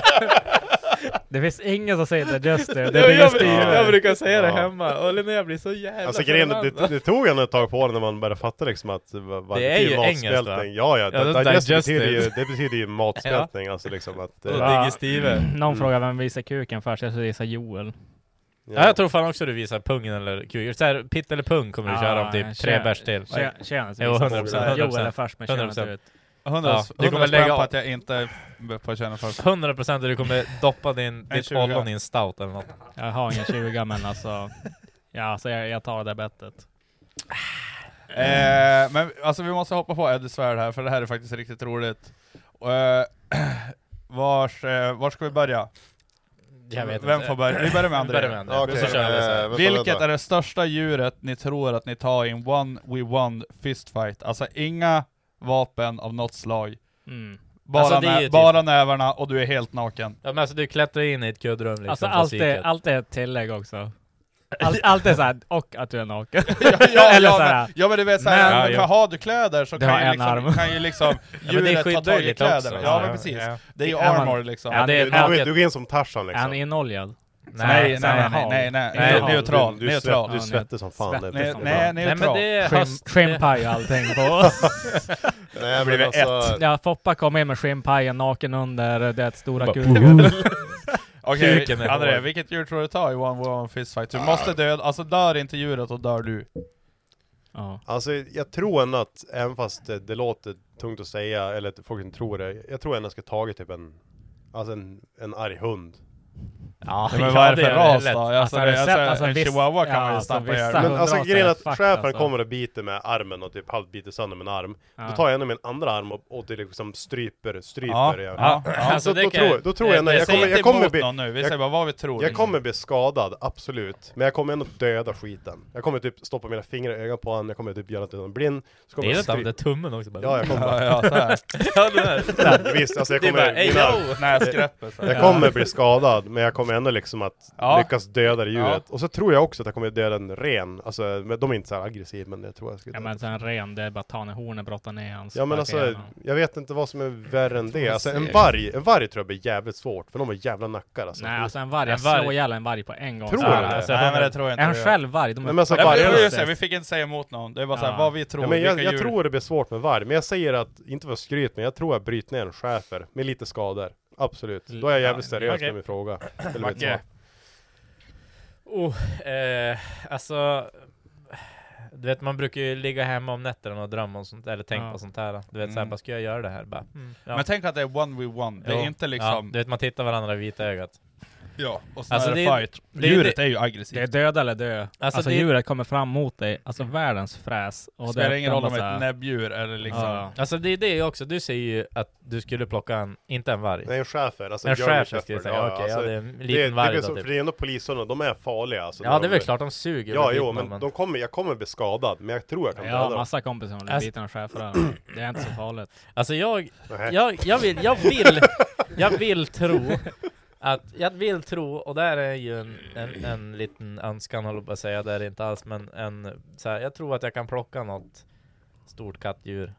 S2: Det finns ingen som säger det just nu. Det är
S4: Jag,
S2: det
S4: jag,
S2: Steve gör.
S4: jag brukar säga det
S3: Ja.
S4: hemma, och Linnea blir så jävla
S3: Alltså grejen, det,
S4: förbannad.
S3: det, det tog en ett tag på när man började fatta liksom att det var vad
S4: Det är
S3: betyder
S4: ju engelskt,
S3: matsmältning.
S4: va?
S3: Ja, ja,
S4: Ja,
S3: det, digest
S4: digestive.
S3: betyder ju, det betyder ju matsmältning, alltså liksom att... eh,
S4: Och
S2: Ja. Mm.
S4: Digestive.
S2: Någon frågar vem visar kuken först, jag skulle gissa Joel.
S4: Ja, jag tror fan också du visar pungen eller kuken. Så här, pitt eller pung kommer du
S2: Ja,
S4: köra om typ tre
S2: tjena-
S4: bärs till.
S2: Tjena, tjena. så
S4: Jo,
S2: visar
S4: 100%,
S2: Joel. Joel är
S4: 100%.
S2: först med könet
S4: 100%.
S2: ut.
S1: Hundra
S4: Ja,
S1: s-
S4: du kommer
S1: hundra
S4: lägga
S1: spänn
S4: av.
S1: på att jag inte får känna för det.
S4: 100% procent du kommer doppa din,
S1: En
S4: ditt
S1: tjugo.
S4: ollon i en stout eller något.
S2: Jag har ingen 20 men alltså. Ja,
S4: Alltså,
S2: så jag, jag tar det bettet.
S1: Eh, men alltså vi måste hoppa på Eddie Svärd här, för det här är faktiskt riktigt roligt. Eh, vars, eh, var ska vi börja?
S4: Jag vet
S1: Vem
S4: inte.
S1: får börja? Vi börjar med André.
S4: Börja med André.
S3: okej,
S4: Så kör vi så här.
S3: eh, vänta,
S1: Vilket
S3: vänta.
S1: är det största djuret ni tror att ni tar i en one we one fistfight? Alltså inga vapen av något slag.
S2: Mm.
S1: Bara,
S4: Alltså, det är
S1: nä-
S4: ju typ-
S1: bara nävarna och du är helt naken.
S4: Ja, men alltså du klättrar in i ett kuddrum liksom.
S2: Alltså
S4: på
S2: allt är,
S4: psyket.
S2: allt är ett tillägg också. Allt, allt är såhär, och att du är naken.
S1: ja, ja,
S2: Eller
S1: ja,
S2: så här.
S1: men, ja men du vet såhär,
S4: Men-
S1: men,
S4: Ja, jo.
S1: har du kläder så
S2: Du
S1: kan
S2: har
S1: ju,
S2: en
S1: liksom,
S2: arm.
S1: kan ju liksom
S4: Ja, men det
S1: djuret ta
S4: skyddar
S1: tag
S4: ju
S1: i
S4: lite
S1: kläderna.
S4: också.
S1: Ja
S4: Ja,
S1: men precis,
S4: ja.
S1: det är ju
S2: Är man-
S1: armor liksom.
S2: Ja, det är
S3: Du,
S2: ett
S3: du, går-
S2: naket.
S3: du går in som Tarzan
S2: Är han
S3: liksom.
S2: inoljad?
S1: Nej, nej,
S2: Så här
S1: nej,
S2: hal.
S1: nej, nej,
S4: Nej,
S1: nej,
S4: hal.
S1: neutral,
S3: Du, du, svett-
S1: neutral.
S3: du
S2: Ja,
S3: svettas som fan.
S2: svettig
S1: Nej,
S2: som
S1: nej,
S2: fan.
S4: Nej men
S1: neutral.
S4: det är hast-
S2: Skim- Skimpaj och allting på.
S3: Nej,
S1: blir
S3: men
S1: väl
S3: alltså,
S2: Ja, Foppa kom in med skimpajen naken under det stora
S4: Bara-
S2: kuken.
S1: Okej,
S4: Kuken är
S1: André,
S4: hård.
S1: vilket djur tror du tar i One Woman Fistfight?
S3: Ah.
S1: Du måste döda, alltså dör inte djuret och dör du.
S2: Ja.
S3: alltså jag tror ändå att, även fast det, det låter tungt att säga, eller att folk inte tror det, jag tror ändå jag ska tagit typ en, alltså en, en arg hund.
S4: Ja,
S1: men vad är det för
S4: gör jag
S1: ras
S4: lätt.
S1: då?
S2: Alltså,
S1: Alltså,
S2: har du
S1: det,
S2: sett-
S1: alltså,
S2: alltså,
S1: en
S2: viss-
S1: chihuahua kan
S2: ja,
S1: man ju
S2: alltså,
S1: stampa
S2: vissa-
S1: ihjäl.
S3: Men
S1: Men-
S2: hundra
S3: alltså
S2: åt
S3: grejen är
S2: det,
S3: att
S2: fuck,
S3: chefen
S2: alltså.
S3: kommer och biter med armen och typ halvt biter sönder med en arm. Då tar jag ändå min andra arm och, och det liksom stryper, stryper
S1: Ja,
S3: jag.
S1: ja,
S3: Så
S1: ja.
S4: Alltså,
S3: då,
S4: det
S3: då,
S4: kan-
S3: tror, då tror jag ändå,
S4: det-
S3: jag
S4: det
S3: kommer,
S4: säger
S3: jag
S1: inte
S3: kommer
S1: emot
S3: bli,
S1: någon nu, vi
S3: jag-
S1: säger bara vad vi tror.
S4: liksom."
S3: jag kommer bli skadad, absolut. Men jag kommer ändå döda skiten. Jag kommer typ stoppa mina fingrar i ögonen på honom, jag kommer typ göra att han är blind. Så
S4: Det
S3: kommer
S4: är
S3: jag
S4: ju
S3: strypa.
S4: inte tummen också bara.
S3: Ja, jag kommer
S1: Ja, ja, så här.
S4: Ja, det där.
S3: bara, visst, alltså jag
S4: Det är bara,
S3: kommer,
S4: ey
S3: mina,
S4: yo!
S1: Näsgreppet. så här.
S3: jag kommer bli skadad, men jag kommer ändå liksom att
S1: Ja.
S3: lyckas döda det djuret.
S1: Ja.
S3: Och så tror jag också att jag kommer döda en ren, alltså men de är inte så här aggressiva, men jag tror jag skulle
S2: Ja men sen ren, det är bara att ta ner hornen, brotta ner hans
S3: Ja men alltså, jag vet inte vad som är värre än det.
S4: man
S3: Alltså
S4: se.
S3: en varg, en varg tror jag blir jävligt svårt, för de har jävla nackar alltså.
S2: Nej alltså en varg,
S4: En
S2: jag
S4: varg-
S2: slår ihjäl en varg på en gång.
S3: Tror
S2: Så här,
S3: du det?
S2: alltså,
S1: Nej men det tror jag inte.
S2: Är han
S1: du gör.
S2: själv varg? De
S3: Nej, men alltså,
S1: Ja, men,
S3: vargarna-
S1: just det, vi fick inte säga emot någon, det är bara såhär
S2: Ja.
S1: vad vi tror,
S3: Ja, men jag,
S1: vilka
S3: jag
S1: djur.
S3: tror det blir svårt med varg, men jag säger att, inte för att skryta, men jag tror jag bryter ner en schäfer med lite skador. Absolut. Då är jag jävligt
S2: Ja,
S3: seriös
S4: okej.
S3: med min fråga. Eller mitt
S1: Macke.
S3: svar.
S4: Oh, eh, alltså... Du vet man brukar ju ligga hemma om nätterna och drömma om sånt eller tänka
S2: Ja.
S4: på sånt här. Du vet såhär,
S1: Mm.
S4: bara ska jag göra det här? Bara, mm, ja.
S1: Men tänk att det är one we one, det
S4: Jo.
S1: är inte
S4: ja,
S1: liksom,
S4: Du vet man tittar varandra i vita ögat.
S1: ja, och så
S4: Alltså,
S1: är det
S4: det är-
S1: fight.
S4: det är-
S1: Djuret
S4: det-
S1: är ju
S2: Det är
S1: aggressivt.
S2: döda eller dö. Alltså,
S4: det-
S2: djuret kommer fram mot dig, alltså världens fräs. Och
S1: Det spelar
S2: är
S1: ingen roll om
S2: ändå
S1: det
S2: så här-
S1: är ett näbbdjur eller liksom...
S2: Ja.
S4: Alltså det är det också, du säger ju att du skulle plocka en, inte en varg.
S3: Nej, en schäfer. Alltså
S4: en
S3: German
S4: schäfer
S3: Shepherd,
S4: skulle jag säga, okej, ja, det är en
S3: alltså, det,
S4: liten
S3: det
S4: varg
S3: blir
S4: då
S3: så,
S4: typ.
S3: för det är ändå polishundarna, de är farliga alltså.
S4: Ja
S3: när
S4: det är
S3: de-
S4: väl klart, de suger
S3: Ja,
S4: väl
S3: jo,
S4: skiten,
S3: men de kommer, jag kommer bli skadad, men jag tror jag kan
S2: Ja,
S3: döda dem.
S2: massa kompisar som blir
S4: Alltså-
S2: bitna av schäfrar. Det är inte så farligt.
S4: Alltså jag,
S3: Nej.
S4: jag, jag vill, jag vill, jag vill tro att, jag vill tro, och där är ju en, en, en liten önskan håller jag på att säga, det är det inte alls, men en, så här, jag tror att jag kan plocka något stort kattdjur.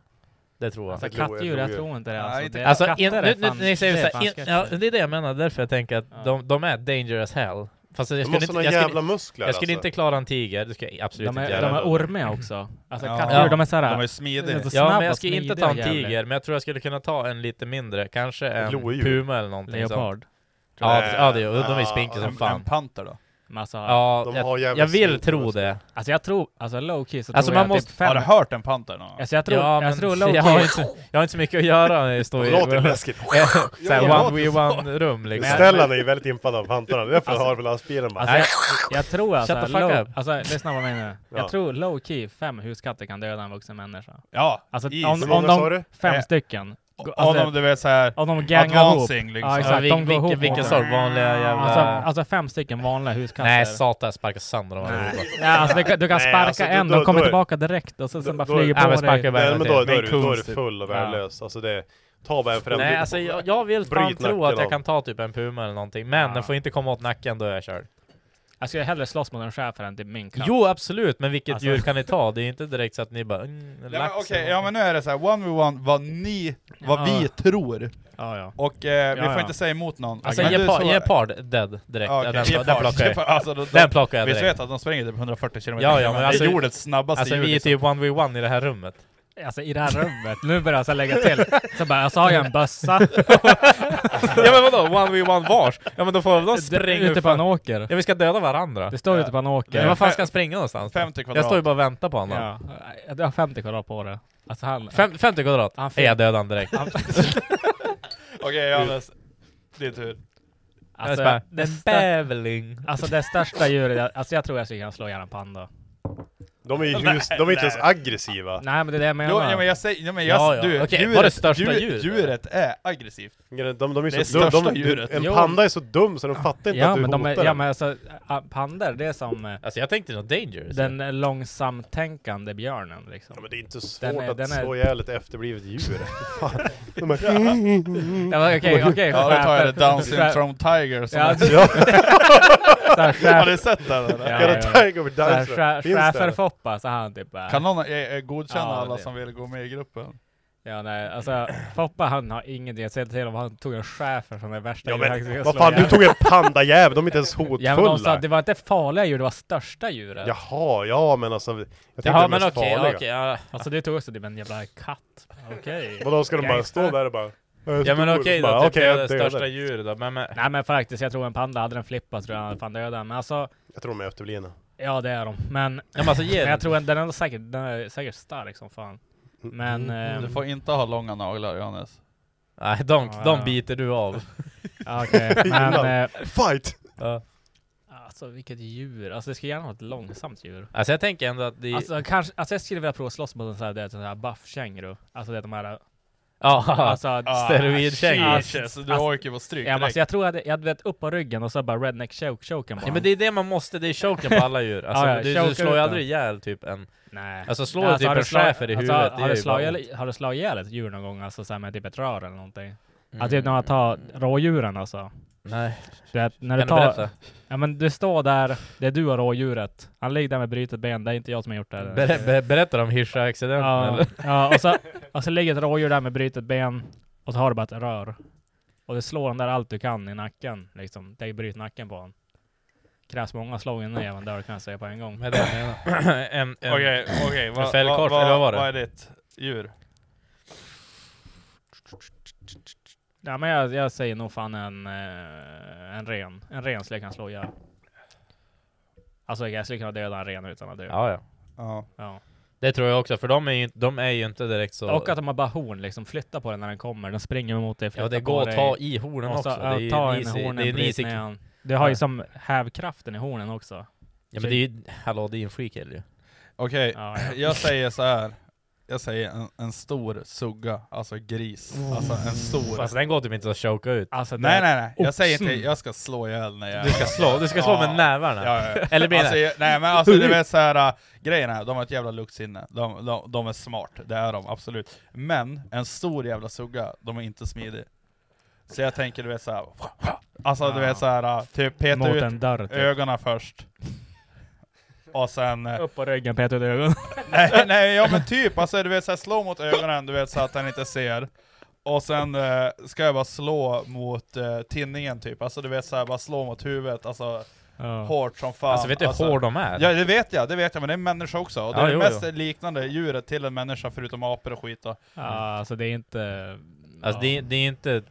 S4: Det tror jag.
S2: Alltså
S3: tror- jag
S2: kattdjur,
S3: tror
S2: jag
S3: ju-
S2: tror inte det.
S1: Nej,
S2: Alltså,
S1: inte-
S2: det
S4: Alltså, in,
S2: katter är
S4: nu, nu,
S2: fan-
S4: ni säger
S2: det är fan
S4: såhär, in,
S2: sketch.
S4: ja, det är det jag menar, därför jag tänker att
S2: Ja.
S4: de, de är danger as hell. Fast jag
S3: De
S4: skulle,
S3: har
S4: inte,
S3: såna
S4: jag,
S3: jävla
S4: skulle,
S3: muskler
S4: jag skulle
S3: alltså.
S4: inte klara en tiger, det skulle jag absolut
S2: De är,
S4: inte
S3: jävla-
S2: de
S4: göra.
S2: är ormiga också. Alltså
S1: Ja.
S2: kattdjur,
S4: Ja.
S2: de är såhär...
S1: De är smidiga.
S2: de är så
S4: Ja men
S2: snabba
S4: jag
S2: och
S4: skulle inte
S2: smidiga
S4: ta en
S2: jävlar.
S4: tiger, men jag tror jag skulle kunna ta en lite mindre, kanske en
S3: Lodjur.
S4: puma eller någonting sånt.
S2: Leopard.
S4: Ja,
S3: Nej.
S4: ja det är, de är ju spinkiga
S3: Ja,
S4: som
S1: En, en
S4: fan.
S1: panter då?
S2: Men alltså,
S4: Ja,
S3: De har
S4: jag,
S3: jävligt
S4: jag vill
S3: stort
S4: tro
S3: bröst.
S4: det.
S2: alltså jag tror, alltså low key så
S4: Alltså,
S2: tror jag
S4: man måste-
S2: typ
S1: Har
S2: fem...
S1: du hört en panter någon gång?
S2: Alltså jag tror,
S4: ja,
S2: jag tror low
S4: jag, har
S2: key...
S4: inte, jag har inte så mycket att göra när jag står
S3: Det
S4: i
S3: låter läskigt. det
S4: såhär one
S3: låter
S4: we one rum liksom.
S3: Stellan är ju väldigt impad av pantrarna, det är därför jag har på lastbilen bara.
S2: Alltså jag, jag tror alltså,
S4: Shut the fuck
S2: low,
S4: up.
S2: alltså lyssna vad jag menar.
S3: Ja.
S2: Jag tror low key fem huskatter kan döda en vuxen människa.
S1: Ja,
S2: Alltså
S1: is.
S2: om,
S3: Hur
S2: om
S3: många sa
S2: de,
S3: du?
S2: fem
S1: Eh,
S2: stycken.
S1: om
S2: Gå- Alltså,
S1: de du vet såhär,
S2: om de gängar ihop.
S1: advancing liksom.
S2: Ja,
S4: Alltså,
S2: exakt,
S4: vil,
S2: de går
S4: vilken,
S2: ihop
S4: vilken
S2: mot
S4: sort?
S2: varandra.
S4: Vanliga jävla...
S2: Alltså, alltså fem stycken vanliga huskatter.
S4: Nej satan, jag sparkar sönder dem allihopa.
S2: Nej, alltså du, kan- du kan
S3: Nej,
S2: sparka
S3: alltså, då-
S2: en,
S3: då-
S2: de kommer
S3: då är-
S2: tillbaka direkt och sen, sen
S3: då-
S2: bara
S3: då är-
S2: flyger
S4: Nej, men
S2: på
S4: sparka
S2: dig.
S4: bara
S3: Nej
S4: en
S3: men
S4: till.
S3: då, då, är, du, då är du
S1: konstigt.
S3: full och värdelös. Alltså det, ta bara en förälder.
S4: Nej alltså jag, jag vill fan
S3: Bryt
S4: tro
S3: nacken
S4: att jag
S3: av.
S4: kan ta typ en puma eller någonting, men
S2: Ja.
S4: den får inte komma åt nacken, då är jag körd.
S2: Jag skulle hellre slåss mot en schäfer än typ min katt.
S4: Jo absolut, men vilket
S2: Alltså-
S4: djur kan ni ta? Det är inte direkt så att ni bara mm,
S1: Ja, men
S4: lax
S1: Okej,
S4: eller
S1: ja
S4: någonting.
S1: men nu är det så här one v one vad ni, vad
S2: Ja.
S1: vi tror.
S2: Ja, ja.
S1: Och eh, vi
S2: Ja,
S1: får
S2: ja.
S1: inte säga emot någon.
S4: Alltså
S1: Men det är
S4: gepa-
S1: så-
S4: gepard, dead direkt.
S1: Ja,
S4: Ja,
S1: okej,
S4: den,
S1: gepard,
S4: den plockar jag.
S1: gepard, alltså, de,
S4: Den plockar jag
S1: Visst
S4: direkt.
S1: vet att de springer typ 140 km
S4: Ja, ja, men alltså-
S1: Det är jordets snabbaste
S4: Alltså
S1: djur.
S4: vi är
S1: liksom.
S4: typ 1v1 i det här rummet.
S2: Alltså i det här rummet, nu börjar jag så här lägga till. Så bara, alltså har jag en bössa
S4: ja men vadå, 1v1 vars? Ja men då får de springa
S2: ute
S4: ut
S2: på en åker.
S4: Ja vi ska döda varandra.
S2: Det står ute på en
S4: Men
S2: åker.
S4: vad fan ska han springa någonstans?
S1: 50 kvadrat.
S4: Jag står ju bara och väntar på honom.
S2: Ja, jag har 50 kvadrat på det. Alltså han...
S4: Fem, 50 kvadrat,
S2: Han
S4: är jag dödad han direkt.
S1: Okej, Johannes. Din tur.
S4: alltså,
S2: alltså, det,
S4: den
S2: stör,
S4: bävling.
S2: alltså det största djuret, jag- alltså jag tror jag skulle kunna slå ihjäl en panda.
S3: De är, ju hus, de är inte ens aggressiva.
S2: Nej men det är det jag menar.
S1: Jo, ja, men jag säger, ja, men jag,
S4: Ja, ja.
S1: du,
S4: Okej,
S1: djuret,
S4: var det största
S1: djur-
S4: djuret?
S1: djuret är aggressivt.
S3: De, de, de är
S1: Det är
S3: så dum,
S1: största
S3: de,
S1: djuret.
S3: En
S2: Jo.
S3: panda är så dum så de fattar inte
S2: ja,
S3: att du
S2: men de
S3: hotar
S2: är, ja
S3: dem.
S2: men alltså, äh, pandor det är som eh,
S4: Alltså jag tänkte något dangerous.
S2: den långsamtänkande björnen liksom.
S3: Ja, men det är inte så svårt
S2: Den är-
S3: att
S2: den är-
S3: slå ihjäl ett efterblivet djur. Fan. De är-
S2: Ja, men Okej, okej.
S1: Ja, då tar jag det Down
S2: Schäfer-
S1: syndrome tiger som
S2: Ja,
S3: ja,
S2: så här,
S1: Har
S2: schäfer-
S1: ni sett den eller?
S2: Ja,
S3: Got
S2: ja.
S3: a tiger with
S2: så här,
S3: Downs syndrome.
S2: schä-
S3: Finns det, eller?
S2: Schäferfoppa, så han typ bara...
S1: Kan någon eh, eh, godkänna
S2: Ja,
S1: alla
S2: det-
S1: som vill gå med i gruppen?
S2: Ja nej, alltså Foppa han har ingenting, jag säger till honom, han tog en schäfer som är värsta
S3: Ja,
S2: han ska
S3: men vad
S2: slå
S3: fan, du
S2: ihjäl.
S3: tog en pandajävel, de är inte ens
S2: Ja men de sa
S3: hotfulla.
S2: att det var inte farliga djur, det var största djuret.
S3: Jaha, ja men alltså. Jag tänkte
S4: Jaha
S3: de
S4: men
S3: mest
S4: okej,
S3: farliga.
S4: okej. ja.
S2: Alltså du tog också typ en jävla katt. Okej.
S3: Vadå, ska de bara stå där och bara...
S4: Ja men okej då,
S3: Bara,
S4: typ
S3: okej,
S4: det är
S3: jag
S4: det
S3: dödar.
S4: största djuret då. Men, men,
S2: Nej men faktiskt, jag tror en panda, hade den flippat tror jag han hade fan dödat den. Men alltså,
S3: Jag tror de är efterblivna.
S2: ja det är de. Men,
S4: ja, men alltså ge
S2: men
S4: den.
S2: jag tror den, den, är säkert, den är säkert stark som fan.
S1: Mm.
S2: Men,
S1: Du
S4: Mm.
S2: eh,
S1: får inte ha långa naglar Johannes.
S4: Nej de,
S2: Ja,
S4: de
S2: ja.
S4: biter du av.
S2: ja, okej. men eh,
S3: Fight!
S4: Ja.
S2: alltså vilket djur. Alltså det skulle gärna vara ett långsamt djur.
S4: Alltså jag tänker ändå att det...
S2: Alltså, kanske, alltså jag skulle vilja prova att slåss mot en sån här, det, sån här buff-känguru. Alltså det är de här...
S4: ja, Ah,
S2: Alltså,
S4: steroidkängor.
S1: Ah,
S2: Alltså,
S1: Jesus, Du
S2: alltså-
S1: orkar vara stryk
S2: Ja, men
S1: direkt.
S2: alltså jag tror jag hade, jag hade velat upp på ryggen och så bara redneck choke choken på
S4: Ja, men
S2: honom.
S4: det är det man måste, det är choken på alla djur. Alltså,
S2: Ja, ja,
S4: du,
S2: choka
S4: du slår
S2: ut
S4: ju
S2: den.
S4: aldrig ihjäl typ en...
S2: Nej.
S4: Alltså slå
S2: Nej,
S4: typ
S2: har du
S4: en
S2: slag-
S4: schäfer i huvudet,
S2: Alltså,
S4: det
S2: har,
S4: är
S2: du
S4: ju
S2: slagit,
S4: bara
S2: ihjäl- har du slagit ihjäl ett djur någon gång? Alltså så här med typ ett rör eller någonting? Alltså typ när man tar rådjuren alltså.
S4: Mm. Nej.
S2: Du vet, när du
S4: Kan du
S2: tar...
S4: berätta?
S2: Ja men du står där, det är du och rådjuret. Han ligger där med brutet ben, det är inte jag som har gjort det.
S4: Ber, ber, berättar om Hirsch-accidenten
S2: ja,
S4: eller?
S2: ja, och så, och så ligger ett rådjur där med brutet ben, och så har du bara ett rör. Och du slår den där allt du kan i nacken, liksom. Det bryter nacken på honom. Krävs många slag innan även dör kan jag säga på en gång.
S4: Med det jag menar. en, en,
S1: Okej, okej. vad-
S4: en fällkort,
S1: vad-
S4: eller vad var det?
S1: Vad är ditt djur?
S2: Ja, men jag, jag säger nog fan en, eh, en ren. En ren skulle jag kunna slå ihjäl. Alltså jag skulle kunna döda en ren utan att dö.
S4: Ja, ja.
S1: Ja.
S2: Ja.
S4: Det tror jag också, för de är ju, inte- de är ju inte direkt så...
S2: Och att de har bara horn liksom. Flytta på den när den kommer. Den springer mot dig.
S4: ja,
S2: flyttar
S4: det
S2: på
S4: går
S2: dig.
S4: att ta i hornen
S2: Och så,
S4: också. Det är
S2: ja,
S4: ju
S2: ta in
S4: nisig- det
S2: hornen,
S4: är
S2: bryt
S4: nisig-
S2: ner den. Det har ju
S4: Ja.
S2: som hävkraften i hornen också.
S4: Ja men det är ju, hallå det är ju en freakill ju.
S1: Okej,
S2: Ja, ja.
S1: Eh, jag säger så här. Jag säger en, en stor sugga, alltså gris. Alltså en stor.
S4: Fast den går typ inte att choka ut.
S2: Oh. Alltså,
S1: nej
S2: det,
S1: nej nej, jag säger inte,
S2: Oxen.
S1: jag ska slå ihjäl när jag...
S4: Du ska slå, du ska slå
S1: Ja.
S4: med nävarna.
S1: Ja, ja, ja.
S4: Eller menar
S1: alltså, jag- Nej men alltså du vet såhär, äh, grejen är, de har ett jävla luktsinne. De, de, de är smart, det är de absolut. Men en stor jävla sugga, de är inte smidiga. Så jag tänker du vet såhär, alltså du vet såhär, äh, typ peta
S2: mot
S1: ut
S2: en dörr typ.
S1: ögonen först. Och sen... äh,
S2: Upp på ryggen, peta ut ögonen.
S1: nej, nej, ja men typ, alltså du vet såhär, slå mot ögonen du vet så att han inte ser. Och sen eh, ska jag bara slå mot eh, tinningen typ, alltså du vet såhär, bara slå mot huvudet, alltså
S2: Ja.
S1: hårt som fan.
S4: Alltså vet du hur hård de är?
S1: Ja det vet jag, det vet jag, men det är en människa också. Och det
S4: Ja,
S1: är
S4: jo,
S1: det mest
S4: jo.
S1: liknande djuret till en människa förutom apor och skit då.
S2: Ja, alltså det är inte... ja,
S4: Alltså det, är- det är inte...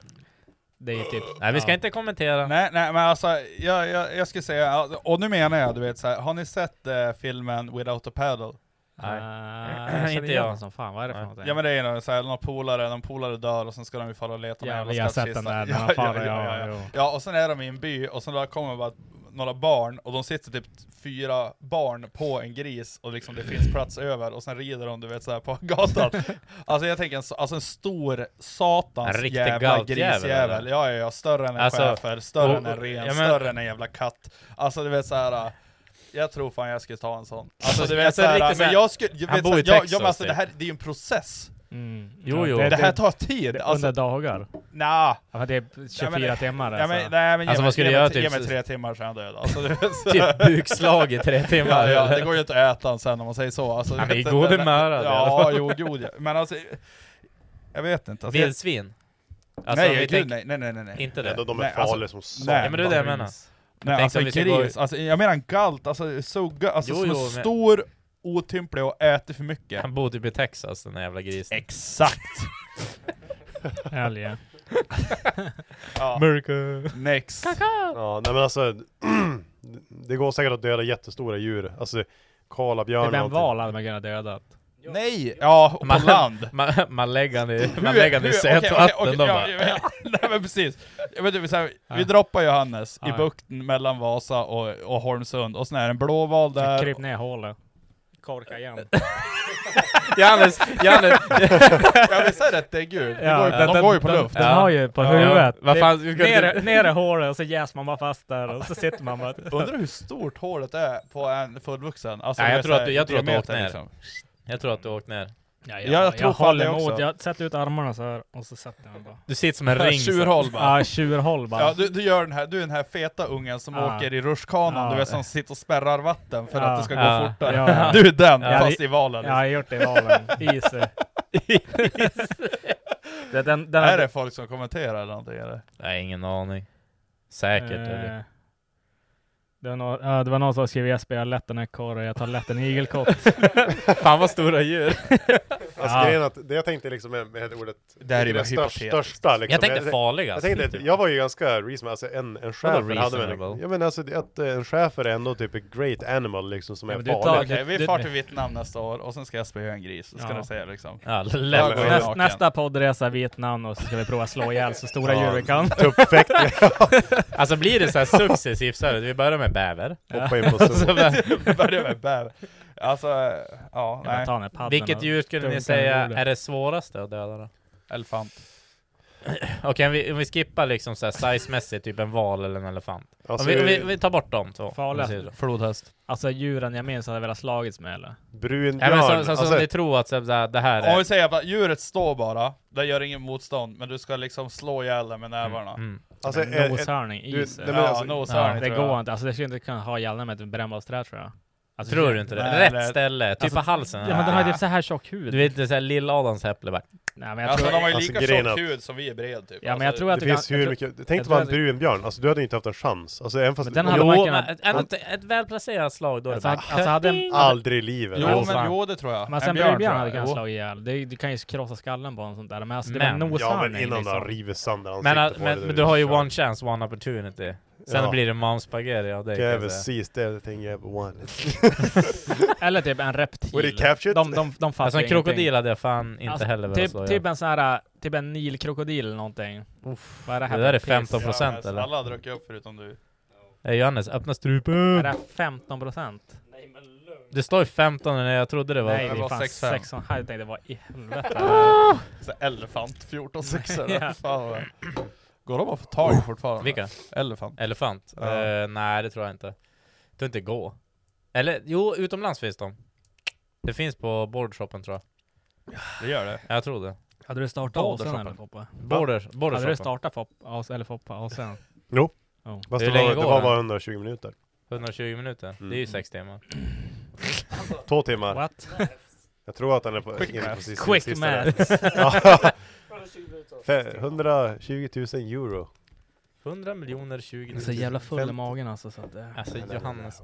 S2: det är typ...
S4: Nej vi ska
S2: ja.
S4: inte kommentera.
S1: Nej, nej men alltså, jag, jag, jag skulle säga, alltså, och nu menar jag du vet så här, har ni sett eh, filmen Without a paddle?
S4: Nej.
S2: Ah, jag
S4: Inte
S2: inte jag.
S4: jag.
S2: Som fan, vad är det för
S4: Nej.
S2: någonting?
S1: Ja men det är ju så här, någon polare, någon polare dör och sen ska de ju fara och leta
S2: Ja,
S1: någon
S2: vi
S1: jävla
S2: har sett den
S1: skattkista.
S2: där när han far, ja, jo.
S1: Ja, och sen är de i en by och sen då kommer bara några barn och de sitter typ fyra barn på en gris och liksom det finns plats över och sen rider de du vet så här på gatan. Alltså jag tänker en, s- alltså en stor satans
S4: En riktig
S1: jävla
S4: galtjävel,
S1: grisjävel.
S4: eller?
S1: Ja, ja, ja, större än en
S4: Alltså,
S1: schäfer, större än en
S4: och-
S1: ren,
S4: ja, men-
S1: större än en jävla katt. Alltså du vet så här. äh, Jag tror fan jag skulle ta en sån. Alltså du vet
S4: Alltså,
S1: såhär,
S4: riktigt
S1: men
S4: såhär-
S1: jag skulle, jag
S4: han
S1: vet,
S4: bor
S1: så-
S4: i
S1: jag, jag,
S4: Texas,
S1: men alltså,
S4: typ.
S1: det här det är ju en process.
S2: Mm.
S4: Jo, jo.
S1: Det,
S4: Det-
S1: här tar tid! Alltså,
S2: Under dagar?
S1: nja.
S2: Ja, men det är 24 timmar
S1: Ja,
S2: alltså.
S1: men, nej, men
S4: Alltså,
S1: ge,
S4: vad
S1: mig,
S4: skulle
S1: ge,
S4: jag
S1: mig,
S4: göra,
S1: ge
S4: typ?
S1: mig tre timmar så är jag död. Alltså, det,
S4: Typ bukslag i tre timmar.
S1: ja, ja, det går ju inte att äta den sen om man säger så. Alltså,
S4: Ja, men
S1: det-
S4: i god humör, alltså. det-
S1: Ja, jo, god ja. Men alltså, jag vet inte. Alltså, jag,
S4: Vildsvin? Alltså, om
S1: nej,
S4: vi
S1: gud,
S4: tänker-
S1: nej, nej, nej, nej, nej.
S4: Inte
S3: Nej,
S4: det?
S3: de, de är
S1: Nej, alltså-
S3: farliga som satan.
S1: nej.
S4: Ja men det är det jag menar.
S1: Nej
S4: tänkte
S1: alltså
S4: om vi ska
S1: gris,
S4: gå-
S1: alltså, jag menar en galt, alltså sugga, alltså
S4: Jo,
S1: som
S4: jo,
S1: är
S4: men-
S1: stor, otymplig och äter för mycket.
S4: Han bor typ i Texas den där jävla grisen.
S1: Exakt!
S2: Älg.
S1: ja.
S4: America.
S1: Next!
S3: Ja, nej men alltså, det går säkert att döda jättestora djur. Alltså,
S2: Det
S3: karlabjörn
S2: blir en
S3: och allt.
S2: val hade man kunnat döda.
S1: Nej! Ja, och på
S4: Man-
S1: land!
S4: Man, man lägger han i,
S1: Hur-
S4: man lägger han
S1: hur-
S4: i
S1: okej, okej,
S4: sötvatten.
S1: okej,
S4: de
S1: ja,
S4: bara-
S1: ja, Nej men precis! Jag vet, inte, så här, vi droppar Johannes i
S2: Ja.
S1: bukten mellan Vasa och, och Holmsund, och sen är det en blåval där,
S2: Kryp ner i hålet. Korka igen.
S4: Johannes, Johannes!
S1: Ja visst är det att det är gul? de,
S2: Ja,
S1: går ju,
S2: den-
S1: de
S2: den-
S1: går ju på
S2: den-
S1: luft.
S2: Den har ju på
S4: Ja.
S2: huvudet.
S4: Vad fan,
S2: Det-
S4: vi ska-
S2: ner, ner i hålet och så jäser man bara fast där och så sitter man bara...
S1: Undrar hur stort hålet är på en fullvuxen? Alltså,
S4: Nej,
S1: det
S4: jag
S1: är
S4: tror att
S1: så här
S4: du- jag tror att du har åkt
S1: diameter, liksom.
S4: ner. Jag tror att du har åkt ner.
S2: Ja,
S1: jag tror fan det
S2: håller
S1: också.
S2: emot. Jag sätter ut armarna så här och så sätter jag mig bara.
S4: Du sitter som en
S1: Här,
S4: ring. så.
S1: Tjurholm bara.
S2: Ja, tjurhåll bara.
S1: Ja, du, du gör den här, du är den här feta ungen som
S2: Ja.
S1: åker i rutschkanan,
S2: Ja.
S1: du vet som sitter och spärrar vatten för
S2: Ja.
S1: att det ska gå
S4: Ja.
S1: fortare.
S2: Ja.
S1: Du är den,
S2: Ja.
S1: fast i valen.
S2: Ja, jag har gjort det i valen. Easy. Det- den, den
S1: Är det folk som kommenterar eller någonting eller?
S4: Nej, ingen aning. Säkert. eller?
S2: Eh, det, var någon, ja, det var någon som skrev Jesper, jag har lätt en ekorre, jag tar lätt en igelkott.
S4: Fan vad stora djur.
S3: Alltså
S2: Ja.
S3: grejen är att, det jag tänkte liksom med, med ordet,
S1: Det här är ju bara
S3: största,
S1: hypotetiskt.
S3: största liksom.
S4: Jag tänkte farliga.
S3: Jag tänkte,
S2: Typ.
S3: att jag var ju ganska reasonable, alltså en, en schäfer hade man
S4: reasonable?
S3: Ja men alltså det- att eh, en schäfer är ändå typ ett great animal liksom som
S2: Ja,
S3: är
S2: men du tar-
S3: farlig.
S1: Okej, vi
S2: det-
S1: far till Vietnam nästa år och sen ska jag spöa en gris, så ska
S2: Ja.
S1: du säga liksom.
S4: Ja,
S1: Ja,
S4: lätt.
S1: men-
S2: Näst, nästa poddresa Vietnam och så ska vi prova slå ihjäl så stora
S3: Ja.
S2: djur vi kan.
S3: Tuppfäktning,
S4: Alltså blir det så här successivt så här, vi börjar med bäver.
S3: hoppa in på så.
S1: Börja med bäver. Alltså, ja,
S2: Jag
S1: nej.
S2: tar den här padden
S4: Vilket
S2: och
S4: djur skulle
S2: dunkar
S4: ni
S2: den
S4: säga
S2: i bordet.
S4: är det svåraste att döda då?
S1: Elefant.
S4: Okej, om, vi, om vi skippar liksom så här sizemässigt, typ en val eller en elefant. Om
S3: Alltså,
S4: vi, om vi, vi tar bort dem två. om vi
S2: Farliga.
S4: säger så.
S1: Flodhäst.
S2: Alltså djuren jag minns hade jag velat slagits med eller?
S4: Nej men så, så,
S3: brunbjörn,
S4: så,
S3: alltså,
S4: ni tror att så, här, det här
S1: Om
S4: är...
S1: vi säger att djuret står bara, det gör ingen motstånd, men du ska liksom slå ihjäl det med nävarna.
S4: Mm.
S3: alltså,
S2: Men
S3: eh, eh,
S2: Noshörning,
S3: du-
S2: is.
S3: nej,
S2: eller?
S3: men
S1: Ja,
S3: alltså-
S1: noshörning
S4: ja,
S2: det
S1: tror jag.
S2: går inte. Alltså det skulle jag inte kunna ha i hjärnan med ett brännbollsträ tror jag. Alltså,
S4: Tror du inte det?
S1: Nej,
S4: Rätt
S1: det-
S4: ställe, typ
S2: Alltså,
S4: på halsen.
S2: Ja men den har ju typ så här tjock hud.
S4: Du vet inte såhär Lill-Adams äpple bara.
S2: Nej, men jag
S1: Alltså
S2: tror...
S1: de har ju
S3: Alltså,
S1: lika
S3: grejen
S1: tjock
S3: är-
S1: hud som vi är bred typ.
S2: Ja men jag
S1: Alltså,
S2: tror att
S3: det
S2: du kan...
S3: finns hur
S2: jag tror-
S3: mycket, tänk
S2: jag
S3: dig bara en
S2: tror-
S3: brunbjörn, alltså du hade inte haft en chans. Alltså även fast,
S2: Men den
S3: om
S2: hade
S3: du-
S2: man
S4: Jo,
S2: kunnat-
S4: men ändå ett, ett välplacerat slag då är det
S2: Alltså,
S4: bara...
S2: alltså hade en...
S3: aldrig i livet.
S1: Jo,
S2: Jo,
S3: Alltså,
S1: men
S2: fan.
S1: jo det tror jag.
S2: Men
S1: En
S2: sen brödbjörn
S1: tror
S2: hade kunnat
S1: Jo.
S2: slagit ihjäl. Det, du kan ju krossa skallen på en sånt där. Men alltså det
S4: Men-
S2: var en
S3: Ja men
S2: noshörning
S3: innan du har
S2: liksom.
S3: rivit sönder
S4: Men,
S3: ansiktet på
S4: att-
S3: det,
S4: men, men du har ju
S3: kör.
S4: one chance, one opportunity. Sen
S3: Ja.
S4: blir det mom spaghetti av dig
S3: You
S4: kan
S3: ever
S4: jag säga.
S3: seized everything you ever wanted.
S2: Eller typ en reptil.
S3: Were they captured?
S2: De, de, de fattar
S4: Alltså en
S2: ju ingenting.
S4: krokodil hade jag fan inte
S2: Alltså,
S4: heller velat slå
S2: Typ, typ
S4: ihjäl.
S2: en sån här, äh, typ en nilkrokodil eller någonting. Vad är det här
S4: Det
S2: för
S4: där är
S2: piss?
S4: 15
S1: Ja,
S4: procent
S1: men
S4: eller?
S1: Alla har druckit upp förutom du.
S4: Eh, Johannes, öppna
S2: Är
S4: strupen!
S2: det här 15 procent?
S4: Det står ju 15 när jag trodde det var...
S2: Nej,
S1: det
S2: det
S1: var
S2: är fan
S1: 6,5.
S2: 6,5. Jag tänkte vad i helvete. Ah!
S1: Så elefant 14 sexor.
S2: Ja.
S1: Fan, vad- Går de att få tag i fortfarande?
S4: Oh. Vilka?
S1: Elefant.
S4: Elefant?
S1: Ja.
S4: Eh, nej, det tror jag inte. Jag tror inte gå. Eller jo, utomlands finns de. Det finns på bordershopen tror jag.
S1: Det gör det.
S4: Jag tror det.
S2: Hade du startat Åsen eller Foppa?
S4: Border,
S2: Hade du
S4: bordershopen.
S2: startat Foppa, Ås- eller Foppa Åsen? Oh.
S3: Fast
S4: Hur
S3: det var,
S4: länge
S3: det
S4: går
S3: var
S4: den?
S3: bara 120 minuter.
S4: 120 minuter. Det är ju
S3: Mm.
S4: sex timmar.
S3: Två timmar.
S2: What?
S3: Jag tror att den är på...
S1: Quick
S3: inne på
S1: math.
S3: sista-
S2: Quick
S3: sista
S2: maths!
S3: där. Fe- 120 000 euro.
S4: 100 miljoner 20
S2: Så jävla full i magen alltså så att... eh,
S4: Alltså Johannes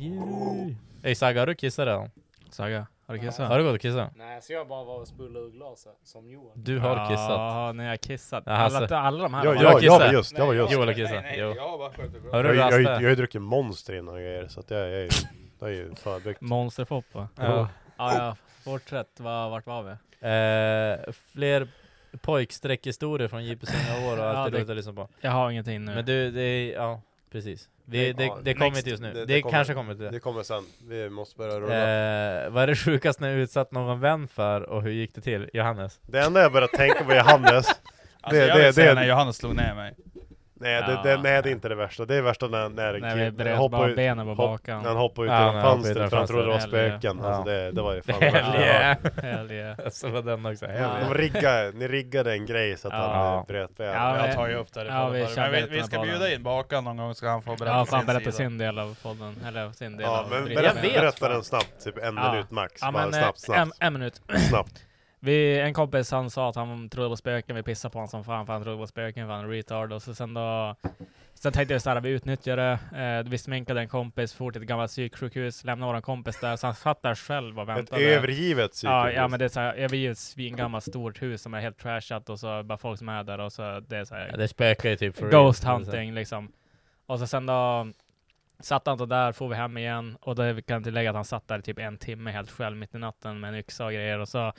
S4: Ey Sagga, har du kissat redan?
S2: Saga, har du
S4: Har
S2: kissat?
S4: du gått och kissat?
S5: Nej, så jag bara var och spullade ur glaset som Johan.
S4: Du har kissat.
S2: Ja, när jag har kissat.
S4: Ja,
S2: Alla,
S4: alltså.
S2: alla de här...
S3: Jag, jag,
S4: var-
S3: jag var
S4: kissade.
S3: just, jag var just.
S4: Joel har kissat. Jo.
S1: har bara skjutit upp.
S4: Har
S3: Jag,
S4: du
S3: jag, jag, jag
S4: rastat?
S3: har ju druckit monster innan och grejer, så att jag, jag, är ju- jag är ju förbryggt.
S2: Monsterfoppa.
S4: Ja.
S2: Ja, ja. Fortsätt. Va, vart var vi?
S4: Eh, fler pojkstreckhistorier från Jeppes unga år och
S2: Ja,
S4: allt det
S2: det-
S4: du lyssnar på.
S2: Jag har ingenting nu.
S4: Men du, det är, ja, precis. Vi,
S3: Nej,
S4: det,
S3: ja,
S4: det kommer
S3: next.
S4: inte just nu.
S3: Det-
S4: Det,
S3: det kommer.
S4: kanske kommer till det.
S3: Det kommer sen, vi måste börja rulla.
S4: Eh, vad är det sjukaste ni utsatt någon vän för och hur gick det till? Johannes?
S3: Det enda jag började tänka på är Hannes.
S1: Alltså, jag
S3: det-
S1: vill säga
S3: det-
S1: när Johannes slog ner mig.
S3: Nej, det,
S2: Ja,
S3: det, nej, det är inte det värsta. Det är värsta när, när,
S2: När vi
S3: killen
S2: bröt
S3: hoppar
S2: bara
S3: ut-
S2: benen på
S3: hopp-
S2: bakan.
S3: När han hoppar ut
S4: Ja,
S3: genom
S4: när han hoppar ut
S3: fönstret
S4: genom
S3: för han trodde det var
S2: fönstret. Hell
S3: spöken.
S4: yeah.
S3: Alltså
S4: Ja.
S3: det, det var ju fan det värsta
S4: Hell
S3: jag har hört.
S4: yeah!
S2: Hell yeah.
S1: Alltså,
S4: Så var den också, hell
S3: De
S4: yeah.
S3: riggar, ni riggade en grej så att
S2: Ja.
S3: han eh, bröt benet.
S2: Ja,
S1: Jag
S2: men-
S1: tar ju upp det i
S2: ja,
S1: podden
S2: vi
S1: förut.
S2: kör
S1: Men
S2: lite
S1: vi, vi
S2: med
S1: ska
S2: podden.
S1: bjuda in Bakan någon gång ska han få berätta
S2: Ja, fan berätta
S1: sida.
S2: sin del av podden. Eller sin del
S3: Ja,
S2: av
S3: men
S2: drickan.
S3: berätta,
S2: Ja.
S3: berätta den snabbt, typ en
S2: Ja.
S3: minut max.
S2: Ja,
S3: Bara
S2: men eh,
S3: snabbt,
S2: en,
S3: snabbt,
S2: en minut.
S3: snabbt.
S2: Vi, en kompis han sa att han trodde på spöken, vi pissade på honom som fan för han trodde på spöken, för han är retard. Och så sen då... Sen tänkte vi såhär, vi utnyttjar det. Eh, vi sminkade en kompis, for till ett gammalt psyksjukhus, lämnade vår kompis där. Så han satt där själv och
S3: Ett
S2: väntade.
S3: övergivet
S2: Ja,
S3: psykiskt.
S2: ja men det är såhär, övergivet svingammalt stort hus som är helt trashat och så bara folk som är där och så det är såhär
S4: Ja, Det spökar ju typ för
S2: Ghost hunting liksom. Och så sen då satt han då där, får vi hem igen. Och då kan jag tillägga att han satt där typ en timme helt själv mitt i natten med en yxa och grejer. Och så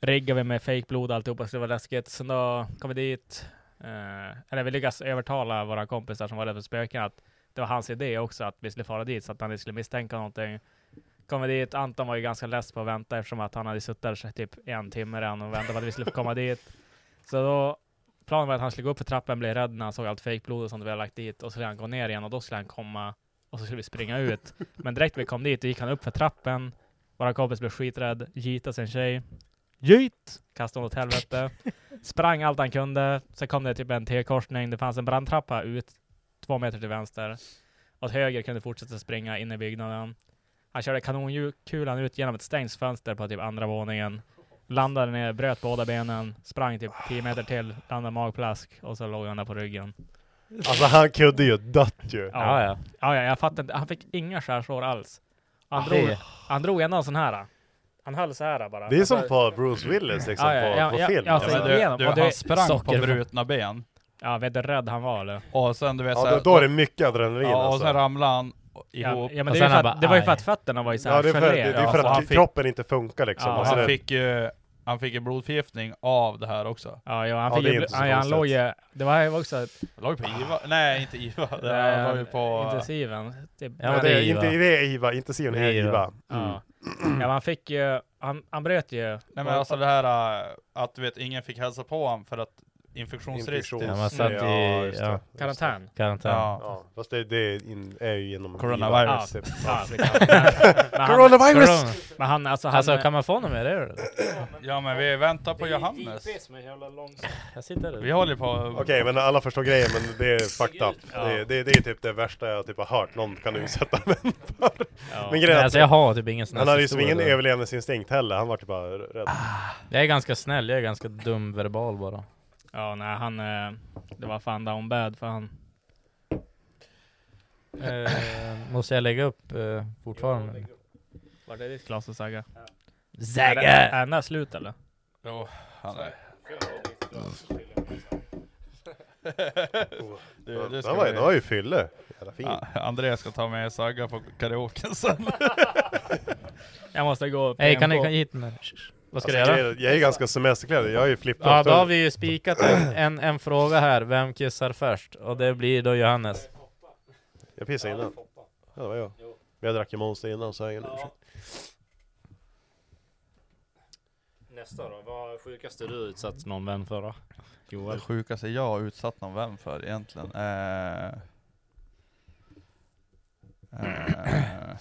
S2: riggade vi med fejkblod och alltihopa, så det var läskigt. Sen då kom vi dit. Eh, eller vi lyckades övertala våra kompisar som var rädda för spöken att det var hans idé också att vi skulle fara dit så att han inte skulle misstänka någonting. Kom vi dit, Anton var ju ganska less på att vänta eftersom att han hade suttit där så typ en timme redan och väntat på att vi skulle få komma dit. Så då Planen var att han skulle gå upp för trappan, bli rädd när han såg allt fejkblod och sånt vi hade lagt dit. Och så skulle han gå ner igen och då skulle han komma och så skulle vi springa ut. Men direkt vi kom dit, då gick han upp för trappen. Våra kompis blev skiträdd, jeetade sin tjej. Jeet! Kastade hon åt helvete. Sprang allt han kunde. Sen kom det typ en T-korsning. Det fanns en brandtrappa ut två meter till vänster. Åt höger kunde fortsätta springa in i byggnaden. Han körde kanonkulan ut genom ett stängt fönster på typ andra våningen. Landade ner, bröt båda benen, sprang typ 10 meter till, landade magplask och så låg han där på ryggen.
S3: Alltså han kunde ju dött ju.
S4: Ja, ja.
S2: Ja, ja, jag fattar inte. Han fick inga skärsår alls. Han,
S4: Ah,
S2: drog,
S4: det-
S2: han drog ändå en sån här. Han höll så här bara. Alltså-
S3: Det är som på Bruce Willis liksom
S2: Ja, ja,
S3: på,
S2: ja,
S3: på
S2: ja,
S3: film.
S2: ja,
S1: Ja,
S3: alltså.
S1: men
S2: alltså,
S1: du,
S2: igenom.
S1: du,
S2: Och det-
S1: han sprang på
S4: socker-
S1: brutna ben.
S2: Ja, vet du hur rädd han var eller?
S1: Och sen du vet
S3: ja,
S1: såhär,
S3: då, då är det mycket adrenalin
S1: Ja, och
S3: alltså.
S1: sen ramlade han
S2: Ja,
S1: ihop.
S2: ja, men
S4: Och
S2: det, är ju
S4: sen
S2: för
S4: han
S2: att,
S4: bara,
S2: det var ju för
S4: aj.
S2: att fötterna var ju
S3: Ja,
S2: såhär
S3: det är för, det, det är för
S1: alltså,
S3: att
S1: han fick-
S3: kroppen inte funkar liksom.
S2: Ja,
S3: alltså,
S1: han,
S3: det,
S1: fick ju, han fick en blodförgiftning av det här också.
S2: Ja, ja, han,
S3: Ja,
S2: fick
S3: det är
S2: ju,
S3: inte så
S2: ja, han
S3: konstigt.
S2: låg ju... Det var ju också
S1: Låg på IVA? Nej, inte IVA. Det
S2: Nej,
S1: här var ju på...
S2: intensiven. Typ,
S4: Ja,
S3: ja,
S4: men
S3: det är
S4: IVA.
S3: inte det är IVA, inte Sion är Mm.
S4: IVA.
S3: IVA.
S2: Ja. ja, men han fick ju... Han, han bröt ju...
S1: Nej men alltså det här äh, att du vet, ingen fick hälsa på honom för att infektionsrisk.
S3: Infektions-
S4: Ja, man satt i-
S3: Ja, just det.
S4: ja.
S2: karantän.
S4: Karantän.
S1: Ja.
S3: Ja, fast det, det är, in, är ju genom
S1: Coronavirus.
S3: IVA, typ.
S2: Ja, liksom. Men- men han-
S3: Coronavirus!
S4: Corona.
S2: Men han, alltså han...
S4: Alltså kan man få något mer eller?
S1: Ja men vi väntar på Johannes.
S4: Jag sitter
S1: Vi
S4: där.
S1: håller på...
S3: Okej, men alla förstår grejen, men det är fucked up. Det, det, det är typ det värsta jag typ har hört någon kan utsätta mig för.
S2: ja.
S3: Men
S4: Nej,
S3: grejen är att
S4: alltså jag har typ ingen sån
S3: han
S4: här
S3: hade ju som
S4: historia Ah,
S3: ingen
S4: där.
S3: överlevnadsinstinkt heller, han var typ bara rädd.
S4: Jag är ganska snäll, jag är ganska dum verbal bara.
S2: Ja, nej han... eh, Det var fan down bad för han.
S4: Eh, måste jag lägga upp eh, fortfarande?
S2: Vart är ditt glas och Sagga? Är,
S4: Zagga!
S2: är den där slut eller?
S1: Jo, han är... Du, du
S3: Det var, ju- det var ju fylle. Jävla fin.
S1: Ja, Andreas ska ta med Sagga på karaoken sen.
S2: Jag måste gå och
S4: Hej
S2: PMK.
S4: kan ni komma hit med Vad ska du
S3: Alltså,
S4: göra?
S3: grejen är- Jag är ganska semesterklädd, jag är ju flippad.
S4: Ja då har vi ju spikat en, en, en fråga här, vem kissar först? Och det blir då Johannes.
S3: Jag pissade innan. Ja, det var jag. Men jag drack ju Monster innan så jag har ingen ursäkt.
S5: Nästa då, vad sjukaste du utsatt någon vän för då?
S1: Det
S5: Joel?
S1: sjukaste jag har utsatt någon vän för egentligen. Eh, eh,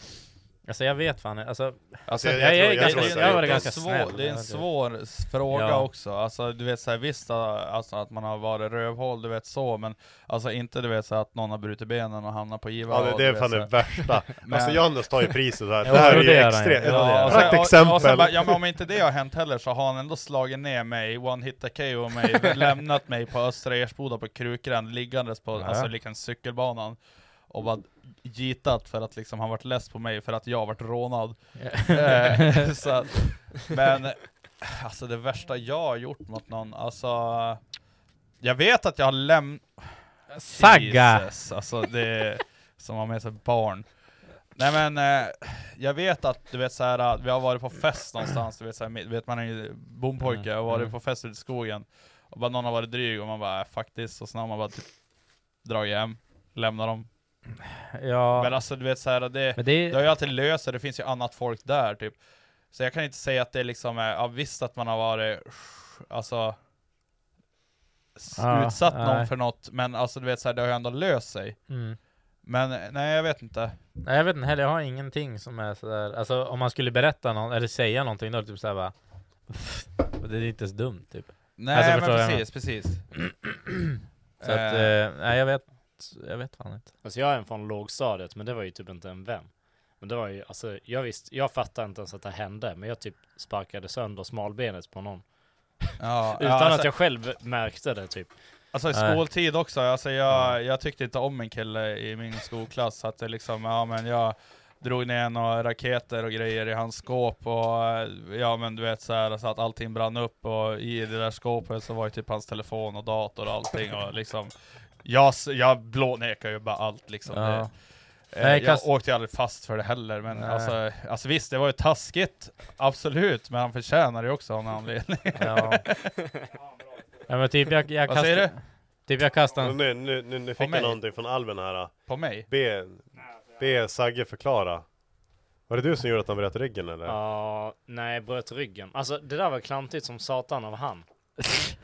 S4: Alltså jag vet fan alltså,
S1: alltså,
S3: Jag- tror-
S4: jag, jag, är
S3: jag
S4: ganska-
S3: tror
S4: jag,
S3: säkert
S4: var
S3: det är
S4: ganska
S1: svår,
S4: snäll.
S1: Det är en svår s- fråga
S4: Ja.
S1: också. Alltså, du vet så här, visst alltså, att man har varit rövhål, du vet så, men alltså inte du vet så här, att någon har brutit benen och hamnat på IVA.
S3: Ja, det,
S1: och,
S3: det
S1: du
S3: är
S1: vet,
S3: fan
S1: så här.
S3: det värsta.
S1: Men-
S3: Alltså Johannes tar ju priset här.
S4: Jo,
S3: Det här är
S4: jo,
S3: ju
S4: det gör han ju.
S3: extremt.
S4: Ja, det gör han.
S1: och sen-
S3: Praktexempel.
S1: Och, och sen bara, ja, men om inte det har hänt heller så har han ändå slagit ner mig, one hit a KO mig, lämnat mig på Östra Ersboda på Krukgränd, liggandes på
S4: Nähä.
S1: alltså, liksom cykelbanan. Och bara gitat för att liksom han varit less på mig för att jag varit rånad. Eh, så att, men alltså det värsta jag har gjort mot någon, alltså Jag vet att jag har lämnat...
S4: Sagga!
S1: Jesus, alltså det är som har med sig barn. Nej men, eh, jag vet att du vet så här, att vi har varit på fest någonstans, du vet, så här, du vet man är ju bompojke och varit
S4: Mm.
S1: på fest ute i skogen, och bara någon har varit dryg och man bara äh, faktiskt, och sen har man bara typ dragit hem, lämnar dem. Men
S4: Ja,
S1: alltså du vet så här, det,
S4: men det
S1: det har
S4: är...
S1: ju alltid löst sig, det finns ju annat folk där typ. Så jag kan inte säga att det liksom är, ja visst att man har varit, alltså s-
S4: Ja,
S1: utsatt någon
S4: nej.
S1: för något, men alltså du vet så här, det har ju ändå löst sig.
S4: Mm.
S1: Men eh, nej, jag vet inte.
S4: Nej jag vet inte heller, jag har ingenting som är sådär, alltså om man skulle berätta någon, eller säga någonting då är det typ såhär bara "Pff, Det är inte ens dumt typ
S1: Nej
S4: Alltså,
S1: men
S4: förstår jag
S1: precis, precis.
S4: Så att,
S1: Eh,
S4: eh, nej jag vet, jag vet fan inte
S5: Alltså jag är en från lågstadiet, men det var ju typ inte en vän. Men det var ju, alltså jag visste, jag fattade inte ens att det hände, men jag typ sparkade sönder smalbenet på någon.
S1: ja,
S5: Utan
S1: ja, alltså,
S5: att jag själv märkte det typ.
S1: Alltså i
S4: Nej.
S1: skoltid också, alltså jag, jag tyckte inte om en kille i min skolklass, så att det liksom, ja men jag drog ner några raketer och grejer i hans skåp och eh, ja men du vet så här så att allting brann upp och i det där skåpet så var ju typ hans telefon och dator och allting och liksom jag, s- jag blånekar ju bara allt liksom.
S4: Ja.
S1: Det, eh,
S4: Nej,
S1: jag
S4: kast-
S1: åkte ju aldrig fast för det heller, men
S4: Nej.
S1: alltså, alltså visst, det var ju taskigt, absolut, men han förtjänar ju också av en anledning.
S4: Ja, ja men typ jag, jag
S1: Vad säger du?
S4: Typ jag kastade en,
S3: Nu, nu, nu, nu fick
S1: mig.
S3: jag någonting från Alben här.
S1: På mig?
S3: Be, be Sagge förklara. Var det du som gjorde att han bröt ryggen eller?
S5: Ja, nej, bröt ryggen. Alltså det där var klantigt som satan av han.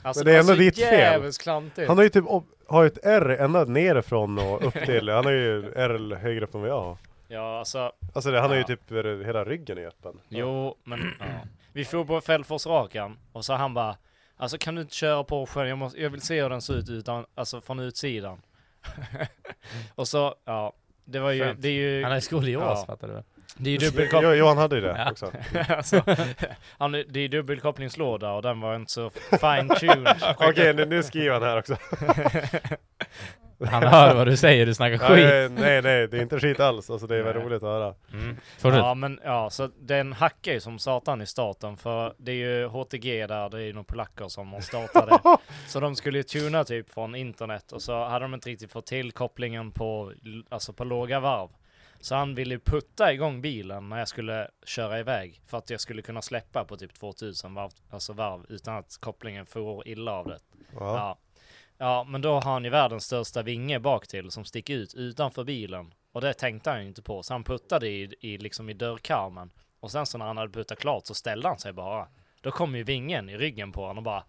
S5: Alltså
S3: Men det är ändå ditt fel.
S5: jävligt klantigt.
S3: Han har ju typ har ju ett R ända nerifrån och upp till. Han har ju R högre upp än vad jag har.
S5: Ja, alltså,
S3: Alltså det, han har ju
S5: Ja.
S3: typ eh, hela ryggen är öppen.
S5: jo, men ja. Vi for på Fällforsrakan och så han bara, alltså kan du inte köra Porschen? Jag, måste, jag vill se hur den ser ut utan, alltså från utsidan. och så, ja, det var ju,
S4: Skönt.
S5: det är ju,
S4: han är skolios
S5: Ja.
S4: fattar du väl?
S5: det är ju
S3: Jo,
S5: dubbelkoppling.
S3: Johan hade ju det
S4: Ja.
S3: också.
S5: alltså, han, är- det är ju dubbelkopplingslåda och den var inte så fine tuned.
S3: Okej, nu, nu skriver han här också.
S4: Han hör vad du säger, du snackar
S3: Ja,
S4: skit!
S3: eh, nej, nej, det är inte skit alls. Alltså det är väl
S5: Nej.
S3: roligt att höra.
S4: Mm. Fortsätt.
S5: Ja men ja, så den hackar ju som satan i starten för det är ju HTG där, det är ju några polacker som har startat det. Så de skulle ju tuna typ från internet och så hade de inte riktigt fått till kopplingen på, alltså på låga varv. Så han ville ju putta igång bilen när jag skulle köra iväg för att jag skulle kunna släppa på typ 2000 varv, alltså varv utan att kopplingen får illa av det.
S3: Ja.
S5: Ja. ja, men då har han ju världens största vinge bak till som sticker ut utanför bilen. Och det tänkte han ju inte på, så han puttade i, i, liksom i dörrkarmen. Och sen så när han hade puttat klart så ställde han sig bara. Då kom ju vingen i ryggen på honom och bara...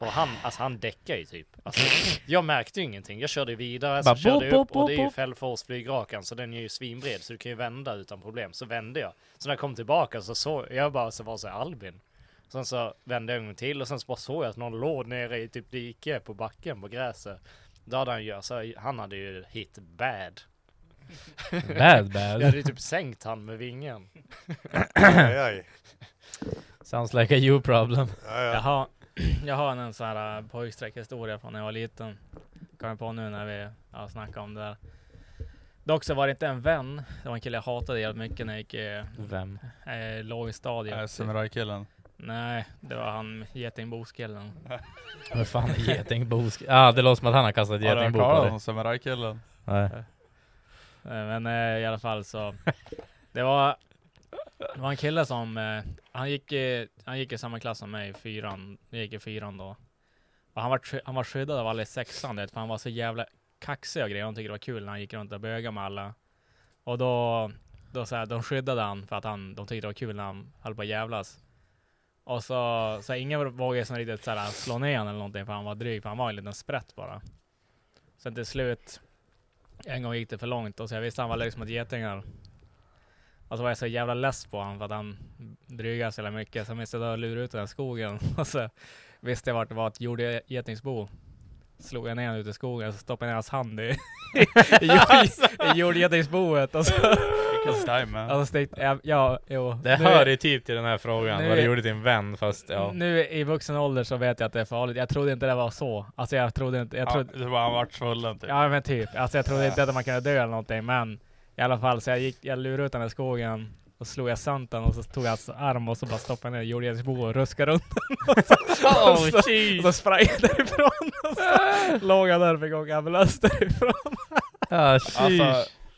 S5: Och han, alltså han däckade ju typ. Alltså, jag märkte ju ingenting. Jag körde ju vidare, så
S4: Bara
S5: körde jag upp
S4: bop, bop,
S5: och det är ju
S4: bop.
S5: Fällfors flygrakan så den är ju svinbred så du kan ju vända utan problem. Så vände jag. Så när jag kom tillbaka så såg jag bara så var så här, Albin. Sen så vände jag en gång till och sen så bara såg jag att någon låg nere i typ dike på backen på gräset. Då hade han ju, så han hade ju hit bad.
S4: Bad
S5: Jag
S4: bad.
S5: hade ju typ sänkt han med vingen.
S3: Aj, aj.
S4: Sounds like a you problem.
S3: Ja,
S2: Jag
S3: ja.
S2: har, jag har en sån här äh, pojkstreckhistoria från när jag var liten. Kommer på nu när vi ja, snackade om det där. Dock så var det inte en vän. Det var en kille jag hatade jävligt mycket när jag gick i
S4: Vem?
S2: äh, lågstadiet.
S1: Äh, Samurajkillen.
S2: Nej, det var han getingboskillen.
S4: Vad fan är getingbo? Ah, det låter som att han har kastat ett
S1: Har du hört
S4: getingbo på
S1: talas
S4: dig.
S1: om Samurajkillen?
S4: Nej.
S2: Eh, Men eh, i alla fall så. Det var, det var en kille som, eh, han, gick, i- han gick i samma klass som mig, i fyran. Jag gick i fyran då. Och han var, sky- han var skyddad av alla i sexan du vet, för han var så jävla kaxig och grejer. De tyckte det var kul när han gick runt och bögade med alla. Och då, då så här, de skyddade han för att han, de tyckte det var kul när han höll på att jävlas. Och så, så här, ingen vågade så här riktigt så här, slå ner honom eller någonting för han var dryg, för han var en liten sprätt bara. Sen till slut en gång gick det för långt och så jag visste han var lös mot getingar. Och så var jag så jävla less på honom för att han drygade så jävla mycket. Så jag minns jag då lurade ut den här skogen och så visste jag vart det var ett jordgetingsbo. Slog jag ner honom ute i skogen så stoppade jag ner hans hand i, i,
S4: Alltså.
S2: jord, i jordgetingsboet. Och så,
S1: Vilken time
S2: och så stickte jag, ja, jo.
S4: Det
S2: Nu-
S4: hör ju typ till den här frågan,
S2: nu-
S4: vad du gjorde till en vän fast ja.
S2: Nu i vuxen ålder så vet jag att det är farligt. Jag trodde inte det var så. Alltså jag trodde inte, jag
S1: Ja,
S2: trodde,
S1: det var han vart svullen typ.
S2: Ja men typ. Alltså jag trodde inte att man kunde dö eller någonting men i alla fall så jag gick, jag lurade ut den i skogen och slog jag sant den och så tog jag hans arm och så bara stoppade jag ner jordgästbo och ruskade runt den. och så, och
S1: oh,
S2: så, och så sprang jag därifrån och så låg jag där och fick åka ambulans därifrån.
S4: Ah, sheesh.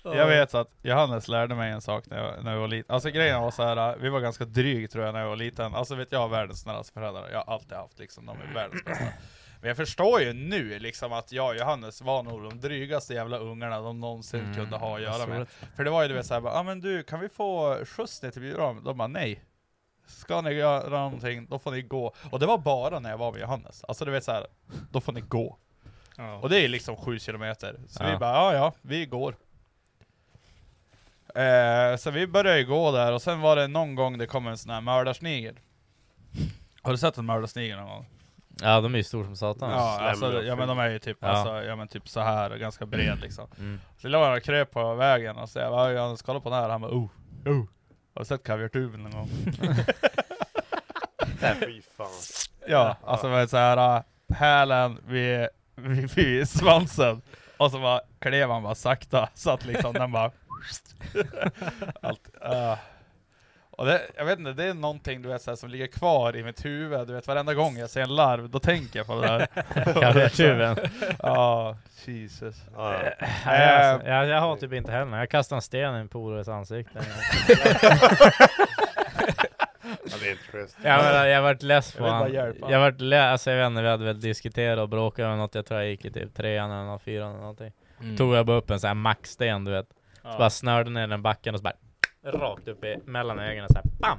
S1: Alltså, jag vet att Johannes lärde mig en sak när jag, när jag var liten. Alltså grejen var så här, vi var ganska dryg tror jag när jag var liten. Alltså vet jag har världens snällaste föräldrar. Jag har alltid haft liksom, de är världens bästa. Men jag förstår ju nu liksom att jag och Johannes var nog de drygaste jävla ungarna de någonsin
S4: Mm,
S1: kunde ha att göra med. För det var ju du vet såhär, ja ah, men du kan vi få skjuts ner till biograf? De bara nej. ska ni göra någonting, då får ni gå. Och det var bara när jag var med Johannes. Alltså du vet så här, då får ni gå. Och det är liksom sju kilometer. Så
S4: Ja.
S1: vi bara, ja ja, vi går. Eh, så vi började ju gå där, och sen var det någon gång det kom en sån här mördarsnigel. Har du sett en mördarsnigel någon gång?
S4: Ja, de är ju stor som satan.
S1: Ja, alltså, ja men de är ju typ,
S4: Ja.
S1: alltså, ja, men typ så här och ganska bred liksom.
S4: Mm.
S1: Så låg han och kröp på vägen och så jag bara, jag ska kolla på den här, han bara oh, oh. Har du sett kaviartuben någon gång?
S3: Fy fan.
S1: ja, alltså det var så här äh, hälen vid, vid, vid svansen. Och så bara klev han bara sakta, så att liksom den bara... Allt, äh. Och det, jag vet inte, det är någonting du vet så här, som ligger kvar i mitt huvud, du vet varenda gång jag ser en larv, då tänker jag på det där.
S4: Kaviartuben.
S1: Ja, Jesus. Ehm,
S3: Ja,
S2: Eh,
S3: ja.
S4: Nej, alltså, jag, jag har typ inte heller. Jag kastade en sten i en polares ansikte.
S3: Ja, det är inte schysst.
S4: Jag, menar, eh, jag vart less på
S1: Jag vill bara
S4: han.
S1: hjälpa.
S4: Jag vart le- alltså, jag vet inte, vi hade väl diskuterat och bråkat om något. Jag tror jag gick i typ trean eller något, fyran eller någonting.
S2: Mm.
S4: Tog jag bara upp en sån här maxsten du vet. Så bara snörde ner den backen och så bara rakt upp i, mellan ögonen så här, bam!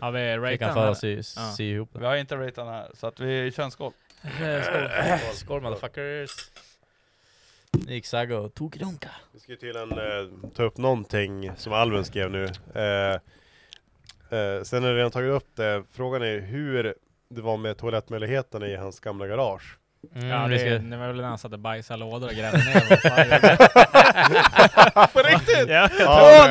S2: Har vi
S4: Fick han
S2: ratat
S4: för
S2: den?
S4: att sy, sy
S2: Ja.
S4: ihop
S1: Vi har inte ratat den här, så att vi kör en skål.
S2: Eh,
S4: den. Skål, skål motherfuckers! Gick Sagge och tog runka.
S3: Vi ska ju till en, eh, ta upp någonting som Alvin skrev nu. Eh, eh, sen har vi redan tagit upp det. Frågan är hur det var med toalettmöjligheterna i hans gamla garage.
S4: Mm,
S2: Ja,
S4: vi
S2: det,
S4: ska...
S2: det var väl när han satt och bajsade lådor och grävde ner dem. Fan, jag-
S1: På riktigt!
S3: Ja,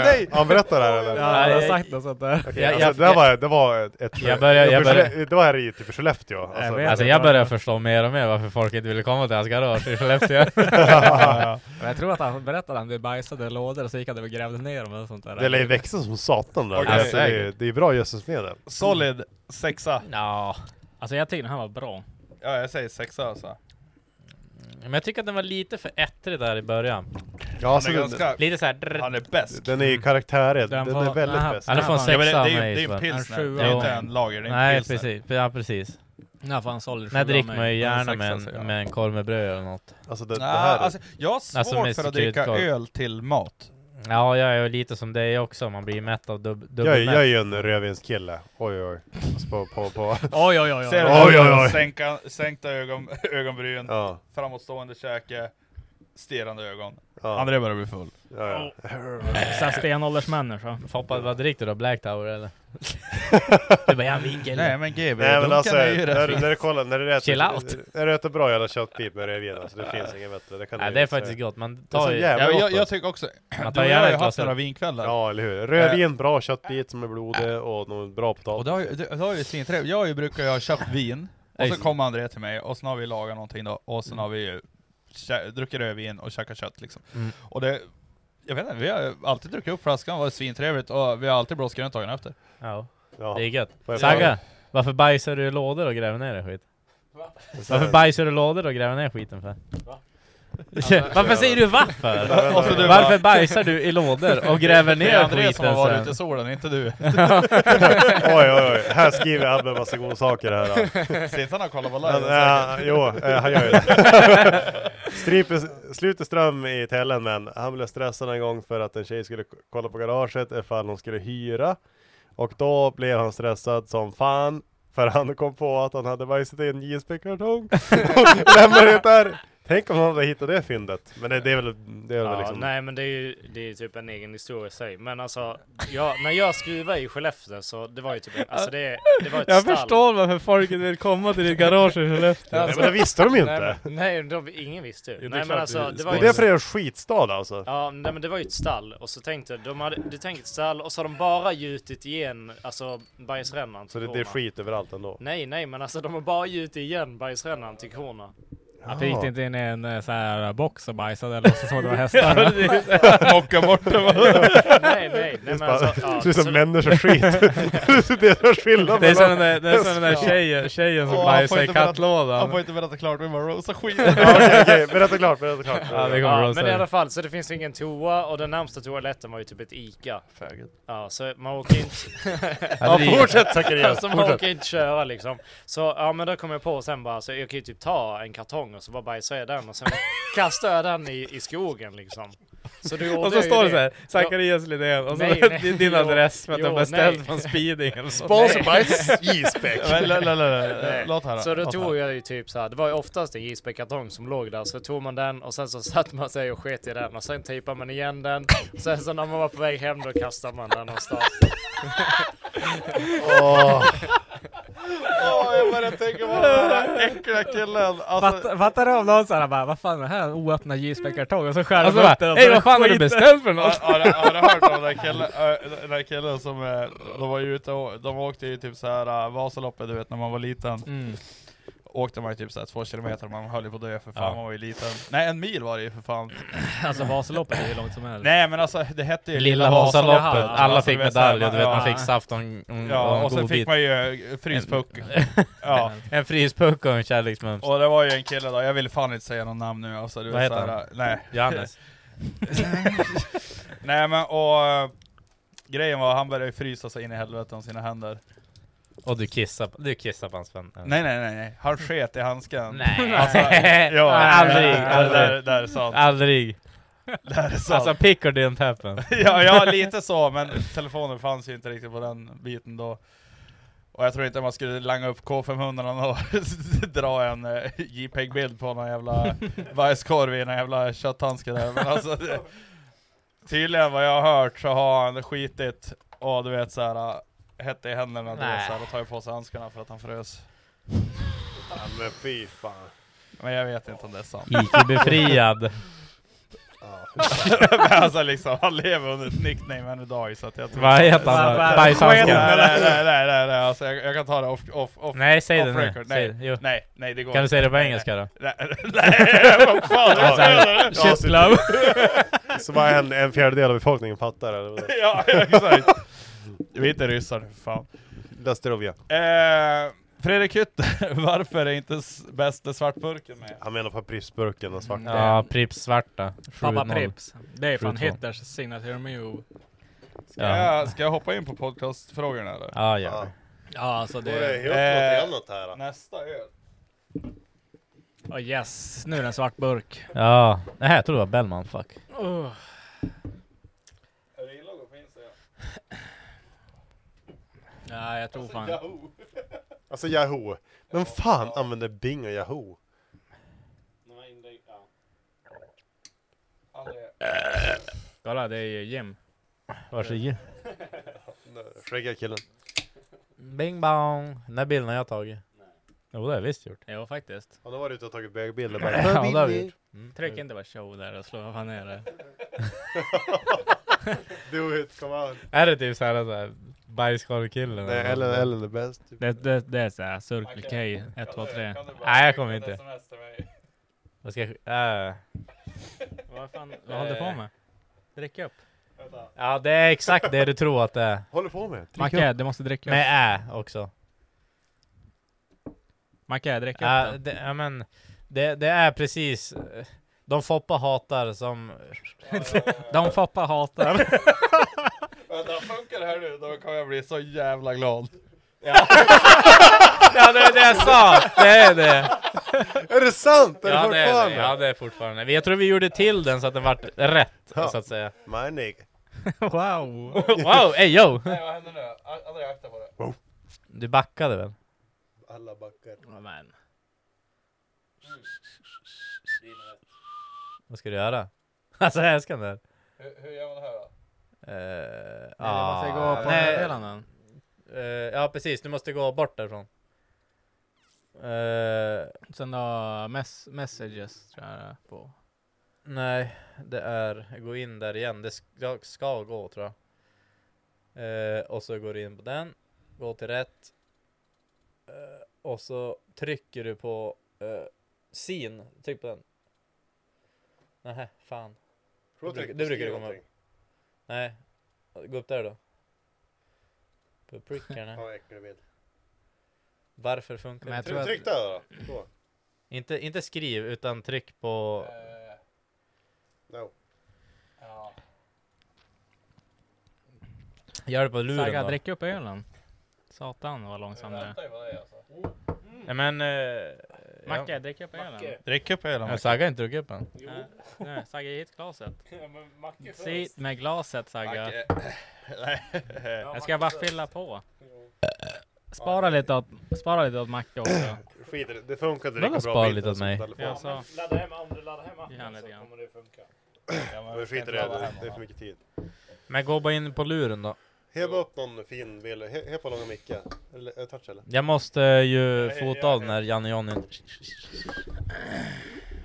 S3: nej! Han berättar det här eller?
S2: Ja, han har
S4: jag-
S2: sagt något sånt där.
S3: Okej,
S4: jag-
S3: alltså,
S4: jag-
S3: det, här var, det var ett... ett
S4: Jag börjar- jag
S3: det var för-
S4: börjar-
S3: Det var här i typ Skellefteå.
S2: Jag
S3: Alltså,
S2: vet
S4: Alltså
S2: inte
S4: jag
S2: vad det
S4: börjar
S2: var.
S4: förstå mer och mer varför folk inte ville komma till hans garage i Skellefteå.
S2: Men jag tror att han berättade att han bajsade lådor och så gick han och grävde ner dem eller sånt där.
S3: det lär ju växa som satan där.
S1: Okej.
S3: Alltså, det, är, det är bra gödselmedel.
S1: Solid sexa.
S4: Ja.
S2: Alltså jag tyckte han var bra.
S1: Ja, jag säger sexa alltså.
S4: Men jag tycker att den var lite för ettrig där i början.
S3: Ja,
S1: Han är ganska...
S4: Lite såhär... drr-
S1: Han är bäst.
S3: Den är ju karaktärig. Den,
S2: Den var-
S3: är väldigt
S2: aha.
S3: bäst.
S4: Han är
S2: Ja,
S4: fan
S2: men
S1: Ja, men det,
S4: sexa av
S1: det, är ju,
S4: mig,
S1: det är ju en
S4: så.
S1: pilsner,
S2: En sjua.
S1: det är inte
S4: Jo.
S1: en lager, det är en
S4: Nej
S1: pilsner.
S4: precis, ja precis.
S2: Ja, fan solid
S4: Nej
S2: sjua
S4: drick
S2: av
S4: man ju gärna
S1: sexa,
S4: med
S1: säger jag.
S4: en, med en korv med bröd eller något.
S3: Alltså det, det
S1: Nej,
S3: här.
S1: alltså, jag har svårt
S4: Alltså, med
S1: för att dricka
S4: citruskorv.
S1: öl till mat.
S4: Ja jag är ju lite som dig också, man blir mätt av dubb,
S3: jag, är-
S4: dubbelmätt.
S3: jag är ju en rödvinskille. Oj oj. Alltså, på, på, på.
S2: Oj, oj, oj.
S1: Ser
S2: oj.
S1: du
S3: Oj,
S1: den?
S3: oj, oj.
S1: Sänka, sänkta ögon, ögonbryn,
S3: Ja.
S1: framåtstående käke, stirrande ögon.
S3: Ja.
S1: André börjar bli full.
S3: Ja, ja.
S2: Såhär stenåldersmänniska.
S4: Foppa, vad dricker du då? Black Tower eller? du bara, jag vinkar
S1: Nej men GB,
S3: Nej men alltså,
S1: är ju
S3: när,
S1: rätt
S3: du- när du kollar, när du äter,
S4: Chill out.
S3: När du äter bra jävla köttbit med rödvin alltså, det finns inget bättre. Det kan
S4: Nej
S3: du
S4: det är
S3: ju säga.
S4: faktiskt gott, man
S3: Det är
S4: tar
S3: så
S4: ju...
S3: jävla-
S1: Ja,
S3: gott,
S1: jag, jag
S3: alltså.
S1: tycker också, du
S4: Man tar
S1: och jag
S4: gärna
S1: har ju
S4: ett
S1: haft
S4: glas
S1: några
S4: öl.
S1: vinkvällar. Eh.
S3: Ja eller hur. Rödvin, bra köttbit som är blodig och någon bra
S1: Och
S3: potatis.
S1: det har ju, det, det har ju svintrevligt. Jag har ju- brukar ju ha köpt vin, och så kommer André till mig, och sen har vi lagat någonting då, och sen har vi ju kä- druckit rödvin och käkat kött liksom.
S4: Mm.
S1: Och det, jag vet inte, vi har alltid druckit upp flaskan, varit svintrevligt, och vi har alltid blåst grönt dagen efter.
S4: Ja,
S3: Ja.
S4: det är gött.
S3: Vad är det?
S4: Sagga, varför bajsar du i lådor och gräver ner det skit? Varför bajsar du i lådor och gräver ner skiten för? Alltså,
S1: Alltså,
S4: varför säger du varför?
S1: Och
S3: alltså,
S1: så du
S4: varför
S1: bara-
S4: bajsar du i lådor och gräver
S1: Det är
S4: ner
S1: André
S4: skiten
S1: som har varit ute
S4: sen?
S1: i solen, inte du.
S3: Oj oj oj, här skriver Abbe en massa goda saker här. Då.
S1: Sitter han och kollar på
S3: Men,
S1: live?
S3: äh,
S1: säkert.
S3: jo, eh, han gör ju det. Striper- Sluter ström i tällen men han blev stressad en gång för att en tjej skulle k- kolla på garaget ifall hon skulle hyra. Och då blev han stressad som fan. För han kom på att han hade bajsat i en JSB-kartong. och lämnade det där. Tänk om han hade hittat det fyndet. Men det, det är väl, det är väl
S5: Ja,
S3: liksom...
S5: Nej men det är ju det är ju typ en egen historia i sig. Men alltså, jag, när jag skruvade i Skellefteå så det var ju typ, alltså det, det var ett
S4: Jag
S5: stall.
S4: förstår varför folk inte vill komma till ditt garage i Skellefteå.
S3: Nej,
S1: Alltså-
S3: men det visste de ju inte.
S5: alltså- Nej, men, nej de, ingen visste ju.
S4: det är
S5: Nej men
S4: klart
S5: alltså,
S4: det-
S5: det
S3: det
S5: var
S3: är
S5: ju...
S3: därför det är en skitstad alltså.
S5: Ja, nej, men det var ju ett stall och så tänkte de hade, du tänker ett stall och så har de bara gjutit igen, alltså bajsrännan till
S3: Så det, det är
S5: korna.
S3: skit överallt ändå.
S5: Nej, nej, men alltså de har bara gjutit igen bajsrännan till korna.
S2: Varför gick det inte in i en eh, så här box och bajsade eller så såg det var hästar?
S1: Mocka bort det.
S5: Nej, nej, nej men alltså. Ja,
S3: det är
S5: så-
S3: som människoskit. det är skillnad
S4: Det är som
S3: mellan...
S4: den där, det är som den där tjejen, tjejen som bajsar i
S1: Han får
S4: kattlådan.
S1: inte berätta klart, vi bara rosa skit.
S3: Ja, Okej, okej, berätta klart, berätta klart.
S4: Ja, det kommer
S5: Ja,
S4: Rosa.
S5: men i alla fall, så det finns ju ingen toa och den närmsta toaletten var ju typ ett Ica. Ja, så man åker inte...
S4: Ja, det är-
S3: fortsätt Zacharias,
S5: alltså man
S3: fortsätt.
S5: åker inte köra liksom. Så ja, men då kom jag på sen bara, så jag kan ju typ ta en kartong och så bara bajsar jag den och sen kastar jag den i, i skogen liksom. Så du
S4: Och
S5: ordnar ju
S4: så står det
S5: det.
S4: såhär, Zacharias Lidén, och så
S5: Nej, nej.
S4: din- din
S5: Jo,
S4: adress för att den
S5: jo,
S4: beställd
S5: nej.
S4: från Speeding eller så.
S5: Sponsor
S4: Nej.
S5: by J-Spec.
S1: Men, la- la- la- la-
S5: Nej.
S1: Låt höra.
S5: Så då
S1: låt
S5: tog
S1: höra.
S5: jag ju typ så här, det var ju oftast en JSP-kartong som låg där, så tog man den och sen så satt man sig och sket i den och sen tejpade man igen den. Sen så när man var på väg hem då kastade man den någonstans.
S3: Åh.
S1: Åh, jag börjar tänka på den där äckliga killen. Alltså,
S2: Fatta- Fattar du om någon såhär bara, vad fan är det här? En oöppnad J-spec-kartong? Och så skär
S4: Alltså
S2: de upp den
S4: bara,
S2: och så
S4: hej
S2: är det
S4: vad fan har du
S2: skit."
S4: beställt för något?
S1: Har, har, du- har du hört om den där killen, eh, den där killen som, eh, de var ju ute och, de åkte ju typ såhär uh, Vasaloppet du vet när man var liten.
S2: Mm.
S1: Åkte man ju typ såhär två kilometer, man höll ju på att dö för fan,
S4: Ja.
S1: man var ju liten. Nej en mil var det ju för fan.
S2: Alltså Vasaloppet är hur långt som helst.
S1: Nej men alltså det hette ju
S4: Lilla Vasaloppet,
S1: Jaha.
S4: alla
S1: Alltså,
S4: fick
S1: du vet, så här,
S4: medaljer, du vet
S1: ja.
S4: man fick saft och en, och en,
S1: Ja,
S4: "Ah." och en
S1: och sen
S4: godbit.
S1: fick man ju eh, fryspuck. Ja.
S4: En fryspuck och en kärleksmums.
S1: Och det var ju en kille då, jag vill fan inte säga någon namn nu alltså, du
S4: Vad
S1: vet
S4: heter
S1: såhär, Nej.
S4: Johannes.
S1: Nej men och eh, grejen var han började ju frysa sig in i helvete om sina händer.
S4: Och du kissar, på- du kissar på hans vän.
S1: Nej nej nej, nej. han sket i handsken.
S4: Nej.
S1: Alltså, ja,
S4: aldrig,
S1: det där-
S4: aldrig.
S1: Det där är sant.
S4: Aldrig.
S1: Det där är sant.
S4: Alltså pickor didn't happen.
S1: ja, ja, lite så, men telefonen fanns ju inte riktigt på den biten då. Och jag tror inte man skulle langa upp K500 och dra en eh, JPEG-bild på någon jävla bajskorv i någon jävla kötthandske där. Men alltså, det, tydligen vad jag har hört så har han skitit och du vet såhär, hett i händerna du vet,
S4: Nej.
S1: så här, och tagit på sig handskarna för att han frös.
S3: Ja, men fy fan.
S1: Men jag vet inte om det är sant.
S4: IQ-befriad.
S1: men alltså liksom, han lever under ett nickname än idag så att jag tror
S4: Vad heter
S1: Nej,
S4: han
S1: nej,
S4: då?
S1: Nej
S4: Bajshandsken?
S1: nej nej nej, nej, nej. Alltså, jag, jag kan ta det off, off, off,
S4: Nej, säg
S1: off
S4: det nu.
S1: record.
S4: Säg
S1: Nej.
S4: det. Jo.
S1: nej, nej det går
S4: Kan du
S1: inte.
S4: säga det på engelska då?
S1: Nej, nej, vad fan vad
S4: Alltså,
S1: menar du?
S3: Shit love. typ. Så bara en, en fjärdedel av befolkningen fattar det.
S1: Ja, exakt. Vi är inte ryssar nu, för fan.
S3: Lasterovia.
S1: Eh, Fredrik Hytter, varför är inte s- bäste svartburken med?
S3: Han menar på pripsburken och svarta.
S4: Ja, Pripps svarta.
S2: Pappa
S4: 7-0.
S2: Prips. Det är fan
S4: 7-2.
S2: Hitlers signature move.
S1: Ska,
S4: Ja,
S1: jag, ska jag hoppa in på podcastfrågorna eller?
S4: ja. ja.
S2: Ja alltså
S3: Då är det
S2: det...
S3: helt
S1: Eh,
S3: något annat här. då.
S1: Nästa öl.
S2: Oh, yes, nu är det en svart burk.
S4: Ja, nej jag trodde det var Bellman, fuck.
S2: Oh.
S1: Är det illa att gå på Instagram?
S2: Ja, jag tror fan...
S1: Yahoo!
S3: Alltså Yahoo. Men fan använder Bing och Yahoo?
S1: Aldrig.
S2: Kolla, det är ju Jim.
S4: Varsågod.
S3: Skäggiga killen.
S4: Bing bong. Den där bilden har jag tagit. Jo, det har jag visst gjort.
S2: Jo, faktiskt.
S3: Han har varit ute och tagit bögbilder
S4: Ja, det har vi gjort.
S2: Mm. Tryck inte bara show där och slå vad fan är det?
S3: Do it, come on.
S4: Är det typ såhär, såhär bajskorvkillen?
S3: Nej, Ellen, Ellen är bäst. Typ.
S2: Det, det, det är såhär, Circle K 1, 2, 3.
S4: Nej, jag kommer inte.
S1: Sms till mig.
S4: Vad ska jag... Äh.
S2: Vad fan, vad håller du på med? Drick upp.
S4: Ja, det är exakt det du tror att det är.
S3: Håller på med.
S2: Macke, du måste dricka upp.
S4: Med ä också.
S2: Macke, drick upp
S4: Ja,
S2: då.
S4: det, ja, men, det, det är precis... eh, De Foppa hatar som...
S2: De Foppa hatar.
S1: Vänta, funkar det här nu då kommer jag bli så jävla glad.
S4: Ja, det är det jag sa! Det är det!
S3: Är det sant? Är
S4: Ja,
S3: det
S4: det är
S3: fortfarande?
S4: det. Ja, det är fortfarande. Jag tror vi gjorde till den så att den vart rätt, så att säga.
S3: My nigga.
S2: Wow!
S4: Wow, ey yo!
S1: Nej vad händer nu? A- André akta på det.
S4: Du backade väl?
S3: Alla backar.
S2: Men.
S4: Vad ska du göra? Alltså jag älskar den där.
S1: Hur, hur gör man det här då?
S4: Uh,
S2: Ah, måste gå på
S4: nej,
S2: meddelanden.
S4: eh, ja precis, du måste gå bort därifrån. Eh,
S2: Sen då mess messages tror jag det är på.
S4: nej, det är gå in där igen. Det ska, ska gå tror jag. Eh, och så går du in på den, gå till rätt. Eh, och så trycker du på eh, sin, tryck på den. Nähä, fan. Det brukar- det brukar det komma upp. Nej, gå upp där då. På prickarna.
S3: Ja, äcklig bild.
S4: Varför funkar
S2: Men jag
S4: inte?
S2: tror att-
S3: Tryck där då. Så.
S4: Inte, inte skriv, utan tryck på...
S2: Eh.
S3: No.
S4: Gör det på
S2: Sagga,
S4: luren då.
S2: drick upp
S3: alltså.
S2: ölen. Satan vad långsam du är.
S4: Nej men... eh,
S2: Macke, drick upp ölen.
S1: Drick upp ölen
S4: Jag
S1: Macke.
S4: saggar inte druckit upp än.
S2: Nej, Nej, Sagge, ge hit glaset.
S5: Ja, men Macke först.
S2: Sit med glaset Sagge. Jag ska bara fylla på. Spara lite åt, spara lite åt Macke också.
S3: Skit i det, det funkar inte
S4: Vadå
S3: lika bra
S4: spar
S3: med
S4: lite åt mig?
S3: internet som
S2: Jag
S3: telefon.
S2: sa,
S5: Ladda hem, om du laddar hem appen
S2: Ja, lite
S5: så
S2: grann.
S5: kommer det funka.
S3: Men skit i det, det, det är för mycket tid.
S4: Men gå bara in på luren då.
S3: Heva upp någon fin bild, He- heva på långa micke. Eller eh, touch eller?
S4: Jag måste ju fota av när Janne och Johnny...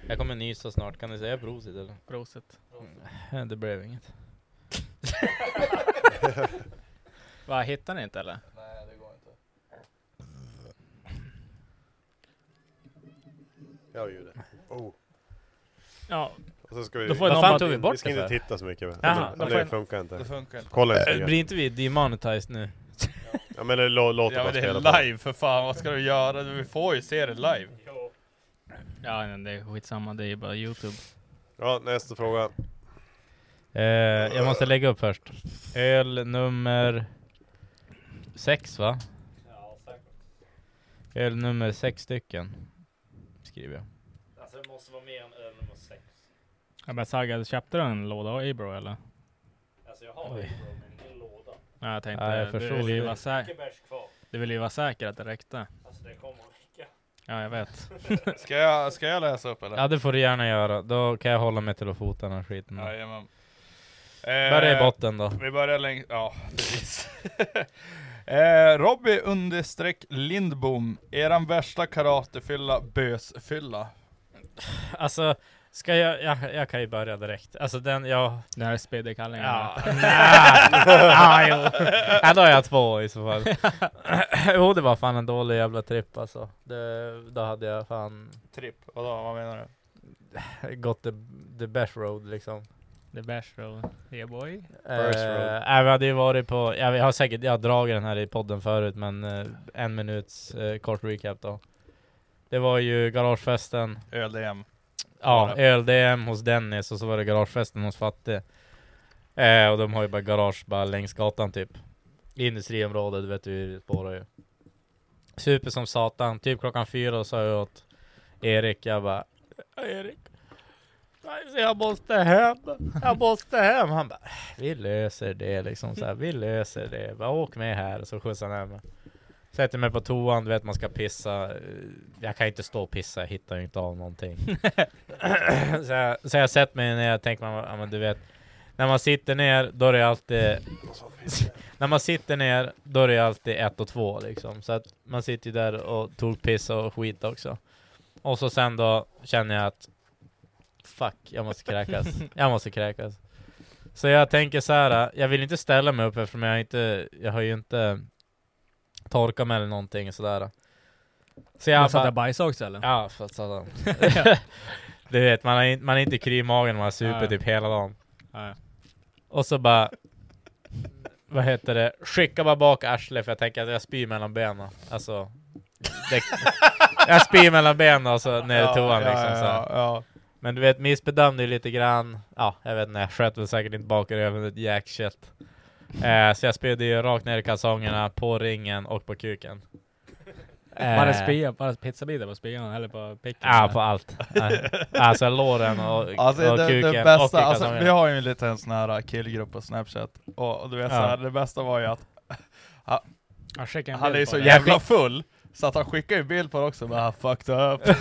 S4: Jag kommer nysa snart, kan ni säga prosit eller?
S2: prosit.
S4: Nej, Det blev inget.
S2: Vad hittar ni inte eller?
S3: Jag gör det. Oh.
S2: Ja,
S3: Och så ska vi...
S2: Då får någon
S4: Vad fan
S2: bara-
S4: tog vi
S3: vi
S4: bort
S3: ska
S4: det
S3: inte
S4: för?
S3: titta så mycket.
S2: Jaha,
S3: men,
S2: då får
S3: det
S2: jag-
S3: funkar
S1: Det
S3: inte.
S1: funkar inte.
S3: Kolla
S4: Äh,
S3: inte.
S4: Blir inte vi demonetized nu?
S3: Ja men det lå- låter
S1: Ja
S3: bara
S1: men det
S3: spela.
S1: är live för fan, vad ska du göra? Vi får ju se det live.
S2: ja men det är skitsamma. Det är bara Youtube.
S3: Ja, nästa fråga.
S4: Eh, jag måste lägga upp först. Öl nummer sex va?
S5: Ja, säkert.
S4: Öl nummer sex stycken. Skriver jag.
S5: Alltså det måste vara mer än öl nummer sex.
S2: Ja, men Sagge, köpte du en låda av Abro eller?
S5: Alltså jag har
S4: Oj.
S5: en bro, men ingen låda.
S2: Ja, jag tänkte,
S4: Ja, jag
S2: du,
S4: förstod
S2: vill ju
S4: det.
S2: vara
S5: Mycket
S2: säker,
S5: bärs kvar.
S2: du vill ju vara säker att det räckte.
S5: Alltså det kommer att räcka.
S2: Ja, jag vet.
S1: Ska jag, ska jag läsa upp eller?
S4: Ja det får du gärna göra. Då kan jag hålla mig till att fota den här skiten.
S1: Jajamän.
S4: Börja i
S1: Eh,
S4: botten då.
S1: Vi börjar längst, ja precis. eh, Robby understreck Lindbom, eran värsta karatefylla, bösfylla.
S4: Alltså, ska jag, jag, jag kan ju börja direkt. Alltså den, jag...
S2: Det här är speederkallingen.
S4: Ja, ja, jo. ja, då har jag två i så fall. jo, det var fan en dålig jävla tripp alltså. Det, då hade jag fan
S1: Tripp, vadå, vad menar du?
S4: gått the, the best road liksom.
S2: The Bash Road. Yeah boy.
S3: First road.
S4: Eh, nej, vi hade ju varit på, jag, jag har säkert, jag har dragit den här i podden förut men eh, en minuts eh, kort recap då. Det var ju garagefesten,
S1: Öl-DM.
S4: ja öl-DM hos Dennis och så var det garagefesten hos Fattig. Eh, och de har ju bara garage bara längs gatan typ. I industriområdet, du vet du hur det spårar ju. Super som satan, typ klockan fyra sa jag åt Erik, jag bara Erik, alltså, jag måste hem, jag måste hem. Han bara, vi löser det liksom så här, vi löser det. Bara, åk med här, så skjutsar han hem mig. Sätter mig på toan, du vet man ska pissa. Eh, Jag kan ju inte stå och pissa, jag hittar ju inte av någonting. så, jag, så jag sätter mig ner, jag tänker man, ja, men du vet. När man sitter ner, då är det alltid... när man sitter ner, då är det alltid ett och två liksom. Så att man sitter ju där och tog piss och skit också. Och så sen då känner jag att Fuck, jag måste kräkas. jag måste kräkas. Så jag tänker så här, jag vill inte ställa mig upp eftersom jag inte, jag har ju inte torkat mig eller någonting sådär. Så
S2: Ja,
S4: jag
S2: jag satt
S4: bara-
S2: och bajsade också eller?
S4: Ja, för att satan. du vet, man, har in, man är inte kry i magen man har supit
S2: Nej.
S4: typ hela dagen.
S2: Nej.
S4: Och så bara... Vad heter det? Skicka bara bak arslet för jag tänker att jag spyr mellan benen. Alltså... Det, jag spyr mellan benen och så ner i toan liksom.
S1: ja,
S4: så här.
S1: ja, ja.
S4: Men du vet, missbedömde ju lite grann. Ja, jag vet inte. Jag sköt väl säkert inte bak i röven ett jäkshit. Eh, så jag spydde ju rakt ner i kalsongerna, på ringen och på kuken. Eh,
S2: Bara spia, bara pizzabitar på spian eller på picken?
S4: Ja, på allt. Ja. alltså låren och,
S1: Alltså
S4: och
S1: det,
S4: kuken
S1: det bästa,
S4: och i
S1: alltså, vi
S4: kalsongerna.
S1: har ju en liten sån här killgrupp på snapchat, och, och du vet
S4: Ja.
S1: såhär, det bästa var ju att
S2: Jag skickar en
S1: han är
S2: bild
S1: ju
S2: på
S1: så
S2: det.
S1: jävla full, så att han skickar ju bild på det också, bara "Ah, fucked up.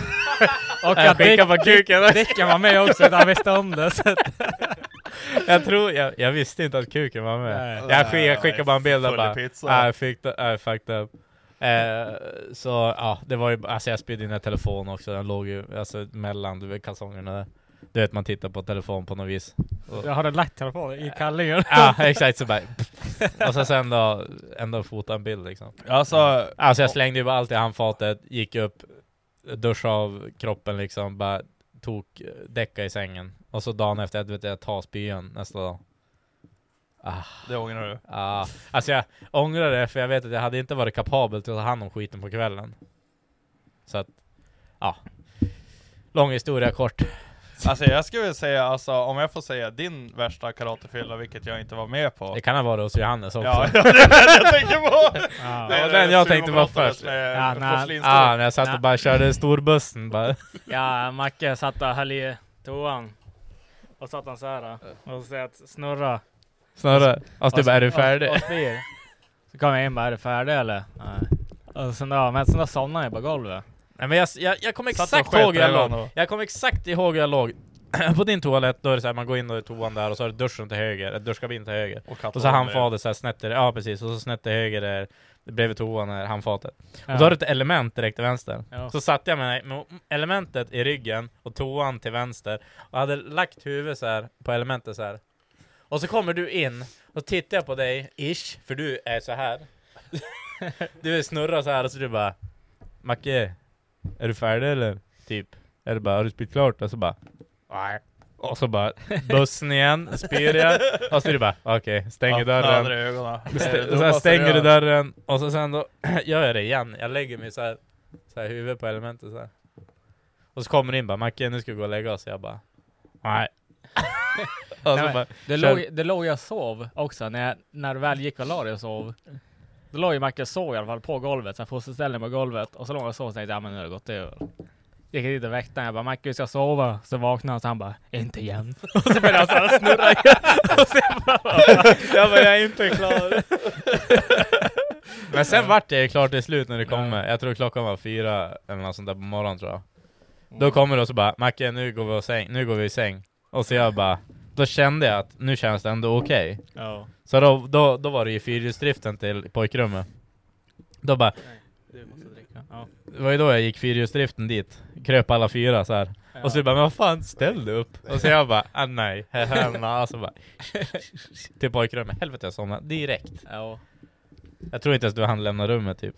S1: Äh,
S2: Och
S4: Jag
S2: att
S4: skickar
S2: Dick-
S4: på kuken!
S2: Dicken var med också, han visste om det. Så att,
S4: jag tror, jag, jag visste inte att kuken var med.
S2: nej.
S4: Jag, skick, jag skickar bara en bild och
S1: Full i
S4: bara
S1: pizza.
S4: ah, I fucked up. I fucked up. Eh, så ja, det var ju, alltså jag spydde in en telefon också, den låg ju alltså, mellan du vet, kalsongerna där. Du vet man tittar på telefon på något vis.
S2: Jag har lagt telefonen i kallingen.
S4: Ja exakt, så bara Och så sen då, ändå fota en bild liksom.
S1: Alltså,
S4: Alltså jag slängde ju bara allt i handfatet, gick upp, duschade av kroppen liksom, bara tog eh, däcka i sängen. Och så dagen efter, du vet jag tar spyan nästa dag.
S1: det ångrar du?
S4: Ah, alltså jag ångrar det för jag vet att jag hade inte varit kapabel till att ta hand om skiten på kvällen. Så att, ja. Lång historia kort.
S1: Alltså jag skulle säga, alltså, om jag får säga din värsta karatefylla, vilket jag inte var med på.
S4: Det kan ha varit hos Johannes också.
S1: Ja, det är den jag tänker på!
S2: Ja.
S1: Det är
S4: Ja,
S1: det
S4: den
S1: Simon
S4: jag tänkte på
S1: brottades
S4: först.
S1: med
S2: Ja, nej.
S1: porslinsstol.
S4: Ah, när jag satt
S2: Nej.
S4: och bara körde storbussen bara.
S2: Ja, Macke satt och höll i toan. Och satt han så här och så säger att snurra.
S4: Snarare. Alltså typ, är du färdig?
S2: Och, och spyr. Så kom jag in bara, är du färdig eller? Nej. Och sen då, men sen då somnade jag på golvet.
S4: Nej men jag, jag, jag kommer
S1: Satt och
S4: exakt
S1: sket
S4: ihåg hur jag
S1: redan
S4: låg.
S1: då.
S4: Jag kommer exakt ihåg hur jag låg. På din toalett, då är det så här, man går in och i toan där och så är det duschen till höger, ett duschkabin till höger. Och så handfatet så här snett till, ja precis, och så snett till höger där, bredvid toan är handfatet. Och då har du ett element direkt till vänster.
S2: Ja.
S4: Så satte jag mig med elementet i ryggen och toan till vänster och hade lagt huvudet så här på elementet så här. Och så kommer du in och tittar jag på dig, ish, för du är så här. du snurrar så här och så du bara Macke, är du färdig eller? Typ. Eller bara, har du spytt klart? Och så bara, nej. Och så bara, bussen igen, spyr jag. Och så är det bara, okej, stänger dörren.
S1: Öppnade ögonen. Det är det
S4: St- så här
S1: dummaste
S4: stänger du
S1: jag
S4: dörren och så sen då gör jag det igen. Jag lägger mig så här, så här huvudet på elementet så här. Och så kommer det in bara Macke nu ska vi gå och lägga oss. Jag bara nej. och
S2: Nej,
S4: så
S2: men
S4: Alltså, bara,
S2: Det
S4: Kör.
S2: låg, det låg jag och sov också, när, jag, när du väl gick och la dig och sov. Då låg ju Macke och sov i alla fall på golvet, så här fosterställning på golvet. Och så låg jag och sov och tänkte, ja men nu har det gått över. Gick dit och väckte honom, jag bara Macke vi ska sova. Så vaknade han och så han bara, inte igen. Och så började han såhär snurra igen. Och så jag bara,
S4: jag bara jag är inte klar. Men sen vart det klart till slut när det kommer. Jag tror klockan var fyra eller något sånt där på morgonen tror jag. Då kommer det och så bara Macke nu går vi och säng, nu går vi i säng. Och så jag bara, då kände jag att nu känns det ändå okej.
S2: ja.
S4: Så då, då, då var det ju fyrhjulsdriften till pojkrummet. Då bara,
S2: Du måste dricka.
S4: det var ju då jag gick fyrhjulsdriften dit, kröp alla fyra så här. Och så bara, men vad fan, ställ dig upp! Och så jag bara, ah, nej, hemma. Och så bara, till pojkrummet. Helvete jag somnade direkt.
S2: Ja.
S4: Jag tror inte ens du hann lämna rummet typ.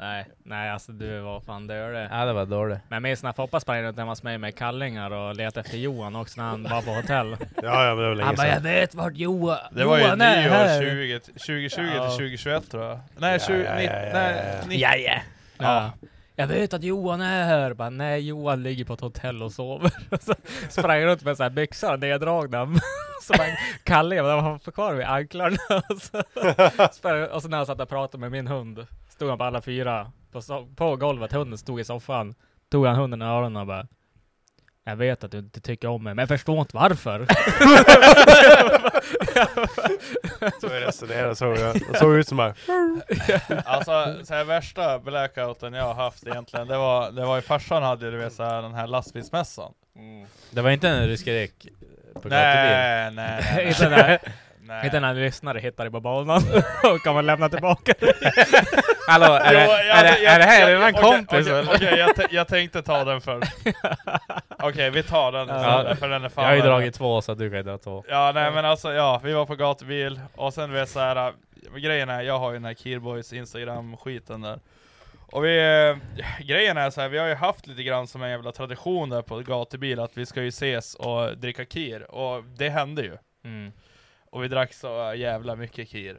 S2: Nej, nej alltså du var fan dölig.
S4: Ja det var dåligt.
S2: Men jag minns när Foppa sprang runt hemma hos mig med kallingar och letade efter Johan också när han var på hotell.
S3: Ja, ja men det var länge
S2: Han bara, jag
S3: sedan.
S2: vet vart Johan,
S1: Det var ju
S2: Johan är här.
S1: nyår 20, 2020
S2: Ja.
S1: till 2021 tror jag. Nej, 20,
S3: ja, ja,
S1: nitt-
S3: ja,
S1: nej,
S3: ja.
S1: nitt-
S2: Ja, ja. ja. Jag vet att Johan är här. Bara, nej, Johan ligger på ett hotell och sover. Och så sprang jag runt med så här byxorna neddragna. Så bara Kalle, jag bara, "Vad fan för kvar vid anklarna. Och så, sprang jag- och så när han satt och pratade med min hund. Stod han på alla fyra på, so- på golvet. Hunden stod i soffan. Tog han hunden i öronen och bara. Jag vet att du inte tycker om mig, men jag förstår inte varför.
S3: Så jag resonerade så. Jag jag såg ut som bara,
S1: Alltså så här, värsta blackouten jag har haft egentligen, det var, det var ju farsan hade ju, du vet så här, den här lastbilsmässan.
S4: Det var inte när du skrek på gatubil.
S1: Nej, nej, nej.
S2: Inte när,
S1: nej.
S2: inte när lyssnare hittar dig på banan och kan man lämna tillbaka dig.
S4: Hallå, är det,
S1: Jo, jag-
S4: är det, är det här
S1: jag-
S4: redan
S1: okej,
S4: kompis
S1: okej,
S4: eller?
S1: Okej, jag, t- jag tänkte ta den först. Okej, vi tar den
S4: Ja.
S1: sen, för den är fan
S4: Jag har ju
S1: värre.
S4: dragit två så du kan ju dra två.
S1: Ja nej men alltså ja, vi var på gatubil och sen du vet såhär, grejen är, jag har ju den här Killboys instagram-skiten där. Och vi, eh, grejen är såhär, vi har ju haft lite grann som en jävla tradition där på gatubil att vi ska ju ses och dricka kir, och det hände ju. Och vi drack så jävla mycket kir.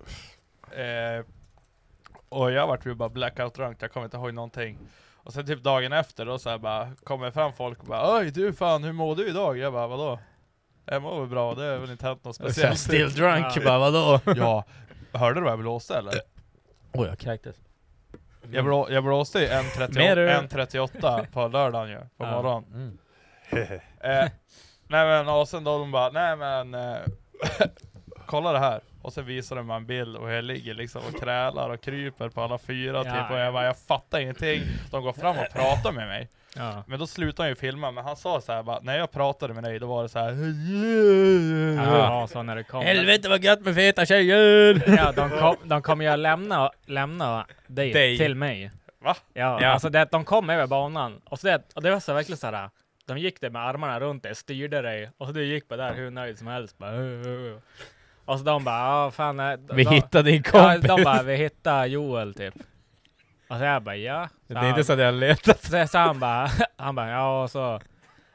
S1: Eh, och jag vart ju bara blackout drunk, jag kommer inte ihåg någonting. Och sen typ dagen efter då så här bara kommer fram folk och bara Oj du fan hur mår du idag? Jag bara vadå? Jag mår väl bra, det har väl inte hänt något speciellt. typ.
S4: Still drunk
S2: Ja.
S4: bara, vadå?
S1: Ja, hörde du vad jag blåste eller?
S4: Oj jag kräktes.
S1: Jag, blå, jag blåste ju en
S4: Mer öl.
S1: 1.38 på lördagen ju, på
S2: Ja.
S1: morgonen.
S4: Mm.
S1: Eh, nej men och sen då de bara, nej men eh, Kolla det här! Och sen visade man en bild och jag ligger liksom och krälar och kryper på alla fyra
S2: Ja.
S1: typ och jag bara jag fattar ingenting. De går fram och pratar med mig.
S2: Ja.
S1: Men då slutade han ju filma, men han sa så här bara, när jag pratade med dig då var det så här.
S2: Ja, så när det kom.
S4: Helvete vad gött med feta tjejer!
S2: Ja, de, kom, de kommer ju lämna, lämna dig,
S4: Dig.
S2: till mig.
S1: Va?
S2: Ja,
S4: Ja.
S2: alltså det, de kom över banan. Och, så det, och det var så verkligen så här. De gick där med armarna runt dig, styrde dig. Och så du gick bara där hur nöjd som helst. Bara, "Uh, uh, uh." Och så de bara, ja fan. nej." De,
S4: Vi
S2: de-
S4: hittade din
S2: ja,
S4: kompis.
S2: De bara, vi hittade Joel typ. Och så jag bara, ja.
S4: Det är inte så att jag letar.
S2: Så, så han bara, han bara, ja och så.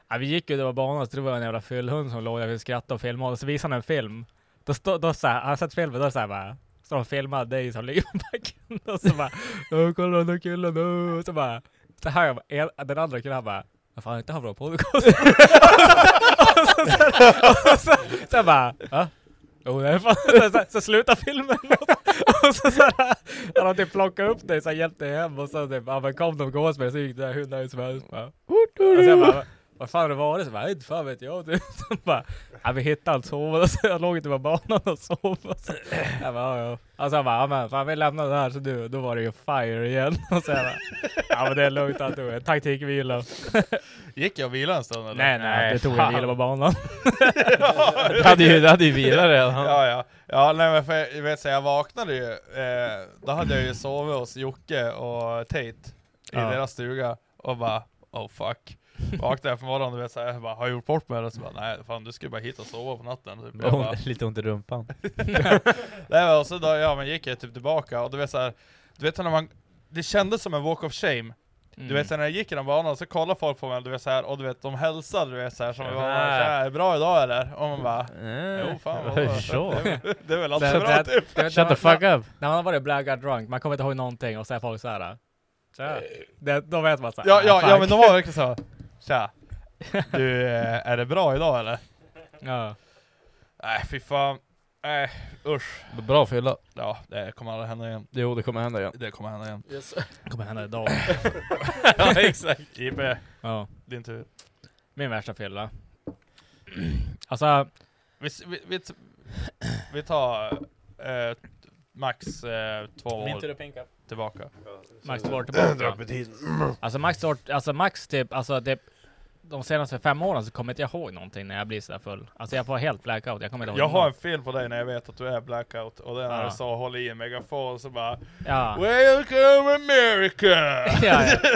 S2: Ja, vi gick ju över banan så tror jag det var en jävla fyllhund som låg där och skrattade och filmade. Och så visade han en film. Då stod, då så här, han satt filmen, då så här bara. Så de filmade dig som ligger på backen. Och så bara, "Åh, kolla den där killen, åh." Och så bara. Så hör jag bara, en- den andra killen han bara, "Ja,
S4: vad fan inte havre och podcast? och så, så, här- och så, så jag bara, va? Jo det är fan, så, så, så slutar filmen! och så såhär, har de typ plockat upp dig, så här, hjälpt dig hem och så typ, ja men kom de gås med så gick det där hur nice som helst bara, och så jag bara, vad fan har det varit? Så bara, inte fan vet jag typ. Så bara, ja vi hittade allt sova, så jag låg inte på banan och sov. Och så, jag bara, ja, ja. Alltså jag bara, ja men fan vi lämnar det här så du, då var det ju fire igen. Och så jag bara, ja men det är lugnt allt är taktikvila.
S1: Gick jag och vilade en stund eller?
S2: Nej nej, det tog en
S4: fan.
S2: vila på banan.
S4: Du hade ju, du hade ju vila redan.
S1: Ja, ja. Ja, nej men för jag, jag vet så jag vaknade ju, eh, då hade jag ju sovit hos Jocke och Tate i
S2: Ja.
S1: deras stuga och bara oh fuck. Vaknade jag på morgonen och vet så jag bara, har jag gjort bort mig eller? Så bara, nej fan du skulle bara hit och sova på natten. Typ. Jag bara,
S4: Lite ont i rumpan.
S1: nej men och så då, ja men gick jag typ tillbaka och du vet så du vet när man, det kändes som en walk of shame. Du
S4: Mm.
S1: vet så när jag gick i den banan så kollade folk på mig du vet så och du vet de hälsade du vet så som var
S4: Jaha.
S1: är det bra idag eller? Och man bara,
S4: Mm.
S2: Eh.
S1: jo fan vad bra.
S4: Så.
S1: Det är väl
S2: Så
S1: alltid bra
S2: att-
S1: typ.
S2: Du vet,
S4: Shut
S2: när
S4: the
S2: man-
S4: fuck up!
S2: När man har varit blackout drunk, man kommer inte ihåg någonting och så är folk såhär. Så här. eh. Det, då vet man "Ah, såhär.
S1: Ja, ja, ja men de var verkligen så. Tja. Du, eh, är det bra idag eller?
S2: Ja.
S1: Nej fy fan. Nej usch.
S4: Bra fylla.
S1: Ja, det kommer aldrig hända igen.
S4: Jo det kommer hända igen.
S1: Det kommer hända igen.
S2: Det kommer hända idag.
S1: ja exakt. JP,
S2: Ja.
S1: din tur.
S2: Min värsta fylla. Alltså,
S1: Vi, s- vi, vi, t- vi tar eh, max eh, två år
S2: att pinka.
S1: tillbaka.
S2: Max två år tillbaka. Alltså max, år, alltså max typ, alltså typ de senaste fem åren så kommer inte jag ihåg någonting när jag blir sådär full. Alltså jag får helt blackout, jag kommer inte ihåg
S1: Jag har en
S2: någonting.
S1: film på dig när jag vet att du är blackout och det är när
S2: Ja.
S1: du sa håll i en megafon så bara
S2: Ja,
S1: Welcome America!
S2: ja,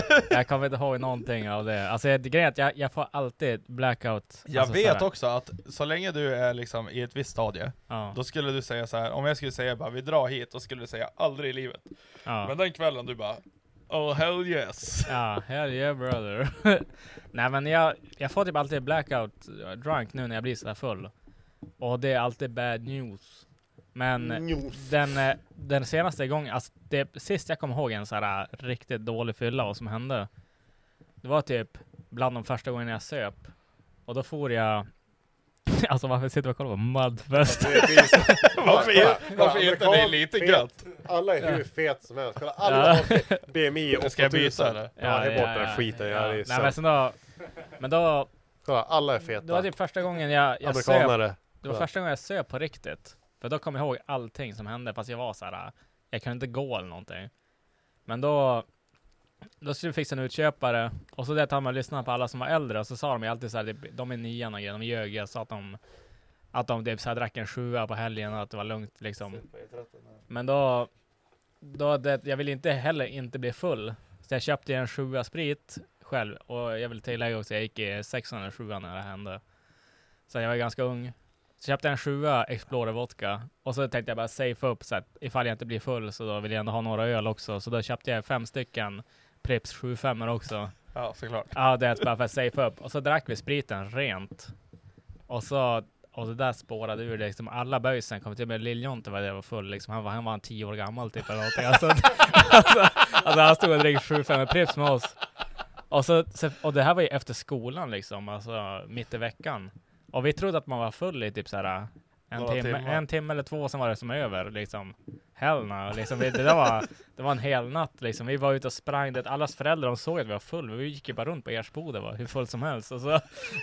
S2: ja. Jag kommer inte ihåg någonting av det. Alltså det- grejen är att jag, jag får alltid blackout.
S1: Jag
S2: alltså,
S1: vet
S2: sådär.
S1: också att så länge du är liksom i ett visst stadie
S2: Ja,
S1: Då skulle du säga så här, om jag skulle säga bara vi drar hit, då skulle du säga aldrig i livet.
S2: ja.
S1: Men den kvällen du bara Oh hell yes!
S2: Ja, hell yeah brother. Nej men jag, jag får typ alltid blackout eh, drunk nu när jag blir sådär full. Och det är alltid bad news. Men Den, eh, den senaste gången, alltså det sist jag kommer ihåg en så här eh, riktigt dålig fylla och som hände. Det var typ bland de första gångerna jag söp. Och då for jag, alltså varför sitter vi och kollar på Mudfest?
S1: varför är, varför är inte det lite gött?
S3: Alla är hur fet som helst. Kolla alla har BMI och
S1: Ska jag byta eller?
S3: Ja, det är bort den skiten. Jag är
S2: Nej, men,
S3: sämst.
S2: sen då, men då,
S3: Kolla, alla är
S2: det var
S3: feta.
S2: typ första gången jag, jag söp
S3: Amerikanare.
S2: Det var
S3: Ja.
S2: första gången jag söp på riktigt. För då kom jag ihåg allting som hände, fast jag var så här. jag kunde inte gå eller någonting. Men då, då skulle vi fixa en utköpare, och så det att man lyssnade på alla som var äldre, och så sa de ju alltid så här, typ, de är nya och grejer, de ljög, jag sa att de, att de typ så här, drack en sjua på helgen och att det var lugnt liksom. Men då, då det, jag ville inte heller inte bli full, så jag köpte ju en sjua sprit själv, och jag vill tillägga också, jag gick i sexan eller sjuan när det hände. Så jag var ganska ung. Så köpte jag en sjua Explorer Vodka och så tänkte jag bara safea upp så att ifall jag inte blir full så då vill jag ändå ha några öl också. Så då köpte jag fem stycken Pripps 75 också.
S1: Ja såklart.
S2: Ja, det är bara för att safea upp. Och så drack vi spriten rent. Och så och det där spårade ur liksom. Alla böjsen kom till mig. Lill-Jonte var det var full liksom. Han var, han var en tio år gammal typ eller någonting. Alltså, alltså, alltså han stod och drack 75 med Pripps med oss. Och, så, så- och det här var ju efter skolan liksom, alltså mitt i veckan. Och vi trodde att man var full i typ såhär en
S1: Några
S2: timme,
S1: timmar.
S2: en timme eller två, sen var det som över liksom. Hell no, liksom, vi, det, där var, det var en hel natt liksom. Vi var ute och sprang, det, allas föräldrar de såg att vi var full, vi gick ju bara runt på Ersboda va, hur full som helst. Och så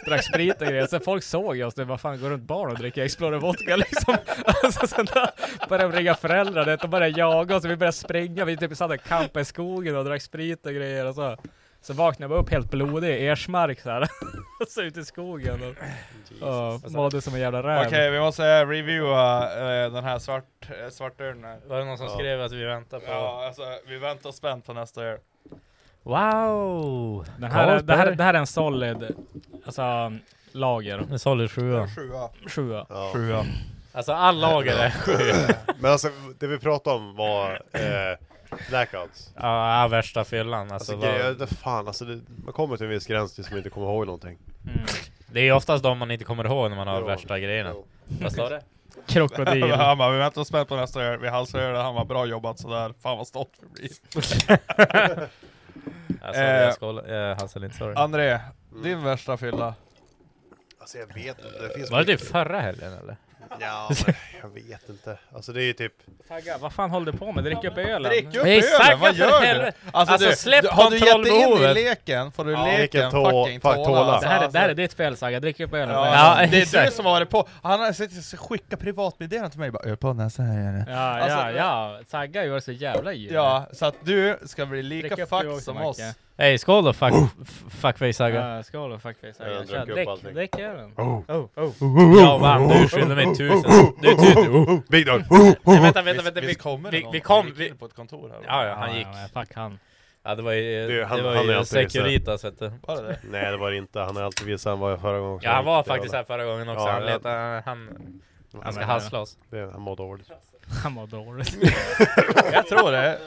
S2: drack sprit och grejer, så folk såg ju oss, det, vad fan går runt barn och dricker Explorer Vodka liksom. Alltså, sen då började de ringa föräldrar, det, de började jaga oss, och vi började springa, vi typ satt och campade i skogen och drack sprit och grejer och så. Så vaknade jag bara upp helt blodig, ersmark såhär. så ut i skogen och, och mådde som en jävla räv.
S1: Okej vi måste eh, reviewa eh, den här svart, eh, svartörnen här.
S4: Var det någon som
S3: Ja.
S4: skrev att vi väntar på...
S1: Ja alltså vi väntar spänt på nästa öl.
S4: Wow!
S2: Den här, det, här,
S4: Carlsberg.
S2: det här är en solid, alltså lager,
S4: En solid sjua.
S1: Sjua.
S2: sjua.
S3: Ja.
S1: Sjua.
S4: Alltså all lager är
S3: Men alltså, det vi pratade om var eh, blackouts.
S4: Ja, värsta fyllan. Alltså,
S3: Alltså,
S4: vad-
S3: grejer, det fan, alltså det, man kommer till en viss gräns tills man inte kommer ihåg någonting.
S2: Mm.
S4: det är ju oftast de man inte kommer ihåg när man har
S3: Jo.
S4: värsta grejerna.
S3: Jo.
S4: Vad står det?
S2: Krokodil.
S1: Han bara vi väntar spänt på nästa öl, vi halsar det, han bara bra jobbat sådär, fan vad stolt vi blir.
S4: Alltså,
S1: Eh.
S4: jag skålar. Eh, Hassel, inte sorry.
S1: André, Din värsta fylla?
S3: Alltså jag vet inte, det finns
S4: Var det typ
S3: mycket-
S4: förra helgen eller?
S3: Ja, men jag vet inte. Alltså det är ju typ...
S2: Tagga, vad fan håller du på med? Drick upp ölen!
S1: Drick upp
S4: Men Saga,
S1: ölen, vad
S4: för
S1: gör du?
S4: helvete. Alltså, släpp
S1: har du gett dig in i
S4: kontrollbehovet.
S1: leken får du
S3: Ja,
S1: leken
S3: vilken tå-
S1: fucking
S3: fuck,
S1: tåla.
S3: tåla.
S1: alltså.
S2: Det här, är, det här är ditt fel Saga, drick upp ölen!
S1: Ja,
S4: Ja,
S1: det är du
S4: exakt.
S1: som har varit på. Han har sett- skickat privatmeddelanden till mig bara "Ö, på näsan här är det.
S2: Ja,
S1: Alltså-
S2: ja, ja. Sagga gör så jävla yr.
S1: Ja, så att du ska bli
S2: Dricka
S1: lika
S2: upp du
S1: fuck
S2: också,
S1: som
S2: Macke.
S1: oss.
S4: Hej, skål då fuck,
S3: Oh!
S4: f- fuckface Saga.
S2: Ja, skål och fuckface
S3: Jag
S2: Sagga.
S3: drack
S2: Kör,
S3: upp
S2: Drick,
S3: allting.
S2: drick ölen!
S3: Oh.
S4: Oh, Ja man, du skyller mig tusen. Du,
S3: oh,
S4: du, du.
S3: Big dog!
S4: Nej, vänta, vänta, vänta. Vi,
S1: Visst kommer det
S4: vi,
S1: någon?
S4: vi kom,
S1: gick
S4: vi,
S1: in på ett kontor här.
S4: ja, ja, han
S2: Ja,
S4: gick.
S2: ja, Fuck han.
S4: Ja, det var ju,
S3: Du, han-
S4: det var
S3: han är
S4: ju
S3: alltid så.
S4: Securitas vet du.
S1: Var det det?
S3: Nej det var det inte, han är alltid vis han var förra gången också.
S4: Ja, han var
S3: Det
S4: faktiskt här förra gången också.
S3: Ja,
S4: Han
S3: ja.
S4: letade, han, han ska
S2: men-
S4: hassla oss.
S3: det- Han mår dåligt.
S2: Han var dåligt.
S1: Jag tror det.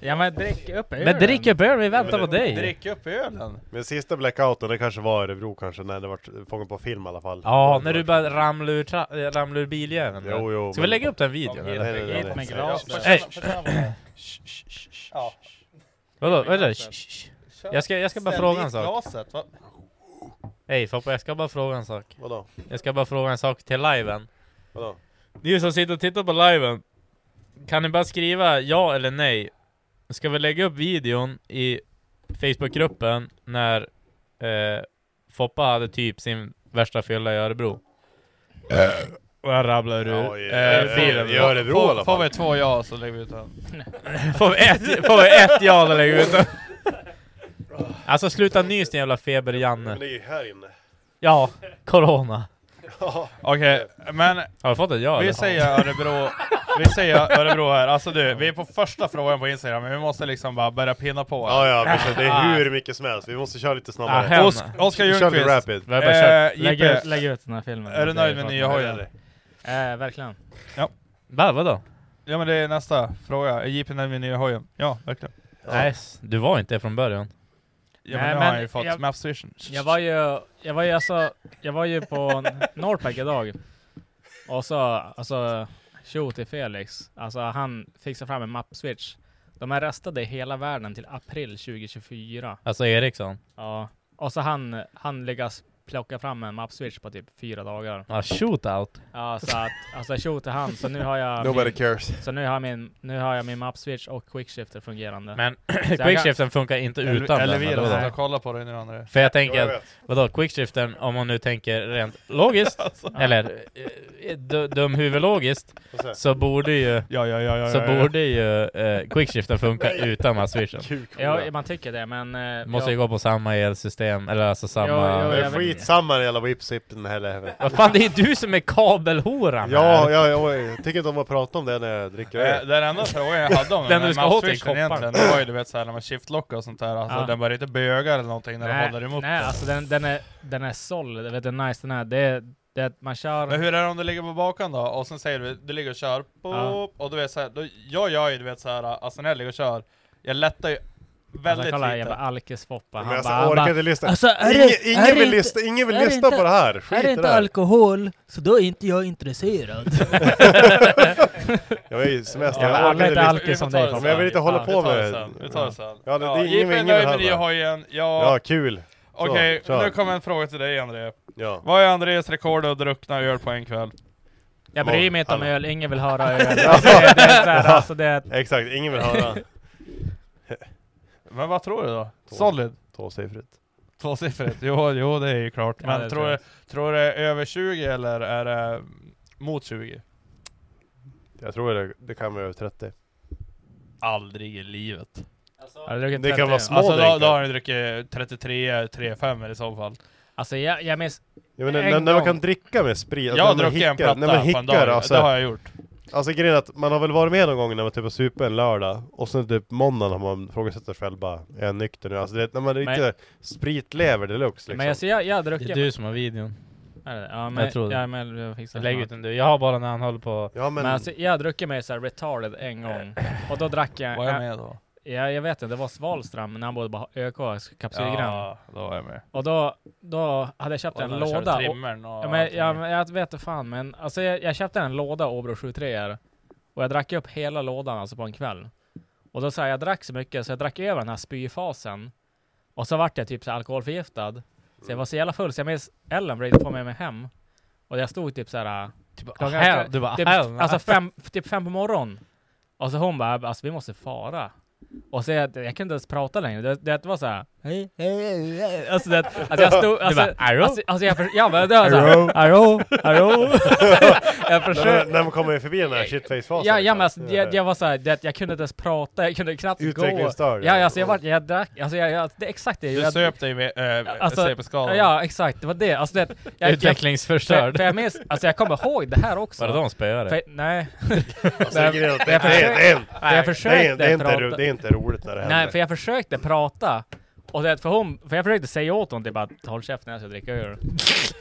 S2: Ja men drick upp ölen!
S4: Men drick upp öl, vi väntar på
S3: Men
S4: dig!
S1: Drick upp ölen.
S3: Men sista blackouten, det kanske var Örebro kanske, när det var fångat på film i alla fall.
S4: Ja, när du bara ramlade ur, tra- ramlade ur biljäveln.
S3: Jo, jo,
S4: Ska vi
S3: men-
S4: lägga upp den videon
S3: Nej,
S4: eller?
S3: nej, nej,
S2: Hit
S3: nej.
S2: med glas.
S4: Hey.
S1: Ja.
S4: Vadå, vadå? Shh, shh. Jag ska, jag ska bara fråga en sak.
S1: Glaset, va?
S4: Hej Foppa, jag ska bara fråga en sak.
S3: Vadå?
S4: Jag ska bara fråga en sak till liven.
S3: Vadå?
S4: Ni som sitter och tittar på liven, kan ni bara skriva ja eller nej? Ska vi lägga upp videon i Facebookgruppen när eh, Foppa hade typ sin värsta fylla i Örebro? Och jag rabblar
S3: Ja,
S4: ur
S3: i-
S4: eh, filen.
S3: i Örebro i alla
S1: Får
S3: fall.
S1: vi två ja så lägger vi ut den.
S4: Får vi ett, får vi ett ja eller lägger vi ut den? Alltså sluta nys din jävla
S3: Men det
S4: feber-Janne.
S3: är ju här inne.
S4: Ja, corona.
S1: Okej, men
S4: Har vi fått ett ja
S1: vi
S4: eller?
S1: säger Örebro. Vi säger Örebro här. Alltså du, vi är på första frågan på Instagram, men vi måste liksom bara börja pinna på.
S3: Ja ja, precis. det är hur mycket som helst. Vi måste köra lite
S4: Ah,
S3: snabbare.
S4: hem.
S1: Osk- Oskar
S3: Vi kör lite
S1: Ljungqvist,
S3: rapid.
S4: Vi har bara kört.
S1: Eh,
S2: Lägg
S1: Jippe.
S2: ut, lägg ut den här filmen.
S1: är du
S2: Det
S1: nöjd med
S2: vi pratar
S1: nya
S2: om.
S1: hojen?
S2: Eh, verkligen.
S4: Va, vadå?
S1: Ja men det är nästa fråga, är JP nöjd med nya hojen? Ja, verkligen.
S4: Nej, s- du var inte det från början.
S1: Ja
S2: Nej,
S1: men nu har
S2: men
S1: han ju fått
S2: jag-
S1: Mapsvision.
S2: Jag var ju, jag var ju alltså, jag var ju på Norpack idag. Och så, alltså, tjo till Felix. Alltså han fixade fram en mappswitch. De är restade i hela världen till april 2024.
S4: Alltså Eriksson.
S2: Ja. Och så han, han lyckas plocka fram en mappswitch på typ fyra dagar.
S4: Ja, shootout.
S2: Ja, så att, alltså tjo till han. Så nu har jag
S3: Nobody
S2: min,
S3: cares.
S2: så nu har jag min, nu har jag min mappswitch och quickshifter fungerande.
S4: Men
S2: kan-
S4: quickshiften funkar inte utan
S1: Eller
S4: den.
S1: vi
S4: eller
S1: då,
S4: vadå?
S1: som kollar på dig nu André.
S4: För jag
S3: Jo,
S4: tänker
S3: jag
S4: att,
S3: vet.
S4: vadå, quickshiften, om man nu tänker rent logiskt,
S1: Alltså.
S4: eller eh, d- dumhuvudlogiskt,
S3: Får se.
S4: så borde ju,
S1: Ja ja ja ja.
S4: så
S1: ja, ja.
S4: borde ju eh, quickshiften funka utan masswishen.
S3: Kuk.
S2: Ja, man tycker det, men... eh,
S4: Måste ju
S2: jag,
S4: gå på samma elsystem, eller alltså samma...
S2: Ja, ja,
S3: Men
S2: jag vet inte.
S3: skitsamma jävla whipsippen heller.
S4: Vad fan, det är ju du som är kabelhoran
S3: Ja,
S4: här.
S3: ja, ja, jag tycker inte om att prata om det när jag dricker
S1: Eh,
S3: öl.
S1: Den enda frågan jag hade om den
S4: Den du
S1: här
S4: ska ha till
S1: Mapsvision
S4: kopparn.
S1: egentligen, det var ju du vet såhär när man shiftlockar och sånt där, alltså
S2: Ja.
S1: den börjar inte böga eller någonting när du håller emot
S2: nej
S1: den.
S2: alltså den, den är, den är solid, vet du hur nice den är. Det är, det är att man
S1: Men
S2: kör...
S1: hur är det om du ligger på bakan då? Och sen säger du, du ligger och kör, pop,
S2: Ja.
S1: och du vet såhär, då, jag gör ju du vet såhär, alltså när jag ligger och kör, jag lättar ju
S2: Alltså,
S1: väldigt
S2: kolla
S1: lite.
S2: jävla alkisfoppa.
S3: Men
S2: Han
S3: alltså,
S2: bara... han
S3: jag orkar
S2: bara
S3: inte lyssna.
S2: alltså, är
S3: Ingen,
S2: det- är
S3: ingen,
S2: det
S3: vill
S2: inte-
S3: lyssna, ingen vill
S2: är det
S3: lyssna
S2: inte-
S3: på det här! Skit i det här!
S2: alkohol, så då är inte jag intresserad.
S3: Jag är ju i semester,
S2: Ja,
S3: jag
S2: alla
S3: orkar
S2: är
S3: inte
S2: inte
S3: lyssna.
S2: alkis som
S1: vi tar
S2: dig
S1: det
S2: Foppa.
S1: sen.
S3: Men jag vill inte hålla
S2: Fan.
S1: Vi
S3: på
S1: tar
S3: med...
S1: det sen, vi tar det sen.
S3: Ja, det- det är ingen-
S1: JP är
S3: ingen
S1: nöjd
S3: vill
S1: med nya
S3: höra.
S1: hojen,
S3: Ja,
S1: ja.
S3: kul! Så,
S1: Okej,
S3: kör.
S1: nu kommer en fråga till dig André.
S3: Ja.
S1: Vad är Andrés rekord att druckna öl på en kväll?
S2: Jag bryr mig inte om
S3: Alla.
S2: öl, ingen vill höra öl. Alltså, det, är- det är så här, alltså, det är...
S3: Exakt, ingen vill höra.
S1: Men vad tror du då?
S3: Två.
S1: Solid?
S3: Tvåsiffrigt.
S1: Tvåsiffrigt? Jo, jo det är ju klart.
S2: Ja,
S1: Men
S2: det
S1: tror,
S2: tror
S1: du,
S2: jag.
S1: tror du det är över 20 eller är det mot 20?
S3: Jag tror det, det kan vara över 30.
S1: Aldrig i livet.
S2: Alltså- Har du druckit
S3: Det kan
S2: 30?
S3: vara små-
S1: Alltså då,
S3: drinkar.
S1: då har han ju druckit 33, 35 i så fall.
S2: Alltså jag, jag minns...
S3: Ja, men när,
S2: En
S3: när när man
S2: gång.
S3: kan dricka med sprit,
S1: jag har
S3: när man
S1: druckit en
S3: hickar-
S1: platta
S3: när man
S1: på en
S3: hickar
S1: dag. Det har
S3: alltså,
S1: jag gjort.
S3: alltså grejen är att man har väl varit med någon gång när man typ har supit en lördag och sen typ måndagen har man frågat sig själv bara Är jag nykter nu? Alltså det, när man dricker spritlever deluxe liksom.
S2: Men alltså jag, jag har
S4: Det är
S2: druckit...
S4: du som har videon.
S2: Är det- Ja, men, jag
S4: tror
S2: tror
S4: det.
S2: det. Ja, men jag fixar det.
S4: Lägg ut den du. Jag har bara när han håller på...
S3: ja men,
S2: Men alltså, jag har druckit mig såhär retarded en gång. Och då drack jag...
S1: Var jag med då?
S2: Ja, jag vet inte, det var Svalström när han bodde på ÖK, kapsylgrann.
S1: Ja, då var jag med.
S2: Och då, då hade jag köpt en låda. Och, ja, men, ja, men, jag vet inte fan, men alltså, jag, jag köpte en låda Åbro 73 -er. och jag drack upp hela lådan alltså på en kväll. Och då så här, jag drack så mycket så jag drack över den här spyfasen. Och så vart jag typ så här alkoholförgiftad. Så jag var så jävla full så jag minns Ellen försökte få med mig hem. Och jag stod typ såhär...
S4: Typ,
S2: klockan-
S4: här, du bara,
S2: typ,
S4: här,
S2: alltså fem, typ fem på morgonen. Och så hon bara, alltså vi måste fara. Och så jag, jag kunde inte ens prata längre. Det, det var såhär... Hej, hej, hej, hej. Alltså det, alltså jag stod...
S4: Du
S2: Alltså,
S4: bara, "Arrow?"
S2: alltså, alltså jag, för, ja, men det var såhär...
S3: Arrow?
S2: Arrow? Arrow? jag
S3: När,
S2: försökte...
S3: när man kommer förbi den här shitface-fasen.
S2: Ja, ja men alltså,
S3: liksom.
S2: jag, jag var såhär, det, jag kunde inte ens prata, jag kunde knappt gå.
S3: Utvecklingsstörd,
S2: Ja,
S3: ja.
S2: alltså jag var, jag drack, alltså jag, jag, det är exakt det.
S1: Du
S2: Jag,
S1: söp dig med äh,
S2: Alltså,
S1: CP-skadan.
S2: Ja, exakt. Det var det. Alltså, det jag, jag, för,
S4: Utvecklingsförstörd.
S2: för jag minns, alltså jag kommer ihåg det här också.
S4: Var det de spöade?
S2: För, nej.
S3: Alltså, det, är grejen att det,
S2: jag
S3: det, är- det, är-
S2: För jag
S3: det, är-
S2: försökte
S3: det, är inte ro-
S2: prata.
S3: det är inte roligt när det händer.
S2: nej, för jag försökte prata. Och det, för, hon, för jag försökte säga åt hon typ att håll käften när jag ska dricka öl.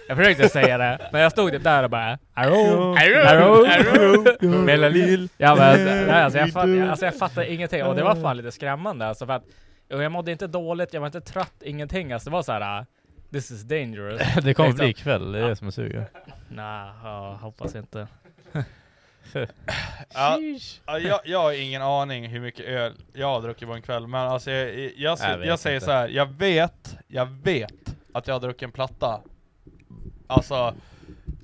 S2: Jag försökte säga det, men jag stod typ där och bara Arrow, arrow, arrow, mellalil. Ja men nej, alltså, jag fatt, alltså jag fattade ingenting och det var fan lite skrämmande alltså för att och jag mådde inte dåligt, jag var inte trött, ingenting alltså det var såhär ah, This is dangerous.
S4: det kommer
S2: Liksom.
S4: bli ikväll, det är det som är suger.
S2: Nej, jag hoppas inte.
S1: Ja, ja, jag, jag har ingen aning hur mycket öl jag har druckit på en kväll, men alltså jag, jag, jag,
S4: Jag
S1: jag,
S4: vet
S1: säger
S4: inte.
S1: så här. jag vet, jag vet att jag har druckit en platta. Alltså,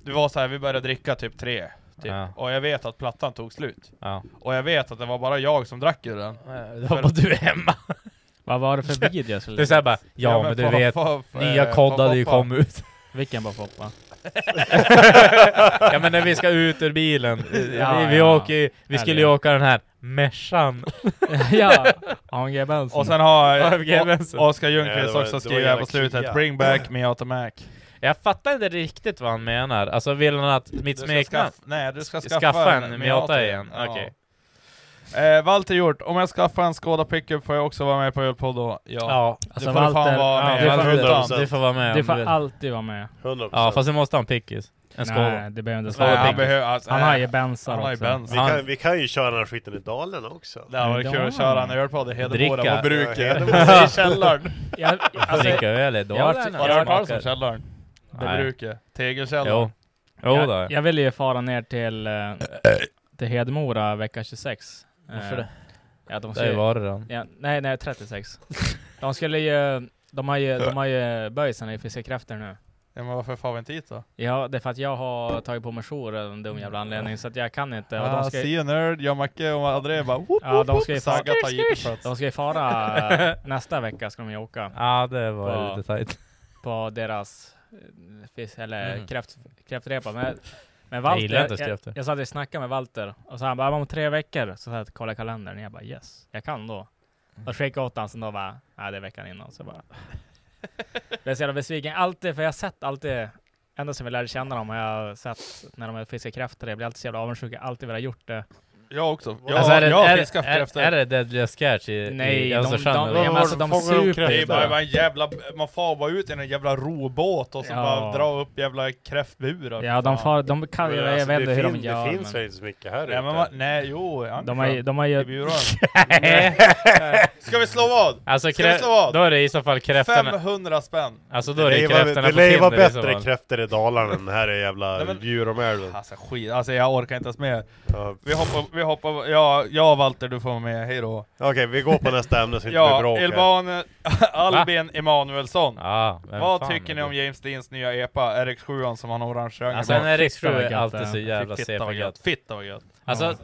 S1: det var så här, vi började dricka typ tre, typ.
S4: Ja.
S1: och jag vet att plattan tog slut.
S4: Ja.
S1: Och jag vet att det var bara jag som drack ur den.
S4: Då hoppas du är hemma.
S2: Vad var det för video jag skulle
S4: Det är såhär bara, ja, men, du
S1: fa-
S4: vet,
S1: fa- fa-
S4: nya
S1: eh,
S4: koddar hade ju
S1: fa- fa-
S4: kommit ut.
S2: Vilken bara poppa?
S4: ja men när vi ska ut ur bilen, vi,
S2: Ja,
S4: vi,
S2: ja.
S4: åker, ju- vi skulle ju
S2: Härliga.
S4: åka den här Mercan.
S2: ja, AMG Benson.
S1: Och sen har
S4: AFG Benson.
S1: Oskar
S3: Nej, det var-
S1: Ljungqvist
S3: det
S1: också
S3: var
S1: skrivit här
S3: jävla
S1: på slutet,
S3: Kia.
S1: 'Bring back me out of Mac'
S4: Jag fattar inte riktigt vad han menar, alltså vill han att mitt
S1: Du ska
S4: smeknamn...
S1: skaff- Nej, du ska
S4: Ska-
S1: skaffa,
S4: skaffa en Miata igen.
S1: Ja.
S4: Okej.
S1: Eh, Walter Hjort, om jag skaffar en Skoda pickup får jag också vara med på Ölpodd då? Ja.
S4: Ja,
S1: Du
S2: Alltså
S1: får fan
S2: Walter,
S1: vara
S4: ja,
S1: med.
S2: du
S4: ja,
S2: får-
S4: du, får,
S3: 100%.
S4: du får vara med om
S2: du
S4: du
S2: får
S4: vill.
S2: alltid vara med.
S3: 100%.
S4: Ja fast du måste ha en pickis. En skål.
S2: Nej, det behöver inte
S1: Nej,
S2: vara.
S1: han,
S4: Pickles.
S1: behöver, alltså,
S2: Han
S1: nej.
S2: har ju bensar
S1: Han har ju
S2: också.
S1: bens.
S3: vi,
S4: han-
S3: kan, vi kan ju köra den här skiten i Dalarna också.
S1: Det hade varit kul att köra en ölpodd i Hedemora
S4: Dricka.
S1: och bruket.
S3: Ja,
S1: I källaren.
S2: Jag, alltså,
S4: Dricka öl är
S2: jag har
S4: dåligt.
S2: varit-
S1: Har du hört talas om
S4: smakar.
S1: källaren? Det
S4: Nej.
S1: bruket. Tegelkällaren.
S4: Jo. Jo då.
S2: jag, jag ville ju fara ner till, eh, till Hedemora vecka 26. Eh,
S4: Varför det?
S2: Ja, de
S4: Det har ju
S2: skulle,
S4: varit den.
S2: ja, nej, nej 36. De skulle ju, de har ju, de har ju böjsen i Fiskekrafter nu.
S1: Ja, men varför far vi inte dit då?
S2: Ja, det är för att jag har tagit på mig jour av en dum jävla anledning, så att jag kan inte. Och
S1: Ah,
S2: de ska,
S1: See you nerd, jag, Macke och André bara whoop,
S2: ja, de ska ju fara,
S1: Saga tar jeepet.
S2: de ska ju fara eh, nästa vecka ska de ju åka.
S4: Ja det var
S2: Ja.
S4: lite tajt.
S2: på deras eh, fisk, eller
S4: Mm.
S2: kräft, kräftrepa. Men, men
S4: Jag
S2: Walter,
S4: gillar inte ens
S2: jag,
S4: kräftor.
S2: jag satt och snackade med Walter och så han bara, "Ja, om tre veckor, så satt jag och kollade kalendern och jag bara yes, jag kan då. Och skickade åt honom, sen då bara, nej det är veckan innan. Så jag bara, blev så jävla besviken. Alltid, för jag har sett alltid, ända sedan vi lärde känna dem, har jag sett när de fiskar kräftor, jag blir alltid så jävla avundsjuk, jag har alltid velat gjort det.
S1: Jag också. Jag,
S3: Alltså,
S4: är, det,
S1: jag
S4: är,
S1: fiskar efter
S4: är, är det Deadliest Catch i,
S2: Nej,
S4: i
S2: de-
S4: Östersjön?
S2: de-
S4: eller?
S2: men alltså, de
S3: Fångar de
S2: super-
S1: Det är bara,
S3: kräftor?
S1: bara en jävla, man far bara ut i en jävla robåt och så
S2: Ja.
S1: bara dra upp jävla kräftburar.
S2: Ja, de far, de kan,
S3: Men
S2: jag
S3: alltså,
S2: vet inte
S3: det
S2: hur de
S3: fin-
S2: gör.
S3: Det finns
S2: men
S3: väl inte så mycket här
S1: Ja, men man, nej, jo.
S2: de har ju, de har
S1: i
S2: ju,
S1: byrån. Ska vi slå vad?
S4: Alltså
S1: Ska vi slå vad?
S4: krä- då är det i så fall kräftorna.
S1: 500 spänn.
S4: Alltså då är det
S3: Det lär ju
S4: kräftorna
S3: vara-
S4: på
S3: det lär ju vara
S4: Tinder i så
S3: bättre
S4: fall.
S3: kräftor i Dalarna än här i
S1: Nej,
S3: jävla
S1: men-
S3: Djuromälven.
S1: Alltså skit, alltså jag orkar inte ens med.
S3: Ja.
S1: Vi hoppar, vi hoppar, ja, jag och Walter du får vara med, hejdå.
S3: Okej, vi går på nästa ämne så inte blir
S1: Ja,
S3: bråk här.
S1: Elban, Albin Emanuelsson.
S4: Ja, vem
S1: Vad
S4: fan
S1: tycker
S4: är
S1: ni
S4: det?
S1: om James Deans nya E epa, RX7 som han har orange ögon
S4: Alltså
S1: bak?
S4: en RX7
S2: vad
S4: är
S2: gött det
S4: alltid
S2: är.
S4: så jävla
S1: Fy- Fitta vad
S4: CP-gött.
S1: gött. Fitta vad gött.
S4: Alltså,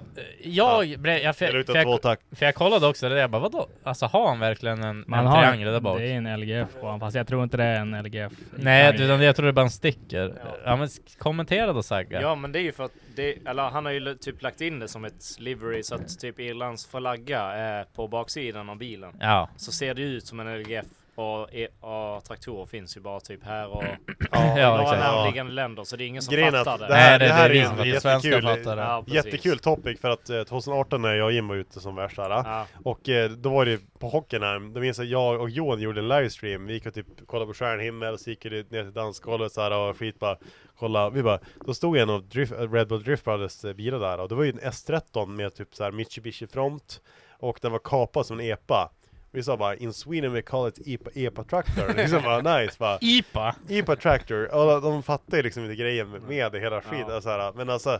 S4: jag, blev- jag, för,
S3: Eller
S4: för,
S3: utan två
S4: jag,
S3: tack.
S4: för jag kollade också det där, jag bara vadå? Alltså har han verkligen en,
S2: man
S4: en
S2: har,
S4: triangel där bak?
S2: det är en LGF på honom, fast jag tror inte det är en LGF.
S4: Nej, utan jag tror det bara en sticker. Ja, men sk- kommentera då Sagga.
S5: Ja men det är ju för att det, eller han har ju l- typ lagt in det som ett livery så att typ Irlands flagga är på baksidan av bilen.
S4: Ja.
S5: Så ser det ju ut som en LGF och, e- och traktorer finns ju bara typ här och
S4: Ja,
S5: några
S4: exakt.
S5: närliggande länder så det är ingen som
S3: Grejen är
S5: fattar
S3: att
S5: det.
S3: det här,
S4: Nej, det-
S3: det här
S4: det
S3: är ju
S4: är vi som-
S3: en
S1: Vi svenskar fattar
S3: jättekul,
S1: det.
S5: Ja, precis.
S3: jättekul topic för att eh, 2018 när jag och Jim var ute som värst där,
S5: Ja.
S3: Och eh, då var det ju på Hockenheim, då minns jag jag och Johan gjorde en livestream, vi gick och typ kollade på stjärnhimmel, så gick vi ner till dansgolvet så här och skit bara kolla, vi bara, då stod en av Drift, eh, Red Bull Drift Brothers eh, bilar där och det var ju en S13 med typ så här Mitsubishi front och den var kapad som en EPA. Vi sa bara in Sweden we call it E EPA, EPA tractor, liksom bara nice
S5: E
S3: bara.
S4: IPA!
S3: EPA tractor, och de fattar ju liksom inte grejen med, med det hela skit, alltså, så här, men alltså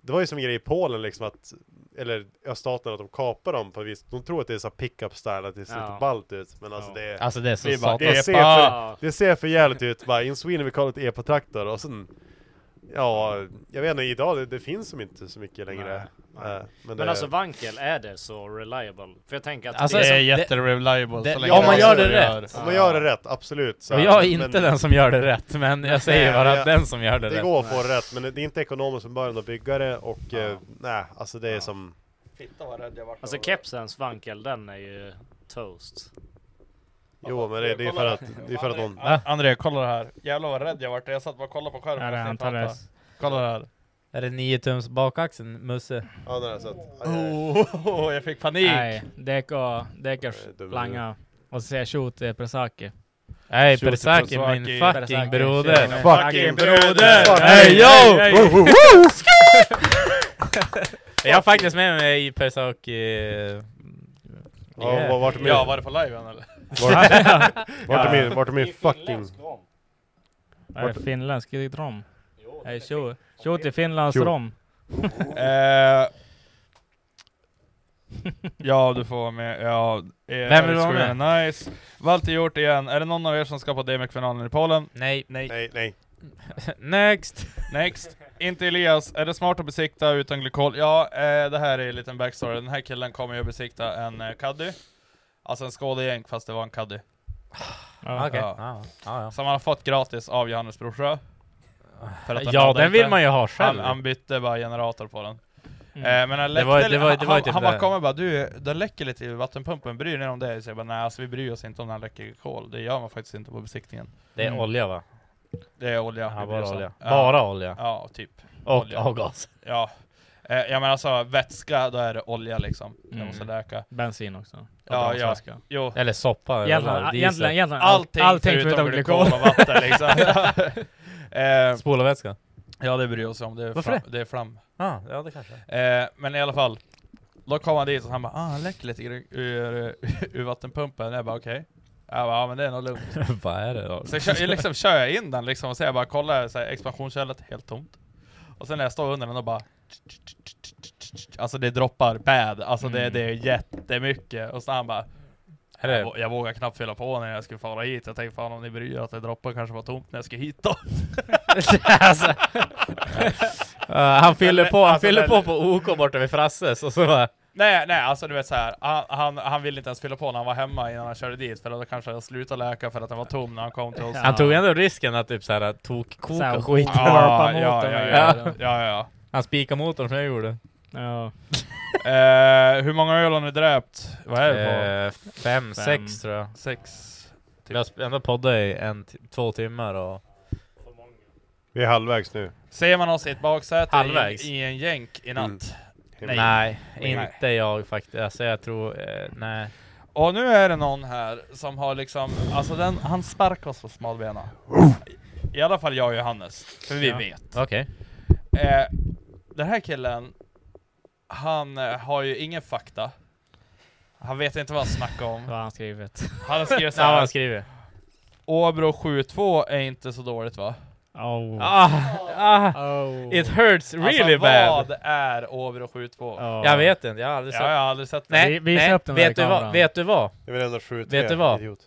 S3: Det var ju som en grej i Polen liksom att, eller öststaterna, att de kapar dem på ett vis. De tror att det är så här pickup style, att det ser
S5: Ja.
S3: lite ballt ut. Men alltså det är...
S4: Alltså det är så
S3: det, är bara, det,
S4: satans-
S3: ser
S4: Ah.
S3: för, det ser för jävligt ut. Bara, in Sweden vi kallar det epatraktor och sen... Ja, jag vet inte, idag det, det finns som inte så mycket längre. Eh, men
S5: Men
S3: det,
S5: alltså vankel, är det så reliable? För jag tänker att
S4: Alltså,
S5: det
S1: Det
S5: är
S1: är
S4: det-
S1: jättereliable
S4: det-
S1: så
S4: om
S1: länge
S4: man
S1: du
S4: gör det
S1: gör.
S4: rätt.
S3: om man gör det rätt, absolut. så
S4: Och
S3: här,
S4: jag är inte
S3: men-
S4: den som gör det rätt, men jag säger
S3: Nej,
S4: bara att
S3: jag-
S4: den som gör det,
S3: Det
S4: rätt.
S3: går att få det rätt, men det är inte ekonomiskt från början att bygga det och eh, nej, alltså det är som...
S5: Alltså kepsens vankel, den är ju toast.
S3: Jo, men det, det är för att, det är för att någon...
S1: Ah, André, kolla det här. Jävlar vad rädd jag vart. Jag satt bara och kollade på skärmen.
S2: Är
S1: och
S2: det
S1: tänkte
S2: antalet?
S1: att- Kolla det här.
S4: Är det 9 tums bakaxeln, Musse?
S3: Ja, det har jag sett. Aj, aj, aj.
S1: Oh, jag fick panik!
S2: Nej, däck och däckers
S3: Nej, det var-
S2: langa. Och så säger jag shoot eh, Presaki.
S4: Nej,
S1: Shoot
S4: Bersaki,
S1: Bersaki.
S4: min fucking
S2: Bersaki,
S4: broder!
S2: tjena.
S3: Fucking
S1: broder!
S4: Hey yo!
S1: Hey,
S4: Jag har faktiskt med mig eh, Bersaki...
S3: Ja, var- vart är min,
S1: Ja, var det på liven eller?
S3: vart är min, vart är min fucking...
S2: Är det finländsk i rom? Nej, shoot. Shoot i Finlands
S3: Shoot.
S2: rom.
S1: Eh, ja, du får vara med. Ja, eh,
S4: Vem vill vara
S1: skolan är Nice. Walter gjort igen. Är det någon av er som ska på DMX-finalen i Polen?
S4: Nej, nej.
S3: Nej, nej.
S4: Next!
S1: Next. Inte Elias. Är det smart att besikta utan glykol? Ja, eh, det här är en liten backstory. Den här killen kommer ju att besikta en eh, caddy. Alltså en skådejänk fast det var en caddy.
S4: Ah, Okej.
S1: Ja.
S4: Ja, ja. Ah.
S1: Som han har fått gratis av Johannes Brorsjö. För att han
S4: Ja,
S1: hade
S4: den
S1: inte-
S4: vill man ju ha
S1: Han,
S4: själv.
S1: han bytte bara generator på den.
S2: Mm.
S1: Eh, men han
S4: Det
S1: läckte,
S4: var- det var- det var
S1: han,
S4: typ
S1: han bara
S4: det.
S1: kommer och bara du, den läcker lite i vattenpumpen, bryr ni er om det? Så jag bara nej alltså vi bryr oss inte om den läcker i kol, det gör man faktiskt inte på besiktningen.
S4: Det är
S1: Mm.
S4: olja va?
S1: Det är olja.
S4: Ja,
S1: vi bryr
S4: bara
S1: oss om.
S4: olja.
S1: Ja,
S4: Bara olja.
S1: Ja, typ.
S4: Och
S1: olja.
S4: avgas.
S1: Ja. Eh, ja men alltså vätska, då är det olja liksom. Det
S2: Mm.
S1: måste läka.
S2: Bensin också.
S1: Ja, ja.
S2: Avgasväska.
S1: Jo.
S4: Eller soppa.
S2: Egentligen,
S4: eller
S2: egentligen,
S4: diesel.
S2: egentligen all-
S1: Allting, förutom glykol
S2: glykol.
S1: och vatten liksom. eh,
S4: Spolarvätska?
S1: ja det bryr oss om, det är
S4: Varför
S1: flam. Det är flam.
S4: Ah, ja, det kanske.
S1: Eh, men i alla fall, då kom han dit och han bara ah, han läcker lite ur, ur, ur vattenpumpen. Jag bara okej. Jag bara ja men det är nog lugnt.
S4: Vad är det då?
S1: Så jag, kör- jag liksom kör jag in den liksom och så jag bara kollar så här, expansionskället, helt tomt. Och sen när jag står under den och bara Alltså det droppar bad, alltså det,
S2: Mm.
S1: det är jättemycket. Och så han bara
S4: Är det-
S1: jag, vå- jag vågar knappt fylla på när jag skulle fara hit. Jag tänkte fan om ni bryr er att det droppar kanske var tomt när jag ska hit då.
S4: alltså, Eh, han fyller
S1: Men-
S4: på, han
S1: alltså,
S4: fyller
S1: men-
S4: på på OK borta vid Frasses och så bara,
S1: Nej, nej, alltså du vet så här. Han, han, han ville inte ens fylla på när han var hemma innan han körde dit, för då kanske han slutade läka för att den var tom när han kom till oss.
S4: Han tog ändå risken att typ såhär tokkoka
S2: Såhär,
S4: skiten
S1: ja, ja,
S2: motorn och
S1: ja, ja,
S2: grejer.
S1: ja, ja.
S4: Han spikade motorn som jag gjorde
S2: Ja.
S1: Eh, hur många öl har ni dräpt? Vad är det på?
S4: eh, fem, sex tror jag
S1: Sex? typ.
S4: Vi har sp- ändå poddat i en, t- två timmar och
S3: Vi är halvvägs nu.
S1: Ser man oss i ett baksäte
S4: Halvvägs.
S1: i, i en jänk i natt?
S3: Mm.
S4: Nej, inte jag faktiskt, alltså jag tror, eh, nej
S1: Och nu är det någon här som har liksom, alltså den, han sparkar oss på smalbena.
S4: Oh.
S1: I alla fall jag och Johannes, för vi
S2: Ja.
S1: vet.
S4: Okej
S1: Eh, den här killen, han eh, har ju ingen fakta. Han vet inte vad han snackar
S2: Vad
S1: om.
S2: har han skrivit?
S1: Han har skrivit
S4: Ja, vad
S1: såhär,
S4: han skriver
S1: Åbro 7-2 är inte så dåligt va?
S2: Oh.
S4: ah, ah,
S2: Oh.
S4: It hurts really
S1: alltså,
S4: bad!
S1: vad är Åbro 7-2?
S2: Ja.
S4: Jag vet inte, jag har aldrig
S1: Ja,
S4: sett
S1: jag har aldrig sett det.
S4: Nej,
S2: Vi- visa
S4: nej,
S2: upp den där
S4: vet du, vad,
S2: kameran.
S4: vet du vad?
S3: Jag vill ändå skjuta
S4: Vet
S3: er,
S4: du vad?
S3: Idiot.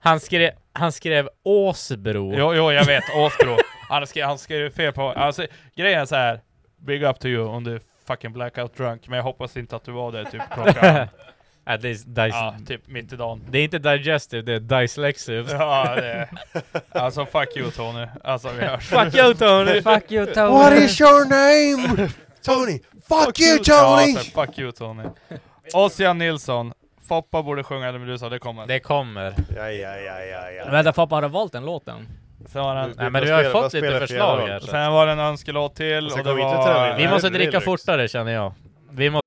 S4: Han skrev, han skrev Åsbro
S1: Jo, jo, jag vet. Åsbro. Han skrev, han skrev fel på... Alltså, grejen är så här. Big up to you om du är fucking blackout drunk, men jag hoppas inte att du var det typ klockan...
S4: At least dice.
S1: ja, typ mitt i dagen.
S4: Det är inte digestive, det är dyslexive.
S1: Ja, det... Alltså fuck you Tony. Alltså vi hörs.
S4: Fuck you Tony!
S2: Fuck you Tony!
S3: your name? Tony! Fuck
S1: Ja, alltså, fuck you Tony. Ossian Nilsson. Foppa borde sjunga eller Medusa, det kommer.
S4: Det kommer.
S3: Ja, ja, ja, ja, ja.
S2: Vänta Foppa, har du valt den låten?
S1: Sen var, det en,
S4: Nej men du har ju
S3: spelar-
S4: fått
S3: vad
S4: lite
S3: spelar
S4: förslag
S3: Fjärilar?
S4: här. så.
S1: sen var det en önskelåt till
S3: Sen
S1: och det
S3: kan vi inte träna
S1: var...
S3: in.
S4: Vi
S3: Nej,
S4: måste
S3: det är
S4: dricka
S3: lyrics.
S4: fortare känner jag. Vi måste...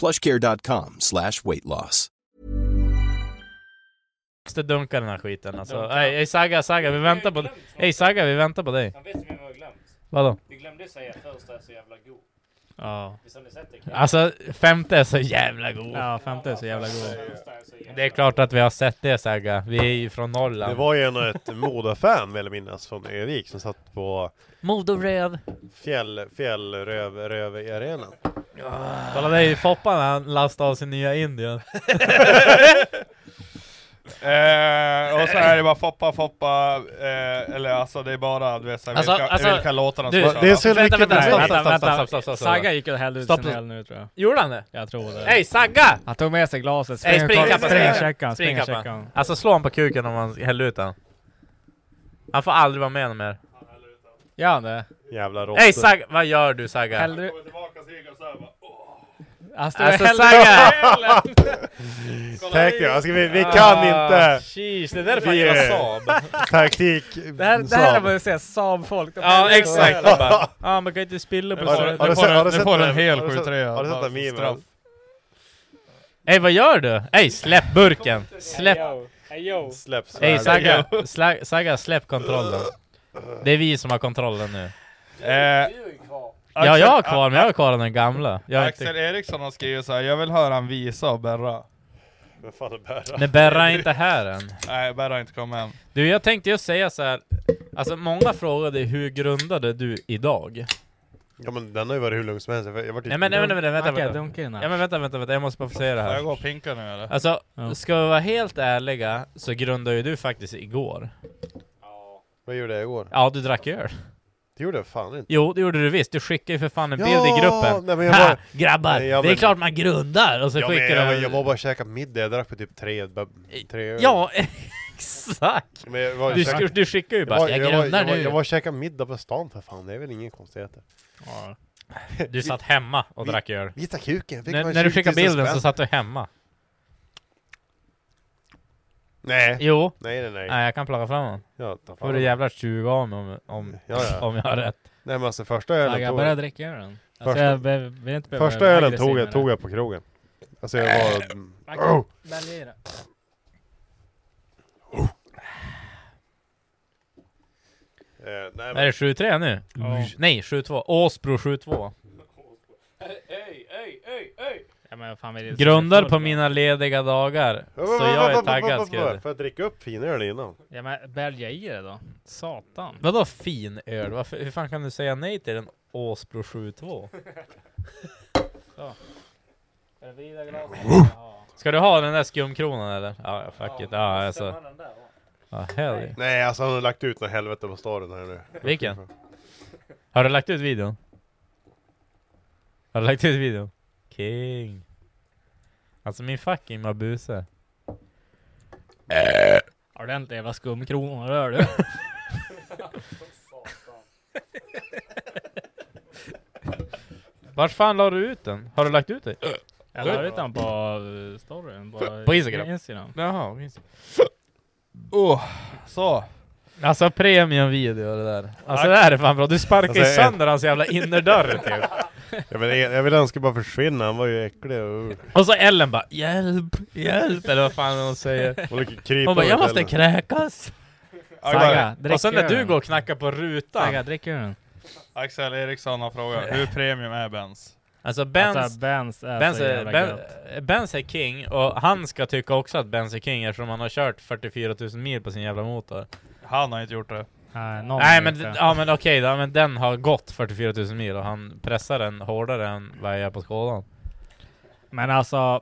S7: plushcare.com slash weight loss.
S4: måste dunka den här skiten alltså. Ey, ey Saga, Saga, vi väntar på dig. Ey Saga, vi väntar på dig.
S5: Vet ni vad vi har glömt?
S4: Vadå?
S5: Vi glömde säga att första är så jävla god.
S4: Ja.
S5: Visst har ni sett det?
S4: Alltså, femte är så jävla god.
S2: Ja, femte är så jävla god.
S4: Det är klart att vi har sett det Saga. Vi är ju från Norrland.
S3: Det var ju en ett Moda-fan vill jag minnas från Erik som satt på
S4: Modoröv.
S3: fjäll, fjällröv, röv i arenan.
S4: Kolla det är ju Foppa när han lastade av sin nya Indian.
S1: Eh, och så är det bara Foppa, Foppa, eh, eller alltså det är bara du vet, så här,
S2: Alltså,
S1: vilka,
S2: alltså,
S1: vilka låtar de
S2: du-
S1: ska köra.
S2: det är så Vänta, mycket- vänta,
S4: Stopp,
S2: vänta,
S4: stopp, stopp,
S2: vänta.
S4: stopp, stopp, stopp, stopp.
S2: Saga gick och hällde ut
S4: Stopp.
S2: sin öl nu tror jag.
S4: Gjorde han det?
S2: Jag tror det.
S4: Ey Saga!
S2: Han tog med sig glaset.
S4: Ey springkappan!
S2: Springcheckan,
S4: Springkappan!
S2: springcheckan.
S4: Alltså slå honom på kuken om han häller ut den. Han får aldrig vara med mer.
S2: Gör han det?
S3: Jävla råttor.
S4: Ey Saga! Vad gör du Saga?
S2: Hällde du... Alltså,
S4: Alltså,
S2: hällde
S4: Saga!
S3: Tänkte jag, ska Alltså, vi, vi kan inte!
S4: Ah, Sheesh, det där är
S3: Vi
S4: faktiskt
S3: är-
S4: Saab.
S3: Taktik
S2: Det här, det här är vad du säger, Saab-folk. de
S4: Ja
S2: häller ut
S4: exakt!
S2: öl.
S4: Ja ah, man kan inte spilla på
S1: Har du-
S4: sånt.
S1: har du-
S4: Får-
S1: du får en
S3: den-
S1: hel
S3: har du sett-
S1: 7-3,
S3: Har du sett
S1: bara
S3: den memen?
S1: straff.
S4: Ey vad gör du? Ey släpp burken! Släpp!
S2: Hey yo!
S3: Släpp
S4: Ey
S3: svärdet.
S4: Saga, sla- Saga släpp kontrollen. Det är vi som har kontrollen nu.
S1: Eh,
S4: Ja jag har kvar, men jag har kvar den gamla. Jag har
S1: Axel
S4: inte...
S1: Eriksson har skrivit så här, jag vill höra en visa av Berra.
S3: Vad fan är Berra?
S4: Men Berra är inte här än.
S1: Nej, Berra har inte kommit hem.
S4: Du jag tänkte just säga så här. alltså många frågade hur grundade du idag?
S3: Ja men den har ju varit hur lugn som helst. Jag var- jag var typ...
S4: Nej men, nej, men, nej, men vänta,
S2: Okej,
S4: vänta.
S2: dunka in
S4: Ja
S2: här.
S4: men vänta, vänta, vänta, jag måste bara få säga det
S1: Får jag
S4: här.
S1: gå och pinka nu eller?
S4: Alltså,
S2: Ja.
S4: ska vi vara helt ärliga så grundade ju du faktiskt igår.
S3: Vad gjorde jag igår?
S4: Ja, du drack öl.
S3: Det gjorde jag fan inte.
S4: Jo, det gjorde du visst. Du skickade ju för fan en
S3: Ja,
S4: bild i gruppen.
S3: nej, men jag
S4: ha,
S3: var-
S4: grabbar!
S3: Nej, jag
S4: det är
S3: men-
S4: klart man grundar! Och så
S3: Ja, men
S4: skickar
S3: jag,
S4: du...
S3: jag var bara och käkade middag, jag drack på typ tre, bara, tre öl.
S4: Ja, exakt!
S3: Men jag var
S4: Du,
S3: käkade-
S4: sk- du skickar ju
S3: jag
S4: bara
S3: var-
S4: jag,
S3: jag var-
S4: grundar
S3: jag var-
S4: nu.
S3: Jag var och käkade middag på stan för fan, det är väl ingen konstigheter.
S4: Du satt hemma och drack öl.
S3: Visa kuken! fick
S4: När,
S3: man
S4: när du
S3: 20 000
S4: skickade bilden
S3: spänn.
S4: så satt du hemma.
S3: Nej.
S4: Jo.
S3: Nej nej nej.
S4: Nej, jag kan plocka fram den.
S3: Ja, ta fan.
S4: Får du jävlar 20 av mig om, om,
S3: Ja, ja.
S4: om jag har rätt.
S3: Nej men alltså första ölen
S2: Saga,
S3: tog
S2: börja
S3: jag,
S2: dricka ölen. Alltså,
S3: Första-
S2: jag be- vill inte behöva
S3: första
S2: vara
S3: ölen
S2: aggressiv
S3: tog
S2: med
S3: jag,
S2: det.
S3: tog jag på krogen. Alltså jag var... Oh!
S2: Tack. Men det är det.
S3: Eh, nej, men,
S4: Är det 7-3 nu? Nej, 7-2. Åsbro 7-2.
S2: Ja, men fan, vi är-
S4: Grundar på mina lediga dagar. Så jag är taggad skrev du.
S3: För att dricka upp finöl innan.
S2: Ja men bälja i det då. Satan.
S4: Vadå fin öl? Varför, hur fan kan du säga nej till en Åsbro 72? Ska du ha den där skumkronan eller? Ja, ja, fuck it. Ja, alltså. Ja, hell yeah.
S3: Nej alltså han har lagt ut något helvete på staden här nu.
S4: Vilken? Har du lagt ut videon? Har du lagt ut videon? King. Alltså min fucking mabuse.
S2: Har du inte jävla skumkronor rör du?
S4: Vart fan la du ut den? Har du lagt ut den?
S2: Jag la ut den på eh, storyn.
S4: På Instagram.
S2: Instagram.
S4: Jaha, minns
S1: Oh, så.
S4: Alltså premiumvideo det där. Alltså det där är fan bra. Du sparkar ju
S3: Alltså, en-
S4: sönder hans jävla innerdörr typ.
S3: Jag vill, e- jag vill önska bara försvinna, han var ju äcklig och...
S4: Och så Ellen bara 'Hjälp, hjälp' eller vad fan hon säger.
S3: Hon lyckas krypa
S4: Hon bara
S3: åt
S4: 'Jag måste
S3: Ellen."
S4: kräkas'
S1: Ja,
S4: Saga,
S1: bara-
S4: och sen när du går och knackar på rutan.
S1: Saga,
S2: drick ölen.
S1: Axel Eriksson har frågat, hur premium är Benz?
S4: Alltså Benz,
S2: Alltså, Benz är
S4: Benz
S2: så
S4: är,
S2: jävla
S4: ben, Benz är king, och han ska tycka också att Benz är king eftersom han har kört 44 000 mil på sin jävla motor.
S1: Han har inte gjort det.
S2: Nej,
S4: Nej men, d- ja, men okej då, men den har gått 44 000 mil och han pressar den hårdare än vad jag gör på skådan.
S2: Men alltså...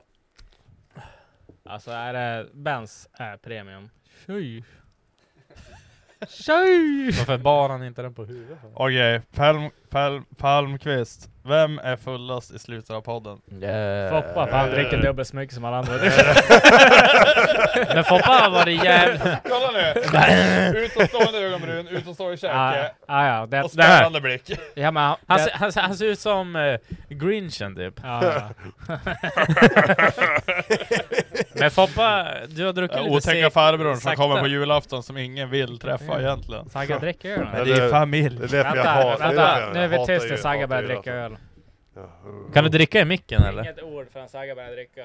S2: Alltså är det Benz är premium. Tjoj! Tjoj!
S4: Varför bar han inte den på huvudet?
S1: Okej, Palm, Palm, Palmqvist. Vem är fullast i slutet av podden? Eh.
S2: Foppa, för han dricker dubbelt så mycket som alla andra.
S4: Men Foppa har varit jävligt...
S1: Kolla nu! Utomstående ögonbryn, utomstående käke.
S4: Ja, ja, ja, det-
S1: och spännande
S4: det-
S1: blick.
S2: Ja, men,
S4: Han,
S2: det-
S4: ser- han, ser- han ser ut som eh, Grinchen typ.
S2: Ja, ja.
S4: men Foppa, du har druckit
S1: Ja,
S4: lite
S1: Eh, Otäcka
S4: seg-
S1: farbrorn som
S4: sakta.
S1: kommer på julafton som ingen vill träffa
S2: Mm.
S1: egentligen.
S2: Sagga dricker öl.
S1: Men Det är familj.
S2: vänta, nu är vi tyst när Sagga börjar dricka öl.
S4: Kan du dricka i micken eller?
S2: Inget ord förrän Sagga börjar dricka.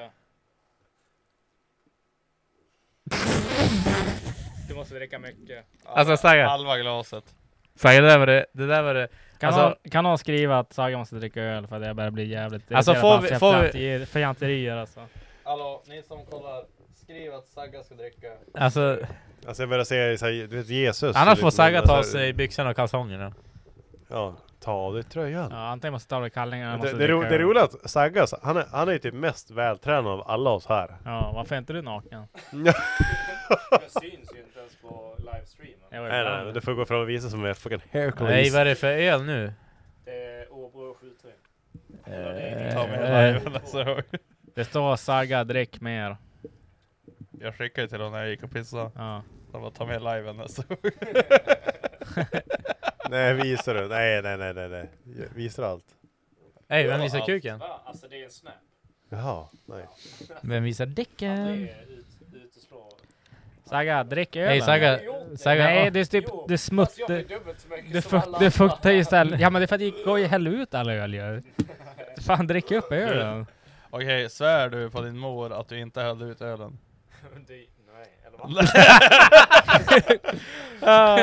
S2: Du måste dricka mycket.
S4: Alltså Saga.
S1: Halva glaset.
S4: Saga, det där var det... det, där var det.
S2: Kan,
S4: alltså,
S2: någon, kan någon skriva att Saga måste dricka öl för att jag börjar bli jävligt
S4: Alltså,
S2: irriterad
S4: får
S2: på hans
S4: vi-
S2: jävla
S4: får vi-
S2: fjantier- Fjanterier alltså.
S1: Hallå, ni som kollar. Skriv att Sagga ska dricka.
S4: Alltså,
S3: alltså jag börjar säga så här, du vet Jesus.
S4: annars
S3: det
S4: får
S3: är
S4: Saga
S3: lite-
S4: ta av sig byxorna och kalsongerna.
S3: Ja, ta av dig tröjan.
S2: Ja, antingen måste jag ta av dig kallingarna eller
S3: Det,
S2: måste
S3: det, ro,
S2: dricka
S3: det
S2: öl.
S3: roliga är att Sagga, så- han är, han är ju typ mest vältränad av alla oss här.
S2: Ja, varför är inte du naken?
S5: Jag syns ju inte ens på livestreamen.
S2: Jag var ju
S3: Nej
S2: bra.
S3: nej, du får gå fram och visa som är fucking haircut.
S4: Nej, vad är det för öl nu?
S5: Det är Åbro 73.
S1: Ta med
S2: Eh,
S1: hela jävla så.
S2: Det står Saga drick mer.
S1: Jag skickade ju till honom när jag gick och pissade.
S2: Ja.
S1: Han bara, ta med liven nästa gång.
S3: Nej, visar du? Nej, nej, nej, nej, nej. Visar allt?
S4: Hej, vem visar kuken?
S5: Ja, alltså det är en snap.
S3: Jaha, nej.
S4: Vem visar däcken?
S2: Saga, drick ölen.
S4: Nej, Saga- Saga-
S2: Nej,
S4: ah.
S2: det är typ... Det är smutt...
S5: jag blir dubbelt så mycket
S2: Det,
S5: som
S2: fukt,
S5: alla
S2: det
S5: andra.
S2: fuktar ju istället. Ja men det är för att det går ju häll ut all öl ju. Fan, drick upp ölen.
S1: Okej, svär du på din mor att du inte hällde ut ölen?
S5: Det- Nej, eller
S1: Eh,
S4: Ah.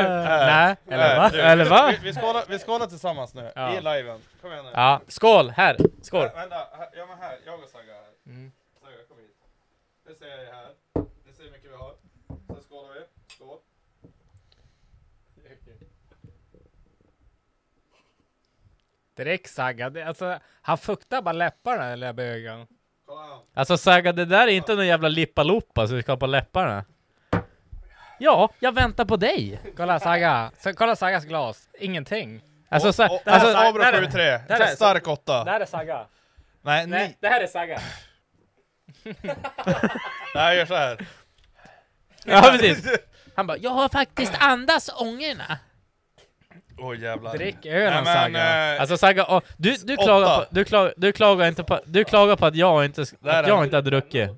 S4: Nej, eller va?
S1: du,
S4: Eller va?
S1: Vi, vi, skålar, vi skålar tillsammans nu,
S4: Ja.
S1: i liven. Kom igen nu.
S4: Ja, skål! Här! Skål!
S1: Vä- Äh, Vänta, här, ja men här, jag och Saga här. Saga kom hit. Nu ser jag dig här. Ni ser hur mycket vi har. Sen skålar vi. Skål.
S2: Drick Saga. Det, alltså, han fuktar bara läpparna den lilla bögen.
S4: Alltså Saga, det där är inte någon jävla lippaloppa som du ska ha på läpparna. Ja, jag väntar på dig!
S2: Kolla Saga. Så, kolla Sagas glas. Ingenting.
S4: Alltså, Sa-
S1: Det här
S4: alltså,
S1: är Sabro
S4: där är-
S1: 73.
S4: där är-
S1: Stark 8.
S2: Det här är Saga.
S1: Nej,
S2: Nej,
S1: nej.
S2: det här är Saga.
S1: Nej, jag gör så här.
S4: Ja, precis. Han bara, jag har faktiskt andas ångorna.
S1: Åh jävlar.
S2: Drick ölen
S1: Nej, men,
S2: Saga.
S1: eh,
S4: Alltså Saga, åh, du, du, klagar
S1: Åtta.
S4: på, du, klagar, du klagar inte på, du klagar på att jag inte,
S1: är
S4: att jag
S1: den.
S4: inte har druckit.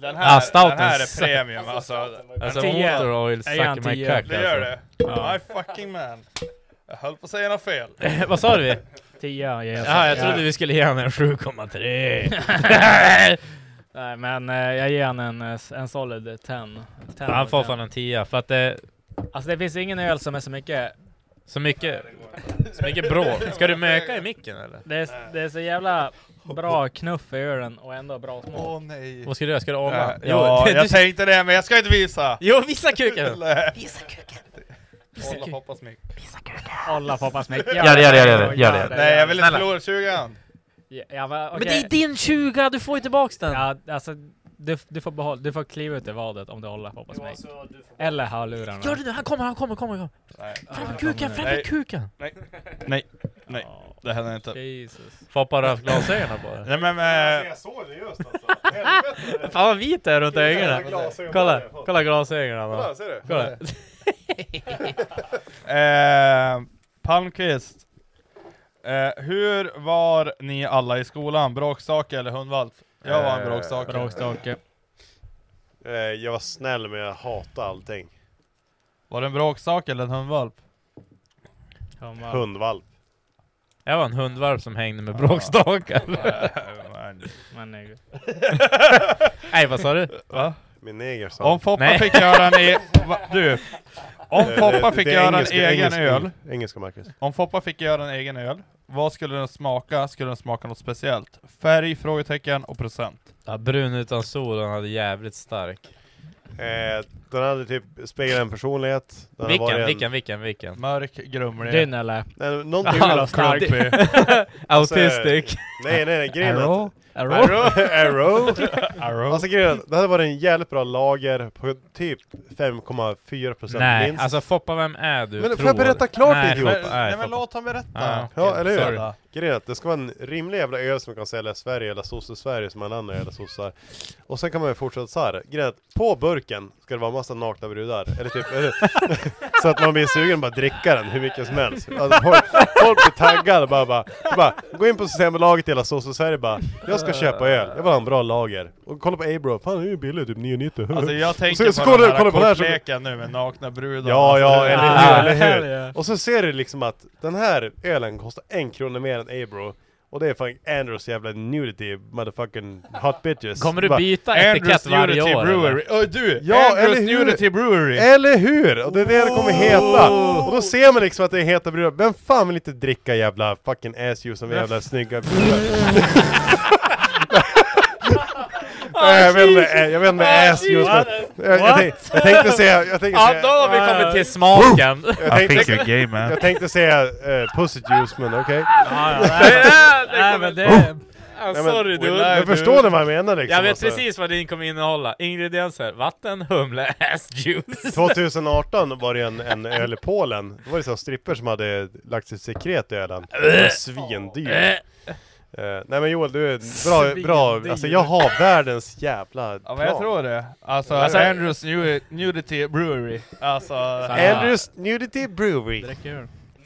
S1: Den här,
S4: ah, stouten
S1: den här
S4: sa-
S1: är premium alltså. Den-
S4: Alltså
S1: den-
S4: motor oil
S2: Är han
S4: sucker my
S2: tio?
S4: cock
S1: Det gör det.
S4: alltså.
S1: My fucking man. Jag höll på att säga något fel.
S4: Eh, Vad sa du?
S2: Tia ger
S4: Ja, jag trodde vi skulle ge honom en 7,3.
S2: Nej men eh, jag ger han en, eh, s- en solid 10. 10
S4: Han får fan en 10 för att det,
S2: Alltså det finns ingen öl som är så mycket...
S4: Så mycket, så mycket bråk. Ska du möka i micken eller?
S2: Det är, det är så jävla bra knuff i ölen och ändå bra smak.
S1: Åh nej.
S4: Vad ska du göra? Ska du
S1: Ja,
S4: åla?
S1: ja jag tänkte det men jag ska inte visa.
S4: Jo, visa kuken!
S1: Nej.
S4: Visa kuken!
S1: Hålla poppas mick.
S2: Olla Foppas mick.
S4: Gör det, gör det, gör det, gör det.
S1: Nej jag vill inte
S4: Snälla.
S1: förlora 20
S2: Ja, ja, men,
S4: Men det är din 20, du får ju tillbaks den!
S2: Ja, alltså du, du, får behålla, du får kliva ut i vadet om du håller Foppas mick. Eller hörlurarna.
S4: Gör det nu, han kommer, han kommer, kommer, kommer!
S1: Nej.
S4: Fram med kuken, fram
S1: Nej.
S4: med kuken!
S1: Nej. Nej. Nej. Det händer inte.
S2: Jesus.
S4: Foppa röv glasögonen bara.
S1: Nej men... eh,
S3: Jag såg det just alltså. Helvete!
S4: Fan vad vit det är runt ögonen!
S3: Glasögon
S4: Kolla,
S3: bara, fan.
S4: kolla glasögonen
S3: Kolla,
S4: då.
S3: ser du?
S4: Kolla.
S1: Eh, Palmqvist. Eh, hur var ni alla i skolan? Bråkstake eller hundvalp? Jag var en
S3: Eh,
S1: bråkstake.
S2: Bråkstake.
S3: Eh, Jag var snäll men jag hatade allting.
S1: Var det en bråkstake eller en hundvalp?
S3: Hundvalp.
S4: Jag var en hundvalp som hängde med bråkstakar.
S2: Man är ju-
S4: Nej vad sa du?
S1: Va?
S3: Min neger sa
S1: Om Foppa
S4: Nej.
S1: fick göra en e- Va? Du! Om
S3: Det-
S1: Foppa
S3: det-
S1: fick
S3: Eh, det är
S1: göra
S3: engelska-
S1: en egen
S3: engelska-
S1: öl.
S3: engelska, Marcus.
S1: Om Foppa fick göra en egen öl, vad skulle den smaka? Skulle den smaka något speciellt? Färg, frågetecken och procent.
S4: Ja, brun utan sol, han hade jävligt stark.
S3: Eh, den hade typ speglat en personlighet. Den hade
S4: Vilken,
S3: varit en...
S4: vilken, vilken, vilken?
S1: Mörk, grumlig.
S2: Din eller?
S3: Nej, någonting
S4: Ja,
S3: med
S4: stark.
S3: Alltså,
S4: Autistic.
S3: Nej, nej, nej, grejen är
S4: Arrow?
S3: att-
S4: Arrow?
S3: Arrow?
S4: Arrow.
S3: Alltså grejen är att det hade varit en jävligt bra lager på typ 5,4%
S4: Nej,
S3: minst.
S4: alltså Foppa, vem är du?
S3: Men får
S4: tror?
S3: jag berätta klart
S4: Nej,
S3: idiot?
S4: men- nej, Foppa.
S3: Ja,
S4: Ja,
S3: ja
S4: okej,
S3: eller hur?
S4: sorry.
S3: Grejen är att det ska vara en rimlig jävla öl som man kan sälja i Sverige eller sosse-Sverige som alla andra jävla sossar. Och sen kan man ju fortsätta så här. Grejen är att på burken ska det vara massa nakna brudar. Eller typ, eller, så att man blir sugen på att dricka den hur mycket som helst. Alltså, folk, folk blir taggade bara, bara, bara Gå in på Systembolaget i hela sosse-Sverige bara Jag ska köpa öl, jag vill ha en bra lager. Och kolla på Abro, fan det är ju billigt, typ 9,90.
S1: Alltså jag
S3: Och
S1: tänker
S3: så
S1: på
S3: kollar du-
S1: den här
S3: kollar på den här så-
S1: kortleken nu med nakna brudar.
S3: Ja, ja,
S1: Alltså,
S3: eller
S1: det-
S3: hur, eller
S1: Hell yeah.
S3: hur? Och så ser du liksom att den här ölen kostar en krona mer än Abro Och det är fan Andrews jävla nudity motherfucking hot bitches
S4: Kommer du
S3: Bara,
S4: byta etikett varje
S3: nudity
S4: år,
S3: Brewery
S1: eller? Oj, du!
S3: Ja,
S1: Andrews
S3: eller hur?
S1: Nudity Brewery!
S3: Eller hur! Och det är det det kommer heta! Och då ser man liksom att det är heta brudar Vem fan vill inte dricka jävla fucking ass juice som
S8: Men
S3: jävla
S8: f-
S3: snygga Nej, jag vet inte, eh, jag vet inte
S8: Ah,
S3: ass juice men
S8: Jesus.
S3: jag, jag, tänk, jag tänkte säga... Jag tänkte
S4: Äh, Ja,
S3: säga
S4: då har vi kommit till smaken.
S3: Jag
S4: I think
S3: tänkte,
S4: you're gay, man.
S3: jag tänkte säga eh, pussy juice men okej.
S4: ja, nej, nej, nej, men det-
S3: Nej,
S4: Ah,
S3: men-
S4: sorry du.
S3: Men förstår ni vad jag menar liksom?
S4: Jag vet
S3: alltså?
S4: precis vad din kommer innehålla. Ingredienser, vatten, humle, assjuice.
S3: 2018 var det en, en öl i Polen, det var liksom stripper som hade lagt sitt sekret i ölen. Det var
S4: Äh.
S3: Svindyr. Eh, nej men Joel, du är bra, bra, alltså jag har världens jävla plan.
S1: Ja men jag tror det. Alltså,
S3: Alltså-
S1: Andrews nu- Nudity Brewery. Alltså...
S3: Andrews Nudity Brewery.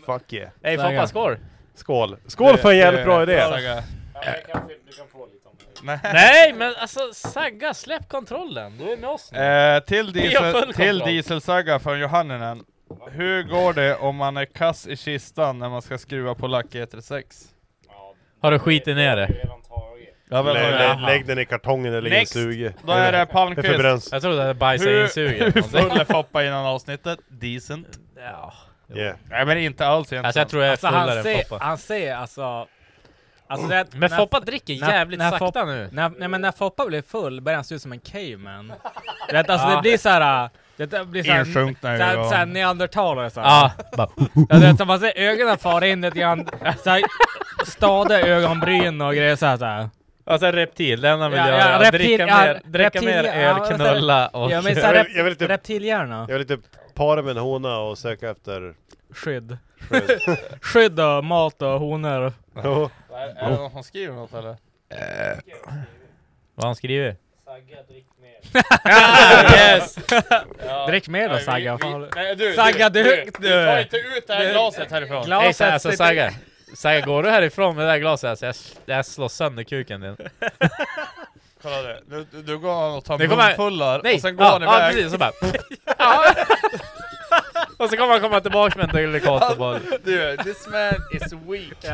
S3: Fuck yeah.
S4: Hej, Foppa, skål.
S3: Skål. Skål för en
S4: Du-
S3: jävligt bra idé.
S4: Sagga.
S5: Du kan få lite om det.
S4: Nej men alltså Sagga, släpp kontrollen. Du är med oss nu.
S1: Eh, till
S4: Vi har full
S1: diesel, till
S4: kontroll.
S1: dieselsagga från Johanninen. Hur går det om man är kass i kistan när man ska skruva på lack i 36?
S4: Har du skitit ner det?
S1: Ja, men-
S3: Lägg- lägg-
S1: Jaha.
S3: lägg den i kartongen eller i en
S1: Next.
S3: suge.
S1: Då är det Palmqvist.
S3: Det förbränns.
S4: Jag trodde det hade bajsat i en suge eller
S1: Hur
S4: någonting.
S1: full är Foppa innan avsnittet? Decent.
S4: Ja.
S3: Yeah.
S1: Nej men inte alls egentligen.
S4: Alltså, jag tror jag är
S2: Alltså han ser, han ser alltså... alltså det,
S4: Men Foppa dricker jävligt sakta nu.
S2: När, nej men när Foppa blir full börjar han se ut som en caveman. Du vet alltså
S4: Ja.
S2: det blir såhär... Det blir såhär...
S4: Insjunkna
S2: såhär,
S4: ögon.
S2: såhär neandertalare såhär.
S4: Ja,
S2: ja du vet som man ser ögonen fara in lite grann. Såhär stadiga ögonbryn och grejer såhär. såhär.
S4: Alltså reptil, det enda han vill göra är att
S2: reptil-
S4: dricka
S2: ja,
S4: mer, dricka
S2: reptil-
S4: mer
S2: ja,
S4: öl,
S2: men så här-
S4: knulla och...
S2: Ja men såhär rep, reptilhjärna.
S3: Jag vill typ para med en hona och söka efter...
S2: Skydd.
S3: Skydd.
S2: Skydd och mat och honor.
S3: Jo.
S1: Är, är det någon som skriver något eller?
S2: Eh,
S4: Vad han skriver?
S1: yes!
S2: Drick mer då
S1: Nej, vi-
S2: Sagga.
S1: vi-
S2: Fan.
S1: nej, du,
S2: Sagga du,
S1: du,
S2: du,
S1: du tar inte ut det här glaset härifrån.
S4: Glaset
S2: Glaset
S4: Hej, alltså,
S2: sitter-
S4: Saga. Saga, går du härifrån med det där glaset? Alltså, jag, jag slår sönder kuken din.
S1: Kolla det. Nu, du, du går och tar
S4: Nu kommer-
S1: munfullar
S4: Nej,
S1: och sen går
S4: ja,
S1: han
S4: ja,
S1: iväg.
S4: precis, så bara- Och så kommer han komma tillbaka med en delikat boll.
S1: Du, this man is weak.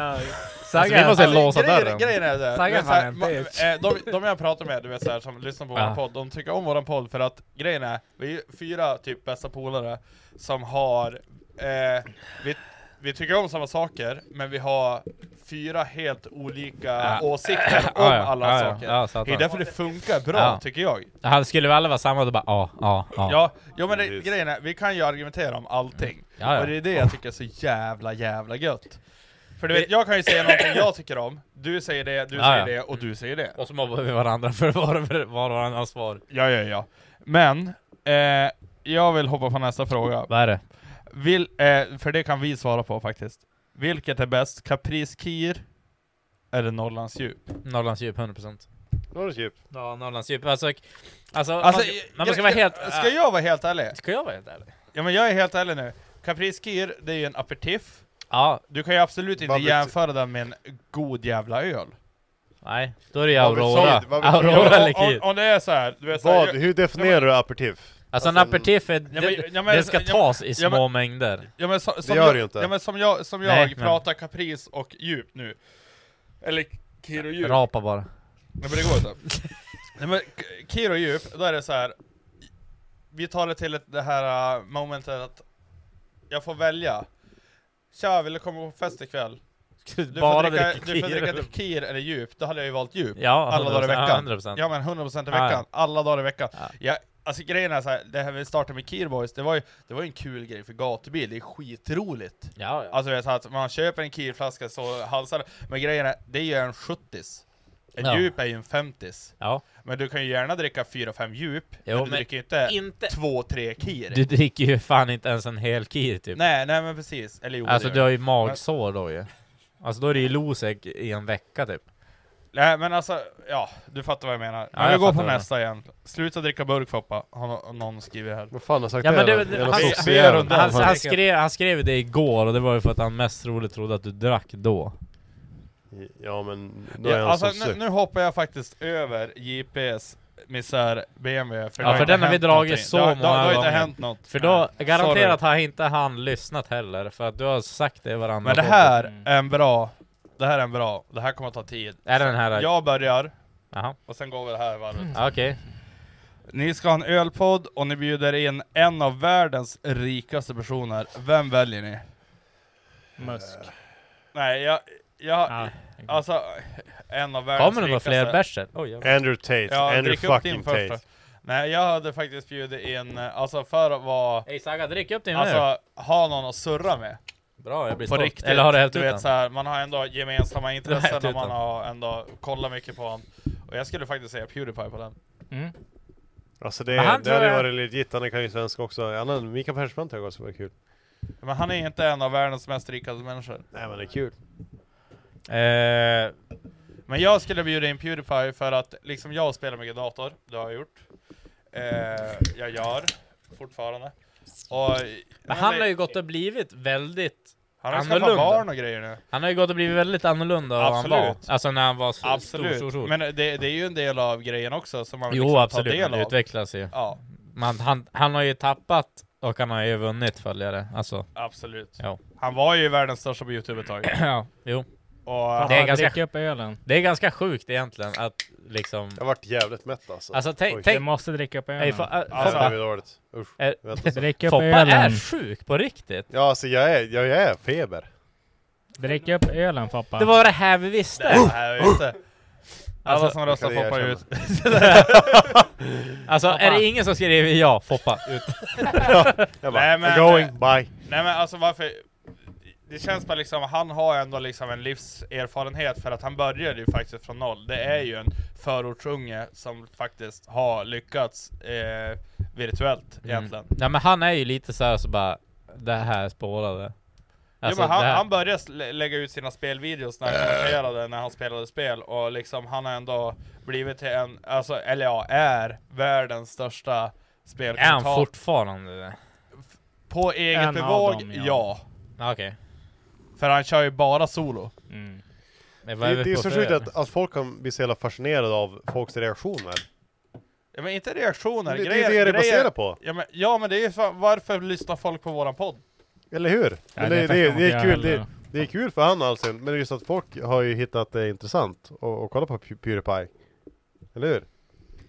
S4: Alltså, vi måste låsa
S1: grejen,
S4: dörren.
S1: Grejen är det.
S2: Saga
S1: men så här,
S2: fan en
S1: ma-
S2: bitch.
S1: eh, de, de jag pratar med, du vet så här, som lyssnar på
S2: Ja.
S1: vår podd, de tycker om våran podd för att grejen är, vi är fyra typ bästa polare som har, eh, vi, vi tycker om samma saker, men vi har fyra helt olika
S4: Ja.
S1: åsikter om
S4: Ja, ja.
S1: alla
S4: Ja, ja.
S1: saker.
S4: Ja, satan.
S1: det är därför det funkar bra,
S4: Ja.
S1: tycker jag.
S4: Han skulle väl alla vara samma, då bara ja, ja, ja. Mm.
S1: Ja, jo, men det, grejen är, vi kan ju argumentera om allting.
S4: Ja, ja.
S1: Och det är det jag tycker är så jävla, jävla gött. För du vet, jag kan ju säga någonting jag tycker om, du säger det, du
S4: Ja,
S1: säger
S4: ja.
S1: det och du säger det.
S4: Och så mobbar vi varandra för var, var varandras svar.
S1: Ja, ja, ja. Men, eh, jag vill hoppa på nästa fråga.
S4: Vad är det?
S1: Vill, eh, för det kan vi svara på faktiskt. Vilket är bäst, Caprice Kir eller Norrlands djup?
S4: Norrlands djup, 100%.
S3: Norrlands djup.
S4: Ja, Norrlands djup. Alltså, alltså,
S1: Alltså,
S4: man, ska, man ska vara helt... äh,
S1: Ska jag vara helt ärlig?
S4: Ska jag vara helt ärlig?
S1: Ja men jag är helt ärlig nu. Caprice Kir, det är ju en aperitif.
S4: Ja.
S1: Du kan ju absolut inte
S4: Vad betyder-
S1: jämföra den med en god jävla öl.
S4: Nej, då är det ju
S3: Vad betyder-
S4: Aurora.
S3: vad betyder-
S4: Aurora
S1: Ja,
S4: eller
S1: om-
S4: Kir.
S1: Om det är så här, du vet så här,
S3: Vad,
S1: jag-
S3: hur definierar du aperitif?
S4: Alltså en aperitif, är-
S1: Ja, men-
S4: det-
S1: ja, men-
S4: det ska
S1: ja, men-
S4: tas i
S1: ja,
S4: små
S1: men-
S4: mängder.
S1: Ja, men, så,
S4: Det
S1: som
S4: gör
S1: jag,
S4: det ju inte.
S1: Ja, men som jag, som jag
S4: Nej, men-
S1: pratar kapris och djup nu. Eller kirodjup.
S4: Rapa bara.
S1: Nej men det går inte. Nej men k- Kiro djup, då är det så här. Vi tar det till ett- det här äh, momentet att jag får välja. Tja, vill du komma på fest ikväll? Du
S4: bara
S1: får dricka,
S4: dricka
S1: du får
S4: Kiro.
S1: dricka kir eller djup, då hade jag ju valt djup.
S4: Ja,
S1: alla dagar i
S4: 100%, ja,
S1: veckan.
S4: 100%.
S1: Ja men 100% i
S4: Ja, ja.
S1: veckan, alla dagar i veckan. Jag, alltså grejen är så här, det här vi startade med Kir Boys, det var ju det var ju en kul grej för gatubil, det är skitroligt.
S4: Ja, ja.
S1: Alltså det är så här att man köper en Kirflaska så halsar det. men grejen är, det är ju en 70s. En
S4: Ja.
S1: djup är ju en 50s.
S4: Ja.
S1: Men du kan ju gärna dricka 4-5 djup,
S4: Jo,
S1: men du
S4: men
S1: dricker ju inte, två tre Kir.
S4: Du dricker ju fan inte ens en hel kir typ.
S1: Nej, nej men precis. Eller jo, det
S4: alltså
S1: gör
S4: du har
S1: jag.
S4: ju magsår då ju. Alltså då är det ju Losec i en vecka typ.
S1: Men, nej men alltså, ja, du fattar vad jag menar.
S4: Ja,
S1: men vi
S4: jag
S1: går på
S4: fattar vad
S1: nästa igen. Sluta dricka burk Foppa, har nå- någon skrivit här.
S3: Vad fan har sagt
S4: Ja, men det,
S1: Vi-
S4: han,
S1: vi gör
S4: han,
S1: rundan.
S4: han, han, skrev, han skrev ju det igår och det var ju för att han mest troligt trodde att du drack då.
S3: Ja men, då är
S1: Ja,
S3: han
S1: alltså,
S3: sosse.
S1: nu, nu hoppar jag faktiskt över JP's misär BMW, för det
S4: ja, för
S1: inte
S4: den har vi
S1: hänt
S4: dragit
S1: någonting.
S4: så
S1: det, har-
S4: många
S1: det, har- det har
S4: gånger.
S1: inte hänt något.
S4: För då,
S1: Nej.
S4: garanterat har inte han lyssnat heller, för att du har sagt det i varandra.
S1: Men det
S4: podden.
S1: här
S2: Mm.
S1: är en bra, det här är en bra, det här kommer att ta tid.
S4: Mm. Är det den här-
S1: Jag börjar,
S4: Jaha.
S1: och sen går vi det här varvet.
S4: Ja, Okej.
S1: Ni ska ha en ölpodd och ni bjuder in en av världens rikaste personer. Vem väljer ni?
S2: Musk.
S1: Nej, jag... jag alltså, en av världens
S4: Kommer det några fler bärser? Oj, jävlar.
S3: Andrew Tate,
S1: Ja,
S3: Andrew
S1: drick upp din
S3: fucking
S1: först då.
S3: Tate.
S1: Nej, jag hade faktiskt bjudit in, eh, alltså för att vara...
S4: Ey Saga, drick upp din nu.
S1: Alltså, ha någon att surra med.
S4: Bra, jag blir
S1: På
S4: stolt.
S1: riktigt.
S4: Eller har du hällt
S1: du
S4: ut
S1: vet,
S4: den?
S1: så här, Man har ändå gemensamma
S4: Du har
S1: intressen
S4: hällt
S1: och
S4: ut
S1: man
S4: den.
S1: har ändå kollat mycket på honom. Och jag skulle faktiskt säga Pewdiepie på den.
S3: Alltså
S1: Men
S3: det,
S1: han
S3: det
S1: tror
S3: hade ju
S1: jag-
S3: varit legit, han kan ju svenska också. Han hade, Mikael Persbrandt hade också varit kul.
S1: Men han är inte en av världens mest rikaste människor. Eh,
S3: Nej men det är kul.
S1: Men jag skulle bjuda in Pewdiepie för att liksom jag spelar mycket dator, det har jag gjort. Eh, jag gör fortfarande. Och, eh,
S4: Men han har ju gått och blivit väldigt
S1: Han har ju skaffat
S4: annorlunda.
S1: barn och grejer nu.
S4: Han har ju gått och blivit väldigt annorlunda av vad han var.
S1: Absolut.
S4: Alltså när han var s-
S1: Absolut.
S4: stor, stor, stor.
S1: Men det, det är ju en del av grejen också som man vill
S4: jo
S1: liksom ta
S4: absolut,
S1: del
S4: man
S1: av.
S4: utvecklas ju.
S1: Ja,
S4: Man, han, han har ju tappat och han har ju vunnit följare. Alltså.
S1: absolut.
S4: Ja.
S1: Han var ju världens största på Youtube ett tag.
S4: ja, jo.
S1: Och
S4: det, är
S1: han-
S4: ganska,
S2: dricker upp ölen.
S4: det är ganska sjukt egentligen att liksom...
S3: Jag vart jävligt mätt alltså.
S4: Alltså tänk...
S2: Du måste dricka upp ölen.
S4: Ey, Eh, fa- äh,
S3: Alltså, det
S4: Foppa,
S3: blir dåligt. Usch.
S4: Är-
S3: Vänta ett tag.
S2: Drick upp
S4: Foppa
S2: ölen.
S4: är sjuk på riktigt.
S3: Ja alltså jag är, jag är feber.
S2: Drick upp ölen Foppa.
S4: Det var det här vi visste.
S1: Det här är ju inte... Alla
S4: Alltså,
S1: som röstar
S3: kan jag
S1: poppar ut.
S4: Alltså är det ingen som skriver ja, Foppa, ut. eh,
S3: Jag bara,
S1: Nej,
S3: I'm
S1: men-
S3: going, bye.
S1: Nej men alltså varför... Det känns bara liksom, han har ändå liksom en livserfarenhet för att han började ju faktiskt från noll. Det är ju en förortsunge som faktiskt har lyckats eh, virtuellt
S4: Mm.
S1: egentligen.
S4: Ja men han är ju lite såhär så bara, det här spårade. Alltså,
S1: jo, men han,
S4: det här-
S1: han började slä- lägga ut sina spelvideos när
S3: Äh.
S1: han kommenterade när han spelade spel och liksom han har ändå blivit till en, alltså, eller ja, är världens största
S4: Är han
S1: spelkommentator.
S4: fortfarande det?
S1: På eget
S2: En av
S1: bevåg,
S2: dem,
S1: ja.
S2: ja.
S4: Ja, Okej.
S1: För han kör ju bara solo.
S2: Mm.
S4: Men
S3: Det,
S4: vad är vi
S3: det är
S4: på
S3: så
S4: för?
S3: sjukt att, att folk kan bli så jävla fascinerade av folks reaktioner.
S1: Ja, men inte reaktioner,
S3: Det- det är
S1: grejer,
S3: det det är
S1: grejer,
S3: baserat på.
S1: Ja men, ja men det är ju fan- varför lyssnar folk på våran podd?
S3: Eller hur? Men
S2: det
S3: det,
S2: är
S3: det, det,
S2: faktiskt
S3: är
S2: inte
S3: kul,
S2: jag
S3: det,
S2: heller.
S3: det är kul för han alltså, men just att folk har ju hittat det intressant och, och kolla på Pew- Pewdiepie. Eller hur?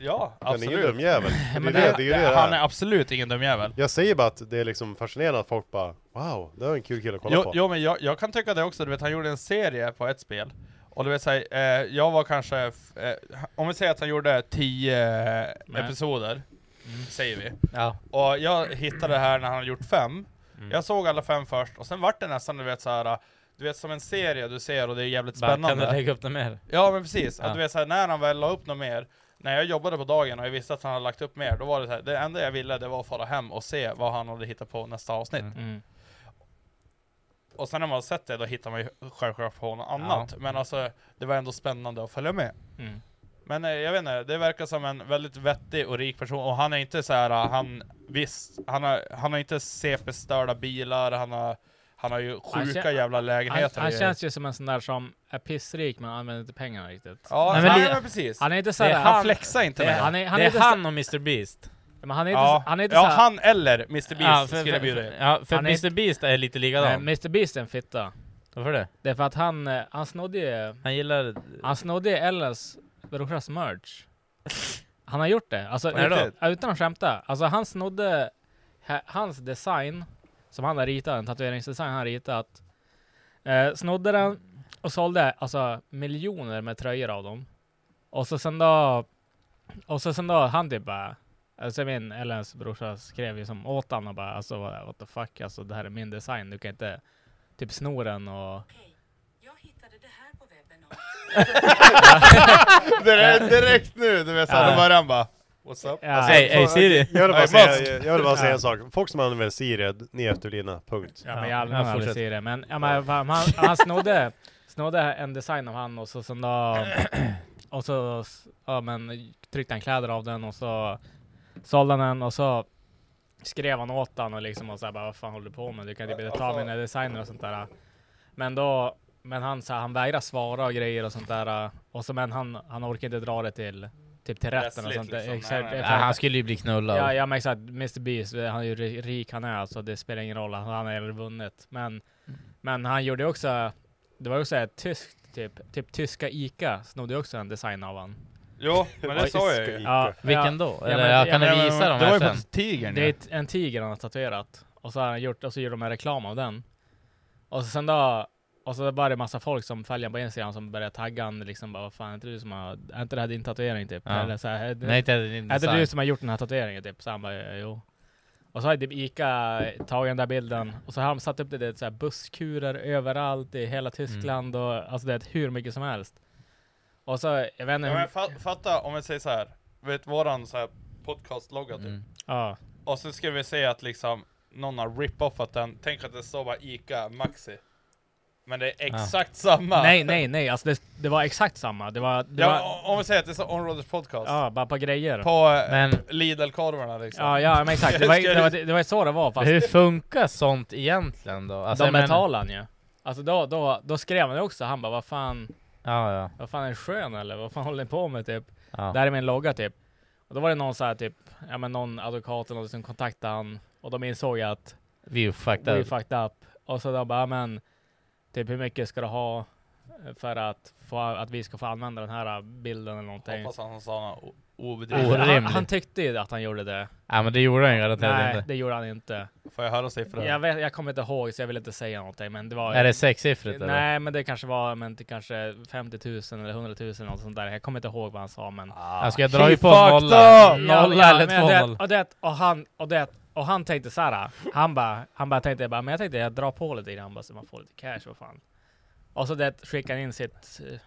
S1: Ja,
S3: Han är ingen
S1: absolut.
S3: dum jävel. Det är
S1: Men
S3: ju det, det, är ju det det
S1: han är
S3: är.
S1: absolut ingen dum jävel.
S3: Jag säger bara att det är liksom fascinerande att folk bara Wow, det var en kul kille att kolla
S1: Jo,
S3: på.
S1: jo men jag, jag kan tycka det också, du vet han gjorde en serie på ett spel Och du vet såhär, eh, jag var kanske, f- eh, om vi säger att han gjorde 10 eh,
S2: Nej.
S1: episoder Säger vi
S4: Mm. Ja. Mm.
S1: Och jag hittade det här när han hade gjort fem Jag såg alla fem först, och sen vart det nästan du vet såhär Du vet som en serie du ser och det är jävligt
S4: Bara, kan
S1: spännande
S4: du lägga upp det mer?
S1: Ja men precis,
S4: Ja.
S1: att du vet såhär när han väl la upp något mer När jag jobbade på dagen och jag visste att han hade lagt upp mer Då var det såhär, det enda jag ville det var att fara hem och se vad han hade hittat på nästa avsnitt
S2: Mm.
S1: och sen när man har sett det, då hittar man ju självklart på något annat. Men alltså, det var ändå spännande att följa med.
S2: Mm.
S1: Men eh, jag vet inte, det verkar som en väldigt vettig och rik person. Och han är inte så här, eh, han visst, han har, han har inte CP-störda bilar, han har, han har ju
S2: Han
S1: sjuka
S2: kän-
S1: jävla
S2: Han,
S1: lägenheter.
S2: han
S1: i-
S2: känns ju som en sån där som är pissrik men använder inte pengarna riktigt.
S1: Ja,
S4: Nej,
S1: nej,
S4: men
S1: men,
S4: li-
S1: precis.
S2: Han är inte
S4: Det
S2: såhär...
S4: är
S1: han,
S4: han-
S1: flexar inte
S4: Det
S1: med
S4: är
S1: det.
S4: han,
S2: han är- han är
S4: det är
S2: inte så-
S4: han och Mr Beast.
S2: Men han är inte,
S1: Ja.
S2: han är inte
S1: Ja,
S2: så här-
S1: han eller Mr. Beast
S2: Ja,
S1: skulle jag bjuda in.
S4: Ja, för
S2: Han är
S4: Mr Beast är lite likadan.
S2: Nej, Mr Beast är en fitta.
S4: Varför det?
S2: Det är för att han, eh, han snodde ju...
S4: Han gillar...
S2: Han snodde ju Ellens brorsas merch. Han har gjort det. Alltså,
S4: På riktigt?
S2: utan, ja, utan att skämta. Alltså han snodde ha- hans design, som han har ritat, en tatueringsdesign han har ritat. Eh, snodde den och sålde alltså miljoner med tröjor av dem. Och så sen då, och så sen då han typ bara, alltså jag min Ellens brorsa skrev ju som åt han och bara alltså what what the fuck, alltså det här är min design, du kan inte typ sno den och
S1: Det är direkt nu, du vet såhär,
S3: Ja.
S1: då börjar han bara What's up?
S3: Alltså, folk- Jag vill bara säga, jag vill bara säga en sak. Folk som använder Siri, ni är efterblivna. Punkt.
S2: Ja, men jag använder aldrig fortsätt. Siri, men, ja, men fan, han, han snodde, snodde en design av han och så sen då, och så ja, men, tryckte han kläder av den och så sålde han den och så skrev han åt den och liksom och så här, bara, vad fan håller du på med? Du kan typ inte ta mina designer och sånt där. Men då, men han så här, han vägrar svara och grejer och sånt där. eh, Och så men han, han orkar inte dra det till Typ till rätten och
S4: Rättsligt
S2: sånt där.
S4: liksom.
S2: Exakt,
S4: Nej, nej, nej.
S2: exakt.
S4: Ja, han skulle ju bli knullad.
S2: Ja, ja men exakt. Mr Beast, eh, han är ju ri- rik han är alltså. Det spelar ingen roll, han har redan vunnit. Men, men han gjorde också, det var ju också ett tyskt typ, typ tyska Ica snodde ju också en design av han.
S1: Jo, men det sa jag ju.
S2: Ja,
S4: Vilken
S2: ja.
S4: då?
S2: Ja,
S4: Eller
S2: men-
S4: jag
S2: ja,
S4: kan
S2: men-
S4: visa
S2: men-
S4: dem
S2: det
S4: här
S2: var ju
S4: sen.
S2: faktiskt tigern, Det är ett, en tiger han har tatuerat. Och så har han gjort, och så gjorde de en reklam av den. Och så sen då, och så var det massa folk som följer honom på Instagram som började tagga han liksom bara vad fan är inte du som har, är inte det här din tatuering typ?
S4: Ja.
S2: Eller så här, är det,
S4: Nej, det är din
S2: är det
S4: design."
S2: du som har gjort den här tatueringen typ? Så han bara "Ja, jo. Och så har typ Ica tagit den där bilden och så har de satt upp det i så här busskurer överallt i hela Tyskland och alltså det är hur mycket som helst. Och så, jag vet inte
S1: Ja,
S2: hur,
S1: men fa- fatta om vi säger så här. vet våran så här podcastlogga typ.
S2: Ja.
S1: Och så skulle vi säga att liksom någon har rip-offat den, tänk att det står bara Ica Maxi. Men det är exakt samma.
S2: Nej, nej, nej. Alltså det, det var exakt samma. Det var... Det var
S1: Ja, om vi säger att det är så Onroaders podcast.
S2: ja, bara på grejer.
S1: På eh, men...
S4: Men-
S1: Lidl-korvarna liksom.
S2: Ja, ja, men exakt. Det var, det, var, det var så det var. Fast
S4: Hur funkar sånt egentligen då? Alltså,
S2: de
S4: jag menar-
S2: betalade han ju. Alltså då, då, då skrev han ju också. Han bara, vad fan...
S4: Ja, ja.
S2: Vad fan är det skön eller? Vad fan håller ni på med typ?
S4: Ja.
S2: Där är min logga typ. Och då var det någon så här typ, ja men någon advokat eller något som kontaktade han. Och de insåg att...
S4: We fucked
S2: We
S4: up.
S2: fucked up. Och så då bara, ja, men... Typ hur mycket ska du ha? För att, få, att vi ska få använda den här bilden eller någonting.
S1: Hoppas han sa något o-
S2: Nej,
S1: obedrivligt.
S2: Han, han tyckte ju att han gjorde det.
S4: Ja men det gjorde han ju garanterat
S2: Nej,
S4: inte.
S2: det gjorde han inte.
S1: Får jag höra siffror?
S2: Jag, vet, jag kommer inte ihåg så jag vill inte säga någonting men det var...
S4: Är det sexsiffrigt, eller?
S2: Nej men det kanske var men det kanske 50 000 eller 100 000 något sånt där. Jag kommer inte ihåg vad han sa men...
S4: Jag ska dra ju på en nolla. Nolla eller
S2: men det-
S4: 2-0.
S2: Och, det, och, han, och, det, och han tänkte såhär, han bara, han bara tänkte bara, men jag tänkte jag drar på lite grann bara så man får lite cash, vad fan. Och så det skickade han in sitt eh,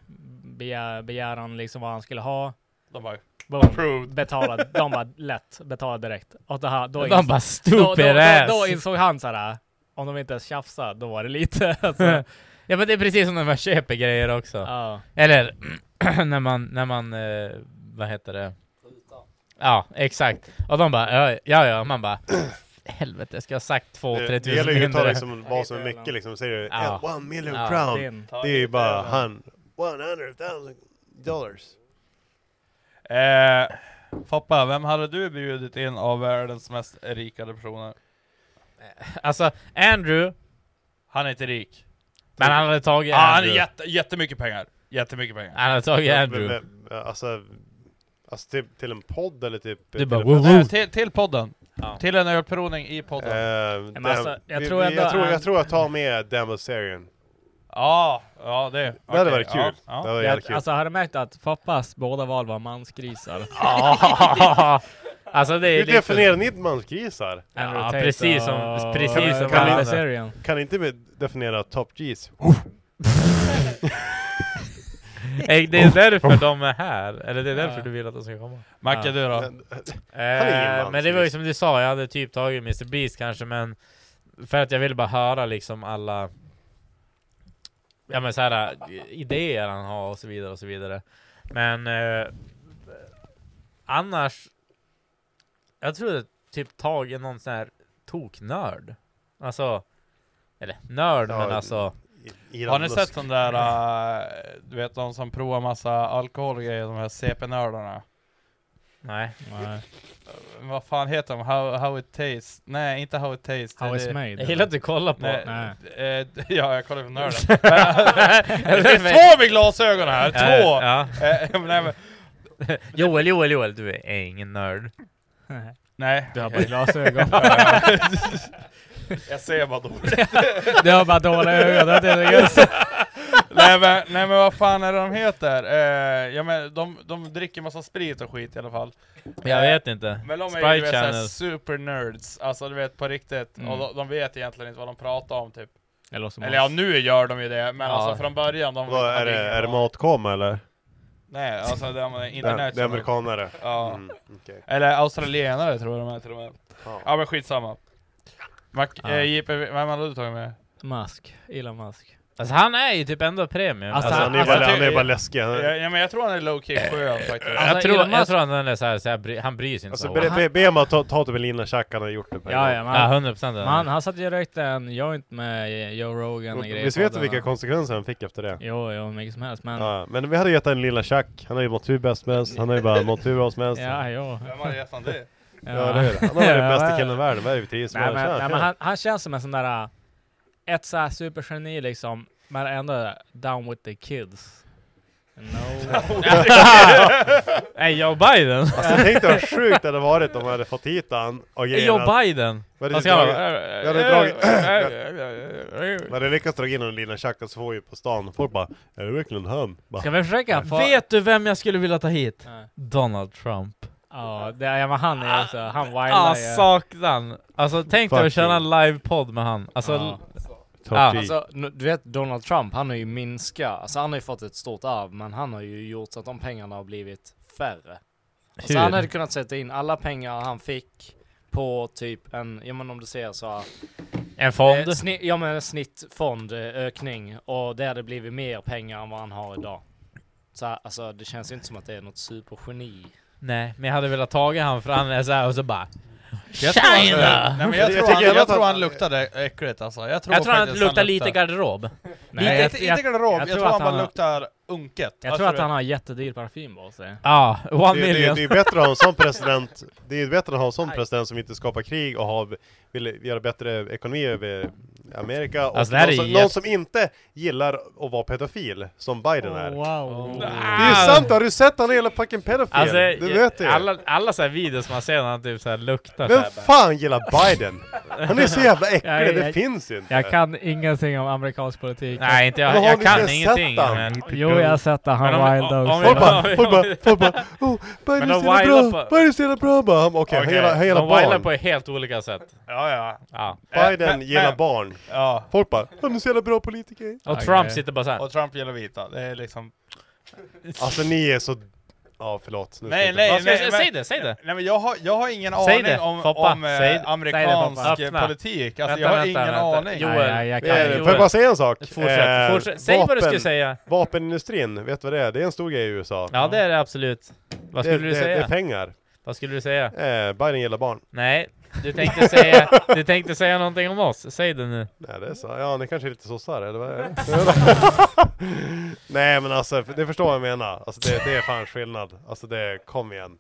S2: begär, begäran liksom vad han skulle ha.
S1: De bara,
S2: Boom, betalade, de bara lätt, betalade direkt. Och då, han- då
S4: De
S2: ins-
S4: bara, stupid
S2: då, då, då, då
S4: ass.
S2: insåg han såhär, om de inte ens tjafsade, då var det lite. Alltså.
S4: ja men det är precis som när man köper grejer också.
S2: Ja.
S4: Eller när man, när man, eh, vad heter det? Ja, exakt. Och de bara, ja ja, ja. man bara, helvete, jag ska ha sagt 2
S3: Det,
S4: 3000
S3: det gäller ju att ta
S4: mindre.
S3: liksom vad som är mycket liksom. Säger du
S4: Ja.
S3: "Eh, one million
S4: Ja.
S3: crown.
S4: Din.
S3: Det är ju bara han.
S9: 100,000 dollars.
S1: Eh, Foppa, vem hade du bjudit in av världens mest rika personer?
S4: Alltså, Andrew...
S1: Han är inte rik.
S4: Men han hade tagit
S1: ah, Han är
S4: Andrew.
S1: jätte, jättemycket pengar. Jättemycket pengar.
S4: Han hade tagit
S3: Ja,
S4: Andrew.
S3: men- men, Alltså, alltså till, till en podd eller typ...
S4: Du bara,
S3: till en-
S4: woo, woo.
S1: Eh, till, till podden. Till en ölprovning i podden.
S3: Eh,
S1: Men
S3: Dam-
S1: alltså, jag
S3: vi-
S1: tror
S3: vi-
S1: ändå
S3: jag, tror,
S1: han-
S3: jag tror jag tar med Damosarian.
S1: Ja, ja det. Det
S3: hade varit kul. Det hade varit jävligt kul.
S2: Alltså har du märkt att Foppas båda val var mansgrisar?
S4: Ja. Alltså, det är
S3: Hur
S4: lite-
S3: definierar ni mansgrisar?
S2: Andrew Ja, Tate precis och- som- precis
S3: Kan-
S2: som
S3: kan,
S2: Damosarian.
S3: ni, kan ni inte med- definiera Top Gs?
S4: Eh, Det är därför de är här, eller det är därför du vill att de ska komma.
S1: Macke, du då?
S3: är ingen
S4: Eh, men det var ju som du sa, jag hade typ tagit Mr Beast kanske, men för att jag ville bara höra liksom alla Ja men såhär, idéer han har och så vidare och så vidare. Men eh, annars, jag trodde typ tag är någon sån här toknörd. Alltså, eller nörd men alltså.
S1: Har ni sett sån där, äh, eh, du vet de som provar massa alkohol och grejer, de här CP-nördarna?
S4: Nej.
S1: Men Vad fan heter de? How, how it tastes? Nej, inte how it tastes.
S4: How
S1: Det-
S4: it's
S1: det-
S4: made, Jag gillar att du kollar på.
S1: Nej,
S4: Nej.
S1: eh, d- ja, jag kollar på nörden. Men, det finns två med glasögon här! Två!
S4: Ja,
S1: Eh, men nej, men-
S4: Joel, Joel, Joel, du är ingen nörd.
S1: Nej.
S2: Du har bara glasögon.
S1: jag ser bara dåligt.
S2: Du har bara dåliga ögon, det är det just.
S1: nej, men, nej men vad fan är det de heter? Eh, ja, men de, de dricker massa sprit och skit i alla fall. Eh,
S4: Jag vet inte.
S1: Men de är ju
S4: Sprite
S1: du vet, såhär
S4: Channel.
S1: supernerds, alltså du vet på riktigt.
S4: Mm.
S1: Och de, de vet egentligen inte vad de pratar om typ.
S2: Eller som
S1: Eller ja,
S2: oss.
S1: nu gör de ju det, men
S3: Ja.
S1: alltså från början de...
S3: Då är, det, är det matkom eller?
S1: Nej, alltså det är
S3: Det-
S1: internet.
S3: det är amerikanare.
S1: Ja.
S3: Mm, okej.
S1: Eller australienare tror jag de är till och med.
S3: Ja.
S1: Ja, men skitsamma. Mac,
S4: Ja.
S1: eh, JP, vem hade du tagit med?
S2: Mask. Elon Musk.
S4: Alltså han är ju typ ändå premium.
S2: Alltså, Alltså, han är alltså, bara- jag
S3: han är bara läskig. Han är-
S1: Ja, ja, men jag tror han är low-key skön faktiskt.
S2: Alltså,
S1: Alltså,
S4: jag, tror, jag tror han är såhär, så här, bry- han bryr sig inte
S3: Alltså
S4: så
S3: be,
S4: hårt.
S3: be, be om att ta, ta typ en lina tjack han har gjort det på en
S2: Ja,
S3: gång.
S2: ja,
S4: Ja, 100%.
S2: Men han, han satt ju och rökte en joint med Joe Rogan och grejer.
S3: Visst vet
S2: på
S3: du vilka
S2: den.
S3: konsekvenser han fick efter det?
S2: Jo, jo, mycket som helst. Men
S3: Ja, men vi hade gett en lilla tjack, han har ju mått hur bäst som helst, han har ju bara mått hur bra som helst.
S2: Ja, ja.
S1: Vem hade gett han det?
S3: Ja, det är det. Han är den bästa killen i världen. Vad är det vi trivs
S2: nej,
S3: med?
S2: men,
S3: Tja,
S2: nej,
S3: tja.
S2: men han, han känns som en sån där, äh, ett så här supergeni liksom, men ändå down with the kids. No.
S4: Nej, Joe Biden!
S3: Alltså tänk dig vad sjukt det hade varit om vi hade fått hit han och
S4: Joe Biden.
S3: Vad
S4: Vad
S3: hade
S4: ska
S3: jag
S4: han vara?
S3: hade dragit... Jag hade lyckats dra in en lina tjack och så får vi på stan, folk bara Är det verkligen han? Bara,
S2: Ska vi försöka få...
S4: Vet du vem jag skulle vilja ta hit? Donald Trump.
S2: Ja, det är, ja, men han är ju så, han wilar
S4: Ah,
S2: ju.
S4: saknan! Alltså tänk dig
S2: Fuck
S4: att köra
S2: you.
S4: en livepodd med han. Alltså,
S2: Ja.
S4: ja.
S5: Alltså, nu- du vet Donald Trump, han har ju minskat, alltså han har ju fått ett stort arv, men han har ju gjort så att de pengarna har blivit färre. Alltså
S4: Hur?
S5: han hade kunnat sätta in alla pengar han fick på typ en, ja men om du säger så här,
S4: En fond?
S5: Eh, sni- ja men en snittfond, eh, ökning, och det hade blivit mer pengar än vad han har idag. Så här, alltså det känns inte som att det är något supergeni.
S4: Nej, men jag hade velat tagit han för han är såhär och så bara
S1: Jag tror han- Nej, men jag tror
S3: typ
S1: han- jag tror han
S4: luktar
S1: luktade äckligt alltså. Jag tror,
S4: Jag tror han
S1: faktiskt
S4: luktar lite garderob.
S1: Nej,
S4: Lite-
S1: inte, inte garderob, jag, tror han bara luktar unket. Alltså,
S2: Jag tror att han har jättedyr parfym på sig.
S4: Ja,
S3: Alltså, det, Det, det är bättre att ha en sån president, det är bättre att ha en sån president som inte skapar krig och har, vill göra bättre ekonomi över Amerika och
S4: Alltså, det här
S3: någon,
S4: är
S3: som,
S4: jätte-
S3: någon som inte gillar att vara pedofil, som Biden är.
S2: Wow.
S3: Oh, Det är ju sant, har du sett han är hela fucking pedofil?
S4: Oh. Ah. Alltså,
S3: du vet det
S4: alla, alla så här videos man ser när han typ så här luktar
S3: Vem
S4: så här bara.
S3: fan gillar Biden? Han är så jävla äcklig,
S2: Jag-
S3: det
S2: jag-
S3: finns inte.
S2: Jag kan ingenting om amerikansk politik.
S4: Nej, inte jag.
S3: Men har
S4: Jag
S3: ni
S4: kan
S3: inte sett
S4: ingenting.
S3: han?
S4: Men...
S2: Jo, jag har sett det. Han
S4: Men om-
S2: wild
S4: om- om-
S2: också.
S4: Folk bara- folk bara- folk bara,
S3: oh,
S4: Men
S3: Biden
S4: de wilar
S3: ser det bra,
S4: på-
S3: Biden ser det bra bara. Okej, okay,
S4: Okej,
S3: hela, hela
S4: de wilar
S3: barn.
S4: på helt olika sätt.
S1: Ja, ja.
S4: ja.
S3: Biden
S1: Eh, men-
S3: gillar
S1: men-
S3: barn.
S1: Ja.
S3: Folk bara, han är så jävla bra politiker.
S4: Och Trump sitter bara såhär.
S1: Och Trump gillar vita. Det är liksom...
S3: Alltså ni är så... Ja, förlåt. Nu
S1: Nej,
S3: slutar
S1: nej,
S3: jag.
S1: nej,
S4: ska
S1: men-
S4: jag säga? Säg det, säg det.
S1: Nej men jag har, jag har ingen
S4: Säg
S1: aning
S4: det,
S1: om,
S4: Foppa.
S1: om eh,
S4: Säg- säg det, Foppa.
S1: amerikansk eh,
S4: Öppna.
S1: politik. Alltså
S4: Vänta,
S1: jag har
S4: vänta,
S1: ingen
S4: vänta.
S1: aning.
S4: Joel. Nej, jag kan
S3: Eh,
S4: inte.
S3: Får jag bara säga en sak? Eh,
S4: Fortsätt, fortsätt. Säg vad du skulle säga.
S3: Vapenindustrin, vet du vad det är? Det är en stor grej i USA.
S4: Ja, det är det absolut. Vad skulle
S3: det,
S4: du
S3: det,
S4: säga?
S3: Det är pengar.
S4: Vad skulle du säga?
S3: Eh, Biden gillar barn.
S4: Nej, du tänkte säga, du tänkte säga någonting om oss. Säg det nu.
S3: Nej, det är så. Ja, ni kanske är lite sossar, eller vad är det? Nej, men alltså, det förstår jag vad jag menar. Alltså, det, det är fan skillnad. Alltså, det, kom igen.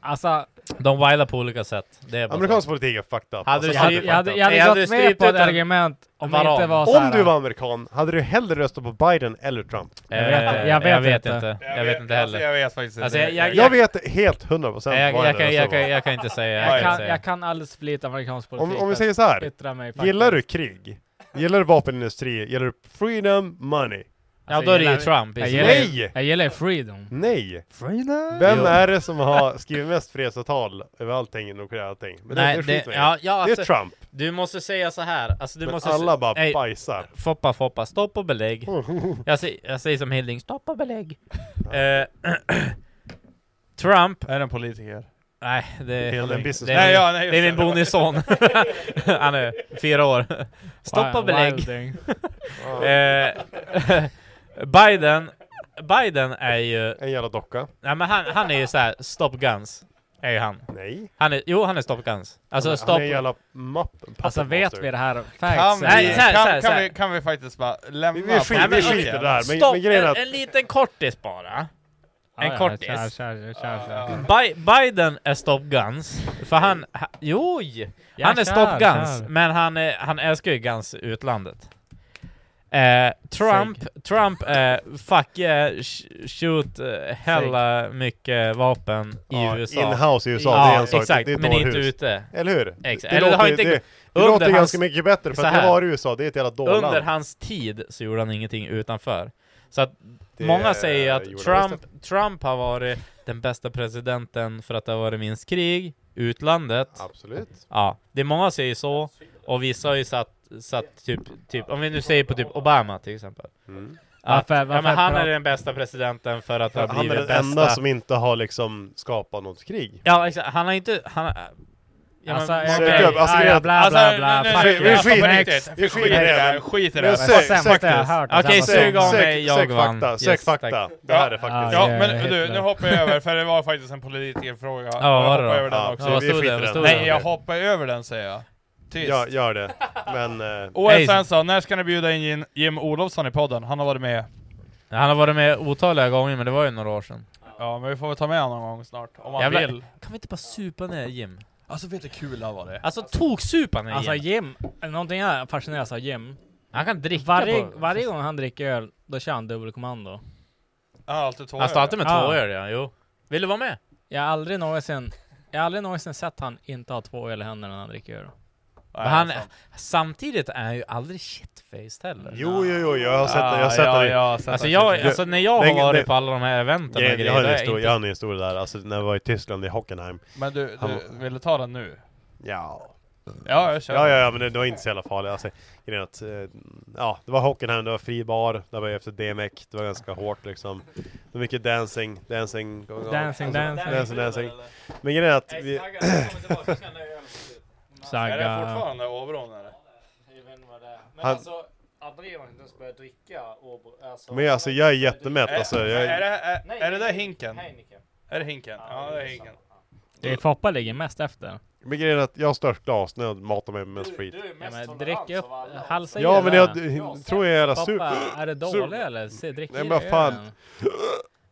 S2: Alltså,
S4: De wilar på olika sätt. Det är bara
S3: Amerikansk
S4: så.
S3: politik är fucked up.
S4: Hade du
S2: jag hade,
S4: strypt-
S2: jag hade, jag
S4: Jag hade
S2: hade gått med
S4: strypt
S2: på ett
S4: ut en
S2: argument om det
S4: varan.
S2: inte var så
S3: Om
S2: här,
S3: du var amerikan, hade du hellre röstat på Biden eller Trump?
S4: Eh, Jag vet, inte. Jag vet inte heller.
S1: Alltså, jag vet faktiskt inte.
S4: Alltså, jag, jag,
S3: Jag vet helt 100% procent
S4: jag, jag, kan, jag, kan, jag kan inte säga. Jag,
S2: Jag
S4: kan,
S2: kan,
S4: säga.
S2: jag kan alldeles för lite amerikansk politik.
S3: Om, om
S2: för
S3: vi
S2: att
S3: säger så här.
S2: yttra mig faktiskt.
S3: Gillar du krig? Gillar du vapenindustri? Gillar du freedom, money?
S4: ja, då är det ju
S2: jag gillar-
S4: Trump. i
S2: Jag
S4: så fall.
S2: gillar, ju-
S3: Nej!
S2: jag gillar ju freedom.
S3: Nej!
S2: Freedom?
S3: Vem
S2: Jo.
S3: är det som har skrivit mest fredsavtal över allting i Nordkorea och allting? Men
S4: Nej,
S3: det,
S4: det,
S3: det, det,
S4: ja, ja,
S3: det
S4: alltså,
S3: är Trump.
S4: Du måste säga så här. Alltså, du
S3: Men
S4: måste
S3: alla
S4: se-
S3: bara
S4: Ey,
S3: bajsar.
S4: Foppa, Foppa, stopp och belägg. jag, säger, jag säger som Hilding, stopp och belägg. Eh, Trump.
S1: Är en politiker?
S4: Nej, det
S1: Det är en
S4: är,
S1: business
S4: det är,
S1: man.
S4: min,
S1: Ja, ja, nej, just
S4: det är min
S1: det.
S4: bonusson. Han är fyra år. Stopp och
S2: Wild-
S4: belägg.
S2: wilding.
S4: Eh, Biden, Biden är ju...
S3: En jävla docka.
S4: Nej men han, han är ju såhär, stop guns. Är ju han.
S3: Nej.
S4: Han är, jo han är stop guns. Alltså
S3: Han är-
S4: stop...
S3: Han är en jävla mapp.
S2: Alltså vet vi det här
S1: Kan
S2: facts?
S1: vi,
S4: Nej, så här, så här,
S1: kan,
S4: så
S1: kan,
S4: här.
S1: vi, kan vi faktiskt bara lämna
S3: vi skiter-
S1: politiken?
S3: vi skiter där. Men-
S4: Stopp!
S3: men grejen är
S4: en,
S3: att-
S4: en liten kortis bara. En
S2: Ah, Ja, ja,
S4: kortis.
S2: kör, kör, kör, kör.
S4: Bi- Biden är stoppguns. För han... ha- Jo!
S2: Ja,
S4: Han
S2: kör,
S4: är stoppguns,
S2: kör.
S4: men han, är, han älskar ju guns i utlandet. Eh, Trump, Trump eh, fuck yeah, sh- shoot eh, hella mycket vapen i
S3: Ja,
S4: USA.
S3: in-house i USA,
S4: ja,
S3: det är en sak.
S4: Exakt,
S3: Det är ett
S4: men
S3: dårhus.
S4: inte ute.
S3: Eller hur?
S4: Exakt.
S3: Det
S4: Eller
S3: låter
S4: har
S3: ju-
S4: inte,
S3: det- det låter
S4: under
S3: ganska mycket bättre, för
S4: så
S3: att jag
S4: här.
S3: var i USA, det är ett jävla dårland.
S4: Under hans tid så gjorde han ingenting utanför. Så att
S3: Det
S4: många säger ju
S3: gjorde han
S4: att Trump, Trump har varit den bästa presidenten för att det har varit minst krig, utlandet.
S3: Absolut.
S4: Ja, det är många säger så, och vissa har ju satt, satt typ, typ, om vi nu säger på typ Obama till exempel. Att,
S3: Mm.
S2: Varför-
S4: ja,
S2: varför
S4: men han
S2: pratar-
S4: är den bästa presidenten för att det har
S3: Han är
S4: blivit
S3: den
S4: bästa.
S3: enda som inte har liksom skapat något krig.
S4: Ja exakt, han har inte... Han har, ja,
S2: Alltså,
S4: men-
S2: sök
S4: okej.
S2: upp, alltså,
S4: Ja,
S2: grejen-
S4: ja,
S2: alltså, nu- nu-
S4: fuck
S2: vi
S4: it.
S2: skiter-
S4: Alltså, på
S2: next.
S4: riktigt.
S2: Vi skiter i det här.
S4: Men
S2: Skiter i det
S4: sök-
S2: här.
S4: sök-
S2: Sämst jag har hört av
S4: Okej,
S2: alla
S4: sug
S2: som-
S4: av
S2: Sök-
S4: mig, jag
S2: sök
S4: vann.
S2: fakta, sök fakta.
S3: Det här är faktiskt-
S1: Ja,
S3: Ja,
S1: men
S3: Hitler.
S1: du, nu hoppar jag över, för det var faktiskt en politikerfråga.
S4: Ja,
S1: jag
S4: var det
S1: hoppar
S4: då?
S1: över den
S4: Ja,
S1: också.
S4: vad stod det? Vad stod det?
S1: Nej, jag hoppar över den säger jag. Tyst.
S3: Ja, gör det. Men... eh,
S1: Och
S4: Nej.
S1: sen så, när ska ni bjuda in Jim- Jim Olofsson i podden? Han har varit med.
S4: Han har varit med otaliga gånger, men det var ju några år sedan.
S1: Ja, men vi får väl ta med honom någon gång snart, om han
S4: Jävlar,
S1: vill.
S4: Kan vi inte bara supa ner Jim?
S1: Alltså vet du kul han var det?
S4: Alltså toksupa ner
S2: Alltså
S4: Jim!
S2: Jim, någonting jag fascineras av Jim.
S4: Han kan dricka
S2: varje,
S4: på-
S2: varje gång han dricker öl, då kör han dubbelkommando.
S1: Han har alltid två
S4: Han står alltid med
S2: Ja.
S4: två öl ja, jo. Vill du vara med?
S2: Jag har aldrig någonsin, jag har aldrig någonsin sett han inte ha två öl i händerna när han dricker öl.
S4: Men han, samtidigt är han ju aldrig shitfaced heller.
S3: Jo, jo, jo, jag har sett
S1: Ah,
S3: det, jag har sett
S4: ja,
S3: det.
S4: ja, alltså, jag, alltså när jag har
S3: Nej,
S4: varit
S3: nej.
S4: på alla de här eventen
S3: Jag,
S4: och
S3: jag har en
S4: grejer,
S3: historia, jag har en historia där, alltså när jag var i Tyskland, i Hockenheim.
S1: Men du,
S3: Han
S1: du vill du ta den nu?
S3: Ja.
S1: Ja, jag kör.
S3: Ja, ja, ja, men det, det var inte så jävla farligt. Alltså, grejen är att, eh, ja, det var Hockenheim, det var fri bar, det var ju efter DMEC, det var ganska hårt liksom. Det var mycket dancing, dancing, going on.
S2: Dancing, dancing.
S3: dancing, dancing. Men grejen är att vi...
S2: Saga.
S1: Är det fortfarande Åbron eller?
S2: Men
S3: Han-
S2: alltså, aldrig har inte ens börjat dricka alltså,
S3: Men alltså jag är jättemätt alltså.
S1: Är, är,
S3: Jag,
S1: det, är, är det där hinken? Är det hinken? Ja, det är hinken.
S2: Det är Foppa ligger mest efter.
S3: men grejen är att jag har störst glas när jag matar mig med mest sprit.
S2: Ja, men drick upp, halsa i
S3: Ja, men
S2: den.
S3: jag d- tror jag är jävla sur-
S2: Pappa, är det
S3: sur-
S2: dålig eller? Se, drick
S3: Nej,
S2: i
S3: men
S2: dig
S3: vad fan.
S2: ölen.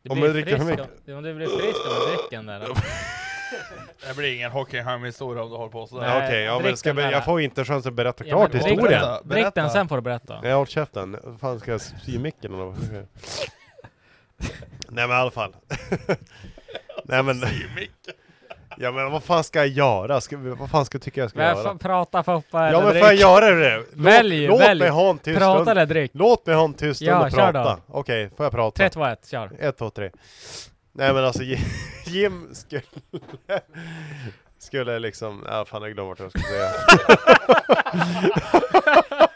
S2: Du
S3: Om
S2: blir
S3: jag dricker för
S2: frisk
S3: mycket.
S2: av- Om du blir frisk av drycken där.
S1: Det blir ingen Hockenheim-historia om du håller på sådär.
S3: Ja, Okej, ja, men
S2: drick
S3: ska jag,
S2: den
S3: be-
S2: där.
S3: jag får inte chansen att berätta
S2: Ja,
S3: klart
S2: men drick
S3: historien.
S2: den. Drick den, Berätta. sen får du berätta.
S3: Nej, håll käften. Vad Fan, ska jag sy micken eller vad? Nej men i alla fall. Nej men... Ja men vad fan ska jag göra? Ska, vad fan ska jag tycka jag ska
S2: Men
S3: göra?
S2: fa- prata Foppa
S3: Ja
S2: eller
S3: men
S2: drick.
S3: får jag göra det? Låt,
S2: välj,
S3: låt
S2: välj.
S3: mig ha en tyst
S2: Prata
S3: stund.
S2: eller drick.
S3: Låt mig ha en tyst stund
S2: Ja,
S3: och
S2: kör då.
S3: prata. Okej, får jag prata?
S2: 3, 2, 1, kör.
S3: 1, 2, 3. Nej men alltså Jim- Jim skulle... Skulle liksom... Ja fan jag glömde vad jag skulle säga.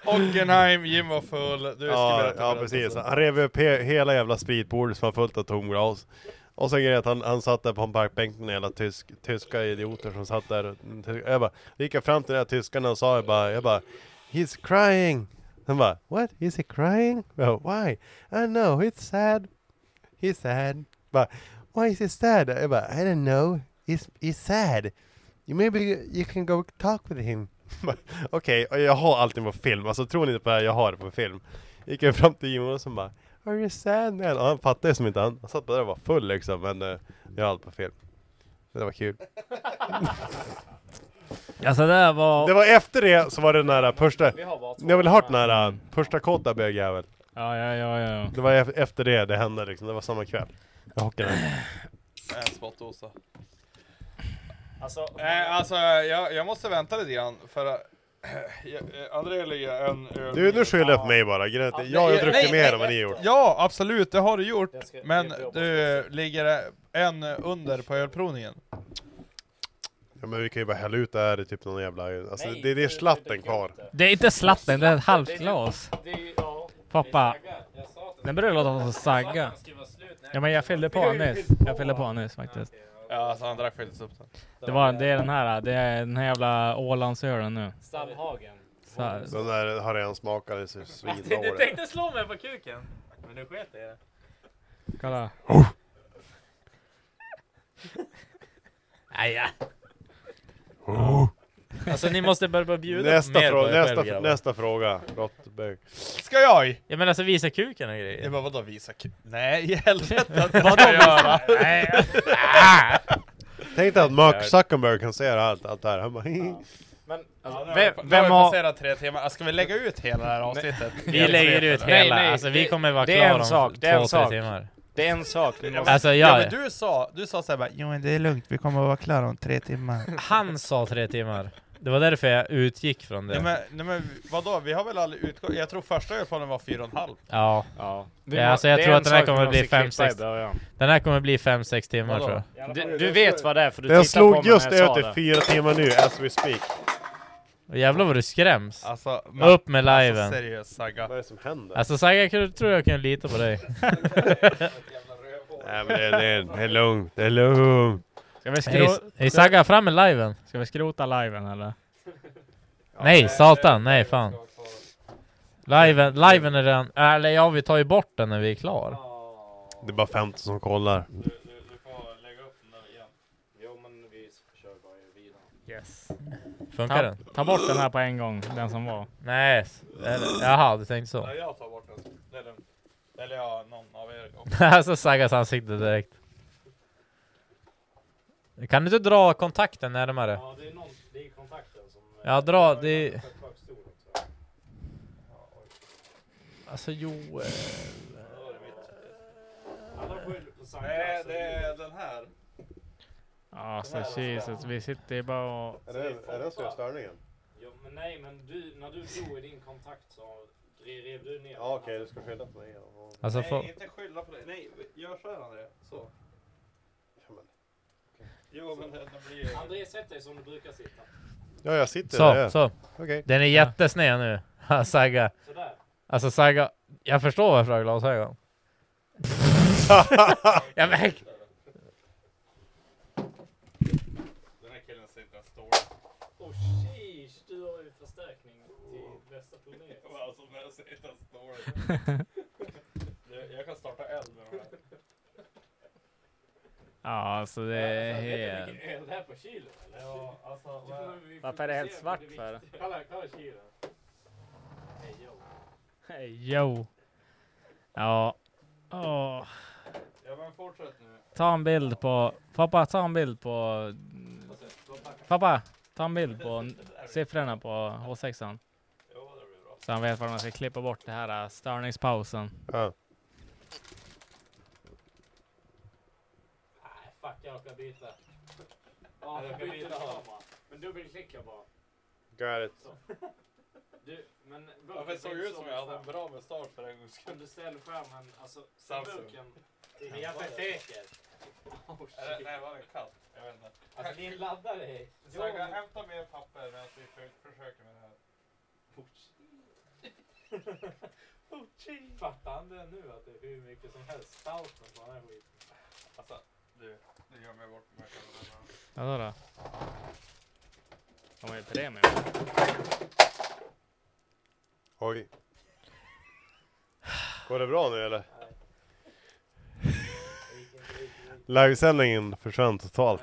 S1: Hockenheim, Jim var full, du ska
S3: Ja,
S1: berätta
S3: ja
S1: berättelsen.
S3: precis. Han rev upp he hela jävla spritbordet som var fullt av tomglas. Och sen grejen är att han, han satt där på en parkbänk med hela tysk, tyska idioter som satt där. Jag bara, då gick jag fram till den här tyskarna och sa jag bara, jag bara He's crying! Han bara, what? Is he crying? Jag bara, Why? I know, he's sad. He's sad. Bara, Why is he sad? Jag bara, I don't know. He's, he's sad. You maybe you can go talk with him. Bara, Okej, och jag har allting på film. Alltså tror ni inte på det här, jag har det på film. Gick jag fram till Jim och som bara Are you sad man? Och han fattade ju som inte, han, han satt bara där och var full liksom. Men eh, jag har allt på film. Så det var kul.
S2: Alltså det där var...
S3: Det var efter det så var det den där första...
S2: Vi har bara två.
S3: Ni har väl hört den där eh, första kåta bögjävel?
S2: Ja, ja, ja, ja.
S3: Det var ef- efter det det hände liksom, det var samma kväll. Jag hockade den.
S1: En spottdosa. Alltså, eh, alltså jag, jag måste vänta lite grann för eh, jag- eh, André ligger en öl
S3: Du, nu skyller jag på mig bara. Grejen är att Jag har
S1: Nej,
S3: druckit
S1: nej,
S3: mer
S1: nej.
S3: än vad ni har gjort.
S1: Ja, absolut, det har du gjort. Men du ligger eh, en under på ölprovningen.
S3: Ja, men vi kan ju bara hälla ut det här i typ någon jävla... Alltså det, det är slatten kvar.
S2: Det är inte slatten, det är ett halvt glas. Pappa. Den börjar låta som Sagga. Ja men jag fyllde på nyss. Jag fyllde på nyss faktiskt.
S1: Ja, alltså han drack faktiskt upp den.
S2: Det, var, det är den här, det är den här jävla Ålandsölen nu.
S4: Stallhagen.
S2: Så, här.
S3: Den där har redan smakat, det är så
S4: Du
S3: svindåligt.
S4: tänkte slå mig på kuken, men du sket i det.
S2: kolla.
S4: Aja. Alltså ni måste börja börja bjuda
S3: Oh. Nästa
S4: mer
S3: fråga,
S4: på er
S3: nästa-
S4: själv, grabbar.
S3: nästa fråga. Råttbög.
S1: Ska jag?
S4: Ja men alltså visa kuken och grejer.
S1: Ja men vadå visa kuken? Nej i helvete att
S4: Vadå
S1: jag ska
S4: visa-
S1: göra?
S4: Nej.
S3: Tänk dig att Mark Zuckerberg kan se allt, allt det här. Han bara, "Hihi."
S1: Men alltså,
S5: vem-
S1: vem,
S5: vem
S1: har...
S5: har-
S1: passerat tre timmar, Alltså, ska vi lägga ut hela det här avsnittet?
S4: Vi lägger ut
S1: Nej,
S4: hela,
S1: nej,
S4: alltså vi
S1: det-
S4: kommer vara
S1: det är
S4: klara
S1: en
S4: om
S1: sak,
S4: två,
S1: det är en
S4: tre
S1: sak.
S4: timmar.
S5: Det är en sak vi måste...
S4: Alltså
S1: Ja
S4: jag,
S1: men du sa, du sa såhär bara Jo men det är lugnt, vi kommer att vara klara om tre timmar.
S4: han sa tre timmar. Det var därför jag utgick från det.
S1: Nej men, nej, men vadå, vi har väl aldrig utgått? Jag tror första ölplanen var fyra och en halv.
S4: Ja.
S5: ja.
S4: ja alltså jag tror att den här kommer bli fem sex. Den här kommer bli fem sex timmar
S5: Vadå?
S4: tror jag.
S5: Du, du vet vad det är för du
S3: Den
S5: tittar på
S3: slog
S5: mig när jag
S3: just
S5: sa
S3: ut i
S5: det.
S3: fyra timmar nu, as we speak.
S4: Och jävlar vad du skräms.
S1: Alltså,
S4: Upp med liven.
S1: Alltså
S4: Alltså,
S1: seriöst Sagga.
S3: Vad är det som händer?
S4: Saga, jag kunde- tror jag kunde lita på dig.
S3: Nej men det, det, det är lugnt, det är lugnt.
S2: Ska vi
S4: Hej,
S2: skrota...
S4: hej Saga, fram med liven!
S2: Ska vi skrota liven eller?
S4: Nej, satan, nej fan. Liven, liven är redan... äh, Eller ja, vi tar ju bort den när vi är klar.
S3: Det är bara 15 som kollar.
S2: Yes.
S4: Funkar
S2: ta,
S4: den?
S2: Ta bort den här på en gång, den som var.
S4: Nej, s- eller- jaha, du tänkte så.
S1: Nej, jag tar bort den. Det är lugnt. Eller ja, någon av er.
S4: alltså Sagas ansikte direkt. Kan du inte dra kontakten närmare? Ja,
S5: det är någon, det är kontakten som... eh,
S4: dra, det... Alltså Joel...
S1: Nej, det är den här.
S2: Alltså Jesus, vi sitter ju bara och...
S3: Är det, är det som gör störningen?
S5: Ja, men nej, men du, när du drog i din kontakt så rev du ner
S3: Ja okej, du ska skylla på mig.
S4: Alltså,
S1: Nej,
S4: få-
S1: inte skylla på det. Nej, gör så här André. Så. Jo, men det, det blir ju...
S5: André, sätt dig som du brukar sitta.
S3: Ja jag sitter där.
S4: Så, så.
S3: Okej.
S4: Den är jättesned nu. Saga. Alltså Saga, jag förstår varför du har glasögon. jag väg.
S1: Den här killen sitter och står.
S5: Och sheesh, du har ju förstärkning till nästa turné.
S1: Alltså, när jag sitter och står. Du, Jag kan starta eld med de här.
S2: Ja, alltså det är helt...
S5: Är det här på kylen eller? Ja, alltså.
S2: Varför är det helt svart för?
S5: Kolla, kolla kylen.
S2: Hey, Yo. Ja. Åh.
S1: Ja, men fortsätt nu.
S2: Ta en bild på... Pappa, ta en bild på... Pappa, ta en bild på n- siffrorna på H6an. Så han vet var man ska klippa bort det här äh, störningspausen.
S3: Ja.
S5: Nej, fuck jag ska byta. Ja, jag ska byta kamera. Men dubbelklicka bara.
S3: Got it.
S5: Du, men...
S1: Varför såg det ut som jag hade en bra mustasch för en gångs skull?
S5: Om du ställer skärmen, alltså...
S1: Samsung.
S5: Burken. Det är säker. Oh,
S1: Eller,
S5: shit.
S1: nej, var det en katt? Jag vet inte.
S5: Alltså din laddare är... Jo,
S1: Saga,
S5: men-
S1: hämta mer papper medan vi för- försöker med det här.
S5: Oh, Fattar han det nu att det är hur mycket som helst stouten på den här skiten?
S1: Alltså, du, du gör mig bort med kameran.
S2: Vadå då? De har ju premium.
S3: Oj. Går det bra nu eller? Livesändningen försvann totalt.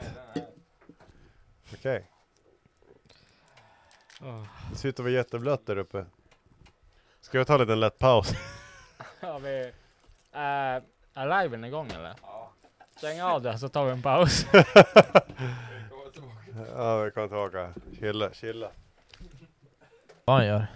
S3: Okej. Det ser ut att vara jätteblött där uppe. Ska jag ta en liten lätt paus?
S2: Har vi... Äh, är liven igång eller? Stäng av det så tar vi en paus.
S3: ja, vi kommer tillbaka. Chilla, chilla.
S4: Vad han gör?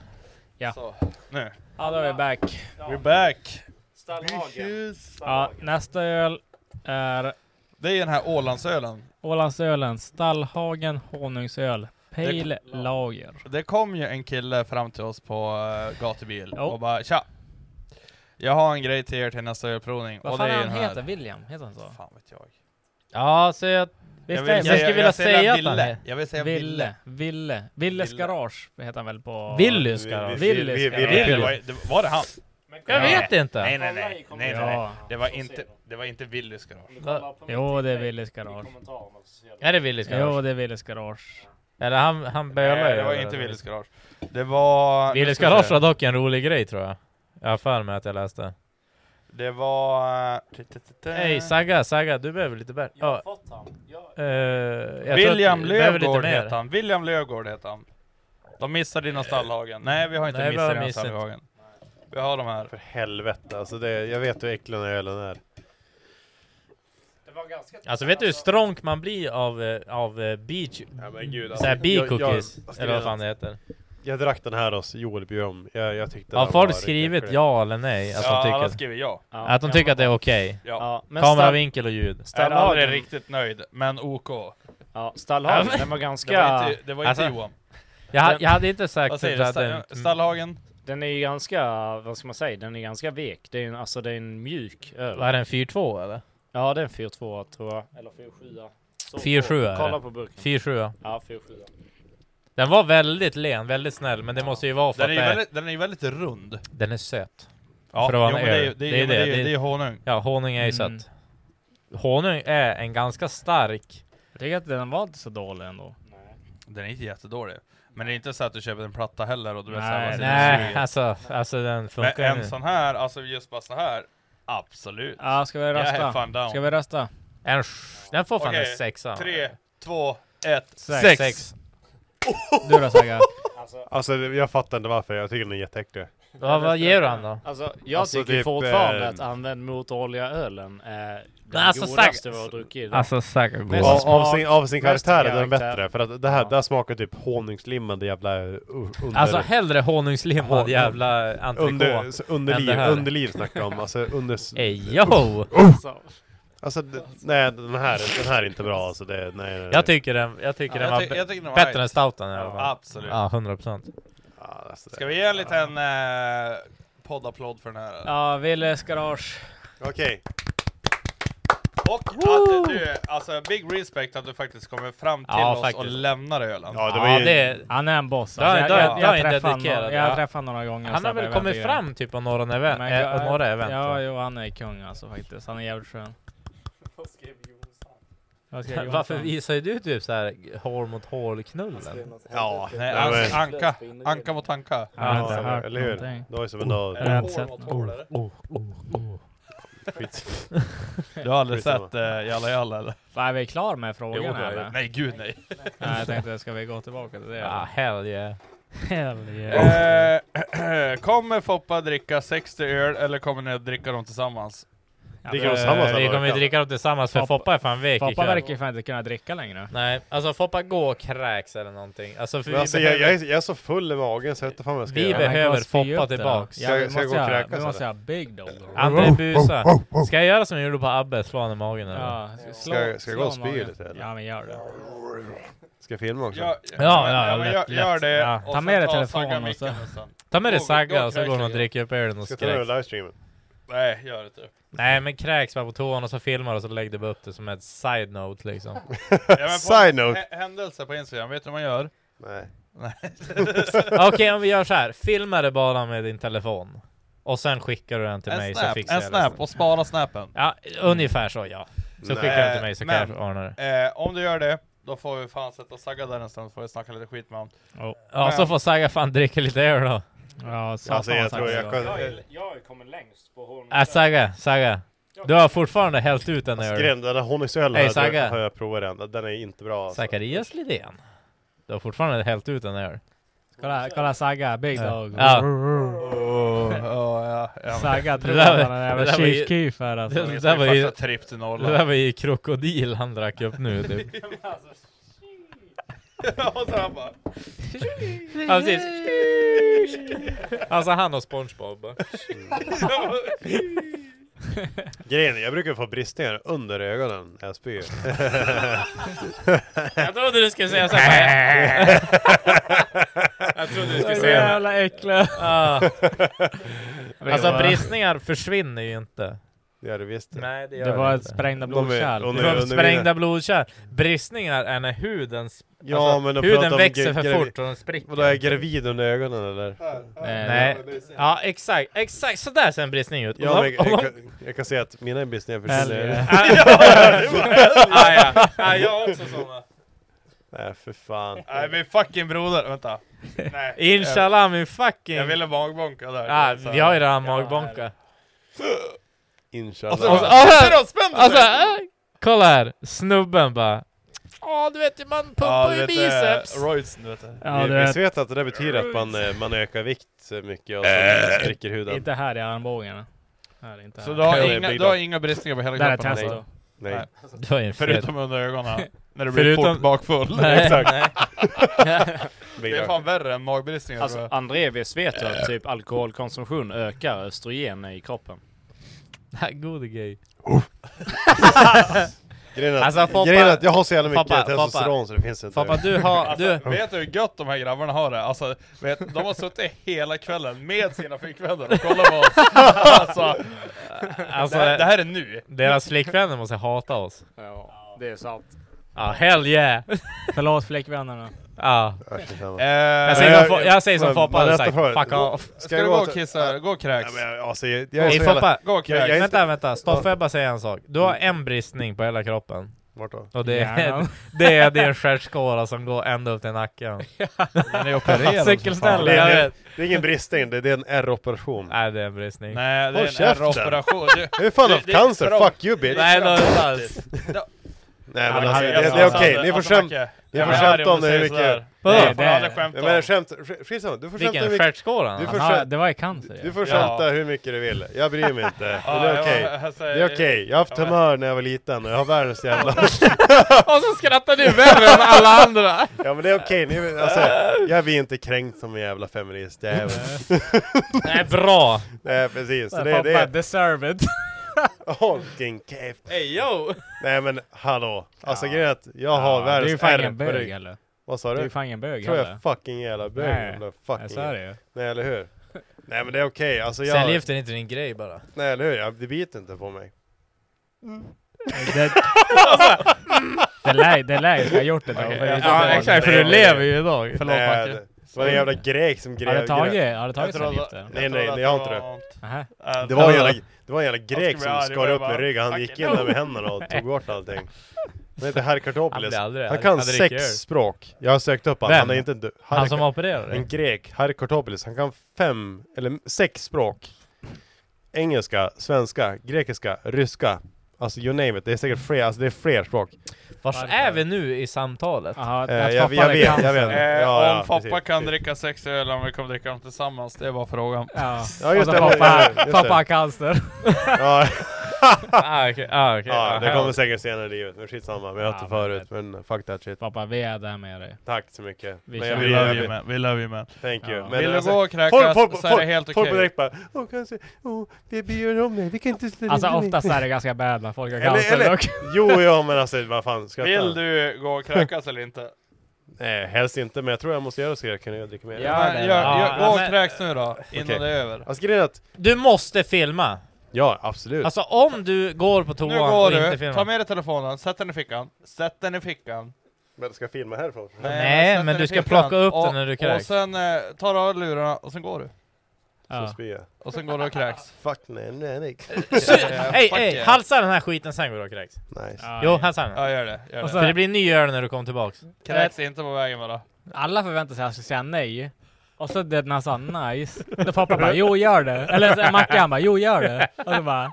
S2: Ja.
S1: Så, nu.
S2: Ja, då är vi back.
S1: We're back!
S5: Stallhagen.
S2: Ja, nästa öl är
S1: Det är den här Ålandsölen.
S2: Ålandsölen Stallhagen honungsöl. Pale Lager.
S1: Det kom ju en kille fram till oss på uh, gatubil
S2: Ja.
S1: och bara Tja! Jag har en grej till er till nästa ölprovning
S2: Vad
S1: och
S2: fan
S1: det är
S2: han
S1: den här.
S2: heter? William? Heter han så?
S1: Fan vet jag.
S4: Ja, så jag...
S2: Visst
S1: vill
S2: är det?
S1: säga-
S2: Jag skulle vilja
S1: jag säger
S2: säga att
S1: Ville.
S2: han är...
S1: Jag vill säga
S2: Ville. Ville. Villes Garage heter han väl på...
S4: Willy
S3: Vi-
S4: ska
S3: vi- vi-
S2: Willys
S3: vi- vi-
S2: Garage.
S1: Nej,
S3: vi-
S1: det var, det, var det han?
S4: Jag vet inte.
S1: Nej nej nej, nej, nej, nej.
S2: Ja.
S1: Det var inte, det var inte Willys garage.
S2: Jo, det är Willys Garage.
S4: Är det Willys garage?
S2: Jo, det är Willys Garage.
S4: Eller han, han bölar
S1: Nej,
S4: ju.
S1: det var inte Willys garage. Det var...
S4: Willys
S1: nu ska vi
S4: garage
S1: se.
S4: var dock en rolig grej tror jag. Jag har för mig att jag
S5: Eh.
S4: läste.
S1: Det var...
S4: Hej Saga, Saga, du behöver lite bär.
S5: Jag har
S4: Ja,
S5: fått han. Jag,
S4: Eh, jag tror
S1: William
S4: att vi behöver lite
S1: Löfgård
S4: mer.
S1: heter han. William Löfgård heter han. De missar dina stallhagen. Nej, vi har inte
S4: Nej, vi har
S1: missat dina
S4: missat.
S1: stallhagen. Vi har de här.
S3: För helvete, alltså det, jag vet hur äcklig den här ölen är.
S4: Alltså vet du hur stronk man blir av, eh, av eh, beach... Ja,
S3: men gud,
S4: såhär
S3: alltså.
S4: bee
S3: Jag- jag-
S4: cookies,
S3: vad ska
S4: eller vad
S3: jag-
S4: fan det heter.
S3: Jag drack den här hos Joel Björn. Jag, jag tyckte
S4: Har
S3: den
S4: folk
S3: var riktigt
S4: skrivit
S3: äcklig.
S4: ja eller nej? Att
S1: Ja,
S4: de
S1: alla
S4: tycker,
S1: skriver ja. Ja,
S4: Att de
S1: ja,
S4: tycker
S1: men-
S4: att det är okej?
S1: Ja. Ja, men
S4: Kameravinkel och ljud.
S1: Jag är aldrig riktigt nöjd, men OK.
S5: Ja, Stallhagen, den var ganska...
S1: Det var inte, det var inte
S5: Alltså,
S1: Johan.
S4: Jag,
S5: Den-
S4: jag hade inte sagt
S1: Vad säger du?
S4: att det-
S1: Sta- Stallhagen?
S5: Den är ju ganska, vad ska man säga, den är ganska vek. Det är en, alltså det är en mjuk öl.
S4: Vad är det, en 4-2 eller?
S5: Ja, det är en 4-2 tror jag. Eller 4-7. Så-
S4: 4-7 är
S5: Kolla
S4: det.
S5: på burken.
S4: 4-7.
S5: Ja, 4-7.
S4: Den var väldigt len, väldigt snäll, men det måste ju vara för
S1: Den är
S4: att
S1: ju
S4: det
S1: väldigt, den är ju väldigt rund.
S4: Den är söt.
S1: Ja,
S4: för att vara
S1: jo,
S4: en
S1: men det är-
S4: öl.
S1: det är- men det är- det är honung.
S4: Ja, honung är ju
S1: Mm.
S4: sött. Honung är en ganska stark...
S2: Jag tycker att den var inte så dålig ändå.
S1: Den är inte jättedålig. Men det är inte så att du köper en platta heller och du vet
S4: Nej,
S1: såhär, vad sitter
S4: nej,
S1: du suger?
S4: alltså- alltså den funkar
S1: Men en
S4: ju.
S1: sån här, alltså just bara så här. Absolut.
S2: Ja, ska vi
S1: Jag är
S2: rösta?
S1: fan down.
S2: Ska vi rösta?
S4: En, den får fan
S1: Okej,
S4: en sexa.
S1: Tre, två, ett, sex!
S4: Sex. Sex.
S2: Du då Saga?
S3: Alltså det- jag fattar inte varför, jag tycker den är jätteäcklig.
S4: Vad- vad ger du han då?
S5: Alltså, jag
S3: Alltså,
S5: tycker
S3: typ,
S5: fortfarande
S3: eh,
S5: att använd motorolja-ölen är den
S4: Men alltså,
S5: godaste
S4: Saga-
S5: vi har druckit.
S4: alltså, Saga går-
S5: Mest
S3: Av, av,
S5: smak,
S3: sin, av sin
S5: mest
S3: karaktär är den
S5: karaktär.
S3: bättre, för att det här, det här smakar typ honungslimmade jävla uh, under...
S4: Alltså hellre honungslimmad
S3: Hon-
S4: jävla entrecote.
S3: Under, s- underliv,
S4: än det här.
S3: underliv snackar jag om, alltså under... Oh!
S4: Ey, yo!
S3: Alltså, d- nej den här, den här är inte bra alltså, det, nej, nej.
S4: Jag tycker den, jag tycker
S1: Ja,
S4: den
S1: jag
S4: var
S1: ty- jag tycker den var
S4: bättre
S1: right.
S4: än stouten i alla
S1: Ja,
S4: fall.
S1: absolut.
S4: Ja, 100 procent.
S1: Ska vi ge en liten eh, poddapplåd för den här? eller?
S2: Ja, Willes garage.
S3: Okej.
S1: Och att du, alltså big respect att du faktiskt kommer fram till
S2: Ja,
S1: oss
S2: faktiskt.
S1: och lämnar ölen.
S2: Han är en boss.
S4: Det har-
S2: Alltså,
S4: det har-
S2: jag,
S4: det har
S2: jag,
S4: inte
S2: jag, träffar honom, jag
S4: dedikerad, ja.
S2: har träffat honom några gånger.
S4: Han har
S2: så här
S4: väl
S2: på
S4: kommit
S2: event.
S4: fram typ på några event, eh, på några event.
S2: Ja, jo, han är kung alltså faktiskt. Han är jävligt skön. Vad skrev Jonsson?
S4: Varför visar ju du typ såhär hår mot hår-knullen?
S1: Ja, nej, alltså, Anka. Anka mot Anka. Oh,
S4: Jag har inte hört
S3: Eller hur?
S4: någonting.
S3: Det var ju som en dag...
S4: Eller jag har inte sett.
S3: Skit.
S1: Du har aldrig
S3: Skitsamma.
S1: sett eh, Jalla Jalla eller?
S2: Är vi klar med frågan
S1: Jo, det är
S2: eller?
S1: vi. Nej, gud nej.
S2: nej jag tänkte, ska vi gå tillbaka till det?
S4: Ja, hell yeah.
S2: Hell yeah.
S1: Eh, kommer Foppa dricka 60 öl eller kommer ni att dricka dem tillsammans?
S4: Dricker de tillsammans, Eh, vi eller? kommer ju dricka dem tillsammans, för Foppa är fan vek
S2: Foppa
S4: ikväll.
S2: verkar ju fan inte kunna dricka längre.
S4: Nej, alltså Foppa gå och kräks eller någonting. Alltså, för
S3: Men
S4: vi
S3: alltså, jag,
S4: behöver...
S3: jag, är, jag är så full i magen så jag vet inte fan vad jag ska
S4: Vi
S3: göra.
S4: behöver Foppa tillbaks.
S3: Ska, jag- ska jag gå och kräkas
S2: Vi
S3: eller?
S2: måste ha big dog.
S4: André busa. Ska jag göra som jag gjorde på Abbe, slå honom i magen eller?
S2: Ja, slå,
S3: Ska jag- ska jag gå och
S2: slå
S3: spy
S2: magen.
S3: lite, eller?
S2: Ja men gör det.
S3: Ska jag filma också?
S1: Ja,
S4: Ja, ja,
S1: men
S4: lätt,
S1: gör, gör
S4: lätt.
S1: det.
S4: Ja.
S1: och
S4: Ta
S1: sen
S4: med dig
S1: tar
S4: telefonen
S1: Saga
S4: och
S1: micken
S4: så-
S1: och sen-
S4: Ta med dig
S1: Gå-
S4: Sagga
S1: gå
S4: och så går hon och dricker upp ölen och
S3: Ska
S4: så
S3: jag ta över
S4: kräks.
S3: livestreamen?
S1: Nej, gör inte det.
S4: Nej men kräks bara på toan och så filmar och så lägger du bara upp det som ett side-note liksom.
S1: Ja, men på-
S3: Side note.
S1: hä- Händelse på Instagram, vet du vad man gör?
S3: Nej.
S1: Nej.
S4: Okej om vi gör så här. filma det bara med din telefon. Och sen skickar du den till
S1: En
S4: mig så
S1: snap,
S4: fixar
S1: en
S4: jag
S1: snap,
S4: resten.
S1: och spara snapen.
S4: Ja, ungefär så ja. Så skickar du den till mig så kan
S1: men,
S4: jag ordna det.
S1: Eh, om du gör det, då får vi fan sätta Sagga där en stund, så får vi snacka lite skit med honom.
S4: Ja, så får Saga fan dricka lite öl då.
S2: Ja,
S3: satan Alltså, jag vad tror Saga jag är bra. kan-
S5: Jag har ju kommit längst på honung.
S4: Äh, Saga, Saga. Du har fortfarande hällt ut den ölen.
S3: Skrämd, den här honungsölen
S4: Hej
S3: har jag- har
S4: Saga.
S3: jag provat den. Den är inte bra alltså.
S4: Zacharias Lidén. Du har fortfarande hällt ut den öl.
S2: Kolla, kolla Saga, big
S4: Ja.
S2: dog.
S4: Ja.
S2: Saga
S4: Det
S2: tror
S4: där
S2: att
S4: var-
S2: han är en
S4: det
S2: jävla
S4: där var ju-
S2: chief-keef här alltså.
S4: Det, det, där var ju,
S1: Första tripp till
S4: det
S1: Norrland.
S4: där var ju krokodil han drack upp nu typ.
S1: och så han bara...
S4: Ja, precis. Alltså han och Spongebob.
S3: Grejen är, jag brukar få bristningar under ögonen när jag spyr.
S4: Jag trodde du skulle säga så här. Jag trodde du skulle
S2: Så
S4: säga
S2: jävla äcklig.
S4: Ah. Alltså
S2: var-
S4: bristningar försvinner ju inte.
S3: Det gör det visst.
S4: Nej det gör
S2: Det var
S4: det
S2: ett
S4: inte.
S2: sprängda
S3: De är-
S2: blodkärl.
S3: de
S4: Det
S3: är-
S4: var
S3: under
S4: sprängda blodkärl. Bristningar är när huden, sp-
S3: Ja,
S4: alltså,
S3: men de pratar
S4: huden
S3: om
S4: växer
S3: gra-
S4: för
S3: gravi-
S4: fort och den spricker.
S3: Vadå, är jag gravid under ögonen eller?
S4: Nej. Ja exakt, exakt sådär ser en bristning ut.
S3: Ja,
S4: Om-
S3: men jag,
S4: om-
S3: jag, kan, jag kan säga att mina bristningar försvinner.
S2: Eller-
S4: Ah, ja.
S1: Nej, jag har också såna.
S3: Nej, för fan.
S1: Nej, min fucking broder. Vänta. Nej.
S4: Inshallah min fucking...
S1: Jag ville magbonka där.
S4: ah,
S1: Så-
S4: vi har ju redan magbonka.
S3: Inshallah.
S4: Och så-
S1: Alltså, Sitter och spänner
S4: alltså,
S1: sig.
S4: äh, kolla här! Snubben bara
S6: Ja, du vet, man pumpar
S3: Ja,
S6: ju
S3: du vet, eh,
S6: biceps.
S1: Roysen, du
S4: alltså.
S1: vet det.
S3: Ja, vi, visst vet att det där betyder att man, eh, man ökar vikt eh, mycket och så
S4: Äh.
S3: spricker huden?
S2: Inte här i armbågarna. Här, inte här.
S1: Så du har, inga, du har inga bristningar på hela
S2: Där är
S1: kroppen?
S2: test
S1: alltså?
S2: då.
S1: Nej.
S4: Du har ju en fet-
S1: Förutom under ögonen, när du blir fort bakfull.
S5: Nej,
S1: Exakt.
S5: Nej.
S1: det är fan värre än magbristningar
S5: Alltså
S1: tror jag.
S5: Andrevis vet ju
S1: Eh.
S5: att typ alkoholkonsumtion ökar östrogen i kroppen.
S4: Gode grej.
S1: Oh.
S3: Grejen är att- grejen är att jag har så jävla mycket testosteron så det finns inte.
S4: Alltså, Foppa, du har... Du,
S1: Alltså, vet du hur gött de här grabbarna har det? Alltså, vet, de har suttit hela kvällen med sina flickvänner och kollat på oss. Alltså,
S4: Alltså,
S1: det, här, det här är nu.
S4: Deras flickvänner måste hata oss.
S5: Ja, det är sant.
S4: Ja, hell yeah!
S2: Förlåt flickvännerna.
S4: Ja.
S3: Eh,
S4: jag, säger som, Fo- jag säger som Foppa hade sagt, fuck off.
S1: Ska du gå och kissa? Gå och kräks?
S3: Ja, men jag- alltså, jag- jag är
S4: Hey,
S3: så jävla-
S4: Foppa,
S3: Gå och kräks.
S4: vänta, vänta. Stoffe, jag bara säga en sak. Du har en bristning på hela kroppen.
S3: Vart då?
S4: Och det är,
S3: Hjärnan.
S4: det är din stjärtskåra som går ända upp till nacken.
S1: Den är opererad som fan. Det
S4: Cykelställe,
S1: är
S4: jag
S1: ingen-
S4: vet.
S3: Det är ingen bristning, det det är en R-operation.
S4: Nej, det är en bristning.
S1: Nej, det
S3: Håll
S1: är en
S3: käften.
S1: R-operation.
S3: Du har ju fan haft cancer, fuck you, bitch.
S4: Nej, det har du inte alls.
S3: Nej
S4: men
S3: men alltså, det,
S4: alltså,
S3: det är okej,
S4: alltså,
S3: ni får
S4: alltså,
S3: skämt-
S4: Macke,
S3: ni
S4: jag
S3: får
S4: är arg
S3: skämta
S4: om
S3: om
S4: du
S3: det hur
S4: säger sådär.
S3: mycket...
S4: Vadå?
S3: Nej,
S4: Jag får
S3: det-
S4: aldrig skämta
S3: Ja,
S4: om.
S3: Men jag skämt, sk- skitsamma, du får
S4: Vilken
S3: skämta hur mycket...
S4: stjärtskåra han
S3: Du får
S4: har.
S3: skämta-
S4: Det var ju cancer, ja.
S3: Du får
S4: Ja.
S3: skämta hur mycket du vill, jag bryr mig inte. Det
S4: Ja,
S3: är
S4: jag-
S3: okej.
S4: jag
S3: Det
S4: säger-
S3: är okej, jag har haft tumör när jag var liten och jag har världens jävla...
S4: Och så skrattar du värre än alla andra!
S3: Ja men det är okej, ni- alltså, jag blir inte kränkt som en jävla feminist, jag är
S4: Nej, bra!
S3: Nej precis, så
S4: Nej,
S3: det, det
S4: pappa,
S3: är...
S2: deserve it!
S3: Håll din käft!
S4: Hey yo!
S3: Nej men hallå! Alltså
S2: Ja.
S3: grejen är att jag har
S2: Ja,
S3: världens
S2: du är ju fan
S3: ärr
S2: ingen
S3: på
S2: bög,
S3: rygg.
S2: eller?
S3: Vad sa du?
S2: Du är ju fan ingen bög,
S3: Tror
S2: heller.
S3: jag fucking jävla bög
S2: Nej.
S3: jävla fucking
S2: Jag sa det ju.
S3: Nej eller hur? Nej men det är okej, alltså jag...
S4: Cellgift är inte din grej bara.
S3: Nej eller hur, jag, det biter inte på mig.
S2: Det, det lär det lär jag ha gjort det då.
S4: Okej,
S2: för det
S4: ja,
S2: är så
S4: exakt,
S2: vanligt.
S4: för du lever ju idag.
S3: Förlåt nej, det- Det var en jävla grek som grev...
S2: Har du tagit, har du
S3: Jag
S2: tagit
S3: trodde-
S2: cellgifter?
S3: Nej nej, jag har inte
S2: Nähä.
S3: det. Det var, en jävla, det var en jävla grek som skar upp min rygg, han gick in där med händerna och tog bort allting. Han heter
S4: Han
S3: Herkartopoulos.
S4: blir aldrig-
S3: Han kan
S4: aldrig
S3: sex
S4: gör.
S3: språk. Jag har sökt upp han,
S4: Vem?
S3: han är inte dö-
S4: Han
S3: Harry-
S4: som opererade dig?
S3: En grek, Herkartopoulos. Han kan fem, eller sex språk. Engelska, svenska, grekiska, ryska. Alltså you name it, det är säkert fler, alltså det är fler språk.
S4: Vars är vi nu i samtalet?
S3: Eh, jag- jag vet, jag vet.
S1: Eh,
S3: Ja, ja,
S1: om Foppa
S3: precis,
S1: kan dricka sex öl, om vi kommer dricka dem tillsammans, det är bara frågan.
S2: Ja,
S3: Ja,
S4: Alltså,
S3: just det, ja, just det.
S2: Pappa har cancer.
S3: Ja.
S4: Ah, okej, ah, okej.
S3: ja, det
S4: Ah,
S3: kommer
S4: ja.
S3: säkert senare i livet, men skitsamma. Vi har haft det förut, men fuck that shit.
S2: Pappa, vi är där med dig.
S3: Tack så mycket.
S2: Vi
S3: Men
S2: kör.
S3: vill-
S2: We love
S3: vill-
S2: you,
S1: man. We love you, man.
S3: Thank you.
S2: Ja.
S3: Men
S1: Vill du
S3: alltså,
S1: gå och kräkas
S3: folk- folk-
S1: så är det
S3: folk-
S1: helt okej.
S3: Folk på direkt bara, "Oh, åh cancer, åh, vi ber om dig, vi kan inte ställa
S2: Alltså
S3: in dig."
S2: oftast är det ganska bad när folk har
S3: Eller,
S2: cancer
S3: eller,
S2: dock.
S3: jo, ja men alltså vad fan, skratta.
S1: Vill du gå och kräkas eller inte?
S3: Nej, helst inte, men jag tror jag måste göra så jag kan jag dricka mer.
S1: Ja, gör, gör, gå och
S4: men-
S1: kräks nu då, innan
S3: Okej.
S1: det är över.
S3: Alltså grejen är att,
S4: Du måste filma!
S3: ja absolut.
S4: Alltså om du går på
S1: Nu
S4: toan
S1: går
S4: och inte
S1: du, ta
S4: filmar.
S1: med dig telefonen, sätt den i fickan, sätt den i fickan.
S3: Men ska jag filma härifrån?
S4: Nej,
S1: sätt
S4: men
S1: den
S4: du
S1: i fickan.
S4: ska plocka upp
S1: och,
S4: den när du
S1: Och
S4: kräks.
S1: sen eh, tar du av lurarna och sen går du.
S3: Så
S4: Ja.
S3: spyr jag.
S1: Och sen går du och kräks. Eh,
S3: Fuck nej, nej, nej.
S4: Sy- Hej,
S1: Fuck
S4: hej!
S1: yeah.
S4: Halsa den här skiten sen går du och kräks.
S3: Nice.
S4: Jo, halsa den.
S1: Ja, gör det, gör det.
S4: Och så- För det blir en ny öl när du kommer tillbaks.
S1: Kräks inte på vägen bara.
S2: Alla förväntar sig att jag ska säga nej. Och så det när han sa nice. Då pappa bara jo gör det. Eller så Macke han bara jo gör det. Och då bara.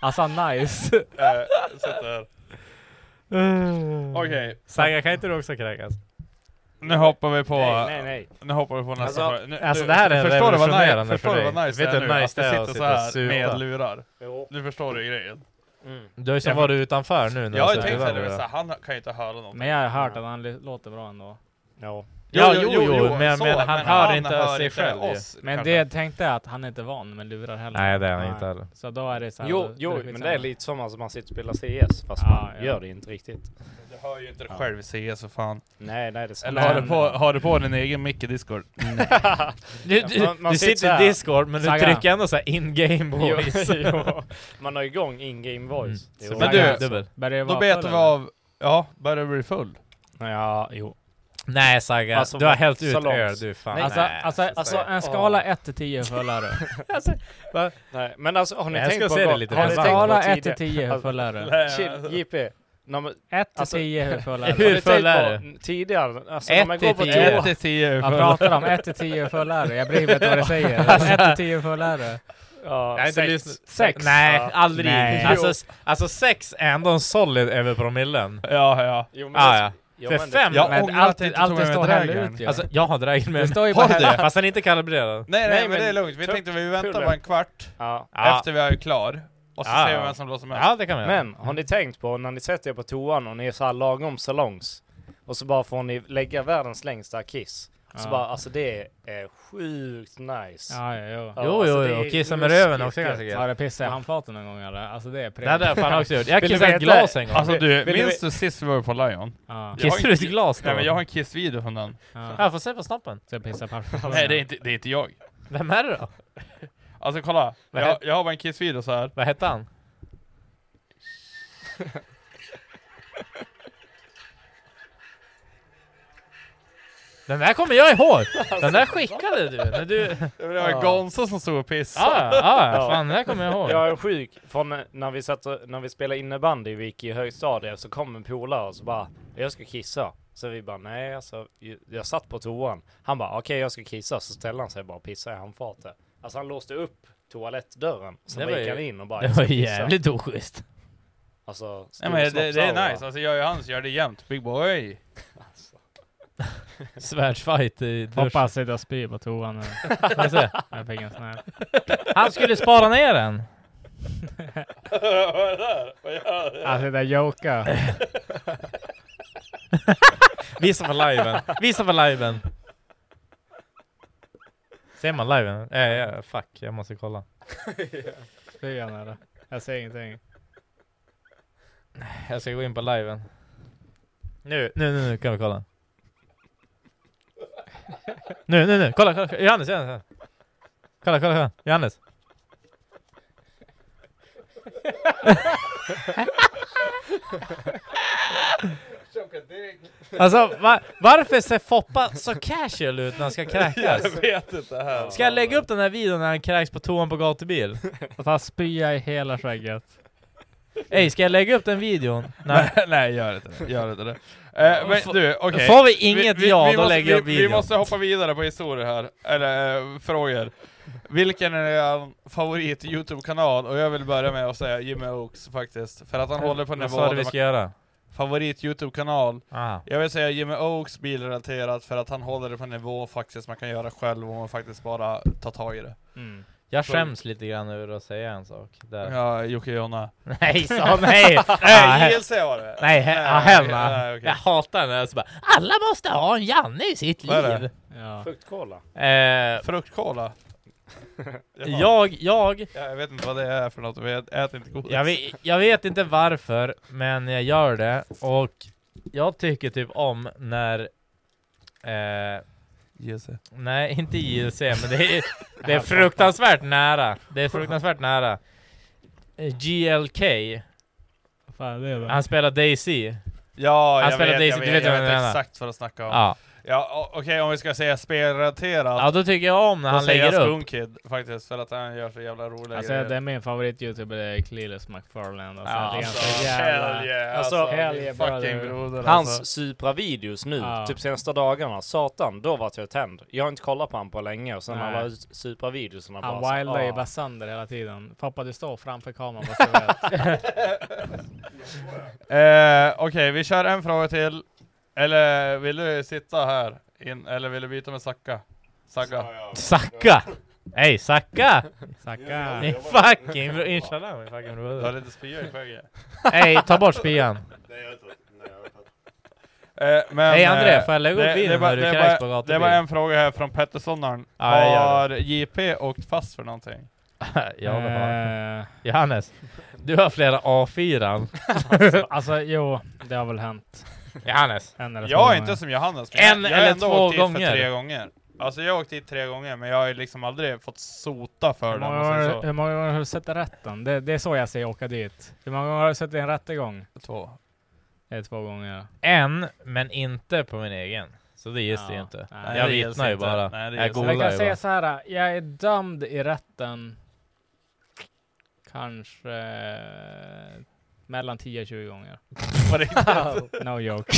S2: Han sa nice.
S1: Eh, sätt där. Okej.
S4: Saga, kan inte du också kräkas?
S1: Nu hoppar vi på...
S5: Nej, nej, nej.
S1: Nu hoppar vi på nästa
S4: Alltså,
S1: fråga. Nu,
S4: alltså
S1: nu-
S4: det här är
S1: förstår du vad nice,
S4: revolutionerande
S1: förstår
S4: för
S1: du
S4: dig.
S1: vad nice
S4: Vet
S1: det är
S4: du
S1: nu? Att
S4: hur nice det
S1: det
S4: är att
S1: sitter
S4: sitta
S1: så här
S4: och supa?
S1: med lurar.
S5: Jo.
S1: Nu förstår du grejen.
S4: Du har ju
S1: Ja,
S4: som
S1: men-
S4: varit utanför nu när
S1: Jag har
S4: du
S1: ju tänkt
S4: har suttit
S1: såhär, det
S4: där
S1: vill säga,
S4: borta.
S1: han kan ju inte höra någonting.
S2: Men jag har hört att han li- låter bra ändå.
S5: Ja.
S4: Ja, jo, jo, men jag
S1: så,
S4: menar, han hör inte sig själv ju.
S1: oss,
S2: Men
S1: kanske.
S2: det jag tänkte är att han inte är van med lurar heller.
S4: Nej, det är han
S2: Nej.
S4: inte heller.
S2: Så då är det så här, då-
S5: Jo,
S2: då
S5: jo
S2: skitsamma.
S5: men det är lite som att man sitter och spelar CS fast
S1: Ah,
S2: Ja,
S5: man
S2: ja.
S5: gör det inte riktigt.
S1: Du hör ju inte dig själv i CS för fan.
S5: Nej, nej det är sant.
S1: Eller har
S5: Men- eh,
S1: du, på, har du på din egen mick i Discord? Mm.
S4: Du, du,
S5: Man- man
S4: du
S5: sitter
S4: sitter
S5: såhär.
S4: i discord men du
S5: Saga.
S4: trycker ändå såhär in game
S5: Jo,
S4: voice.
S5: jo. Man har igång in-game voice.
S4: Mm.
S5: Jo.
S1: Men Mm. du,
S4: Dubbel.
S2: Börjar det
S1: då
S2: vara
S1: betar
S2: full,
S1: vi
S2: eller?
S1: av... Ja, börjar du bli full?
S5: Ja, jo.
S4: Nej Saga,
S5: Alltså,
S4: du har
S5: vad-
S4: hällt
S5: så
S4: ut
S5: långt.
S4: öl du fan.
S5: Nej.
S2: Alltså,
S4: Nej.
S2: alltså, alltså en skala 1 till 10 fullare.
S5: Alltså- Nej, men alltså har ni
S4: Jag
S5: tänkt
S4: ska
S5: på
S4: se det
S5: vad-
S4: lite
S5: har
S4: mer.
S5: ni tänkt på
S2: Skala
S5: tidigare- Alltså,
S2: 1 till 10 hur full är du?
S1: Nej,
S5: Chill,
S1: alltså.
S5: JP. No, men,
S2: 1 till
S5: Alltså-
S2: 10 hur full är
S4: Hur
S2: du?
S5: har ni tänkt
S4: full är
S5: på Tidigare, alltså när
S4: Ett
S5: man
S4: till
S5: går på
S4: tio.
S5: toa.
S1: Ett till tio är
S2: Jag
S1: full.
S2: pratar om 1 till 10 hur full är du? Jag bryr mig inte vad du säger. 1 till 10 hur full är du?
S5: Ja,
S4: Jag har inte
S5: sex.
S4: lyssnat-
S5: Sex.
S4: Nej,
S5: Ja.
S4: aldrig.
S5: Nej.
S4: Alltså, alltså sex är ändå en solid över promillen.
S1: Ja, ja.
S4: Jo,
S5: Jo,
S4: men
S5: men
S4: ah,
S5: det-
S4: ja.
S5: jo,
S4: För
S5: men det-
S4: fem,
S5: Jag
S4: men
S5: ångrar att
S4: allt,
S5: jag inte
S4: allt
S5: tog
S4: det
S5: med mig
S4: står heller
S5: dräggen.
S4: ut. Alltså, jag har dragit med
S5: Det står ju
S4: Har
S5: bara
S4: du
S5: här.
S4: Fast den är inte kalibrerad.
S1: Nej, nej, men, det är lugnt. Vi tänkte vi väntar bara en kvart
S5: Ja.
S1: efter vi är klar. Och så ser vi vem som blåser mest.
S5: Men har ni tänkt på när ni sätter er på toan och ni är så här lagom salongs och så bara får ni lägga världens längsta kiss. Så
S4: Ja.
S5: bara, alltså det är sjukt nice.
S2: Ja, ja, jo.
S5: Ja,
S4: Jo,
S5: alltså,
S4: jo,
S5: det
S4: jo.
S5: alltså, är
S4: Kissa med röven
S5: ruskigt
S4: också ganska
S5: gött.
S4: gött.
S2: Har du pissat i handfaten någon gång eller? Alltså det är
S4: Det hade jag fan också gjort. Jag kissade ett glas en gång.
S1: Alltså du,
S4: Vill du
S1: minns
S4: ve-
S1: du sist vi var på Lion?
S2: Ja.
S1: Jag har
S4: Kissade du
S1: en-
S4: ett glas då?
S1: Nej men jag har en kissvideo från den.
S4: Ja, får se på snoppen.
S2: Så jag pissar
S1: Nej det är, inte, det är inte jag.
S4: Vem är det då?
S1: Alltså kolla,
S4: Vad
S1: jag,
S4: het-
S1: jag har bara en kissvideo så här.
S4: Vad hette han? Den där kommer jag ihåg!
S5: Alltså.
S4: Den där skickade du när du...
S1: Alltså, Det var Gonzo som stod och pissade.
S4: Ja, ja, ja, fan, det där kommer jag ihåg.
S5: Jag är sjuk. Från när vi, satt och, när vi spelade innebandy, vi gick i högstadiet, så kom en polare och så bara Jag ska kissa. Så vi bara nej alltså, ju- jag satt på toan. Han bara okej jag ska kissa, så ställde han sig bara och pissade i handfatet. Alltså han låste upp toalettdörren. Sen bara gick han in och bara liksom
S4: Det
S5: "Jag ska
S4: var
S5: kissa."
S4: jävligt oschysst.
S5: Alltså,
S1: Nej men det, det
S5: snoppsaura.
S1: är nice, alltså jag och Hans gör det jämt. Big boy!
S4: Svärdsfight i dusch.
S2: Hoppas inte jag spyr på toan nu.
S4: Får jag se?
S2: Jag fick en sån här.
S4: Han skulle spara ner den.
S1: Vad är det där? Vad gör du?
S2: Alltså det där joka.
S4: Visa på liven. Visa på liven. Ser man liven? Eh, ja, fuck, jag måste kolla.
S2: Spyr han eller? Jag ser ingenting.
S4: Jag ska gå in på liven. Nu, nu, nu, nu kan vi kolla. Nu, nu, nu, kolla, kolla, kolla. Johannes, Johannes. Kolla, kolla, kolla. Johannes. Alltså va- varför ser Foppa så casual ut när han ska kräkas?
S1: Jag vet inte här.
S4: Ska jag lägga upp den här videon när han kräks på toan på gatubil?
S2: Att han spyr i hela skägget.
S4: Ey, ska jag lägga upp den videon?
S1: Nej, nej gör inte det. Gör inte det. Eh, men
S4: Får-
S1: du, okej.
S4: Får vi inget ja, då
S1: måste,
S4: lägger jag upp
S1: vi, vi
S4: videon.
S1: måste hoppa vidare på historier här, eller eh, frågor. Vilken är er favorit YouTube-kanal? Och jag vill börja med att säga Jimmy Oaks faktiskt, för att han
S4: Eh,
S1: håller på
S4: vad
S1: nivå...
S4: sa du
S1: där
S4: vi
S1: man-
S4: ska göra?
S1: Favorit YouTube-kanal?
S4: Ah.
S1: Jag vill säga Jimmy Oaks bilrelaterat, för att han håller det på en nivå faktiskt man kan göra själv om man faktiskt bara tar tag i det.
S4: Jag
S1: Så-
S4: skäms lite grann över att säga en sak. Där.
S1: Ja, Jocke och Jonna.
S4: Nej, sa nej!
S1: nej, JLC var det!
S4: Nej, he- ja, hemma.
S1: nej, okej.
S4: Jag hatar när jag så bara Alla måste ha en Janne i sitt
S1: Vad är
S4: liv! Ja.
S5: Fruktkola.
S4: Eh,
S1: Fruktkola? Jaha.
S4: jag, jag,
S1: Jag vet inte vad det är för något, vi äter inte godis.
S4: jag, vet, jag vet inte varför, men jag gör det och jag tycker typ om när eh,
S1: JLC.
S4: Nej, inte JLC, men det är, det är fruktansvärt nära. Det är fruktansvärt nära. Eh, GLK,
S2: Vad fan är det då?
S4: han spelar Daisy.
S1: Ja,
S4: Han
S1: jag
S4: spelar
S1: vet,
S4: Daisy,
S1: jag
S4: du
S1: vet,
S4: vet
S1: jag
S4: vem
S1: vet
S4: jag menar.
S1: exakt vad du snackar om.
S4: Ja.
S1: Ja, o- Okej, om vi ska säga spelrelaterat.
S4: Ja, då tycker jag om när
S1: då
S4: han
S1: säger jag
S4: lägger upp.
S1: Spoon Kid faktiskt, för att han gör så jävla roliga
S2: Alltså det är min favorit-youtuber, det är Cleelus McFarland. Alltså,
S1: Ja,
S2: det är
S1: alltså,
S2: ganska
S1: hell
S2: jävla...
S1: yeah,
S5: Alltså,
S1: alltså,
S2: hell
S1: din
S2: yeah,
S1: fucking
S2: brother.
S1: broder
S5: Hans
S1: alltså.
S5: Supra-videos nu,
S2: Ja.
S5: typ senaste dagarna, satan, då vart jag tänd. Jag har inte kollat på han på länge och sen
S2: Nej.
S5: alla Supra-videosarna
S2: Han
S5: bara... "Ah."
S2: wildar ju bara sönder hela tiden. Pappa du står framför kameran bara så du vet.
S1: Eh, Okej, vi kör en fråga till. Eller vill du sitta här? In, eller vill du byta med Zacka? Zacka?
S4: Sacka! Hej, Sacka!
S2: Sacka.
S4: Ni fucking bro, inshallah min fucking Eh,
S1: Du har
S4: broder.
S1: lite spyor i skägget.
S4: Hej, ta bort spian.
S1: Eh, men,
S4: Hej, André,
S1: eh,
S4: får jag lägga upp
S1: det-
S4: videon
S1: det var-
S4: när du
S1: det
S4: kräks
S1: var-
S4: på gatan?
S1: Det var en fråga här från Petterssonaren.
S4: Ja, jag gör
S1: har JP åkt fast för någonting?
S4: Ja, det har
S2: Eh,
S4: Johannes, du har flera A4.
S2: alltså jo, det har väl hänt.
S4: Johannes,
S2: En eller två
S1: Jag är inte
S2: gånger.
S1: som Johannes,
S4: En
S1: jag, jag har
S4: eller
S1: ändå
S4: två
S1: åkt dit
S4: gånger.
S1: för tre gånger. Alltså jag har åkt dit tre gånger, men jag har ju liksom aldrig fått sota för
S2: Hur
S1: det. om
S2: många,
S1: man säger
S2: gånger,
S1: så.
S2: hur många gånger har du sett i rätten? Det, det är så jag säger åka dit. Hur många gånger har du sett i en rättegång?
S1: Två.
S2: Det är två gånger.
S4: en, men inte på min egen. Så det gills det ju inte.
S2: nej,
S4: jag
S1: det gills
S4: vittnar ju
S1: inte.
S4: bara.
S1: Nej, det
S4: jag
S1: gills inte.
S4: golar
S2: Jag
S4: ju
S2: kan säga
S4: bara.
S2: så här. jag är dömd i rätten kanske eh, mellan 10 och 20 gånger.
S1: På riktigt.
S2: No joke.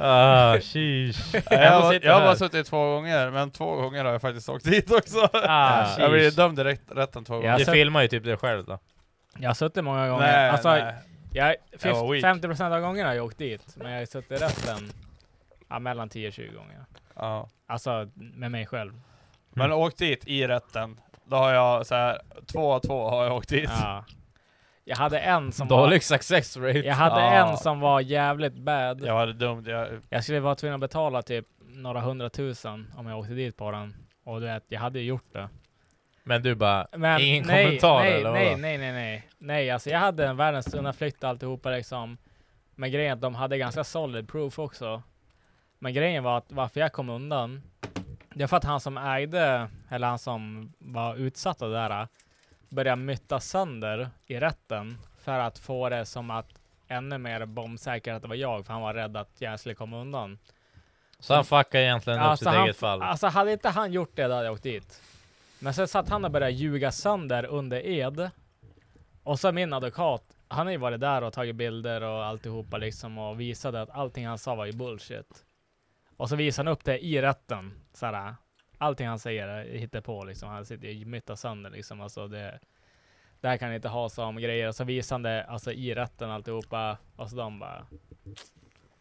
S4: Ah, sheesh.
S1: jag, har, jag har bara suttit två gånger, men två gånger har jag faktiskt åkt dit också.
S4: Ah,
S2: Ah,
S1: jag blev dömd direkt rätten två gånger.
S4: Du filmar ju typ dig själv då.
S2: Jag har suttit många gånger.
S1: Nej,
S2: alltså,
S1: nej.
S2: Jag,
S1: Jag var weak.
S2: 50 procent av gångerna har jag åkt dit, men jag har suttit resten ja, mellan 10 och 20 gånger.
S1: Ja.
S2: Alltså med mig själv.
S1: Men
S4: Mm.
S1: åkt dit i rätten, då har jag så här, två av två har jag åkt dit.
S2: Ja. Jag hade en som
S4: Dålig success rate.
S2: Jag hade
S1: Ja.
S2: en som var jävligt bad.
S1: Jag var dum. Jag,
S2: Jag skulle vara tvungen att betala typ några hundratusen om jag åkte dit på den. Och du vet, jag hade ju gjort det.
S4: Men du bara,
S2: Men
S4: ingen
S2: nej,
S4: kommentar
S2: nej,
S4: eller
S2: nej,
S4: vadå?
S2: nej, nej, nej. Nej, alltså jag hade en världens undanflykt alltihopa liksom. Men grejen är att de hade ganska solid proof också. Men grejen var att varför jag kom undan, det var för att han som ägde, eller han som var utsatt av det där, började mytta sönder i rätten för att få det som att ännu mer bombsäkert att det var jag, för han var rädd att jag skulle komma undan.
S4: Så han fuckar egentligen upp sitt
S2: han,
S4: eget fall?
S2: Alltså hade inte han gjort det, då hade jag åkt dit. Men sen satt han och började ljuga sönder under ed. Och så min advokat, han har ju varit där och tagit bilder och alltihopa liksom och visade att allting han sa var ju bullshit. Och så visade han upp det i rätten. Såhär, allting han säger är hittepå liksom. Han sitter ju och myttar sönder liksom. Alltså det, det här kan ni inte ha som grejer. Och så visade han det alltså, i rätten alltihopa. Och så de bara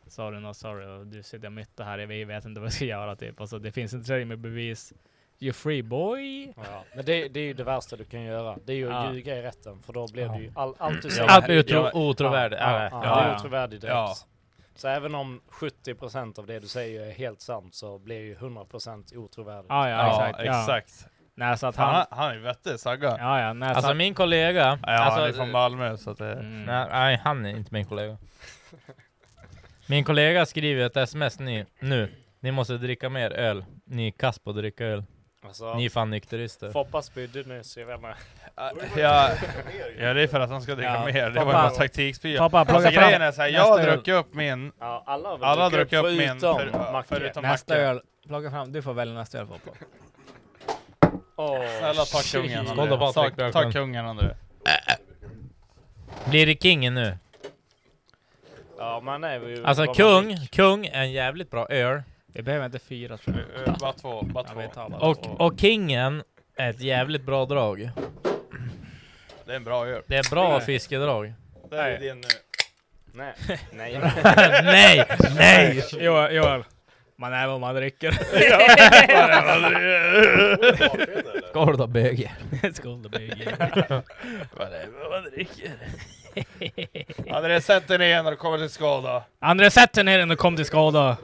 S2: Sorry, no sorry. Och du sitter och myttar här. Vi vet inte vad vi ska göra typ. Alltså det finns inte tillräckligt med bevis. You free boy.
S5: Ja, men det, det är ju det värsta du kan göra. Det är ju att
S2: Ja.
S5: ljuga i rätten, för då blev
S2: Ja.
S5: det ju all, allt du
S2: Ja,
S5: säger.
S2: allt
S5: är
S2: blir otro-
S5: ju-
S4: otrovärdigt.
S5: Ja,
S4: Ja,
S5: ja,
S4: ja,
S5: det är
S4: ja.
S5: otrovärdigt direkt.
S4: Ja.
S5: Så även om 70% av det du säger är helt sant så blir ju 100% otrovärdigt.
S2: Ja, ja, exakt. Ja. Nej, så att
S1: Fan,
S2: han...
S1: han, han är ju vettig Sagga.
S2: Ja, ja, nej,
S4: Alltså
S2: så...
S4: min kollega...
S1: Ja,
S4: alltså,
S1: han är från Malmö så att det...
S2: Mm.
S4: Nej, nej, han är inte min kollega. Min kollega skriver ett sms nu. nu. Ni måste dricka mer öl. Ni är kass på att dricka öl.
S5: Alltså,
S4: ni är fan nykterister.
S5: Foppa spydde nyss, jag vet inte.
S1: Ja, ja, det är för att han ska dricka
S5: Ja,
S1: mer. Det
S5: pappa.
S1: var ju bara taktikspya.
S5: Pappa, plocka
S1: alltså,
S5: fram
S1: grejen är såhär, jag har
S2: nästa öl.
S1: druckit upp min...
S5: Ja, alla har väl
S1: alla har
S5: druckit
S1: druckit upp
S5: upp
S1: min
S5: förutom
S1: för, ja,
S5: Macke.
S1: förutom
S2: Nästa
S1: Macke.
S2: öl. Plocka fram. Du får välja nästa öl Foppa.
S5: Åh,
S1: Snälla ta kungen
S4: Skål då,
S1: André.
S4: Patrik.
S1: Ta, ta
S4: Välkommen.
S1: kungen André.
S4: Blir det kingen nu?
S5: Ja, man är ju...
S4: Alltså
S5: vad man
S4: kung,
S5: dricker.
S4: kung är en jävligt bra öl.
S2: Vi behöver inte fyra tror
S1: jag. Bara två, bara
S2: två. vi tar bara två.
S4: Och, och kingen är ett jävligt bra drag.
S1: Det är en bra öl.
S4: Det är bra fiskedrag.
S1: Det är din... eh,
S5: Nej, nej.
S4: Nej, nej!
S2: Joel, Joel. Man är vad man dricker.
S4: Ja, man är vad man dricker. Skål då, böge.
S2: Skål då böge.
S1: Vad det är man dricker. André, sätt dig ner när du kommer till skada.
S2: André sätt dig ner innan du kom till skada.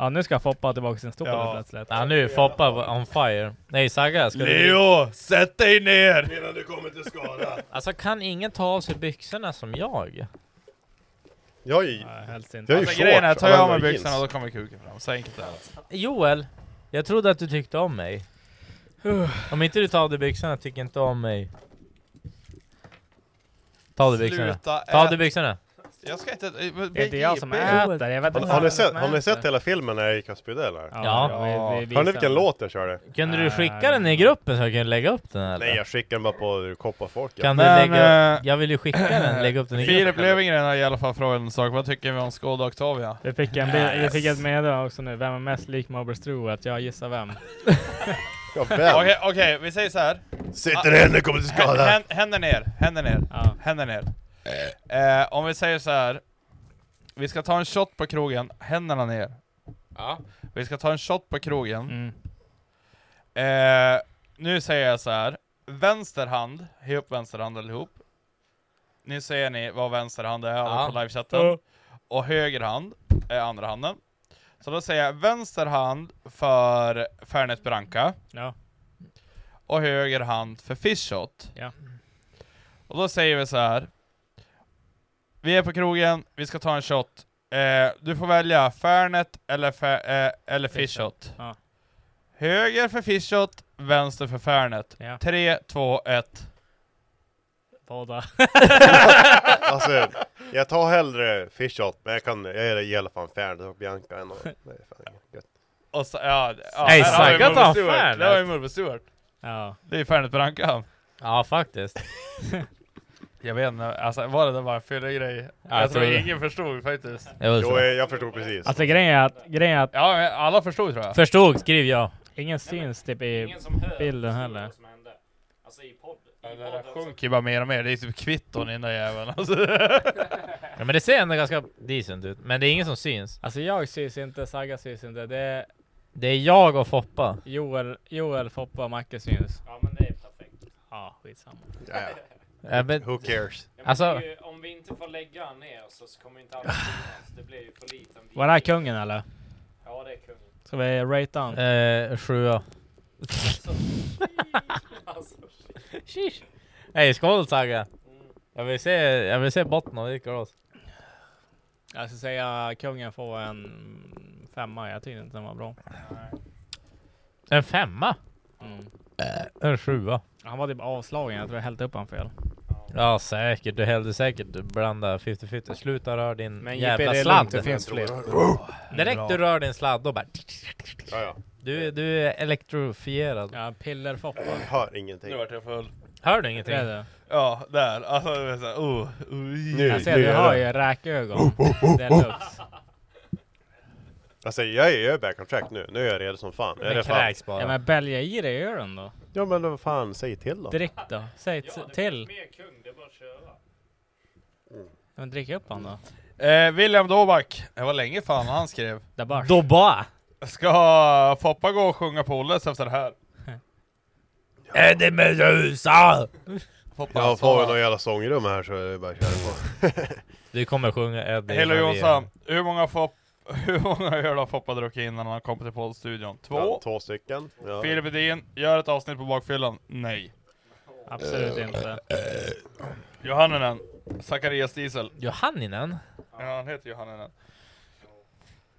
S2: Ja nu ska Foppa tillbaka sin stol
S4: Ja.
S2: plötsligt.
S4: Ja nu är Foppa on fire. Nej Sagga, ska du...
S1: Leo, sätt dig ner!
S9: Innan du kommer till skada.
S4: Alltså kan ingen ta av sig byxorna som jag?
S3: Jag är ju...
S2: helst
S3: Jag är ju
S1: alltså, grejen är,
S3: short
S1: tar jag av mig
S3: använder jeans.
S1: byxorna då kommer kuken fram. Så enkelt är det.
S4: Joel, jag trodde att du tyckte om mig. Om inte du tar av dig byxorna tycker inte om mig. Ta av dig byxorna.
S1: Sluta
S4: Ta av dig
S1: ät.
S4: byxorna.
S1: Jag ska inte... eh,
S2: Det är jag som äter, jag vet
S3: Har,
S2: inte
S3: har, ni
S2: fan
S3: sett,
S2: som
S3: har ni
S2: äter.
S3: sett hela filmen när jag gick och spydde eller?
S4: Ja. Ja, vi- vi
S3: Hörde ni
S4: visade
S3: vilken
S4: den.
S3: låt jag körde?
S4: Kunde du skicka den i gruppen så jag kunde lägga upp den eller?
S3: Nej jag skickade den bara på Kopparfolket.
S4: Kan du lägga... Jag vill ju skicka den, lägga upp den i
S1: eh, Filip
S4: gruppen.
S1: Löfgren har i alla fall frågat en sak. Vad tycker vi om Skoda Octavia?
S2: Vi fick, en bild, vi fick ett meddelande också nu, vem är mest lik Marbers tro att jag gissar vem.
S3: ja,
S1: Okej, okej, vi säger så här.
S3: Sitter ner, nu kommer du till skada.
S1: Hän- hän- Händer ner, händer ner, händer ner. Eh, om vi säger så här. Vi ska ta en shot på krogen, händerna ner.
S4: Ja.
S1: Vi ska ta en shot på krogen. Eh, nu säger jag så här. Vänster hand, höj upp vänster hand allihop. Nu ser ni vad vänster hand är alla
S4: Ja.
S1: på livechatten.
S4: Ja.
S1: Och höger hand är andra handen. Så då säger jag vänster hand för Fernet Branca.
S2: Ja.
S1: Och höger hand för Fish Shot.
S2: Ja.
S1: Och då säger vi så här. Vi är på krogen, vi ska ta en shot. Eh, du får välja Fernet eller, fe- eh, eller Fish Shot.
S2: Ja.
S1: Höger för Fish Shot, vänster för Fernet.
S2: Ja.
S1: Tre, två, ett.
S2: Båda.
S3: alltså, jag tar hellre fishshot, men jag kan, jag gillar fan Fernet och Bianca ändå. Det är fan gött.
S1: Och så, ja, d- ja,
S4: Nej,
S1: här har vi
S4: Sagga
S1: Mulber
S4: tar
S1: Stewart.
S4: Fernet.
S1: Det har ju Mulber Stewart.
S2: Ja.
S1: Det är Fernet Branca.
S4: Ja faktiskt.
S1: Jag vet inte, alltså var det där bara en fyllig grej?
S4: Ja,
S1: jag tror
S4: tror det.
S1: ingen förstod faktiskt.
S4: Jo, så.
S3: jag förstod precis.
S2: Alltså grejen är att... Grejen är att
S1: ja, men alla förstod tror jag.
S4: Förstod, skriv ja.
S2: Ingen syns typ i bilden heller.
S1: Sjunker bara mer och mer, det är typ kvitton i den där jäveln alltså.
S4: Ja, men det ser ändå ganska decent ut. Men det är ingen som syns.
S2: Alltså jag syns inte, Saga syns inte. Det är
S4: Det är jag och Foppa.
S2: Joel, Joel Foppa och Macke syns. Ja men det är perfekt. Ja, skitsamma.
S4: Ja, men-
S3: Who cares?
S4: Alltså,
S5: om vi inte får lägga ner så kommer inte alla synas. Det blir ju för liten
S2: Var det här kungen eller?
S5: Ja, det är kungen.
S2: Ska vi rate han?
S4: eh, sjua.
S2: Alltså,
S5: Sheesh.
S4: Hej, skål Sagge! Jag vill se, jag vill se botten av ditt glas.
S2: Jag skulle säga kungen får en femma. Jag tyckte inte den var bra.
S4: En femma?
S2: Mm.
S4: En sjua.
S2: Han var typ avslagen. Jag tror jag hällde upp han fel.
S4: Ja säkert, du hällde säkert blanda 50-50. Sluta rör din
S2: Men
S4: jävla
S2: JP, det är
S4: sladd.
S2: lugnt, det finns fler.
S4: Direkt du rör din sladd, då bara...
S3: Ja, ja.
S4: Du, du är elektrofierad.
S2: Ja, pillerfoppa.
S3: Jag hör ingenting.
S1: Nu vart jag full.
S4: Hör du ingenting?
S2: Det är det.
S1: Ja, där. Alltså det var såhär, oh, oj.
S3: Nu,
S2: Jag ser
S3: nu
S2: du
S3: är
S2: har
S3: det. Oh,
S2: ju räkögon. Det är lux.
S3: Alltså jag är, jag är back on track nu. Nu är jag redo som fan. Jag är redo fan.
S2: Ja men bälja i dig ölen då.
S3: Ja men vad fan, säg till då.
S2: Drick då. Säg t- till.
S5: Mer kung, det är bara att köra.
S2: Ja, Men drick upp han då.
S1: Eh, William Doback, det var länge fan han skrev.
S2: Dabash.
S4: Doba!
S1: Ska Foppa gå och sjunga på Olles efter det här?
S4: Är det med USA?
S1: Foppa,
S3: Jag får väl någon jävla sångrum här så är det bara att köra på.
S4: Du kommer sjunga Eddie.
S1: Hello
S4: Maria.
S1: Jonsson, hur många, fop, hur många öl har Foppa druckit innan han kom till poddstudion? Två?
S3: Ja, två stycken. Ja.
S1: Filip Edin, gör ett avsnitt på bakfyllan? Nej. Eh,
S2: Absolut inte.
S1: Johanninen, Zacharias Diesel.
S4: Johanninen?
S1: Ja, han heter Johanninen.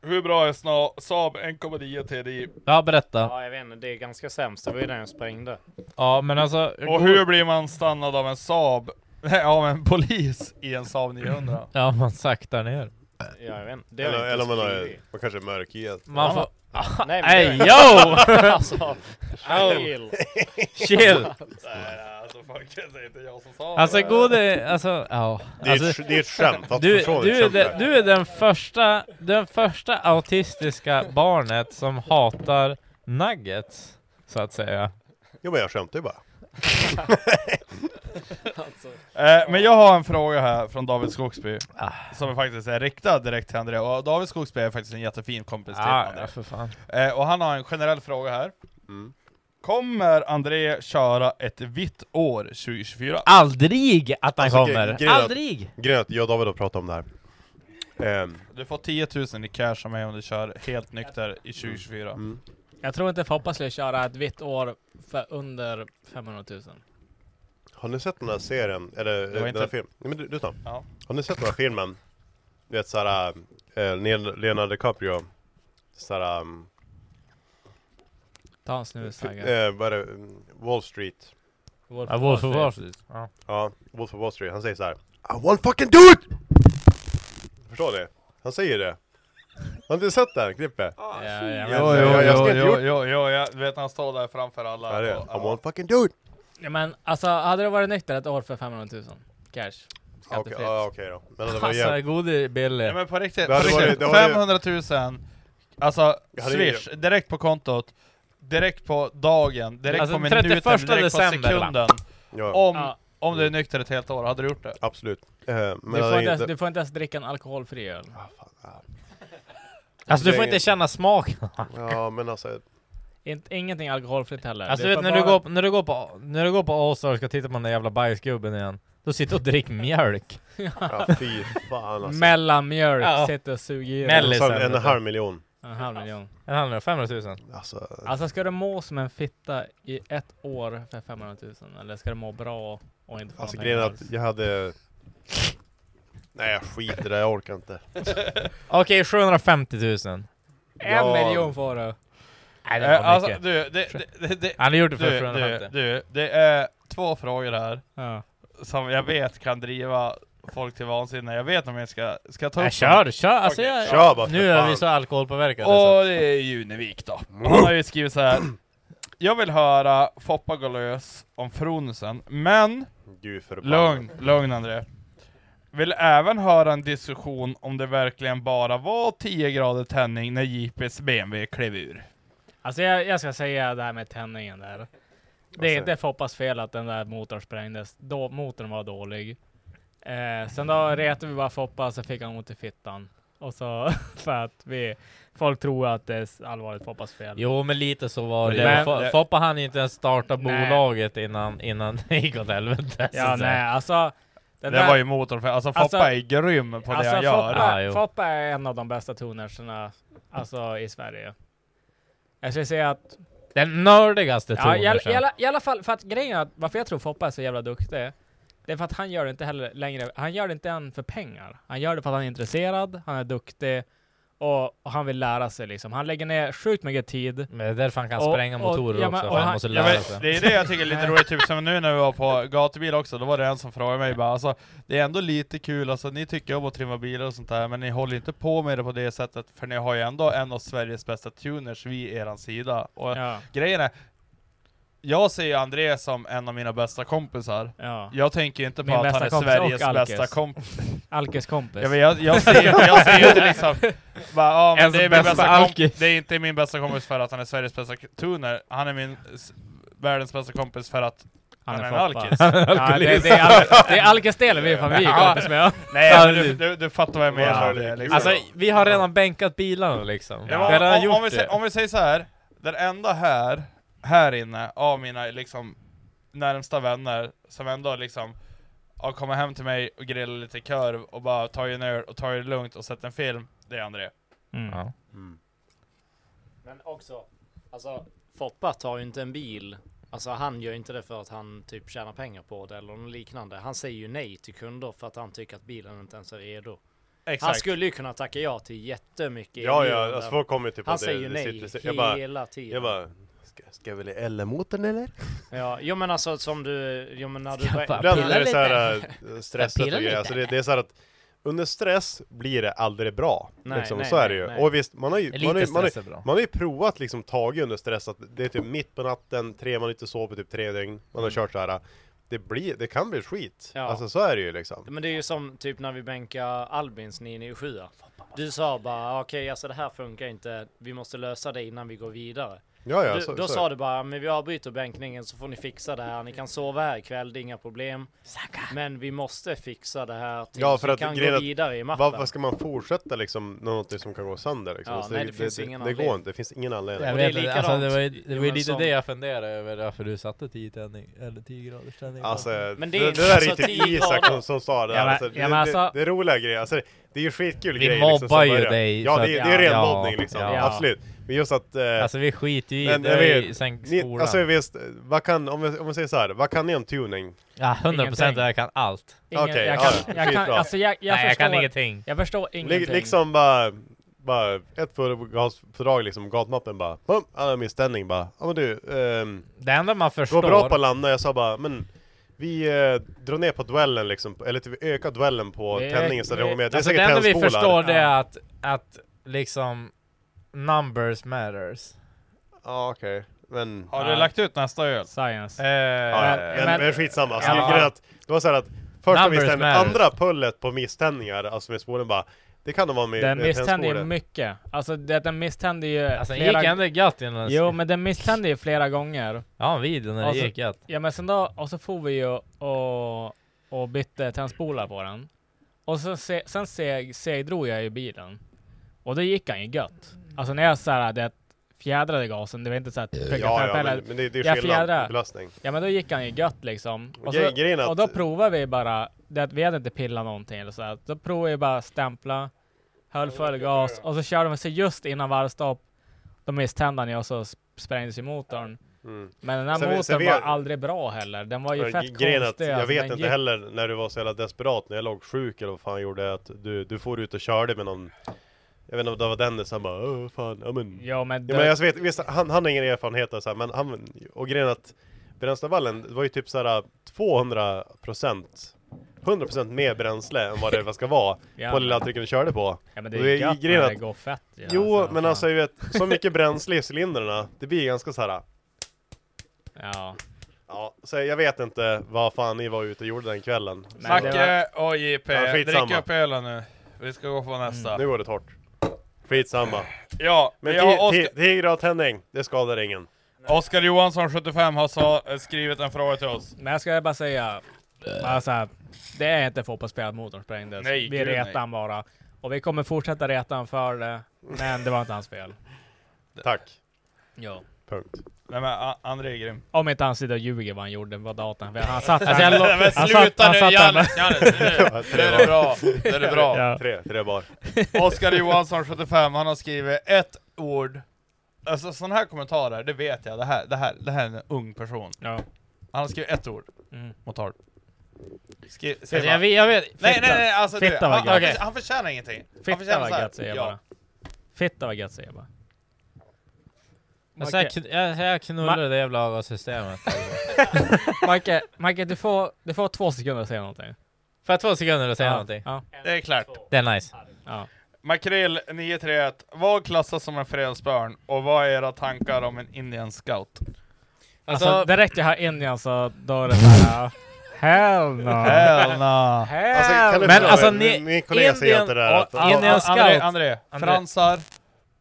S1: Hur bra är sna- Saab 1,9 TDI?
S4: Ja, berätta.
S5: Ja, jag vet inte. Det är ganska sämst. Det var ju den jag sprängde.
S4: Ja, men alltså...
S1: Och hur blir man stannad av en Saab? Nej, av en polis i en Saab 900?
S4: Ja, man saktar ner.
S5: Ja, jag vet inte. Det har
S3: Eller,
S5: jag
S3: eller
S5: inte
S3: man, har,
S5: skrivit.
S3: man kanske är mörkhyad.
S4: Man får...
S5: Nej, men det
S4: Ey
S5: är-
S4: yo!
S5: Alltså, chill.
S4: Chill!
S1: Nej, alltså fuck, det är inte jag som sa
S4: Alltså
S1: det.
S4: gode, alltså ja.
S3: Det är ett-
S4: alltså,
S3: det är ett skämt, fast
S4: Du,
S3: förstår
S4: du,
S3: inte
S4: är
S3: skämt
S4: de,
S3: där.
S4: du är den första, den första autistiska barnet som hatar nuggets, så att säga.
S3: Jo men jag skämtar ju bara. Alltså.
S1: Eh, men jag har en fråga här från David Skogsby, som faktiskt är riktad direkt till André, och David Skogsby är faktiskt en jättefin kompis till
S4: Ja,
S1: André.
S4: ja, för fan.
S1: Eh, och han har en generell fråga här.
S3: Mm.
S1: Kommer André köra ett vitt år 2024?
S4: Aldrig att han
S3: Alltså, gre-
S4: kommer!
S3: grejen är att-
S4: Aldrig!
S3: Grejen är att jag och David har pratat om det här. Ehm,
S1: Du får 10 000 i cash av mig om du kör helt nykter i 2024.
S3: Mm.
S2: Jag tror inte Foppa skulle köra ett vitt år för under 500 000.
S3: har ni sett den här serien? Eller eh, den
S1: inte-
S3: här filmen? Nej men du, lyssna.
S1: Ja.
S3: Har ni sett den här filmen? Du vet såhär, äh, Leonardo DiCaprio. Såhär, ehm,
S2: Ta en snus Sagge.
S3: eh, vad är det? Mm, Wall Street.
S4: Ja, Wolf of Wall Street. Ja.
S3: Ja, Wolf of Wall Street. Han säger så här. I won't fucking do it! Förstår ni? Han säger det. Har ni inte sett det här klippet?
S2: Ja, ja, men-
S1: Jo, jo,
S3: jag- jag
S1: jo,
S3: ska inte
S1: jo,
S3: gjort-
S1: jo, jo, jag vet han står där framför alla.
S3: Ja, det är det.
S1: och-
S3: I won't fucking do it!
S2: Ja, men alltså hade du varit nykter ett år för 500 000 cash?
S3: Okej,
S2: Skattefritt.
S3: ja, okej då. Men det var
S4: Alltså
S3: jävligt...
S4: gode Billy.
S1: Ja, men på riktigt,
S3: Det hade
S1: på
S3: varit-
S1: riktigt.
S3: det hade-
S1: 500 000, alltså
S3: Jag hade ju-
S1: swish, direkt på kontot, direkt på dagen, direkt
S4: Alltså,
S1: på minuten, direkt
S4: 31
S1: på
S4: december, va?
S1: sekunden.
S3: Ja,
S1: Om,
S2: Ja.
S1: om du är nykter ett helt år, hade du gjort det?
S3: absolut. Eh, men
S2: du,
S3: det
S2: får
S3: är
S2: inte, ens-
S3: inte- Ah,
S2: du får inte ens dricka en alkoholfri öl.
S4: Alltså du får inte känna smaken.
S3: Ja, men alltså...
S2: In, ingenting alkoholfritt heller.
S4: Alltså
S2: Det
S4: du
S2: är bara-
S4: vet när du, går, när du går på, när du går på Allstar och ska titta på den där jävla bajsgubben igen. Då sitter du och dricker mjölk.
S3: Ja, fy fan alltså.
S2: Mellanmjölk,
S4: Ja.
S2: sitter och suger i
S4: Mellis.
S2: dig.
S3: Alltså,
S4: sen,
S3: en
S4: vet du.
S3: halv miljon.
S2: En halv miljon.
S4: En halv miljon, 500 000.
S3: Alltså,
S2: Alltså ska du må som en fitta i ett år för 500 000? Eller ska du må bra och inte få
S3: alltså
S2: någonting
S3: grejen är
S2: alls?
S3: att jag hade... Nej, jag skiter i det. Jag orkar inte.
S4: Okej, 750 000.
S2: En
S3: Ja.
S2: miljon får du!
S4: Nej, det var
S1: Eh, alltså
S4: mycket.
S1: du, det, det, det, det,
S4: Han har gjort det för
S1: du, du,
S4: 750.
S1: du, det är två frågor här
S2: Ja.
S1: som jag vet kan driva folk till vansinne. Jag vet om jag ska, ska jag ta upp
S4: Nej,
S1: dem?
S4: kör, kör! Alltså
S1: Okej,
S4: jag,
S3: kör bara för
S4: Nu är
S3: fan.
S4: vi så alkoholpåverkade så.
S1: Och det är Junevik då. Han har ju skrivit så här. jag vill höra Foppa gå lös om Fronsen, men...
S3: Gud förbannat.
S1: lugn, lugn André. Vill även höra en diskussion om det verkligen bara var 10 grader tändning när JP's BMW klev ur.
S2: Alltså jag, jag ska säga det här med tändningen där. Det
S3: Alltså-
S2: är inte Foppas fel att den där motorn sprängdes. Då, motorn var dålig. Eh, sen
S3: Mm.
S2: då retade vi bara Foppa, så fick han ont i fittan. Och så för att vi, folk tror att det är allvarligt Foppas fel.
S4: Jo men lite så var det.
S2: Men-
S4: Fo- Foppa hann ju inte ens starta
S2: Nej.
S4: bolaget innan, innan det gick åt helvete.
S2: Ja,
S4: så-
S2: nej, alltså. den alltså,
S1: Det var ju motorn för- alltså, Foppa är grym på det
S4: alltså,
S1: han gör. Ja,
S2: Foppa,
S1: jo.
S2: Foppa är en av de bästa tonerserna, alltså i Sverige. Jag skulle säga att...
S4: Den nördigaste
S2: Ja, i, alla-
S4: tonersen.
S2: i, alla- I alla fall, för att grejen är att varför jag tror Foppa är så jävla duktig, det är för att han gör det inte heller längre, han gör det inte än för pengar. Han gör det för att han är intresserad, han är duktig, och, och han vill lära sig liksom. Han lägger ner sjukt mycket tid.
S4: Men det är därför han kan spränga motorer också, för han måste
S1: Ja, men det är det jag tycker är lite roligt, typ som nu när vi var på gatubil också, då var det en som frågade mig bara alltså, Det är ändå lite kul, alltså ni tycker om att trimma bilar och sånt där, men ni håller inte på med det på det sättet, för ni har ju ändå en av Sveriges bästa tuners vid eran sida. Och
S2: Ja.
S1: grejen är, jag ser ju André som en av mina bästa kompisar.
S2: Ja.
S1: Jag tänker ju inte på
S2: Min
S1: att
S2: bästa
S1: han är
S2: kompis och
S1: Sveriges
S2: Alkes.
S1: bästa kompis.
S2: Alkes kompis.
S1: Ja, men jag, jag ser ju jag ser ju inte liksom, bara, ja, men
S2: Ens
S1: det, är min
S2: bästa
S1: bästa komp-
S2: Alkes.
S1: det är inte min bästa kompis för att han är Sveriges bästa k- tuner, han är min s- världens bästa kompis för att han,
S2: är
S1: är, en
S2: floppa.
S1: alkis.
S2: Han är Ja, alkoholist. det- det är Al- det är Alkes-delen vi är fan- vi är kompis med.
S1: Nej men du, du, du fattar vad jag menar.
S4: Ja.
S1: Det är liksom.
S4: Alltså vi har redan bänkat bilarna liksom.
S1: Ja,
S4: Vi har redan
S1: om, om,
S4: gjort
S1: vi
S4: det.
S1: säger, om vi säger så här. den enda här, här inne, av mina liksom närmsta vänner, som ändå liksom ja, kommer hem till mig och grillar lite kurv och bara tar en öl och tar det lugnt och sätter en film, det är André.
S2: Mm.
S4: Ja.
S5: Men också, alltså Foppa tar ju inte en bil. Alltså han gör inte det för att han typ tjänar pengar på det eller något liknande. Han säger ju nej till kunder för att han tycker att bilen inte ens är redo. Han
S3: Exakt.
S5: skulle ju kunna tacka ja till jättemycket
S3: Ja, ja,
S5: erbjudanden.
S3: alltså folk kommer ju typ
S5: Han
S3: att det-
S5: säger ju
S3: det
S5: nej
S3: sitter- jag bara-
S5: hela tiden.
S3: jag bara, ska, ska jag välja L-motorn eller?
S5: Ja, jo men alltså som du, jo men när du...
S3: Ibland är det så här äh, stresset och grejer. Alltså det, det är så här att under stress blir det aldrig bra.
S5: Nej,
S3: liksom.
S5: nej,
S3: så är det
S5: nej,
S3: ju.
S5: nej.
S3: Och visst, man har ju,
S5: Lite
S3: man har, ju- man har,
S5: stress är bra.
S3: ju- man har ju provat liksom tagit under stress att det är typ mitt på natten, tre, man har inte sovit typ tre dygn, man har kört så här. Det, blir, det kan bli skit.
S5: Mm. Ja.
S3: Alltså så är det ju liksom.
S5: Men det är ju som typ när vi bänkar Albins 997 Du sa bara okej alltså det här funkar inte, vi måste lösa det innan vi går vidare.
S3: Ja, ja,
S5: du,
S3: så-
S5: då
S3: så är
S5: sa
S3: det.
S5: du bara, men vi avbryter bänkningen så får ni fixa det här, ni kan sova här ikväll, det är inga problem. Men vi måste fixa det här tills
S3: Ja, för
S5: vi
S3: att
S5: kan
S3: grejen
S5: gå
S3: att-
S5: vidare i mappen.
S3: vad, vad ska man fortsätta liksom, något som kan gå sönder liksom?
S5: Ja,
S3: Alltså,
S5: nej, det finns
S3: det,
S5: ingen
S3: det, det går
S5: anledning.
S3: inte, det finns ingen anledning.
S4: Jag
S5: Och det är
S4: vet, inte,
S5: likadant.
S4: alltså, det var ju, det
S5: Jo,
S4: var ju
S5: men
S4: lite
S5: som-
S4: det jag funderade över, varför du satte 10 tändning, eller 10 graders tändning.
S3: Alltså,
S4: Men
S3: men
S4: det
S3: det, det,
S4: är inte-
S3: där är ju
S4: alltså,
S3: typ
S4: tio
S3: Isak
S4: grader.
S3: som, som sa det
S4: Ja,
S3: här.
S4: men-
S3: alltså,
S4: ja, men
S3: det,
S4: alltså-
S3: det, det är roliga grejer, alltså, det, det är ju skitkul
S4: Vi
S3: grejer. liksom som
S4: mobbar ju
S3: börjar.
S4: dig,
S3: Ja,
S4: så
S3: det,
S4: att-
S3: det är ren
S4: ja,
S3: mobbning liksom,
S4: ja.
S3: absolut. Men just att... Eh,
S4: Alltså, vi skiter ju i det,
S3: jag
S4: det är
S3: vet,
S4: ju sen
S3: ni-
S4: skolan.
S3: Alltså visst, vad kan, om vi, om vi säger så här, vad kan ni om tuning?
S4: Ja, 100% jag kan allt.
S3: Okej, okay,
S2: jag
S3: ja,
S2: kan, jag kan,
S3: skitbra.
S2: alltså jag, jag
S4: Nej, jag
S2: förstår,
S4: kan ingenting.
S2: Jag förstår
S3: Li-
S2: ingenting.
S3: Liksom bara, bara ett fördrag liksom, gatmappen bara, pum, alla misställning bara, ja men du, ehm,
S4: Det enda man
S3: Går bra
S4: förstår-
S3: på att landa, jag sa bara, men vi eh, drar ner på duellen liksom, eller typ ökar duellen på
S4: Vi-
S3: tändningen så det
S4: vi-
S3: går med. Det är
S4: alltså,
S3: säkert
S4: enda
S3: tändspolar.
S4: vi förstår det är att, att liksom numbers matters.
S3: Ja okej, men...
S1: Har du lagt ut nästa öl? Eh,
S2: Science.
S3: ja, men, men, skitsamma, alltså,
S1: Ja.
S3: grejen är att, det var så här att första
S2: Numbers
S3: misständningen,
S2: matters.
S3: andra pullet på misständningar, alltså med spolen bara, det kan nog vara med,
S2: Den
S3: med
S2: misständer ju
S3: tändspolen.
S2: mycket. Alltså det, den misständer ju
S4: Alltså, den gick ändå gött innan den-
S2: Jo men den misständer ju flera gånger.
S4: Ja, videon när det gick gött.
S2: Ja men sen då, och så får vi ju och, och bytte tändspolar på den. Och så se, sen seg, segdrog jag ju bilen. Och det gick han ju gött. Alltså när jag såhär, det fjädrade gasen, det var inte såhär
S3: Ja, ja, men- men det- det är
S2: jag
S3: skillnad,
S2: fjädrade.
S3: belastning.
S2: Ja men då gick han ju gött liksom. Och,
S3: Gre-
S2: så,
S3: grejen är
S2: och då provade vi bara, det att vi hade inte pillat någonting eller sådär. Då provade vi bara stämpla, höll full gas och så körde vi så just innan varvstopp. Då misstände han ju och så sp- sprängdes ju motorn.
S3: Mm.
S2: Men den här
S3: Sen vi-
S2: motorn
S3: sen vi-
S2: var aldrig bra heller. Den var ju
S3: Men
S2: fett
S3: gre-
S2: konstig.
S3: grejen är att jag
S2: alltså,
S3: vet
S2: den
S3: inte
S2: gick-
S3: heller när du var så jävla desperat när jag låg sjuk eller vad fan jag gjorde att du, du får ut och körde med någon Jag vet inte om det var Dennis, han bara Åh, fan, ja men
S2: Ja men,
S3: ja, men jag vet, visst, han, han har ingen erfarenhet och så här, men han Och grejen är att Bränslevallen, det var ju typ såhär 200% 100% mer bränsle än vad det ska vara
S2: Ja.
S3: på den lilla trycken du körde på.
S2: Ja, men det är
S3: Och
S2: gött
S3: grejen
S2: när
S3: att-
S2: det går fett, ja,
S3: Jo, men alltså jag vet, så mycket bränsle i cylindrarna, det blir ganska så här
S4: Ja.
S3: Ja, så jag vet inte vad fan ni var ute och gjorde den kvällen.
S1: Macke och JP,
S3: Ja, skitsamma.
S1: drick upp ölen nu. Vi ska gå på nästa.
S3: Mm, Nu går det torrt. Skitsamma.
S1: alltså. Ja,
S3: Men
S1: jag har
S3: ja,
S1: Oscar-
S3: tiger och tändning, det skadar ingen.
S1: Oskar Johansson, 75, har sa, eh, skrivit en fråga till oss.
S2: Men jag ska bara säga, bara så här, det är inte fotbollsspelare att motorn sprängdes.
S1: Nej,
S2: vi
S1: gud, nej.
S2: retar han bara. Och vi kommer fortsätta reta han för det, men det var inte hans fel.
S3: Tack.
S2: Ja.
S3: Punkt.
S1: Nej men A- André är grym.
S2: Om inte han sitter och ljuger vad han gjorde på datorn. För Han satt
S1: Alltså, jag lo- Men sluta nu, Janne, Janne, nu. Nu är det bra, nu är det bra.
S3: Tre, tre bar.
S1: Oskar Johansson, 75, han har skrivit ett ord. Alltså sådana här kommentarer, det vet jag, det här, det här, det här är en ung person. Han har skrivit ett ord.
S2: Mm.
S1: Motard. Skri-
S2: Alltså,
S1: skriv
S2: jag
S1: bara.
S2: vet- jag vet-
S1: Nej,
S2: fitta.
S1: nej, nej, alltså du,
S2: Fitta var
S1: han, han,
S2: gött.
S1: han förtjänar ingenting. han
S2: Fitta
S1: förtjänar
S2: vad
S1: så här,
S2: gött säger jag
S1: ja.
S2: bara. Fitta vad gött säger jag bara.
S4: Alltså, jag,
S2: Macke-
S4: kn- jag, jag knullar det jävla avgassystemet.
S2: Macke, Macke du, får, du får två sekunder att säga någonting.
S4: För två sekunder att säga
S2: Ja,
S4: någonting.
S2: ja.
S1: Det är klart.
S4: Det är nice.
S1: Makrill 931, vad klassas som en fredsbörn och vad är era tankar om en Indian scout?
S2: Alltså, direkt jag har Indien äh, så då är det såhär... Hell no!
S1: Hell no.
S2: Hell
S1: Alltså, kan du
S2: Men
S1: förklara?
S2: alltså
S1: Min-
S2: ni...
S1: min kollega säger
S2: Indien-
S1: inte det här, att-
S2: Ja, Indien
S1: Ja, André-
S2: Scout.
S1: André, fransar.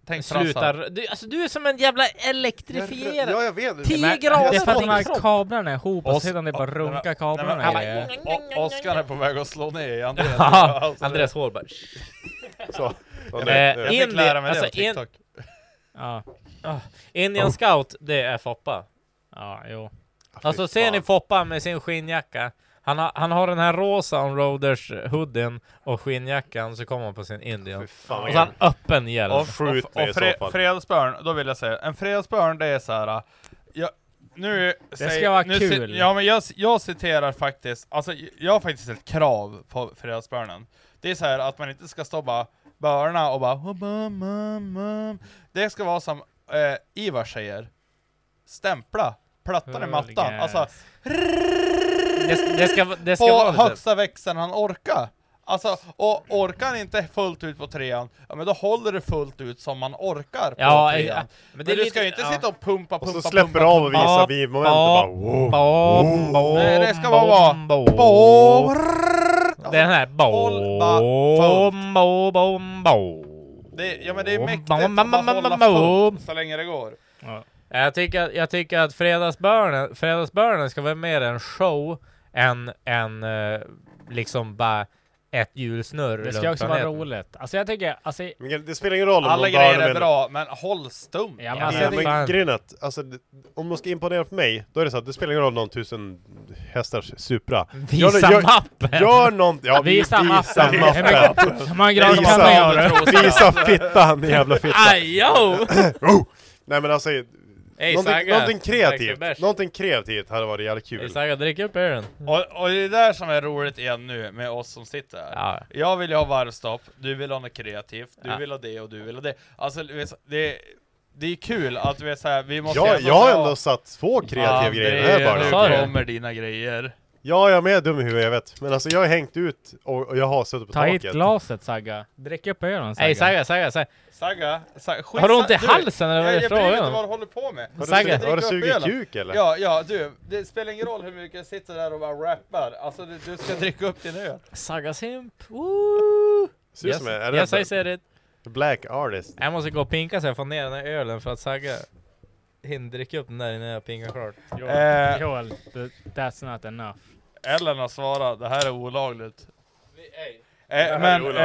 S1: Tänk
S4: Sluta.
S1: fransar.
S4: r- Du, alltså, du är som en jävla elektrifierad...
S9: Ja, jag vet.
S4: 10
S2: Men-
S4: grader
S2: Det är för att
S4: på
S2: de
S4: din
S2: här
S4: kropp.
S2: kablarna är ihop och
S1: Os-
S2: sedan det är bara
S1: Nej, men-
S2: runka
S1: nej,
S2: kablarna
S1: men-
S2: i-
S1: O- Oskar är på väg att slå ner i Andreas.
S4: Ja,
S1: alltså.
S4: Andreas hår bara...
S3: Så.
S1: Jag fick-
S4: Eh,
S1: jag fick lära mig det på
S4: alltså, in-
S1: TikTok.
S2: Ja.
S4: Ah, Indian scout, det är Foppa.
S2: Ja, jo.
S4: Alltså ser ni Foppa med sin skinnjacka? Han har, han har den här rosa onroaders hoodien och skinnjackan, så kommer han på sin Indian.
S3: fan,
S4: och så har han öppen hjälm.
S1: Och, och, och fre, fredsbörn, då vill jag säga, en fredsbörn det är så här. Jag, nu säger-
S2: ska vara
S1: nu ci-
S2: kul.
S1: Ja men jag, jag citerar faktiskt, alltså jag har faktiskt ett krav på fredsbörnen. Det är så här att man inte ska stå bara börna och bara "Oh, bum, bum, bum." Det ska vara som eh, Ivar säger, stämpla plattan i mattan.
S4: Yes.
S1: Alltså,
S4: Det, det ska, det ska
S1: på
S4: vara typ- lite-
S1: högsta växeln han orkar. Alltså, och orkar han inte fullt ut på trean, ja men då håller det fullt ut som man orkar på
S4: Ja,
S1: trean.
S4: ja.
S1: Men,
S4: Men
S1: du
S4: det är lite-
S1: ska ju inte
S4: ja.
S1: sitta och pumpa, pumpa,
S4: Och
S1: pumpa.
S4: så släpper
S1: pumpa,
S4: av och visar
S1: pumpa.
S4: vivmomentet bara, wow, Bom, bom,
S1: Nej, det ska bara vara...
S4: bom, bom.
S1: Bom.
S4: Den här...
S2: Alltså,
S1: bara
S4: Bom, bom, bom, bom.
S1: Det, ja men det är mäktigt
S4: Bom,
S1: att
S4: bom,
S1: bara
S4: bom,
S1: hålla
S4: bom, bom.
S1: fullt så länge det går.
S4: Jag tycker, att- jag tycker att fredagsbörnen, fredagsbörnen ska vara mer en show än, än eh, liksom bara ett hjulsnurr
S2: Det ska
S4: runt
S2: också vara
S4: planeten.
S2: roligt. Alltså jag tycker... Alltså,
S3: det spelar ingen roll om
S1: Alla
S3: de bara
S1: grejer är
S3: med-
S1: bra, men håll stum.
S2: Ja, men
S3: Ja,
S2: alltså, jag
S3: men
S2: tycker-
S3: grejen är att, alltså, det- om de ska imponera på mig, då är det så att det spelar ingen roll någon tusen hästars Supra.
S2: Visa
S3: gör,
S2: mappen!
S3: Gör någon, ja,
S2: Visa
S3: Visa
S2: mappen.
S3: mappen!
S2: Hur mycket- hur många grader
S3: Visa-
S2: kan man göra?
S3: Visa fittan, din jävla fitta!
S4: Ajo!
S3: Oh! Nej men alltså, någonting,
S4: Saga.
S3: någonting
S4: Tack för
S3: kreativt,
S4: bärs.
S3: någonting kreativt hade varit jävligt kul.
S4: Saga, drick upp ölen.
S1: Och, och det är där som är roligt igen nu med oss som sitter här.
S4: Ja.
S1: Jag vill ju ha varvstopp, du vill ha något kreativt, du
S4: Ja.
S1: vill ha det och du vill ha det. Alltså du vet, det, det är kul att vi är så här, vi måste
S3: Jag,
S1: ändå
S3: jag har
S1: dra-
S3: ändå satt två kreativa
S1: André,
S3: grejer här bara.
S1: Nu
S3: Sa du?
S1: kommer dina grejer.
S3: Ja, jag är med dum i huvudet, jag vet. Men alltså jag har hängt ut och, och jag har suttit på
S2: Ta hit
S3: taket.
S2: glaset Sagga. Drick upp ölen Sagga.
S4: Nej, Saga, Saga, Saga.
S1: Sagga, Sagga skit,
S4: Har du ont i
S1: du,
S4: halsen, eller vad är
S1: jag,
S4: det
S1: jag bryr mig
S4: frågan
S1: inte
S4: om?
S1: vad du håller på med.
S4: Har du Sagga.
S1: Jag dricker
S4: Har du
S1: upp
S4: sugit
S1: ölen.
S4: kuk, eller?
S1: Ja, ja du, det spelar ingen roll hur mycket jag sitter där och bara rappar. Alltså du, du ska dricka upp din öl.
S4: Saga simp. Woo!
S3: Ser ut som en- är det
S4: Yes,
S3: en-
S4: I said it.
S3: Black artist.
S4: Jag måste gå och pinka så jag får ner den här ölen för att Saga hinner dricka upp den där innan jag pinkar klart. Eh,
S2: Joel, Joel, th- that's not enough.
S1: Ellen har svarat, det här är olagligt.
S2: Det
S1: Eh,
S2: här
S1: men
S2: är olagligt.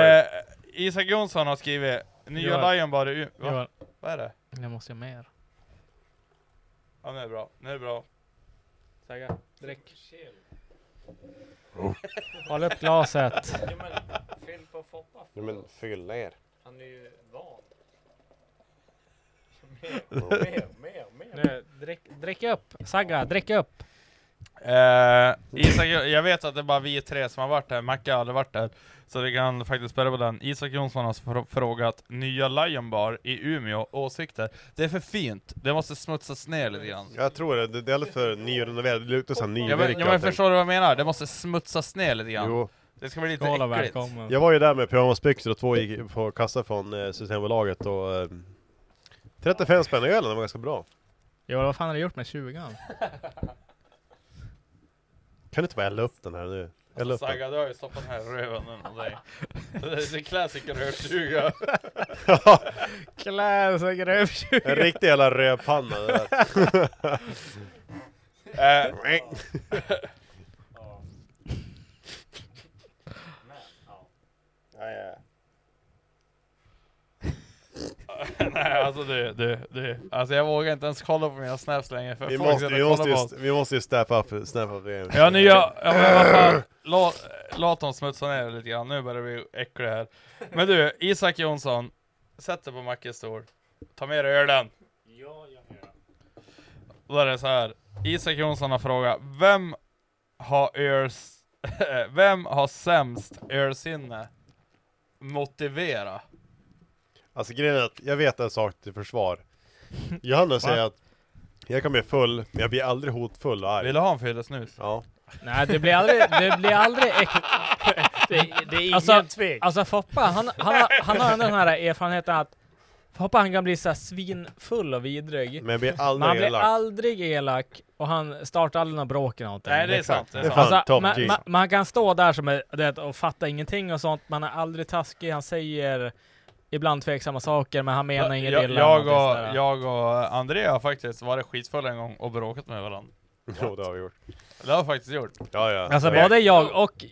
S1: eh, Isak Jonsson har skrivit, nya
S2: Joel.
S1: Lion bara ut.
S2: Joel.
S1: Va? Vad är det?
S2: Jag måste ha mer.
S1: Ja nu är det bra, nu är det bra.
S2: Saga, drick. Håll upp glaset.
S5: Fyll på Foppa.
S3: Nej, men fyll ner.
S5: Han är ju van.
S2: mer,
S5: mer, mer.
S2: Nu, drick, drick upp. Sagga, drick upp.
S1: Eh, Isak, jag vet att det är bara vi tre som har varit här, Macke har aldrig varit där. Så vi kan faktiskt börja på den. Isak Jonsson har fr- frågat, nya Lion Bar i Umeå, åsikter. Det är för fint, det måste smutsas ner lite grann.
S3: Jag tror det, det det är alldeles för nyrenoverat, det luktar såhär
S1: Ja men,
S3: nyvirke.
S1: ja, men förstår du vad jag menar? Det måste smutsas ner lite grann.
S3: Jo.
S1: Det ska bli lite
S2: Skål och
S1: äckligt.
S2: välkommen.
S3: Jag var ju där med pyjamasbyxor och två gick på kassa från eh, Systembolaget och eh, 35 spänn i ölen, det var ganska bra.
S2: Jo, vad fan har du gjort med 20
S3: Kan du inte bara elda upp den här nu? Elda upp den.
S1: Sagga, du har ju stoppat den här röven under dig. Det är en classic rövtjuga.
S2: Classic rövtjuga.
S3: En riktig jävla rövpanna det där.
S1: Eh, Nej alltså du, du, du. Alltså jag vågar inte ens kolla på mina snaps längre för
S3: Vi
S1: folk
S3: måste,
S1: sitter
S3: vi,
S1: och
S3: måste
S1: kollar på oss.
S3: ju, vi måste ju step up, snap up igen.
S1: Ja nu jag, ja, men vad fan, låt, låt dem smutsa ner det lite grann, nu börjar vi äckliga här. Men du, Isak Jonsson, sätt dig på Mackes stol, ta med dig ölen. Då är det så här. Isak Jonsson har frågat, vem har öls, vem har sämst ölsinne? Motivera.
S3: Alltså grejen är att jag vet en sak till försvar. Johanna säger att jag kan bli full, men jag blir aldrig hotfull och arg. Vill
S1: du ha en fyllesnus?
S3: Ja.
S2: Nej, det blir aldrig, det blir aldrig äck...
S5: Det- det är ingen
S2: alltså,
S5: tvek.
S2: Alltså Foppa, han, han, har- han har ändå den här erfarenheten att Foppa han kan bli så här svinfull och vidrig.
S3: Men blir
S2: Men
S3: aldrig
S2: han blir
S3: elak.
S2: aldrig elak och han startar aldrig några bråk eller någonting.
S1: Nej, det är Exakt. sant, det är Det är sant. fan
S2: Alltså,
S1: top
S2: man,
S1: G.
S2: man, man kan stå där som är, det, och fatta ingenting och sånt. Man är aldrig taskig. Han säger ibland tveksamma saker, men han menar inget
S1: jag,
S2: illa.
S1: jag,
S2: eller någonting sådär.
S1: och, jag och André har faktiskt varit skitfulla en gång och bråkat med varandra.
S3: Jo, det har vi gjort.
S1: Det har vi faktiskt gjort.
S3: Ja, ja.
S2: Alltså både jag och... och
S3: Det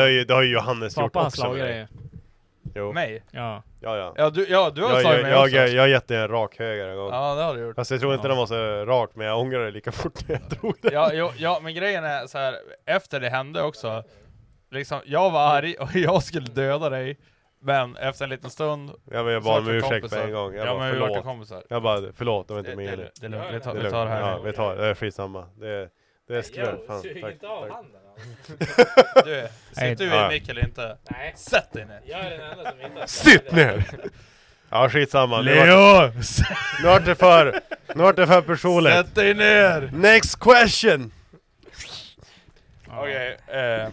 S3: har ju, det har ju Johannes
S2: Pappa
S3: gjort
S2: har
S3: också.
S2: slagit
S3: med
S2: dig.
S3: Jo.
S1: Mig?
S2: Ja.
S3: Ja, ja.
S1: Ja, du- ja, du har
S3: jag,
S1: slagit
S3: jag,
S1: mig
S3: jag,
S1: också.
S3: jag, jag har gett dig en rak höger en gång.
S1: Ja, det har du gjort.
S3: Fast jag tror inte
S1: Ja.
S3: den var så rak, men jag ångrar det lika fort när jag drog den.
S1: Ja, jo, ja, men grejen är så här. efter det hände också, liksom, jag var arg och jag skulle döda dig, men efter en liten stund...
S3: Ja, men jag
S1: så
S3: bad
S1: vart
S3: om
S1: vi
S3: ursäkt
S1: kompisar.
S3: på en gång. Jag
S1: ja,
S3: bara,
S1: men vi vart ju
S3: förlåt.
S1: kompisar.
S3: Jag bara, förlåt, det var inte
S1: Det-
S3: meningen. Mm.
S1: det- det är lugnt. Vi tar- vi tar det här
S3: Ja,
S1: nu.
S3: vi tar det. Det är skitsamma. Det är, det är skräp.
S1: jag
S3: Fan,
S1: suger
S3: tack.
S1: inte av
S3: tack.
S1: handen, Du, sitter du i
S3: Ja.
S1: mick eller inte?
S2: Nej.
S1: Sätt dig ner!
S2: Jag är den enda som inte har-
S3: Sitt ner! Ja skitsamma, nu
S1: Leo!
S3: vart det- Nu vart det för, nu vart det för personligt
S1: Sätt dig ner!
S3: Next question!
S1: Okej, eh,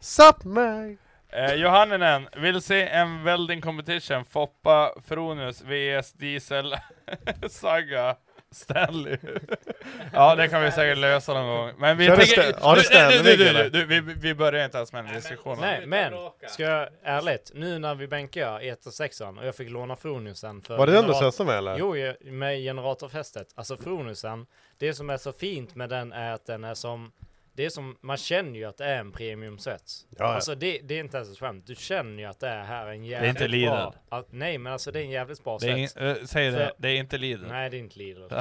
S3: Sup mig!
S1: eh, Johanninen, vill se en welding competition, Foppa, Fronus, VS, Diesel, Saga, Stanley. ja, det kan vi säkert lösa någon gång. Men vi
S3: Kör du
S1: tänker...
S3: stä- har du
S1: Du, nej, du,
S3: Stanley,
S1: du, du,
S3: eller?
S1: du, du, vi, vi börjar inte ens med den diskussionen.
S5: Nej, men ska jag ärligt, nu när vi bänkar 1 och 6 och jag fick låna Fronusen för
S3: Var det den du
S5: generat-
S3: söste med, eller?
S5: Jo, jag- med generatorfästet. Alltså Fronusen, det som är så fint med den är att den är som det är som, man känner ju att det är en premiumsets.
S3: Ja, ja.
S5: Alltså det, det är inte ens ett skämt. Du känner ju att det är här en jävligt
S1: inte Lidl.
S5: bra... Att, nej men alltså det är en jävligt bra
S1: Det är
S5: sets.
S1: ing- eh, säg det,
S5: För-
S1: det är inte Lidl.
S5: Nej det är inte Lidl.
S1: Oh.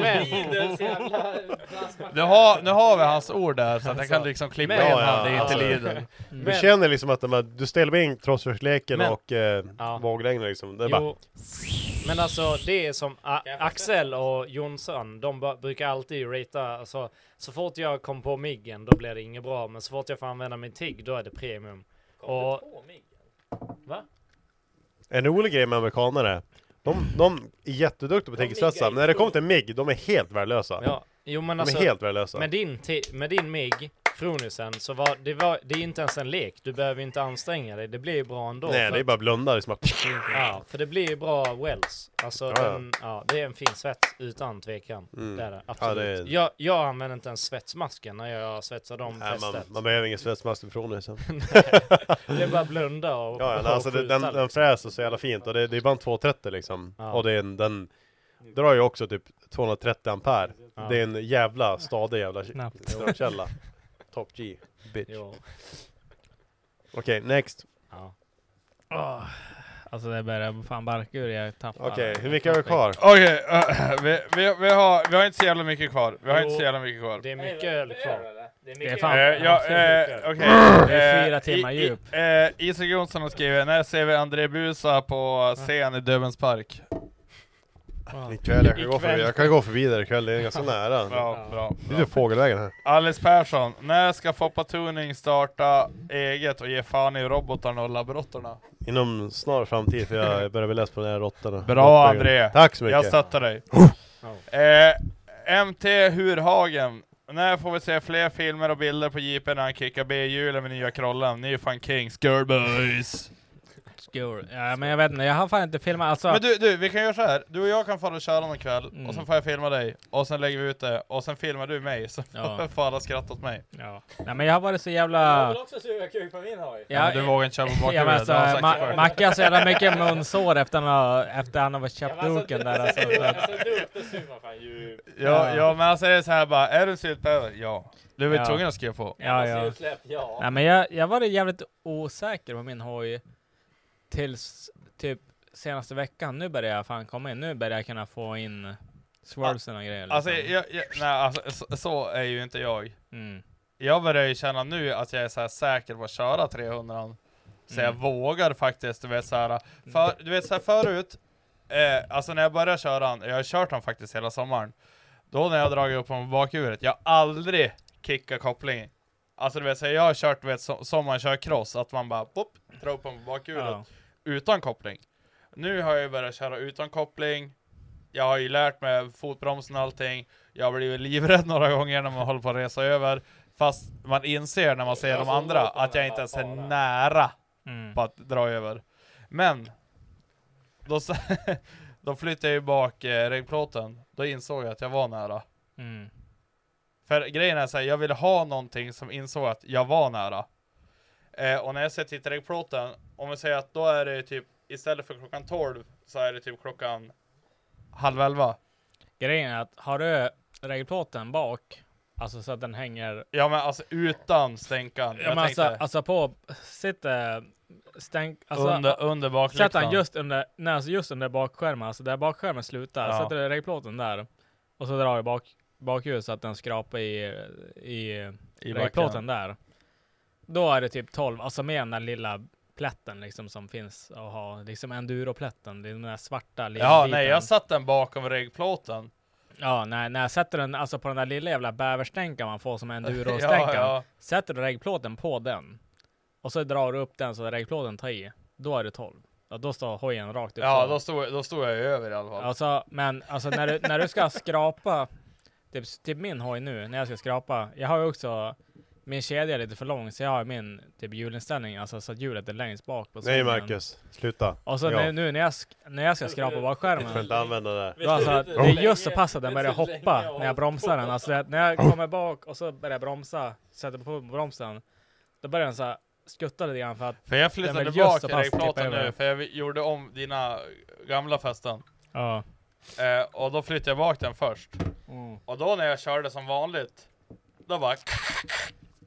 S5: Men-
S1: Lidls jävla Nu har, nu har vi hans ord där, så att jag kan liksom klippa in han, det är inte
S5: Alltså-
S1: Lidl.
S3: alltså, Du känner liksom att de här, du ställer in Trossvärsleken
S5: Men-
S3: och eh, våglängden liksom, det är bara
S5: Jo, men alltså det är som A- Axel och Jonsson, de ba- brukar alltid ratea, alltså så fort jag kom på miggen då blir det inget bra, men så fort jag får använda min tigg då är det premium. och,
S3: En rolig grej med amerikanare de, de är jätteduktiga på tegelstressar, men när det kommer till MIG, de är helt värdelösa
S5: ja, jo men
S3: De
S5: alltså,
S3: är helt värdelösa
S5: med din, ti- med din migg, Fronusen, så var det, var det är inte ens en lek, du behöver inte anstränga dig, det blir ju bra ändå.
S3: Nej,
S5: för
S3: det är
S5: att-
S3: bara blunda liksom
S5: Ja, för det blir ju bra wells. Alltså
S3: Ja, ja.
S5: den, ja, det är en fin svets utan tvekan.
S3: Mm.
S5: Det är det,
S3: Ja,
S5: absolut.
S3: det är-
S5: Jag, jag använder inte ens svetsmasken när jag svetsar om
S3: Nej, man,
S5: festet.
S3: man behöver ingen svetsmask ifrån det sen.
S5: Det är bara att blunda och-
S3: Ja, ja, nej, alltså
S5: och
S3: det,
S5: skjuta
S3: den,
S5: liksom.
S3: den fräser så jävla fint och det, det är bara en 230 liksom.
S5: Ja.
S3: Och det är en, den drar ju också typ 230 ampere.
S5: Ja.
S3: Det är en jävla stadig jävla
S2: Knappt.
S3: strömkälla. Top G, bitch.
S5: Jo.
S3: Okej, next.
S2: Åh, alltså det börjar fan barka ur, jag tappar.
S3: Okej, hur mycket har vi kvar?
S1: Okej, eh, vi, vi, vi, har, vi har inte så jävla mycket kvar. Vi har
S5: Jo,
S1: inte så jävla mycket kvar.
S5: Det är mycket öl kvar.
S2: Det är fan-
S1: Eh, ja,
S2: absolut
S1: eh,
S2: inte.
S1: okej.
S2: Det är
S1: Eh,
S2: fyra timmar
S1: i- i-
S2: djup.
S1: eh, Isak Jonsson har skrivit, när ser vi André Busa på scen i Döbelns park?
S3: Ikväll, jag kan, gå
S1: Ikväll.
S3: förbi, jag kan gå förbi där ikväll, det är ganska nära.
S1: Bra, bra,
S3: Det är typ fågelvägen här.
S1: Alice Persson, när ska Foppa Tuning starta eget och ge fan i robotarna och labrottorna?
S3: Inom snar framtid, för jag börjar bli less på den här råttan.
S1: Bra André!
S3: Tack så mycket!
S1: Jag stöttar dig. eh, MT Hurhagen, när får vi se fler filmer och bilder på jeepen när han kickar B-hjulen med nya krollen? Ni är fan kings, girl boys!
S2: Obscure. Ja, men jag vet inte, jag har fan inte filmat. Alltså,
S1: Men du, du, vi kan göra så här. Du och jag kan fara och köra någon kväll, och
S2: Mm.
S1: sen får jag filma dig, och sen lägger vi ut det, och sen filmar du mig, så
S2: Ja.
S1: får alla skratta åt mig.
S2: Ja. Nej, men jag har varit så jävla...
S4: också suga kuk på min hoj.
S1: Ja, men du vågar inte köra på bakhuvudet,
S2: ja, men alltså,
S1: det har han sagt
S2: Ma-
S1: sig själv.
S2: Macke har så jävla mycket munsår efter han har, efter han har köpt duken där. Alltså, så att-
S1: Ja, ja, men alltså det är så här bara, är du syltbäver? Ja. Du är väl
S2: Ja.
S1: tvungen att skriva på?
S2: Ja, ja. Nej, men jag, jag var jävligt osäker på min hoj tills typ senaste veckan. Nu börjar jag fan komma in. Nu börjar jag kunna få in swervesen och grejer.
S1: Alltså,
S2: liksom.
S1: jag, jag, nej, alltså så, så är ju inte jag.
S2: Mm.
S1: Jag börjar ju känna nu att jag är så här säker på att köra 300 Så jag
S2: Mm.
S1: vågar faktiskt, du vet så här, för, du vet så här förut, eh, alltså när jag började köra den, jag har kört den faktiskt hela sommaren, då när jag dragit upp honom på bakhjulet, jag har aldrig kickat kopplingen. Alltså du vet, så här, jag har kört du vet, så, som man kör cross, att man bara pop, drar upp honom på bakhjulet
S2: Ja.
S1: utan koppling. Nu har jag ju börjat köra utan koppling, jag har ju lärt mig fotbromsen och allting, jag har blivit livrädd några gånger när man håller på att resa över, fast man inser när man ser de andra att jag inte ens är nära
S2: Mm.
S1: på att dra över. Men, då, s- då flyttade jag ju bak eh, regplåten, då insåg jag att jag var nära.
S2: Mm.
S1: För grejen är såhär, jag ville ha någonting som insåg att jag var nära. Eh, och när jag ser till regplåten, om vi säger att då är det typ, istället för klockan 12, så är det typ klockan halv elva.
S2: Grejen är att har du regelplåten bak, alltså så att den hänger...
S1: Ja men alltså utan stänkan.
S2: Ja,
S1: Jag
S2: men alltså,
S1: tänkte-
S2: alltså på... Sitter... Stänk, alltså,
S1: Under- under
S2: Sätt
S1: baklyktan.
S2: den just under, nej, alltså just under bakskärmen, alltså där bakskärmen slutar.
S1: Ja.
S2: Sätter du regelplåten där och så drar du bak, bakhjulet så att den skrapar i, i,
S1: I
S2: regelplåten
S1: backen.
S2: där. Då är det typ 12, alltså med den där lilla plätten liksom som finns att ha, liksom enduroplätten, den där svarta lilla
S1: Ja,
S2: biten.
S1: nej jag satt den bakom regplåten.
S2: Ja, nej, när jag sätter den alltså på den där lilla jävla bäverstänkan man får som är
S1: Ja,
S2: endurostänkan.
S1: ja.
S2: Sätter du regplåten på den och så drar du upp den så att regplåten tar i. Då är det 12. Ja, då står hojen rakt upp.
S1: Ja,
S2: Typ så.
S1: då stod, då stod jag ju över i alla fall.
S2: Alltså, men alltså när du, när du ska skrapa, typ, typ min hoj nu, när jag ska skrapa. Jag har ju också, min kedja är lite för lång så jag har min typ hjulinställning, alltså så att hjulet är längst bak på
S3: Nej
S2: sågen.
S3: Marcus, sluta.
S2: Och så
S3: Ja.
S2: nu, nu när, jag sk- när jag ska skrapa bakskärmen.
S3: Du får inte använda det.
S2: Då alltså,
S3: Vet
S2: att
S3: du
S2: det
S3: hur
S2: är
S3: länge-
S2: just så pass att den börjar hoppa när jag bromsar den. Alltså att när jag kommer bak och så börjar jag bromsa, sätter på bromsen. Då börjar den så här skutta lite grann för att typ
S1: För jag
S2: den
S1: flyttade
S2: vill
S1: tillbaka
S2: just så pass tippa
S1: regplåten
S2: över.
S1: nu, för jag vi- gjorde om dina gamla fästen.
S2: Ja. Mm.
S1: Eh, och då flyttade jag bak den först. Och då när jag körde som vanligt, då bara...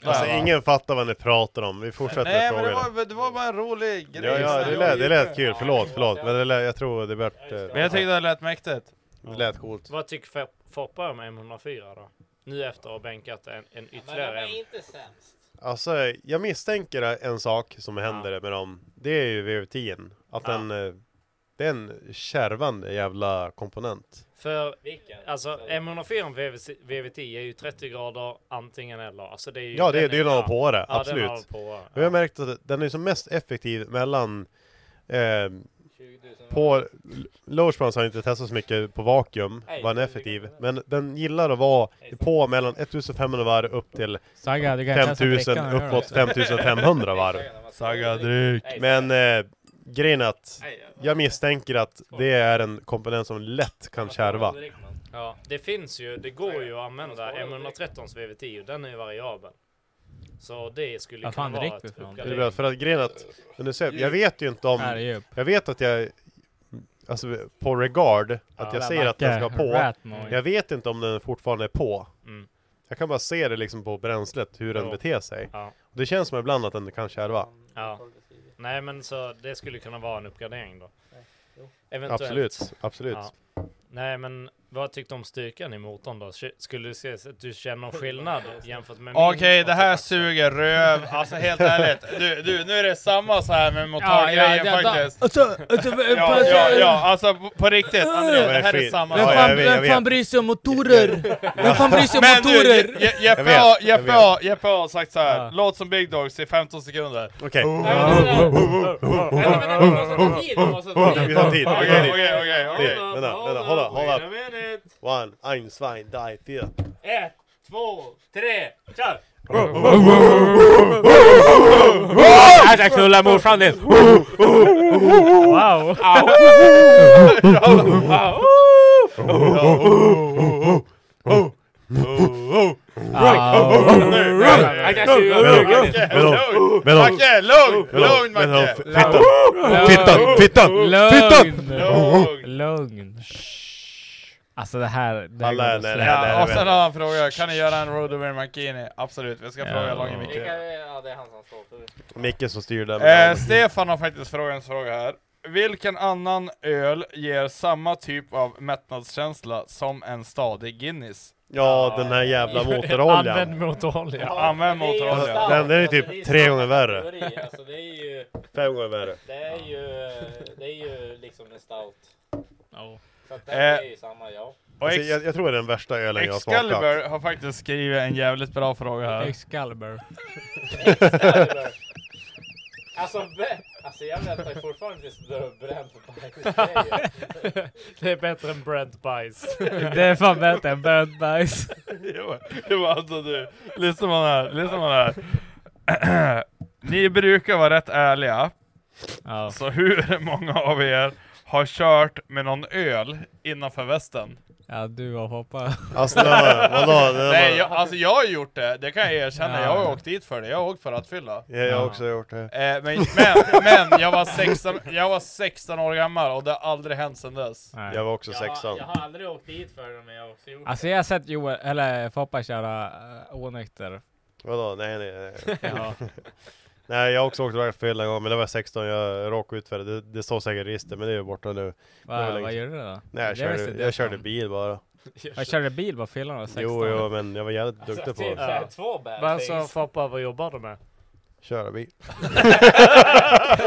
S3: Alltså
S1: Där, va?
S3: ingen fattar vad ni pratar om, vi fortsätter med
S1: Nej men det
S3: frågorna.
S1: var, det var bara en rolig grej.
S3: Ja, ja, det lät, det lät kul, förlåt, förlåt. Men det lät, jag tror det vart...
S1: Men jag tyckte det lät mäktigt.
S3: Det lät coolt.
S5: Vad tycker Fop- Foppa om M104 då? Nu efter att ha bänkat en, en ytterligare en.
S10: inte sämst.
S3: Alltså, jag misstänker en sak som händer med dem. Det är ju VV10. Att den... eh, Det är en kärvande jävla komponent.
S5: För alltså M104 och VV- VVT är ju 30 grader antingen eller. Alltså det är ju
S3: Ja, det,
S5: den
S3: det är ju någon på det,
S5: ja, Den har
S3: absolut.
S5: på det.
S3: Men jag har märkt att den är som mest effektiv mellan... Eh, på Logebrans har jag inte testat så mycket på vakuum, var den effektiv. Men den gillar att vara på mellan 1500 varv upp till
S2: Saga, du kan testa drickan
S3: 5000,
S2: när du gör
S3: uppåt
S2: det.
S3: 5500 varv.
S1: Saga, dryck!
S3: Men eh, grejen är att jag misstänker att det är en komponent som lätt kan kärva.
S5: Ja, det finns ju. Det går ju att använda M113s VVT och den är ju variabel. Så det skulle
S2: Vad
S5: kunna
S2: fan är
S5: vara
S2: det
S5: ett
S2: för någonting?
S3: Är det bra? För att grejen är att, men du ser, jag vet ju inte om,
S2: Här är djup.
S3: jag vet att jag, alltså på regard, att
S2: Ja.
S3: jag säger att den ska på.
S2: Rat mode.
S3: Jag vet inte om den fortfarande är på.
S5: Mm.
S3: Jag kan bara se det liksom på bränslet, hur den
S5: Ja.
S3: beter sig.
S5: Ja.
S3: Och Det känns som ibland att den kan kärva.
S5: Ja. Nej men så det skulle kunna vara en uppgradering då. Eventuellt.
S3: Absolut, absolut.
S5: Ja. Nej men vad tyckte du om styrkan i motorn då? Sk- Skulle du se att du känner någon skillnad jämfört med min?
S1: Okej, det här suger röv. Alltså helt ärligt. Du, du, nu är det samma så här med
S2: ja,
S1: motorgrejen
S2: det-
S1: faktiskt.
S2: alltså, alltså,
S1: ja, ja, ja, alltså på, på riktigt André, det här är samma
S2: Vem fan, vem fan bryr sig om motorer? Vem fan bryr sig om
S1: Men du,
S2: motorer?
S1: Je- Je- Jeppe har- Jeppe har- Jeppe har sagt såhär, låt som Big Dogs i 15 sekunder.
S3: Okej. Vi tar tid, vi tar tid.
S1: Okej, okej, okej, okej.
S3: Vänta, vänta, hålla, hålla. One, ein, zwei, drei, vier.
S5: Ett, två, tre, kör!
S4: Hashtag knulla morsan din!
S2: Wow!
S3: Macke, lugn! Lugn Macke! Fittan! Fittan!
S2: Lugn! Lugn! Alltså det här... Det här
S3: Alla
S2: går
S3: är
S2: att
S3: nära,
S2: släppa.
S3: nära,
S1: Ja, alltså, och sen har han frågat, kan ni göra en Rodover Mancini? Absolut, vi ska fråga Långe Micke.
S3: Micke som styr
S1: Eh,
S3: där.
S1: Stefan har faktiskt frågat en fråga här. Vilken annan öl ger samma typ av mättnadskänsla som en stadig Guinness?
S3: Ja, den här jävla motoroljan.
S2: Använd motorolja.
S1: Ja, använd motorolja.
S3: Den, den är typ tre gånger värre.
S4: Alltså det är ju...
S3: Fem gånger värre.
S4: Det är ju... Det är ju liksom en stout. Så att det
S1: Eh,
S4: är ju samma, ja.
S3: Alltså, jag, jag tror det är den värsta ölen jag har smakat.
S1: Excalibur har faktiskt skrivit en jävligt bra fråga här.
S2: Excalibur.
S4: Excalibur. Alltså, vä- alltså jag väntar ju fortfarande tills du har bränt på bajs.
S5: Det är bättre än Brent Bajs.
S2: Det är fan bättre än bönt bajs.
S1: Jo, jo, alltså du, lyssna man här, lyssna man här. Ni brukar vara rätt ärliga. Så hur många av er har kört med någon öl innanför västen?
S2: Ja, du och hoppa.
S3: Alltså, det var- vadå? Det var-
S1: Nej, jag, alltså jag har gjort det, det kan jag erkänna.
S2: Ja.
S1: Jag har åkt dit för det, jag har åkt för att fylla.
S3: Ja, jag har också gjort det.
S1: Eh, men, men, men jag var 16, jag var 16 år gammal och det har aldrig hänt sedan dess.
S3: Jag var också sexan.
S4: har aldrig åkt dit för det men jag har också gjort
S2: Alltså jag har sett Joel, eller Foppa köra uh, onykter.
S3: Vadå? Nej, nej,
S2: Ja.
S3: nej. nej, jag har också åkt raggfylla en gång, men det var 16, jag råkade ut för det. det. Det står säkert i registret, men det är ju borta nu.
S2: Va-
S3: Det var länge
S2: vad
S3: sedan.
S2: gjorde du då?
S3: Nej, jag
S2: Det visste
S3: körde,
S2: inte
S3: jag
S2: jag
S3: körde
S2: fan.
S3: bil bara.
S2: Jag körde bil på fyllan och 16.
S3: Jo, jo, men jag var jävligt
S5: Alltså,
S3: duktig på
S5: typ
S3: det.
S5: såhär.
S4: Två bad
S5: Men
S4: things.
S5: alltså Foppa, vad jobbar du med?
S3: Köra bil.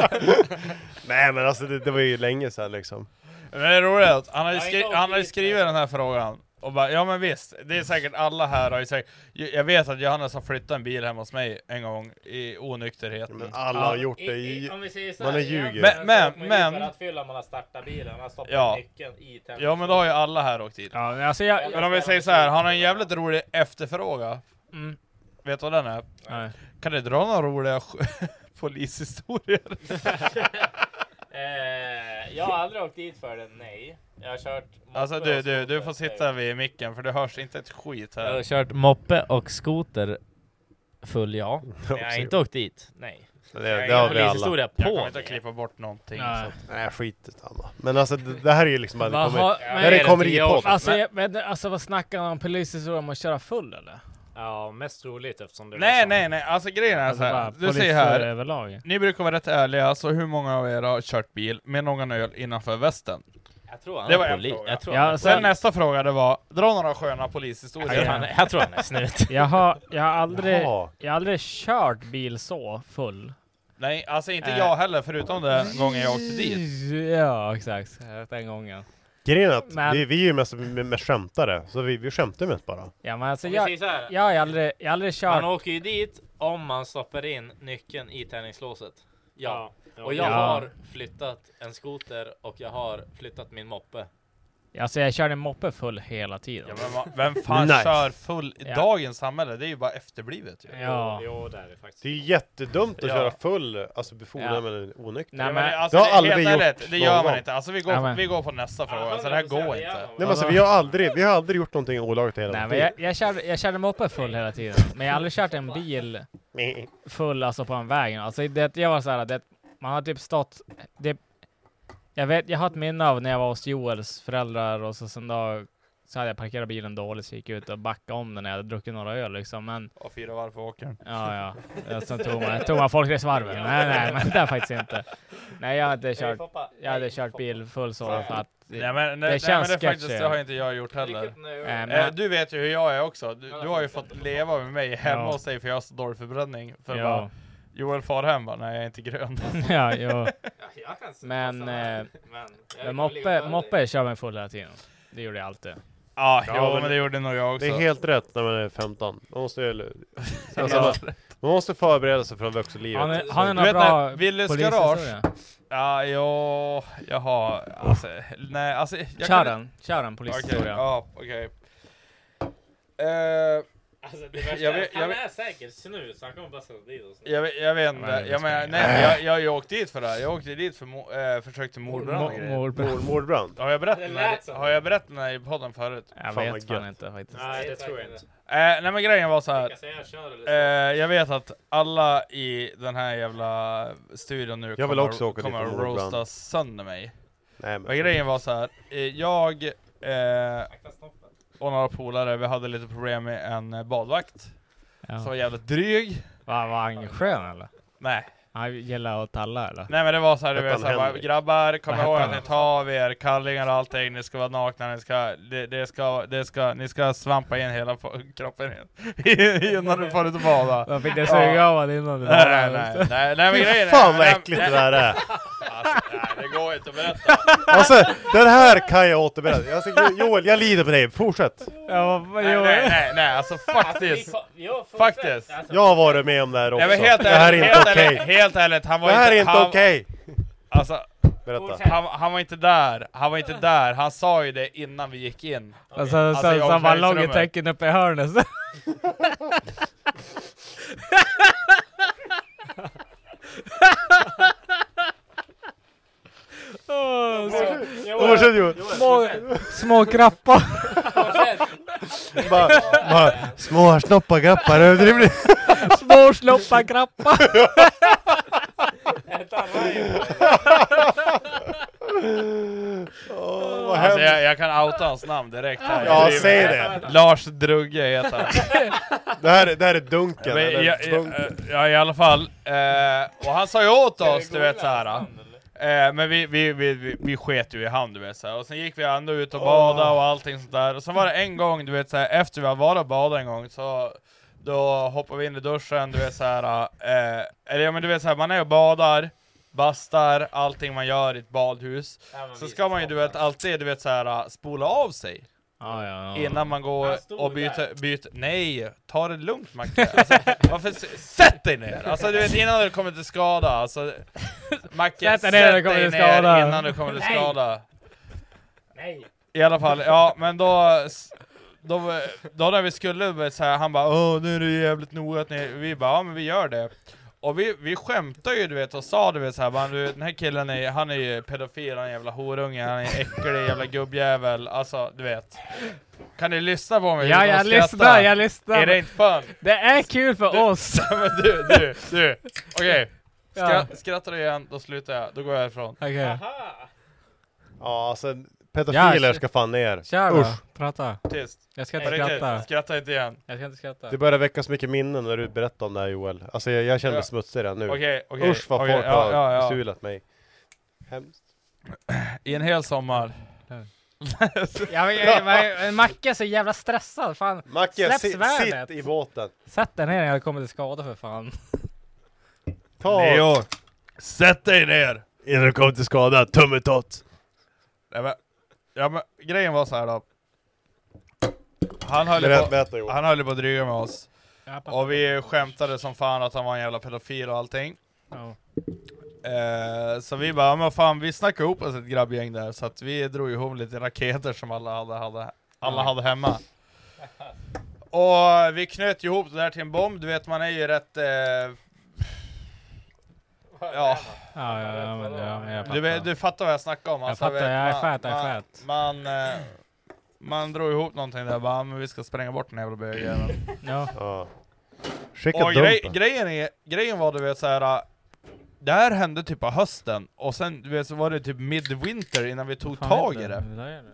S3: nej, men alltså det, det var ju länge sedan liksom.
S1: Men det är roligt att han har ju skri han har ju skrivit den här frågan och bara, ja men visst, det är säkert alla här har ju säkert, jag jag vet att Johannes har flyttat en bil hemma hos mig en gång i onykterheten. Men
S3: alla har gjort det i-
S4: Om vi säger så
S3: Man
S4: här,
S3: är ljuger.
S1: Men, men,
S4: man är ju
S1: men,
S4: För att fylla man har startat bilen, man har stoppat
S1: Ja.
S4: nyckeln i tänd-
S1: ja men då har ju alla här åkt dit.
S2: Ja, men alltså jag...
S1: Men om vi säger så här, han har en jävligt rolig efterfråga.
S2: Mm.
S1: Vet du vad den är?
S2: Nej.
S1: Kan du dra några roliga sk- polishistorier?
S4: eh, Jag har aldrig åkt dit för den, nej. Jag har kört
S1: Alltså
S4: moppe
S1: du,
S4: och
S1: du, du
S4: skoter,
S1: får
S4: säger
S1: sitta vid micken för det hörs inte ett skit
S4: Jag har
S1: här.
S4: kört moppe och skoter full ja. Men jag har inte åkt dit. Nej.
S3: Det-
S4: Jag har
S3: det
S4: ingen
S3: har vi alla.
S4: polishistoria
S1: Jag
S4: på
S1: kommer inte
S4: mig.
S1: att klippa bort någonting.
S2: Nej.
S1: Så. att-
S3: Nej, skit i samma. Men alltså det, det här är ju liksom bara...
S2: Vad
S3: Det
S2: har-
S3: kommer,
S2: men-
S3: när det kommer i podden.
S2: Alltså, jag, men, alltså vad snackar han om? Polishistoria om att köra full eller?
S5: Ja, mest troligt eftersom det
S4: liksom-
S1: Nej nej nej, alltså grejen är
S2: Alltså,
S1: så här.
S2: bara
S1: Du ser
S2: polishistoria
S1: här.
S2: överlag.
S1: Ni brukar vara rätt ärliga, så hur många av er har kört bil med någon öl innanför västen?
S4: Jag tror han
S1: Det
S4: är
S1: var en
S4: poli-
S1: fråga.
S4: Jag tror
S2: Ja,
S4: han är
S1: Sen
S2: Sen-
S1: nästa fråga det var, dra några sköna polishistorier.
S4: Jag tror han är- jag tror han är snut.
S2: Jag har, jag har aldrig,
S3: Jaha.
S2: jag har aldrig kört bil så full.
S1: Nej, alltså inte
S2: Eh.
S1: jag heller, förutom den gången jag åkte dit.
S2: Ja, exakt. Den gången.
S3: Grejen är att
S2: Men-
S3: vi, vi är ju mest med, med skämtare, så vi, vi skämtar mest bara.
S2: Ja, men alltså
S4: Om vi
S2: jag,
S4: säger så här.
S2: jag har aldrig, jag har aldrig kört...
S4: Man åker ju dit om man stoppar in nyckeln i tändningslåset. Ja.
S5: Ja.
S4: Och jag
S2: Ja.
S4: har flyttat en skoter och jag har flyttat min moppe.
S2: Alltså jag körde moppe full hela tiden.
S1: Ja, men va- vem fan
S3: Nice.
S1: kör full i
S2: Ja.
S1: dagens samhälle? Det är ju bara efterblivet ju.
S2: Ja.
S5: Jo, det är det faktiskt.
S3: Det är ju jättedumt att
S1: Ja.
S3: köra full, alltså befordra
S2: Ja.
S3: med onykter.
S1: Ja,
S2: Nej,
S1: men,
S2: men, nej,
S1: alltså,
S3: Det
S1: det
S3: har
S1: är
S3: aldrig
S1: helt
S3: vi gjort
S1: ärligt, det gör
S3: någon
S1: man
S3: gång.
S1: inte. Alltså vi går,
S2: Ja, men-
S1: vi går på nästa fråga, så det här går inte.
S3: Nej men alltså vi har aldrig, vi har aldrig gjort någonting olagligt i hela vårt
S2: men
S3: liv.
S2: jag, jag, körde, jag körde moppe full hela tiden. Men jag har aldrig kört en bil
S3: Nej.
S2: full alltså på en väg. Alltså det, jag var så här, det, man har typ stått... Det, jag, vet, jag har ett minne av när jag var hos Joels föräldrar och så sen då så hade jag parkerat bilen dåligt så gick jag ut och backade om den när jag hade druckit några öl liksom. Men
S1: Och fyra varv på åkern.
S2: ja, ja. ja. Sen tog man, tog man folkracevarven. Nej, nej, men det har jag faktiskt inte. Nej, jag har inte kört, jag hade kört bil full så för att...
S1: Nej men,
S2: Det
S1: nej, nej, men
S2: känns
S1: det, faktiskt,
S2: sketchy.
S1: det har inte jag gjort heller.
S2: Eh,
S1: Eh,
S2: men,
S1: du vet ju hur jag är också. Du, du har
S5: alltså.
S1: ju fått leva med mig hemma
S2: Ja.
S1: hos dig för jag har så dålig förbränning. För
S2: Ja.
S1: bara, Joel far hem bara, nej jag är inte grön.
S2: ja, jo.
S4: Jag kan se-
S2: Men, eh,
S4: jag
S2: men
S4: kan
S2: moppe,
S4: ligga på
S2: moppe kör mig full hela tiden. Det gjorde jag alltid.
S1: Ja,
S3: Ja,
S1: jo,
S3: men
S1: men det gjorde nog jag också.
S3: Det är helt rätt när man är 15. Man måste, ju- alltså,
S1: Ja.
S3: man, man måste förbereda sig för vuxenlivet.
S2: Har ni, har ni
S1: Du
S2: några
S1: vet när
S2: bra
S1: Willys
S2: polishistoria?
S1: Ja, jo, jaha, alltså, nej alltså. jag
S2: Kör
S1: kan-
S2: den, kör den
S1: Okej, Eh,
S2: polishistoria.
S1: ja, okej. Eh,
S4: Alltså, det värsta,
S1: Jag vet- jag
S4: han
S1: vet-
S4: är säkert snus, han kommer bara sätta dit oss.
S1: Jag vet, jag vet inte,
S4: Ja, det
S1: jag,
S4: spelar
S1: men,
S4: ingen
S1: nej, jag, jag har ju åkt dit för det här. Jag åkte dit för mo, eh, försök till mordbrand och
S4: Mor-
S1: grejer.
S4: mordbrand. Mor- mordbrand.
S1: Har jag berättat
S4: Det
S1: den
S4: lät
S1: här-
S4: som
S1: har jag berättat den här i podden förut?
S2: Jag Fan, vet vad fan gött. inte faktiskt.
S4: Nej, det tror jag inte.
S1: Eh, nej men grejen var så här.
S4: Jag kan säga, kör eller
S1: Eh, jag vet att alla i den här jävla studion nu
S3: Jag vill
S1: kommer,
S3: också åka dit
S1: kommer
S3: på
S1: att
S3: mordbrand.
S1: roasta sönder mig.
S3: Nej, men-
S1: men grejen var så här. Eh, jag eh, och några polare, vi hade lite problem med en eh, badvakt.
S2: Ja.
S1: Som var jävligt dryg.
S2: Var, var han skön eller?
S1: Nej.
S2: Han gillar att talla eller?
S1: Nej men det var såhär, du
S2: Hette
S1: vet
S2: han
S1: såhär, bara,
S2: Henrik?
S1: grabbar kom
S2: Vad hette
S1: ihåg att
S2: han?
S1: ni tar av er kallingar och allting, ni ska vara nakna, ni ska, det, det ska, det ska, ni ska svampa in hela po- kroppen in- innan du får ut och bada.
S2: Man fick det suga av honom innan du
S1: Nej, nej,
S2: badade,
S1: nej,
S2: alltså.
S1: nej, nej men
S2: Fy
S1: grejen är-
S2: fan, vad
S1: nej,
S2: äckligt
S1: nej.
S2: det där är.
S1: Alltså, nej, det går inte att berätta.
S3: Alltså, den här kan jag återberätta. Jag ser, Joel, jag lider med dig. Fortsätt.
S1: nej, nej, nej, nej, alltså faktiskt. Faktiskt.
S3: Jag har varit med om det här också.
S1: Nej, men helt
S3: det här är
S1: ärligt,
S3: inte
S1: helt
S3: okej.
S1: ärligt, helt ärligt, han var
S3: Det här
S1: inte-
S3: är inte
S1: han-
S3: okej.
S1: Alltså,
S3: Berätta.
S1: han, han var inte där, han var inte där, han sa ju det innan vi gick in.
S2: Och
S1: Alltså,
S2: sen,
S1: i
S2: sen, sen var
S1: omklädningsrummet.
S2: loggetecken uppe i hörnet. så- Åh,
S4: Fortsätt,
S2: små-
S4: fortsätt, Joel.
S2: Små, små krappar.
S3: Bara, bara, små snoppaglappar, överdrivet.
S2: Små snoppaglappar.
S3: Åh, vad
S1: Alltså,
S3: hemskt.
S1: jag, jag kan outa hans namn direkt här.
S3: Ja,
S1: Jag driver-
S3: säg det.
S1: Lars Drugge heter han.
S3: Det här, är- det här är dunken.
S1: Men,
S3: eller
S1: ja, ja,
S3: bunk.
S1: ja, i alla fall. Eh, och han sa ju åt oss, du vet såhär. Eh, men vi, vi, vi, vi, vi sket ju i hand du vet såhär. Och sen gick vi ändå ut och badade och allting sånt där. Och sen var det en gång, du vet såhär, efter vi hade varit och badat en gång så då hoppar vi in i duschen, du vet såhär, eh, eller ja men du vet såhär, man är och badar, bastar, allting man gör i ett badhus. så ska man ju du vet alltid, du vet såhär, spola av sig. Innan man går och byter, byter, nej, ta det lugnt Macke. Alltså, varför, s- sätt dig ner! Alltså du vet innan du kommer till skada, alltså Macke,
S2: Sätt dig ner när du kommer till skada.
S1: innan du kommer till
S2: Nej.
S1: skada.
S2: Nej.
S1: I alla fall, ja men då, s- då, då när vi skulle börja så här, han bara Åh nu är det jävligt noga att ni, vi bara ja men vi gör det. Och vi, vi skämtade ju du vet och sa du vet såhär bara du, den här killen är, han är ju pedofil, han är jävla horunge, han är äcklig jävla gubbjävel, alltså du vet. Kan ni lyssna på mig?
S2: Ja,
S1: utan
S2: jag
S1: att skratta?
S2: lyssnar, jag lyssnar.
S1: Är det inte fun?
S2: Det är kul för oss.
S1: men du, du, du. Okej,
S2: Ja.
S1: Skra, skrattar du igen då slutar jag, då går jag härifrån.
S2: Okej.
S3: Ja, alltså pedofiler
S2: Ja,
S3: ska fan ner.
S2: Kör då,
S3: Usch.
S2: prata.
S1: Tyst.
S2: Jag ska inte
S1: Var det tyst?
S2: skratta.
S1: Skratta inte igen.
S2: Jag ska inte skratta.
S3: Det börjar väckas mycket minnen när du berättar om det här Joel. Alltså jag, jag känner mig
S1: Ja.
S3: smutsig redan nu.
S1: Okej, okej,
S3: Usch vad
S1: okej,
S3: folk
S1: ja,
S3: har
S1: ja, ja.
S3: bestulat mig. Hemskt.
S1: I en hel sommar.
S2: Ja, men, jag- jag- men Macke är så jävla stressad. Fan.
S3: Macke,
S2: Släpp
S3: si,
S2: svärdet.
S3: sitt i båten.
S2: Sätt dig ner när jag kommer till skada för fan.
S3: Ta.
S1: Leo, sätt dig ner!
S3: Innan du kommer till skada, tummetott.
S1: Nej, men, ja, men, grejen var så här då. Han höll,
S3: Berätta,
S1: på,
S3: berätta, Johan.
S1: han höll ju på att dryga med oss.
S2: Ja, pappa.
S1: Och vi skämtade som fan att han var en jävla pedofil och allting.
S2: Ja.
S1: Eh, så vi bara, "Ja, men fan vi snackade ihop oss ett grabbgäng där, så att vi drog ihop lite raketer som alla hade, hade, alla
S2: Ja.
S1: hade hemma. Och vi knöt ju ihop det där till en bomb, du vet man är ju rätt... Eh, ja,
S2: Ja, ja, ja, men, ja, jag
S1: du, vet-
S2: fattar.
S1: du fattar vad jag snackar om? alltså,
S2: Jag fattar, jag är fat, jag är
S1: man, Man, eh, man drog ihop någonting där, bara, "Ah, men vi ska spränga bort den här jävla bögjäveln.
S2: Ja.
S3: Skicka
S1: Och grej,
S3: dumpen.
S1: grejen, är, grejen var du vet såhär, äh, det här hände typ på hösten, och sen du vet, så var det typ midwinter innan vi tog
S2: Fan,
S1: tag i
S2: vet
S1: det.
S2: du, där är det.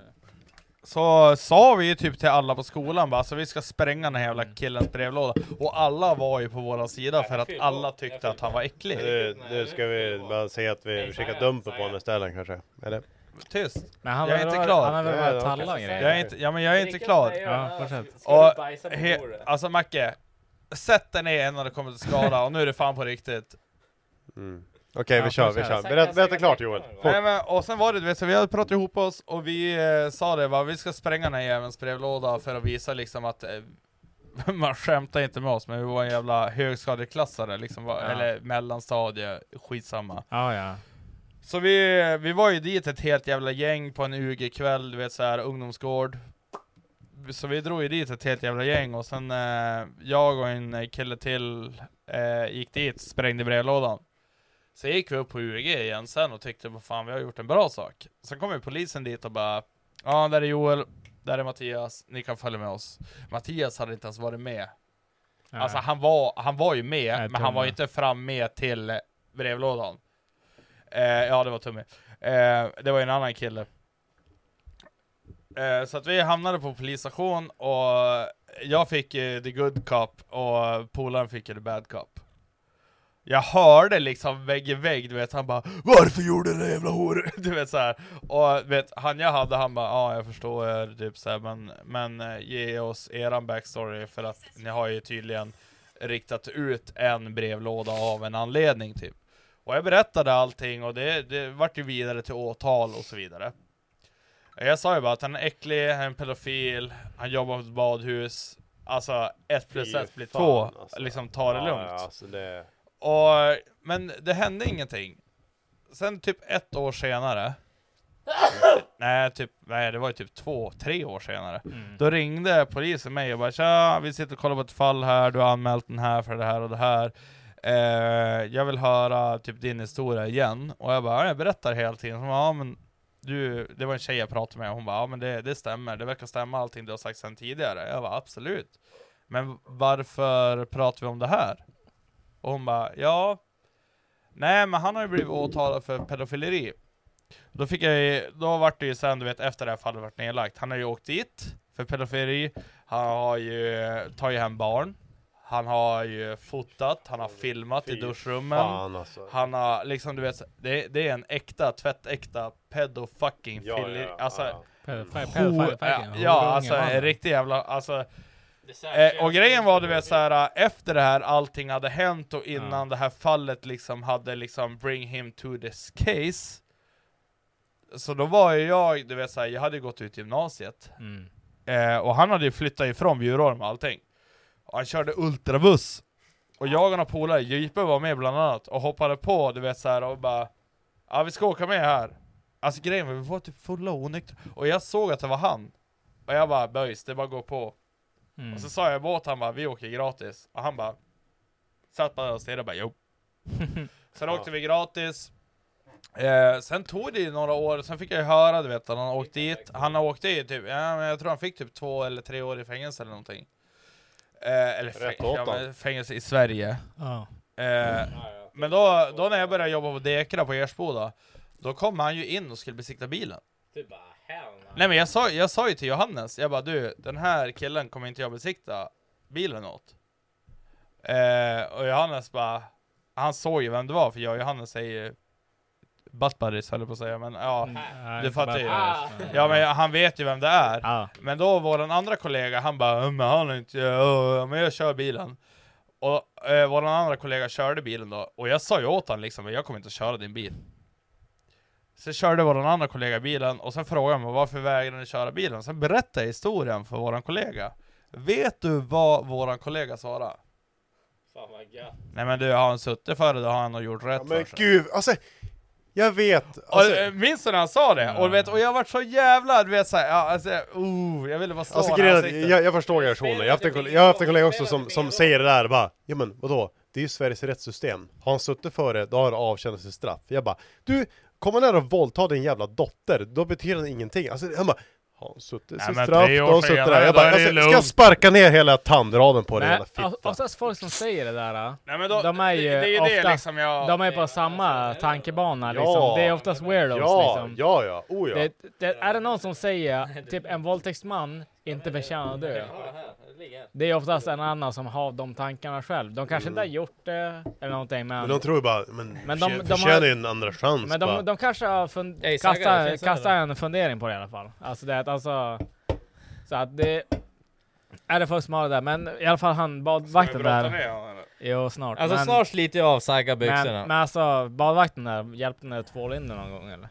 S1: Så sa vi ju typ till alla på skolan bara, alltså vi ska spränga den här jävla killens brevlåda. Och alla var ju på våran sida för att alla tyckte att han var äcklig.
S3: Nu, nu ska vi bara säga att vi skickar dumpen på honom istället kanske. Eller?
S1: Tyst!
S2: Men han
S1: jag
S2: var
S1: är
S2: väl-
S1: inte klar.
S2: han har väl
S1: Ja,
S2: varit
S1: ja,
S2: talla
S1: okej.
S2: och grejer.
S1: Jag är inte, ja men jag är inte
S2: Vilken
S1: klar.
S2: är jag? Ja, fortsätt. Ska du
S1: Och
S2: bajsa på
S1: he,
S2: bordet?
S1: alltså Macke, sätt dig ner innan du kommer till skada och nu är det fan på riktigt.
S3: Mm. Okej,
S1: Ja,
S3: vi kör, vi kör.
S1: fortsätt.
S3: Berätta, berätta klart Joel.
S1: Nej, men, och sen var det du vet, så vi hade pratat ihop oss och vi eh, sa det va, vi ska spränga den här jävelns brevlåda för att visa liksom att eh, man skämtar inte med oss, men vi var en jävla högskadeklassare liksom, va,
S2: Ja.
S1: eller mellanstadie, skitsamma.
S2: Ja, ja.
S1: Så vi, vi var ju dit ett helt jävla gäng på en UG-kväll, du vet såhär, ungdomsgård. så vi drog ju dit ett helt jävla gäng och sen eh, jag och en kille till eh, gick dit, sprängde brevlådan. Sen gick vi upp på UG igen sen och tyckte vad fan vi har gjort en bra sak. Sen kom ju polisen dit och bara Ja, där är Joel, där är Mattias, ni kan följa med oss. Mattias hade inte ens varit med.
S2: Nej.
S1: Alltså han var, han var ju med, men han
S2: tumme.
S1: var ju inte fram med till brevlådan. Eh, ja, det var Tummy. Eh, det var ju en annan kille. Eh, så att vi hamnade på polisstation och jag fick eh, the good cop och polaren fick ju the bad cop. Jag hörde liksom vägg i vägg, du vet, han bara Varför gjorde du det jävla hår? Du vet såhär, och du vet, han jag hade, han bara Ja, jag förstår er, typ såhär, men, men eh, ge oss eran backstory för att ni har ju tydligen riktat ut en brevlåda av en anledning typ. Och jag berättade allting och det, det vart ju vidare till åtal och så vidare. Jag sa ju bara att han är äcklig, han är en pedofil, han jobbar på ett badhus. Alltså, ett plus
S3: Fy
S1: ett blir
S3: fan,
S1: två.
S3: alltså.
S1: Liksom ta det
S3: Ja,
S1: lugnt.
S3: ja, alltså det-
S1: Och, men det hände ingenting. Sen typ ett år senare, nej, typ, nej det var ju typ två, tre år senare,
S3: Mm.
S1: Mm. då ringde polisen mig och bara Tja, vi sitter och kollar på ett fall här, du har anmält den här för det här och det här. Eh, jag vill höra typ din historia igen. Och jag bara, "Ja, jag berättar hela tiden. Hon bara, ja, men du, det var en tjej jag pratade med, och hon bara, ja men det, det stämmer, det verkar stämma allting du har sagt sedan tidigare. Jag bara, absolut. Men varför pratar vi om det här? Och hon bara, ja, nej men han har ju blivit åtalad för pedofileri. Då fick jag ju, då vart det ju sen, du vet, efter det här fallet vart nedlagt. Han har ju åkt dit för pedofileri, han har ju, tar ju hem barn, han har ju fotat, han har filmat i
S3: Fy
S1: duschrummen.
S3: fan, alltså.
S1: Han har liksom, du vet, det, det är en äkta, tvättäkta pedofucking
S3: Ja,
S1: fili-
S3: ja,
S1: alltså,
S3: ja. Pedofi-
S1: ho-
S3: pedofi-
S1: ja,
S3: fucking
S1: ja,
S3: horunge,
S1: alltså
S3: mannen.
S1: en riktig jävla, alltså
S3: särskilt-
S1: eh, Och grejen var du vet såhär, efter det här allting hade hänt och innan det här fallet liksom hade liksom bring him to this case Så då var ju jag, du vet såhär, jag hade ju gått ut gymnasiet
S2: Mm.
S1: eh, Och han hade ju flyttat ifrån Bjurholm och allting och Han körde ultrabuss Och jag och några polare, Jipe var med bland annat och hoppade på du vet såhär och bara Ja vi ska åka med här Alltså grejen var vi var typ fulla och onyktra Och jag såg att det var han Och jag bara böjs, det är bara att gå på
S2: Mm.
S1: Och så sa jag åt han bara vi åker gratis Och han bara Satt bara där och stirrade och bara jo Sen åkte vi gratis Eh, sen tog det ju några år, sen fick jag ju höra du vet att han åkte dit, han åkte ju typ, ja, men jag tror han fick typ två eller tre år i fängelse eller någonting. Eh, eller fäng-
S2: Rätt åt
S1: ja,
S2: han. Mm.
S1: men fängelse i Sverige.
S2: Ja.
S1: Eh, men då, då när jag började jobba på Dekra på Ersboda, då kom han ju in och skulle besikta bilen.
S4: Du bara hell no.
S1: Nej men jag sa, jag sa ju till Johannes, jag bara du, den här killen kommer inte jag besikta bilen åt. Eh, och Johannes bara, han såg ju vem det var för jag och Johannes är ju butt buddies höll jag på att säga, men ja,
S2: Mm.
S1: du
S2: inte
S1: fattar
S2: butt
S1: ju.
S2: buddies, men-
S1: Ja men han vet ju vem det är. Men då våran andra kollega, han bara, "Ja, men han är inte, ja, men jag kör bilen. Och eh, våran andra kollega körde bilen då, och jag sa ju åt honom liksom, jag kommer inte att köra din bil. Sen körde våran andra kollega bilen och sen frågade han mig varför vägrade ni köra bilen? Sen berättade jag historien för våran kollega. Vet du vad våran kollega svarade?
S4: Fan vad gött.
S1: Nej men du, har han suttit för det då har han nog gjort rätt
S3: Men
S1: för sig.
S3: gud, alltså jag vet! alltså,
S1: och, eh, minns du när han sa det? Och, vet, och jag vart så jävla, du vet såhär, ja, alltså, oh, jag ville bara slå
S3: Alltså
S1: honom i
S3: grejen, är-
S1: ansiktet.
S3: jag, jag förstår reaktionen, jag har haft en, koll- jag har haft en kollega också som, som säger det där bara Ja men vadå, det är ju Sveriges rättssystem Har han suttit för det, då har han avtjänat sitt straff Jag bara, du, kommer han här och våldtar din jävla dotter, då betyder det ingenting Alltså han bara, har han suttit
S1: Nej,
S3: sitt
S1: men
S3: straff,
S1: tre år
S3: då har han suttit
S1: senare,
S3: där Jag
S1: då
S3: bara,
S1: är det
S3: alltså,
S1: lugnt.
S3: ska jag sparka ner hela tandraden på dig
S2: Nej,
S3: jävla fitta?
S2: o- oftast folk som säger det där, äh,
S1: Nej, men då,
S2: de är ju
S1: det- det är ju det
S2: oftast,
S1: liksom jag-
S2: de är på samma tankebana
S3: Ja.
S2: liksom. Det är oftast weirdos
S3: Ja,
S2: liksom.
S3: ja, ja. Oh, ja.
S2: Det, det, är det någon som säger typ en våldtäktsman inte förtjänar att dö? Det är oftast en annan som har de tankarna själv. De kanske inte har gjort det eller någonting men...
S3: Mm. Men de tror ju bara, men,
S2: Men
S3: men
S2: de-
S3: de,
S2: de
S3: förtjänar
S2: har-
S3: ju en andra chans
S2: Men
S3: bara.
S2: de, de kanske har fund-
S4: Ej, sagga, det
S2: kastat,
S4: finns sagga.
S2: kastat en fundering på det i alla fall. Alltså det att alltså... Så att det... Är det folk som har det där? Men i alla fall han badvakten
S4: brotta
S2: där.
S4: ner honom, eller?
S2: Jo, snart.
S4: Alltså
S2: men,
S4: snart sliter jag av sagga byxorna.
S2: men, men alltså badvakten där, hjälpte ni att tvåla in det någon gång eller?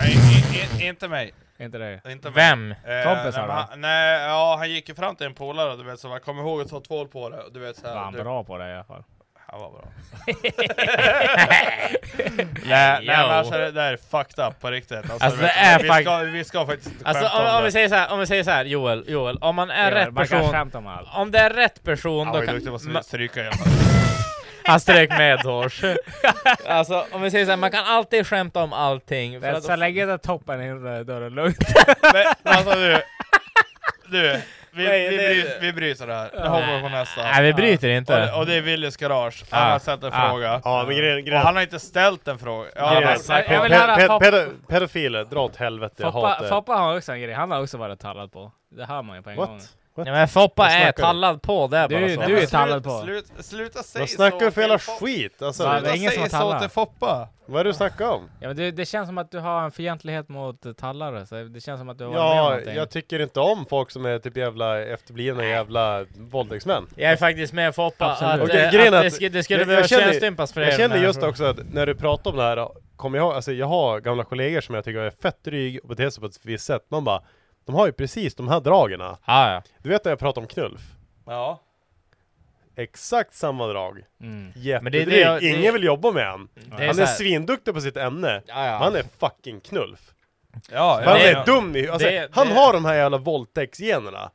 S1: Nej, i, i, inte mig.
S2: Inte dig?
S1: Inte mig.
S2: Vem?
S1: Eh,
S2: Kompisar,
S1: nej, men
S2: va?
S1: han, nej, ja han gick ju fram till en polare, du vet så typ- jag kommer ihåg att ta tvål på det, och du vet såhär.
S2: Var han
S1: du-
S2: bra på det i alla fall?
S1: Han var bra. nej, nej men alltså det där är fucked up på riktigt. Alltså,
S4: Alltså, det
S1: vet du,
S4: är
S1: vi,
S4: fuck-
S1: ska, vi ska faktiskt inte
S4: Alltså
S1: skämta
S4: om, om
S1: det.
S4: vi säger så här, om vi säger så här Joel, Joel, om man är
S1: Ja,
S4: rätt
S1: man kan
S4: person.
S1: skämta om allt.
S4: Om det är rätt
S1: Han
S4: person då
S1: var ju
S4: kan...
S1: duktig på att
S4: ma-
S1: stryka igen.
S4: Han strök med hårs. alltså om vi säger så här, man kan alltid skämta om allting.
S2: Men så länge det är toppen inne, då är det lugnt.
S1: Men alltså du, du. Vi,
S2: Nej,
S1: vi,
S2: det-
S1: bryter, vi bryter det här. Nu hoppar vi på nästa.
S4: Nej, vi bryter inte.
S1: Och, det- och det är Willys garage. Han
S3: Ah.
S1: har sett en
S3: Ah.
S1: fråga.
S3: Ja, men grejen- grejen-
S1: Och han har inte ställt en fråga. Ja, alltså,
S3: Grejen-
S1: han har sagt-
S3: Pe- pe- pe- pedo- Pedofiler, dra åt helvete, jag hatar
S2: Foppa,
S3: er.
S2: Foppa har också en grej, han har också varit tallad på. Det hör man ju på en
S3: What?
S2: gång.
S3: What?
S4: Ja, men Foppa
S2: Vad
S4: är
S2: snackar du?
S4: tallad på, det är
S2: Du-
S4: bara så.
S2: du är tallad på.
S1: Slut, sluta säga
S3: Jag snackar ju
S1: så
S3: för jävla
S1: till Foppa.
S3: skit alltså.
S2: Va, det är ingen som har
S1: Säg så
S2: tallat.
S1: till Foppa.
S3: Vad är det du snackar om?
S2: Ja, men det, det känns som att du har en fientlighet mot eh, tallare, så det känns som att du har varit med om
S3: Ja,
S2: någonting.
S3: jag tycker inte om folk som är typ jävla efterblivna jävla våldtäktsmän.
S4: Jag är faktiskt med Foppa att,
S3: Och
S4: eh,
S3: gre-
S4: att,
S3: grejen är
S4: det, sk- det skulle
S3: jag- jag
S4: behöva
S3: känner-
S4: könsstympas för er.
S3: Jag känner
S4: den här
S3: just
S4: frågan.
S3: också att när du pratar om det här, kom jag ihåg, alltså jag har gamla kollegor som jag tycker är fett dryg och beter sig på ett visst sätt. Man bara, de har ju precis de här dragen.
S4: Ah,
S3: Du vet när jag pratar om Knulf?
S1: Ja.
S3: Exakt samma drag.
S2: Mm.
S4: Men
S3: Jättedryg.
S4: det är det jag- det-
S3: Ingen vill jobba med han.
S4: är
S3: han
S4: så
S3: är
S4: här-
S3: svinduktig på sitt ämne.
S4: Ja, ja.
S3: Men Han är fucking Knulf.
S1: Ja,
S3: han
S1: ja,
S3: är
S1: ja.
S3: dum i alltså,
S1: Det-
S3: Han
S1: det-
S3: har de här jävla våldtäktsgenerna.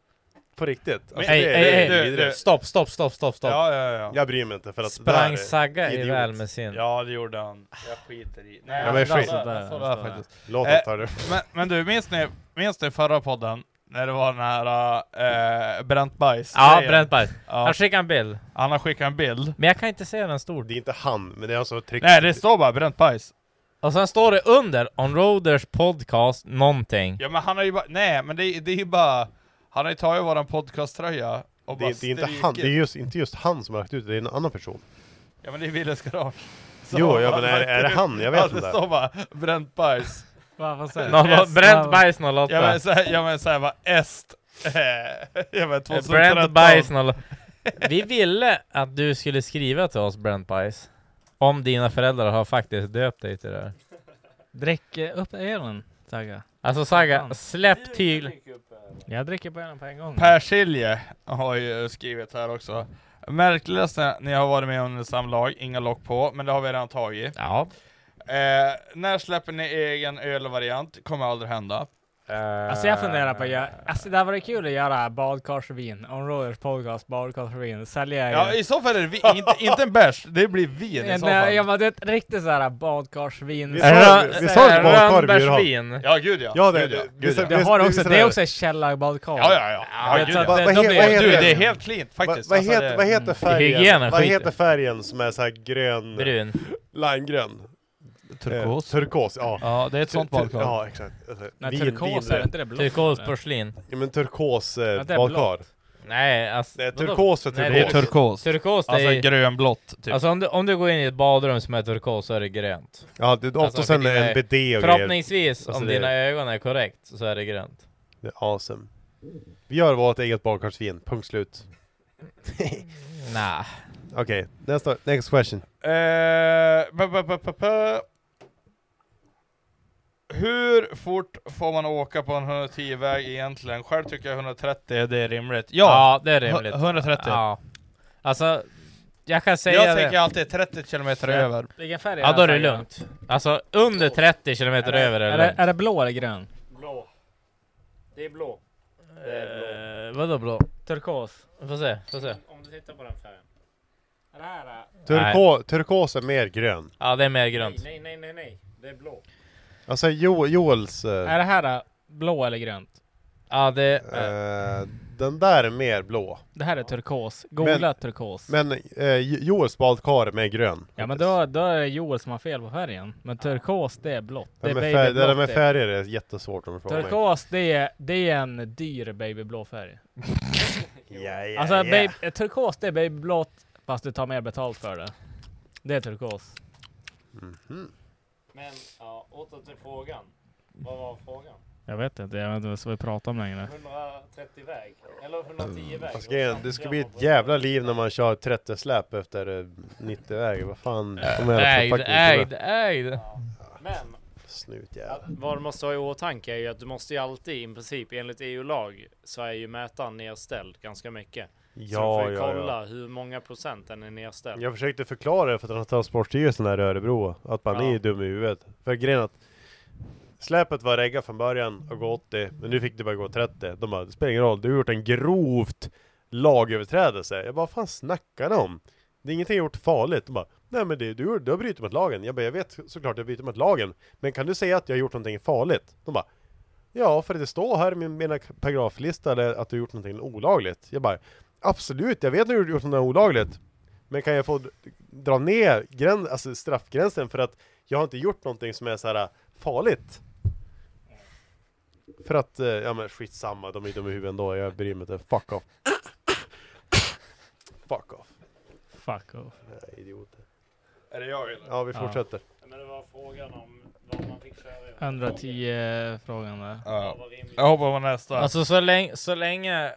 S3: På riktigt. Alltså,
S4: Men- Ey, ey, ey, du-
S3: vidrigt.
S4: du- stopp, stopp, stopp, stopp, stopp.
S1: Ja, ja, ja.
S3: Jag bryr mig inte för att det där
S4: Sprang
S3: är
S4: Sagga
S3: idiot.
S4: iväl med sin...
S1: Ja, det gjorde han. Jag skiter i. Nej,
S3: Ja, men
S4: alltså,
S1: jag
S3: skit.
S1: såg det- jag såg det här faktiskt.
S3: Låt
S1: Eh,
S3: han ta det.
S1: Men, men du, minns ni, minns ni förra podden? När det var den här äh, bränt bajs
S4: Ja,
S1: grejen?
S4: bränt bajs.
S1: Ja.
S4: Han skickade en bild.
S1: Han har skickat en bild.
S4: Men jag kan inte se den stor.
S3: Det är inte han, men det är alltså tryckt.
S1: Nej, det står bara bränt bajs.
S4: Och sen står det under, On Roaders podcast, någonting.
S1: Ja men han har ju bara, nej men det, det är ju bara, han har ju tagit våran podcasttröja och
S3: Det
S1: bara
S3: är, det är inte
S1: strukit.
S3: han, det är just, inte just han som har lagt ut det, det är en annan person.
S1: Ja men det är Willes garage.
S3: Jo, ja,
S1: han
S3: men är-
S1: lagt
S3: är det
S1: ut-
S3: han? Jag vet
S1: Ja,
S3: inte.
S1: Det står bara bränt bajs.
S2: Va, vad säger
S4: Noll- bränt bajs 08.
S1: Ja men såhär, ja, men, så här, bara est. eh, Ja men 2013.
S4: Brent Bice 08. Vi ville att du skulle skriva till oss, Brent Bice. Om dina föräldrar har faktiskt döpt dig till det här.
S2: Drick eh, upp ölen, Sagga.
S4: Alltså Saga,
S2: Fan.
S4: släpp till...
S2: Jag dricker på ölen på en gång.
S1: Per Silje har ju skrivit här också. Märkligaste ni har varit med om under samlag, inga lock på, men det har vi redan tagit.
S4: Ja.
S1: Eh, när släpper ni egen ölvariant? Kommer aldrig hända.
S2: Alltså jag funderar på att
S1: Eh.
S2: göra, alltså det hade varit kul att göra badkarsvin, On Roaders podcast badkarsvin, sälja
S1: Ja i så fall är det vi, inte, inte en bärs, det blir vin i
S2: en,
S1: så fall.
S2: jag bara, det är ett riktigt såhär badkarsvin.
S3: Vi sa- Rö- vi sa ett badkar vi vill ha.
S4: Rönnbärsvin.
S1: Ja gud ja.
S3: Ja, det-
S1: gud, ja.
S3: vi- vi-
S2: Det, har
S3: vi-
S2: också,
S3: vi-
S2: det är också ett källarbadkar.
S1: Ja, ja, ja. Ja,
S2: Jag
S1: gud,
S2: tror att
S1: ja.
S2: det-
S3: Vad-
S2: då
S3: vad
S2: blir-
S3: heter-
S1: Du det är helt cleant
S3: Vad,
S1: faktiskt.
S3: vad,
S1: Alltså,
S3: heter,
S1: det-
S3: vad
S2: Mm.
S3: heter färgen?
S4: Hygien är
S3: vad
S4: skiten.
S3: heter färgen som är så här grön?
S4: Brun.
S3: Limegrön?
S1: Turkos.
S3: Eh, turkos, ja.
S1: Ja, det är ett sånt
S3: Tur- tur-
S1: badkar.
S3: Ja, exakt. Alltså,
S2: Nej,
S3: vin-
S2: turkos,
S3: vin-
S2: är det inte det blått?
S4: Turkosporslin.
S3: Ja, men turkos
S2: Ja,
S3: eh,
S2: det är
S3: badkar.
S4: Nej, alltså...
S3: Det är
S4: vadå?
S3: turkos för
S4: Nej,
S3: turkos.
S1: Det är turkos.
S4: Turkos, det
S1: typ Alltså
S4: är...
S1: grönblått typ.
S4: Alltså om du, om du går in i ett badrum som är turkos så är det grönt.
S3: Ja, det är
S4: Alltså,
S3: ofta
S4: för
S3: sen
S4: dina-
S3: en BD och grejer.
S4: Förhoppningsvis,
S3: Alltså,
S4: om
S3: det-
S4: dina ögon är korrekt, så är det grönt.
S3: Det är awesome. Vi gör vårt eget badkarsvin, punkt slut.
S4: Nah.
S3: Okej, nästa, next question.
S1: Eh, bu- bu- bu- bu- bu. Hur fort får man åka på en 110-väg egentligen? Själv tycker jag 130 det är rimligt. Ja,
S4: Ja, det är rimligt.
S1: hu- 130.
S4: Ja. Alltså, jag kan säga
S1: jag
S4: det.
S1: tänker alltid 30 kilometer
S4: Ja.
S1: över.
S2: Vilken färg
S4: Ja, då är det
S2: Sagga?
S4: lugnt. Alltså, under 30 kilometer över
S2: Är
S4: är det
S2: det,
S4: lugnt.
S2: är det blå eller grön?
S5: Blå. Det är blå.
S4: Eh, Vadå blå?
S2: Turkos.
S4: Får se, får se.
S5: Om du tittar på den färgen. Är det här? äh,
S3: Turko, turkos är mer grön.
S4: Ja, det är mer grönt.
S5: Nej, nej, nej, nej. Det är blå.
S3: Alltså jo, Joels... eh,
S2: Är det här äh, blå eller grönt?
S4: Ja, det...
S3: Eh, den där är mer blå.
S2: Det här är turkos. Googla
S3: Men-
S2: turkos.
S3: Men eh, Jo- Joels badkar är mer grön.
S2: ja men då, då är det Joel som har fel på färgen. Men turkos det är blått. Det
S3: Det,
S2: är
S3: med färg, det där
S2: babyblått
S3: med
S2: det.
S3: färger är jättesvårt om du frågar mig.
S2: Turkos det är, det är en dyr babyblå färg.
S3: Yeah,
S2: Alltså babe, turkos det är babyblått fast du tar mer betalt för det. Det är turkos. Mhm.
S5: Men ja, åter till frågan. Vad var frågan?
S2: Jag vet inte, jag vet inte vad vi pratar om längre.
S5: 130 väg? Eller 110 väg?
S3: Fast grejen, det ska bli ett jävla liv när man kör 30 släp efter eh, 90 väg. Vad fan? Kom igen,
S4: Ägd,
S3: fuck it.
S4: ägd, ägd.
S5: Men
S3: Snut
S5: att,
S3: jävlar.
S5: vad du måste ha i åtanke är E ju att du måste ju alltid i princip enligt EU-lag så är ju mätaren nedställd ganska mycket. så de får ju
S3: ja,
S5: kolla hur många procent den är nedställd.
S3: Jag försökte förklara det för att Transportstyrelsen här i Örebro, att man
S5: Ja.
S3: är dum i huvudet. För grejen är att släpet var reggat från början och gå 80, men nu fick det bara gå 30. De bara, det spelar ingen roll, du har gjort en grovt lagöverträdelse. Jag bara, vad fan snackar de om? Det är ingenting jag gjort farligt. De bara, nej men det, du, du har brutit mot lagen. Jag bara, jag vet såklart jag har brutit mot lagen, men kan du säga att jag har gjort någonting farligt? De bara, Ja, för det står här i min mina paragraflista eller att du gjort någonting olagligt. Jag bara, absolut, jag vet att du har gjort något olagligt. Men kan jag få d- dra ner gräns, alltså straffgränsen för att jag har inte gjort någonting som är så här farligt? För att, eh, ja men skitsamma, de är dumma i huvudet ändå, jag bryr mig inte, fuck off. fuck off.
S2: Fuck off.
S3: Idioter.
S1: Är det jag eller?
S3: Ja, vi fortsätter.
S5: Men det var frågan om vad man fick köra i.
S2: 110 frågan där.
S1: Ja. Jag hoppar på nästa.
S4: Alltså så länge, så länge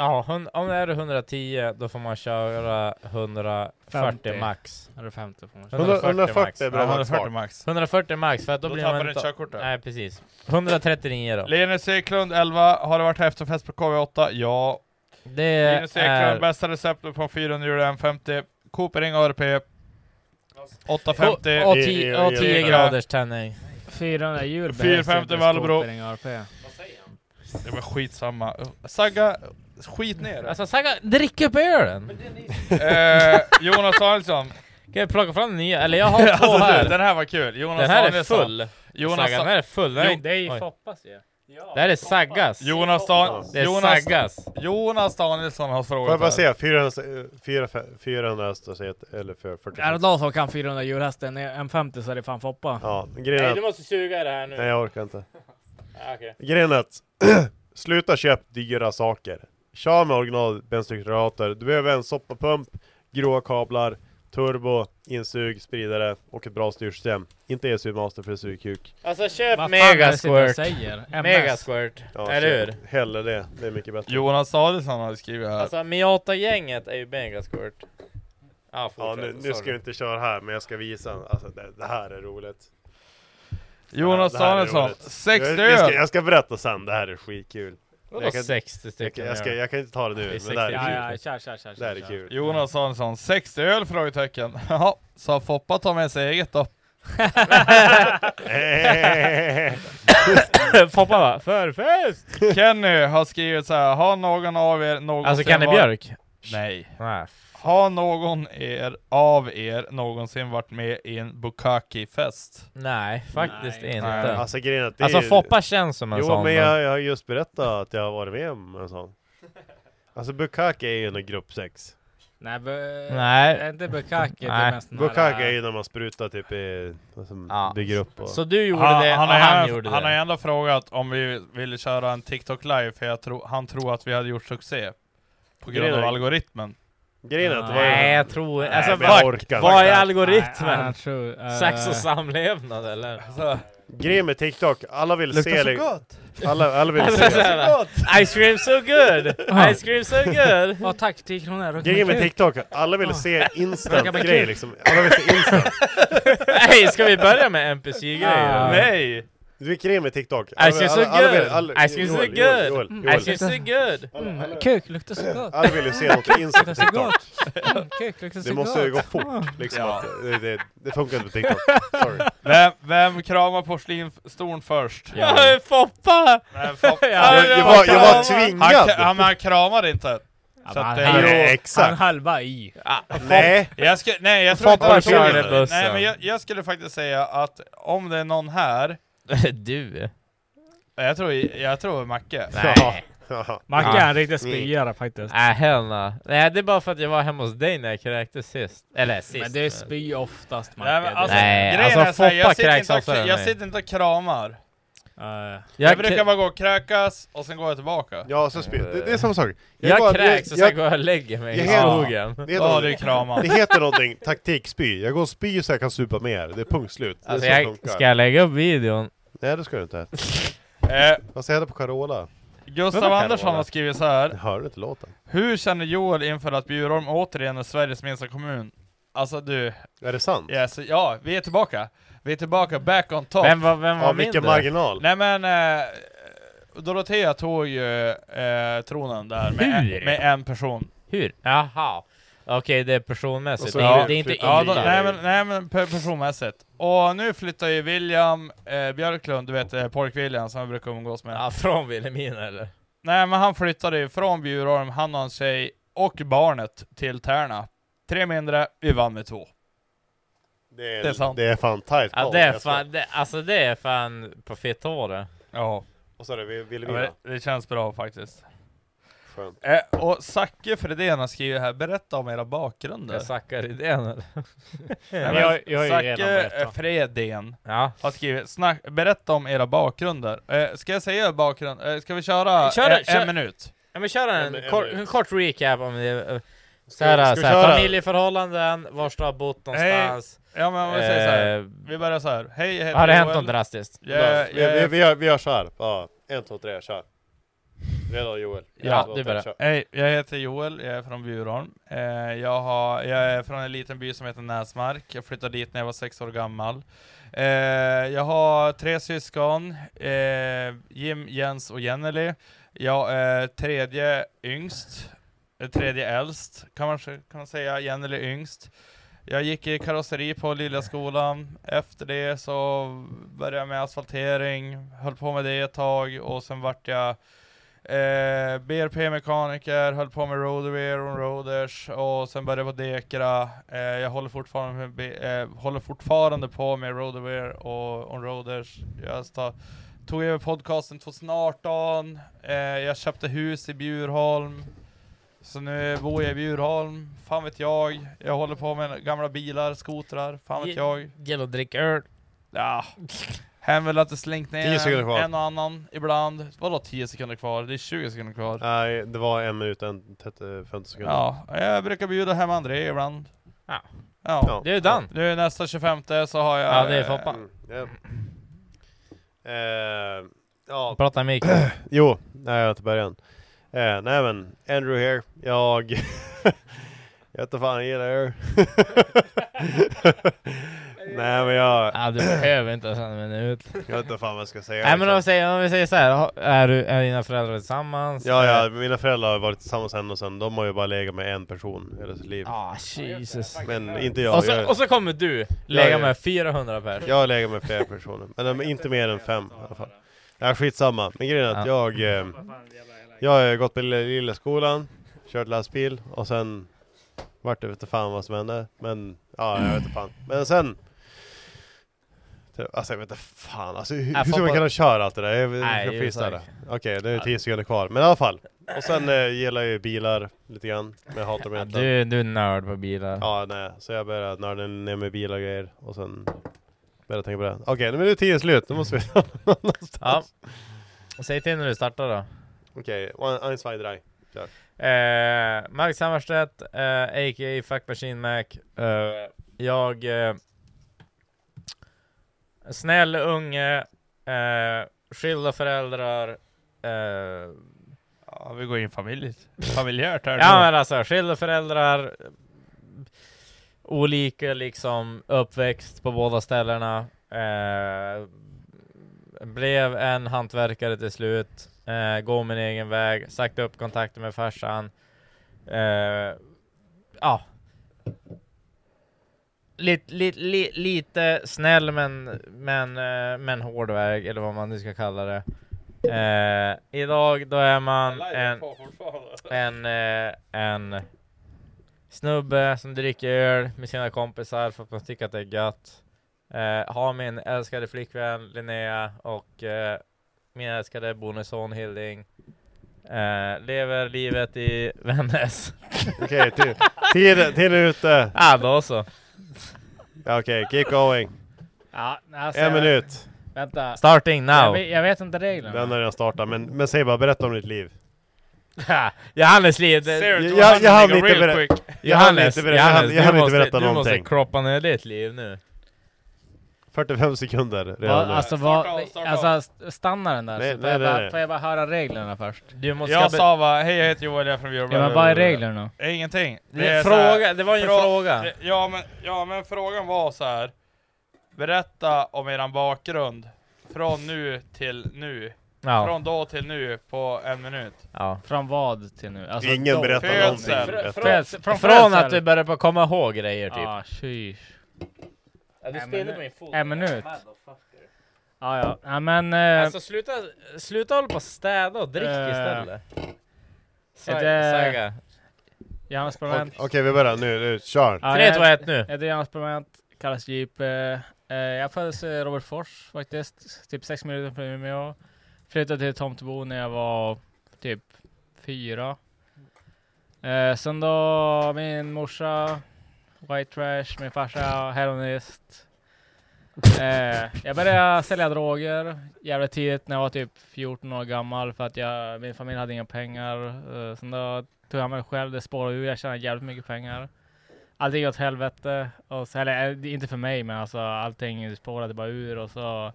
S4: Ja, hun, om det är 110 då får man köra 140
S2: 50.
S4: max.
S2: Eller 50 får man köra.
S4: 140,
S3: 140 är
S4: max.
S3: bra 140
S1: max.
S4: 140 max för att då,
S1: Då
S4: blir
S1: tappar
S4: man
S1: du
S4: inte-
S1: körkortet.
S4: Nej precis. 139 då.
S1: Linus Eklund 11, har det varit efterfest på KV8? Ja.
S4: Det
S1: Linus Eklund,
S4: är-
S1: bästa receptet på 400 euro 150. Cooper Ring ARP. 850.
S4: Och- och ti- och 10 graders tändning.
S2: 400 hjul
S1: 450 Valbro.
S2: Vad
S1: Det var skitsamma. Sagga, skit ner
S4: Alltså Saga, drick upp ölen!
S1: eh, Jonas Danielsson.
S4: Kan jag plocka fram den nya? Eller jag har två
S1: Alltså, du,
S4: här.
S1: Den här var kul. Jonas
S4: Den här är
S1: Danielsson.
S4: full.
S1: Jonas
S4: Saga, den här är full. Den är-
S1: Jo-
S4: det är ju oj. Foppas ju. Det här är Saggas.
S1: Jonas, Dan
S4: Det är
S1: Jonas,
S4: Saggas.
S1: Jonas Danielsson har
S3: Får jag
S1: frågat
S3: bara
S1: här.
S3: säga, 400, 400, 400 hästar, säger jag, eller 440.
S2: Är det någon som kan 400 hjulhästen i en 50 så är det fan Foppa.
S3: Ja, grejen är att-
S4: måste suga i det här nu.
S3: Nej jag orkar inte.
S4: Ah, okej.
S3: Grejen är att sluta köpa dyra saker. Kör med original bensinradiator. Du behöver en soppapump, gråa kablar, turbo, insug, spridare och ett bra styrsystem. Inte ECU Master för det suger kuk.
S4: Alltså köp
S2: Vad fan är det som jag
S4: Megasquirt.
S2: säger? MS.
S4: Megasquirt.
S3: Ja,
S4: Eller
S3: kör.
S4: hur?
S3: Hellre det, det är mycket bättre.
S1: Jonas Danielsson har skrivit här.
S4: Alltså Miata-gänget är ju Megasquirt. Ah,
S3: Ja, nu, nu ska vi inte köra här, men jag ska visa. Alltså, det, det här är roligt.
S1: Jonas
S3: Det här är
S1: Danielsson,
S3: roligt.
S1: 60
S3: jag, jag, ska,
S1: öl!
S3: jag ska berätta sen, det här är skitkul.
S4: Vadå
S3: Jag kan-
S4: 60 stycken
S3: Jag, jag, ska, jag kan inte ta det nu,
S4: Det är
S3: men det här
S4: 60.
S3: är
S2: Ja,
S3: kul.
S2: ja, kör, kör, kör.
S3: Det här är
S2: kör.
S3: kul.
S1: Jonas Danielsson, 60 öl? Frågetecken. Jaha, så Foppa tar med sig eget då?
S4: Foppa va? Förfest!
S1: Kenny har skrivit så här, har någon av er någonsin
S4: Alltså Kenny
S1: varit-
S4: Björk? Ah,
S1: Nej.
S4: Nej.
S1: Har någon er, av er någonsin varit med i en Bukaki-fest?
S4: Nej, faktiskt
S1: Nej.
S4: inte.
S1: Nej.
S3: Alltså grejen är att det
S4: Alltså
S3: är ju-
S4: Foppa känns som en
S3: jo,
S4: sån.
S3: men jag, jag har just berättat att jag har varit med om en sån. Alltså Bukake är ju någon grupp sex.
S2: Nej, bu-
S4: Nej.
S2: det är inte Bukaki. Det
S4: Nej.
S2: är mest den här-
S3: Bukake är ju när man sprutar typ i, alltså, bygger upp och...
S4: Så du gjorde
S1: Han,
S4: det
S1: han,
S4: och
S1: har
S4: han
S1: gärna-
S4: gjorde
S1: han har
S4: det.
S1: ändå frågat om vi ville köra en TikTok live, för jag tror- han tror att vi hade gjort succé. På grund
S3: Grejen
S1: av
S3: är-
S1: algoritmen.
S3: Grejen är att det var ju-
S4: Nej jag tror
S3: Nej,
S4: Alltså
S3: men jag
S4: fuck,
S3: orkar
S4: vad är
S3: faktiskt.
S2: Nej,
S4: algoritmen?
S2: jag tror, eh,
S4: Sex och samlevnad eller? Alltså,
S3: Grejen med TikTok, alla vill
S1: Luktar
S3: se...
S1: så
S3: li-
S1: gott.
S3: Alla, alla vill
S4: Alltså, så
S3: se...
S4: här, Ice cream so good! Ice cream so good!
S2: Ja, tack, 10 kronor. Röker
S3: Grejen
S2: man
S3: med
S2: kuk?
S3: TikTok, alla vill se instant grejer liksom. Alla vill se instant.
S4: Nej, ska vi börja med
S3: Ah.
S4: NPC-grejer?
S1: Nej!
S3: Du är grejen med TikTok.
S4: Ice cream so
S3: alla vill-
S4: good!
S3: alla-
S4: Ice cream so
S3: Joel, Joel, Joel,
S4: good!
S3: Joel.
S4: Ice cream so good!
S2: Mm, kuk luktar så gott.
S3: Alla vill ju se något instant på
S2: Luktar så
S3: TikTok.
S2: gott. Mm, kuk luktar så
S3: Det
S2: gott.
S3: måste ju gå
S1: Mm.
S3: fort liksom.
S1: Ja.
S3: att Det, det, det funkar inte på TikTok. Sorry.
S1: Vem, vem kramar porslinstorn först?
S4: Ja, Foppa!
S1: Nej, Foppa-
S3: Jag, jag, var, jag var tvingad!
S1: Han, han, han kramade inte. Så att,
S2: han-
S1: eh,
S2: han-
S3: Jo,
S2: Han
S3: exakt!
S2: halva i.
S3: Nej!
S1: Jag skulle, nej jag tror inte
S4: Foppa
S1: jag tror
S4: körde
S1: det.
S4: bussen.
S1: Nej men jag, jag skulle faktiskt säga att om det är någon här,
S4: Du?
S1: jag tror, jag tror Macke.
S3: Nej.
S2: Macke
S4: Ja.
S2: är en riktig spyare faktiskt.
S4: Ah. Nej, hell no. Nej, det är bara för att jag var hemma hos dig när jag kräktes sist. Eller sist.
S2: Men det är spy oftast Macke.
S1: Nej, men alltså,
S4: Nej,
S1: grejen
S4: alltså,
S1: är så här, jag,
S4: Foppa
S1: sitter
S4: kräks
S1: inte och,
S4: oftare än
S1: jag
S4: mig.
S1: sitter inte och kramar.
S2: Eh,
S1: Jag,
S4: Jag krä-
S1: brukar bara gå och kräkas, och sen går jag tillbaka.
S3: Ja, så spe- det, det är samma sak.
S4: Jag,
S3: går-
S4: kräks och
S3: jag-
S4: sen går jag och lägger mig
S3: jag
S4: i
S3: helt-
S4: skogen.
S3: Det heter,
S1: Ja, det är
S3: någonting-
S1: kramar.
S3: det heter någonting, taktikspy. Jag går och spyr så jag kan supa mer. Det är punkt slut. Det är
S4: Alltså,
S3: så det
S4: jag,
S3: funkar.
S4: ska jag lägga upp videon?
S3: Nej det ska du inte.
S1: Eh,
S3: Vad säger du på Carola?
S1: Gustav
S4: Vadå
S1: Andersson
S4: Carola?
S1: har skrivit så här.
S3: Jag hörde inte låten.
S1: Hur känner Joel inför att Bjurholm återigen är Sveriges minsta kommun? Alltså du,
S3: Är det sant?
S1: yes, ja, vi är tillbaka. Vi är tillbaka, back on top.
S4: Vem var, vem var
S3: Ja,
S4: mindre?
S3: vilken marginal.
S1: Nej men, eh, Dorotea tog ju eh, tronen där med,
S4: Hur?
S1: en- med en person.
S4: Hur? Jaha. Okej, det är personmässigt. Alltså, Det
S1: ja,
S4: är, det är inte
S1: ja, då,
S4: illa.
S1: nej, men, nej men per- personmässigt. Och nu flyttar ju William eh, Björklund, du vet eh, Pojk-William som jag brukar umgås med.
S4: Ja, från Vilhelmina eller?
S1: Nej men han flyttade ju från Bjurholm, han och en tjej och barnet till Tärna. Tre mindre, vi vann med två.
S3: Det
S1: Det är sant.
S3: Det är fan tight
S4: Ja,
S3: call,
S4: det är
S3: jag ska-
S4: fan, det, alltså det är fan på fett hår det.
S1: Ja.
S3: Och så är det Vil-
S1: Ja,
S3: Vilhelmina.
S1: men det, det känns bra faktiskt.
S3: Skönt.
S1: Eh, och Zacke Fredén har skrivit här, berätta om era bakgrunder.
S4: Är Zacke Fredén, eller?
S1: Nej, men
S4: Jag- jag har ju
S1: Zacke
S4: redan berättat.
S1: Fredén
S4: ja.
S1: har skrivit, snack, berätta om era bakgrunder. Eh, ska jag säga bakgrund? Eh, ska vi köra
S4: Kör
S1: eh,
S4: den, kör-
S1: en minut?
S4: Ja men kör en,
S1: En- en
S4: kort,
S1: minut.
S4: en kort recap om det. eh, Så
S1: Ska-
S4: här,
S1: ska
S4: så
S1: vi köra?
S4: här familjeförhållanden, vars du har bott någonstans. Eh,
S1: Hej. Ja men om vi säger så här. vi börjar så här. Hej, jag heter
S4: Har det hänt
S1: Joel.
S4: något drastiskt?
S1: Jag- jag-
S3: vi, vi, vi, gör, vi gör så här. Ja, en, två, tre, kör. Redo Joel. En,
S1: Ja,
S3: två,
S1: du
S3: tre,
S1: börjar.
S3: kör.
S1: Hej, jag heter Joel, jag är från Bjurholm. Eh, jag, har, jag är från en liten by som heter Näsmark. Jag flyttade dit när jag var sex år gammal. Eh, jag har tre syskon, eh, Jim, Jens och Jenneli. Jag är tredje yngst, eh, tredje äldst kan man, kan man säga, Jenneli yngst. Jag gick i karosseri på Lilla skolan. Efter det så började jag med asfaltering, höll på med det ett tag och sen vart jag Eh, BRP-mekaniker, höll på med Roadwear och Roaders och sen började jag på Dekra. Eh, jag håller fortfarande, med, B- eh, håller fortfarande på med Roadwear och on Roaders. Jag sta- tog över podcasten 2018, eh, jag köpte hus i Bjurholm. Så nu bor jag i Bjurholm, fan vet jag. Jag håller på med gamla bilar, skotrar, fan vet
S4: Ge-
S1: jag.
S4: Gäller att dricka öl.
S1: Ja. Händer väl att det slängt ner
S3: Tio sekunder
S1: en,
S3: kvar.
S1: en och annan Mm, ibland. Vadå 10 sekunder kvar? Det är 20 sekunder kvar.
S3: Nej, det var en minut, en, 30, 50 sekunder.
S1: Ja, eh, jag brukar bjuda hem André ibland.
S4: Ja.
S1: Ja.
S4: Det är Dan.
S1: Nu nästa 25 så har jag...
S4: Ja, det är Foppa.
S1: eh,
S3: Mm, Ja. Eh, ja.
S4: Prata med Mikael.
S3: Jo, nej jag har inte början. Eh, nej men, Andrew here. Jag... jag vet inte fan, jag gillar er. nej men jag...
S4: Ja, du behöver inte ens en minut.
S3: jag vet inte fan vad jag ska säga.
S4: Nej men om vi
S3: liksom.
S4: säger, om vi säger så här, har- är, du, är dina föräldrar tillsammans?
S3: Ja, ja,
S4: Eh,
S3: mina föräldrar har varit tillsammans sen och sen, de har ju bara legat med en person hela sitt liv.
S4: Ah, Jesus.
S3: Men inte jag.
S4: Och så,
S3: jag
S4: och så kommer du lägga med 400 pers.
S3: Jag har legat med flera personer, men de är inte mer än fem i alla fall. Ja, skitsamma. Men grejen är att jag... Eh, jag har gått på lilla, lilla skolan, kört lastbil och sen vart det vet inte fan vad som hände. Men ja, jag vet inte fan. Men sen... Alltså jag vet inte fan, alltså, hur,
S4: Äh,
S3: hur ska man
S4: Foppa-
S3: kunna köra allt det där? Jag,
S4: Nej,
S3: Nej,
S4: det
S3: jag
S4: är ju
S3: freestyla.
S4: säkert.
S3: Okej, det är tio sekunder kvar. Men i alla fall. Och sen eh, gillar jag ju bilar lite grann. Men jag hatar dem egentligen.
S4: Du, du är nörd på bilar.
S3: Ja, nej. Så jag började nörda ner med bilar och grejer. Och sen började tänka på det. Okej, nu är det tiden slut. Nu måste vi
S4: Ja.
S3: någonstans.
S4: Säg till när du startar då.
S3: Okej, okay, eins, zwei, drei. Kör.
S4: Eh, Marcus Hammarstedt, eh, a.k.a. Fuck Machine Mac. Eh, jag... Eh, snäll unge, eh, skilda föräldrar. Eh,
S1: Ja, vi går in familjet. familjärt här
S4: ja
S1: nu.
S4: men alltså, skilda föräldrar. eh, Olika liksom uppväxt på båda ställena. Eh, blev en hantverkare till slut. Eh, går min egen väg. Sagt upp kontakten med farsan. Eh, ja. Lite, lite, li, lite snäll men, men, eh, men hård väg, eller vad man nu ska kalla det. Eh, idag då är man en, en, eh, en snubbe som dricker öl med sina kompisar för att man tycker att det är gött. Eh, har min älskade flickvän Linnea och eh, min älskade bonusson Hilding. Eh, lever livet i Vännäs.
S3: Okej, ti- tiden- tiden är ute.
S4: Ja, då så.
S3: Ja, Okej, keep going.
S2: Ja, alltså,
S3: en minut.
S2: Vänta.
S4: Starting now.
S2: Jag, vet- jag vet inte
S3: Den
S2: reglerna.
S3: har redan startat, men, men säg bara, berätta om ditt liv.
S4: Johannes eh, liv. det-
S1: Zero to
S3: Jag- jag
S1: hundred,
S3: hann
S1: nigga,
S3: inte
S1: real
S3: berä-
S1: quick.
S3: Jag hann inte berä- jag hann- jag
S4: du
S3: hann inte
S4: måste-
S3: berätta
S4: Du
S3: någonting.
S4: måste kroppa ner ditt liv nu.
S3: 45 sekunder redan
S2: Vad-
S3: nu.
S2: alltså, vad, alltså st- stanna den där.
S3: Nej,
S2: så
S3: nej,
S2: får,
S3: nej,
S2: jag
S3: nej.
S2: bara, får jag bara höra reglerna först?
S4: Du måste
S1: Jag sa va, hej jag heter Joel, jag är från Bjurholm.
S2: Ja, men vad är reglerna?
S1: Eh, Ingenting.
S4: Det är
S1: så här-
S4: fråga- det var ju en
S1: frå-
S4: fråga.
S1: eh, Ja men, ja men frågan var så här. Berätta om eran bakgrund. Från nu till nu.
S4: Ja.
S1: Från då till nu på en minut.
S4: Ja.
S2: Från vad till nu? Alltså,
S1: Ingen
S2: då-
S1: berättar Födsel. någonting. Fr-
S4: Från,
S1: Från-
S4: från,
S1: från
S4: att
S2: födsel.
S4: du börjar på komma ihåg grejer typ.
S2: Ah, sheesh.
S4: Ja, du
S2: En
S4: spelade
S2: minu-
S4: på min fot.
S2: En minut.
S4: Motherfucker.
S2: Ja, ja. ja men... Eh,
S4: Alltså sluta, sluta hålla på och städa och drick
S2: Eh,
S4: istället.
S2: är
S4: Saga.
S2: det-
S4: Saga.
S2: Jannes permanent.
S3: Okej, vi börjar nu, nu kör!
S2: Ja,
S4: Tre,
S2: jag-
S4: två, ett, nu.
S2: Jag heter Jannes permanent, kallas Jeep. Eh, eh, jag föddes i Robertsfors faktiskt, typ sex minuter från Umeå. Flyttade till Tomtebo när jag var typ fyra. Eh, sen då, min morsa, white trash, min farsa, heroinist. Eh, jag började sälja droger jävligt tidigt när jag var typ 14 år gammal för att jag, min familj hade inga pengar. Eh, sen då tog jag mig själv, det spårade ur, jag tjänade jävligt mycket pengar. Allting gick åt helvete. Och så, eller eh, det- inte för mig, men alltså allting spårade bara ur och så...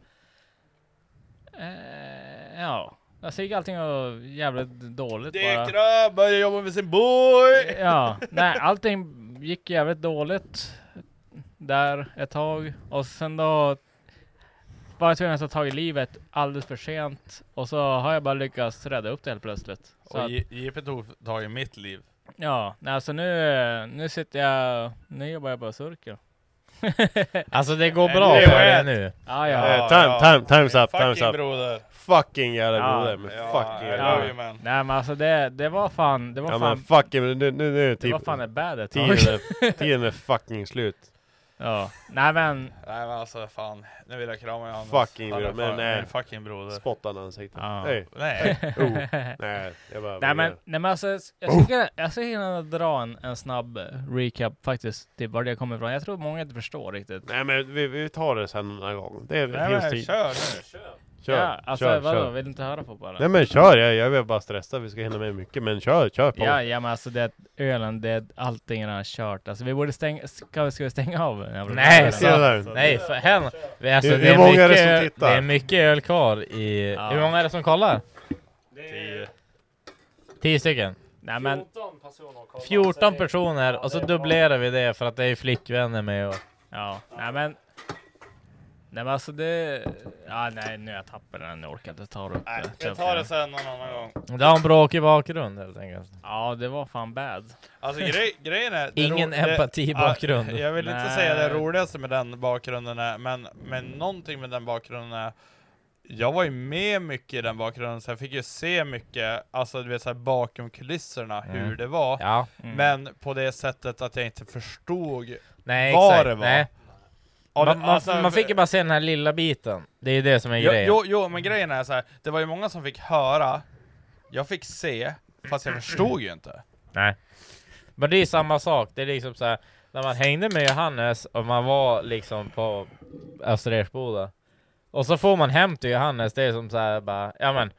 S2: Eh, ja, alltså gick allting åt jävligt dåligt bara.
S1: Grabbar, börjar jobba med sin boy!
S2: Ja, nej, allting gick jävligt dåligt där ett tag och sen då var jag tvungen att ta tag i livet alldeles för sent och så har jag bara lyckats rädda upp det helt plötsligt. Så
S1: Och
S2: att,
S1: J- JP tog tag i mitt liv.
S2: ja, nej, alltså nu, nu sitter jag, nu jobbar jag på Surkel.
S4: Alltså det går bra för dig nu.
S2: Ja, ja.
S3: Eh, time, time, time's up,
S1: Fucking
S3: time's up.
S1: broder.
S3: Fucking jävla broder, men fucking
S1: I
S3: jävla
S1: love you
S3: broder.
S1: man.
S2: Nej men alltså det, det var fan, det var
S3: Ja men
S2: fan
S3: fucking, nu, nu, nu, nu typ
S2: var fan ett bad ett tag.
S3: tiden, är, tiden är fucking slut.
S2: Ja, nej men
S1: Nej men alltså fan, nu vill jag krama Johannes.
S3: Fucking
S1: Han är
S3: broder, men
S1: fan-
S3: nej.
S1: Fucking broder.
S3: Spottan i ansiktet.
S2: Ja.
S3: Nej.
S1: Nej.
S3: Oh. Nej, jag bara...
S2: Nej men, nej, men alltså,
S3: Oh.
S2: jag skulle kunna, jag skulle hinna dra en, en snabb eh, recap faktiskt, till var det jag kommer ifrån. Jag tror många inte förstår riktigt.
S3: Nej men vi, vi tar det sen någon gång. Det
S1: Nej,
S3: finns
S1: men
S3: tid.
S1: kör nu. Kör.
S3: Kör,
S2: ja, alltså
S3: kör,
S2: vadå,
S3: kör.
S2: vill du inte höra på bara?
S3: Nej men kör, jag, jag är bara stressad, vi ska hinna med mycket. Men kör, kör på.
S2: Ja, ja men alltså det att ölen, det är allting är redan kört. Alltså vi borde stänga, ska, vi- ska vi stänga av? den jävla ölen?
S4: Nej,
S3: Tjena.
S1: Alltså,
S4: så, nej för hen, vi- alltså,
S3: Hur-
S4: det,
S3: hur
S4: är
S3: många
S4: mycket,
S3: är det som tittar?
S4: det är mycket öl kvar i...
S2: Ja.
S4: Hur många är det som kollar?
S1: Tio.
S4: Tio stycken?
S2: Nej men,
S5: 14 personer kollar, så
S4: 14
S5: det-
S4: personer och så dubblerar vi det för att det är flickvänner med och...
S2: ja, nej men. Nej men alltså det, ja nej nu har jag tappat den, jag orkar inte ta upp det.
S1: Jag tar det sen någon annan gång.
S4: Det har en bråkig bakgrund helt enkelt.
S2: Ja det var fan bad.
S1: Alltså grej, grejen är... det
S4: Ingen
S1: ro- det-
S4: empatibakgrund.
S1: Ja, Jag vill inte
S2: Nej.
S1: säga det roligaste med den bakgrunden är, men, men någonting med den bakgrunden är jag var ju med mycket i den bakgrunden, så jag fick ju se mycket, alltså du vet såhär bakom kulisserna,
S4: Mm.
S1: hur det var.
S4: Ja.
S1: Men på det sättet att jag inte förstod
S4: Nej
S1: vad
S4: exakt,
S1: det var.
S4: nej.
S1: Ja,
S4: Man,
S1: det-
S4: man,
S1: alltså,
S4: man fick ju bara se den här lilla biten. Det är ju det som är
S1: Jo,
S4: grejen.
S1: jo, jo, men grejen är så här. det var ju många som fick höra, jag fick se, fast jag förstod ju inte.
S4: Nej. Men det är samma sak, det är liksom så här. När man hängde med Johannes och man var liksom på Östra Ersboda Och så får man hem till Johannes, det är som så här bara, ja men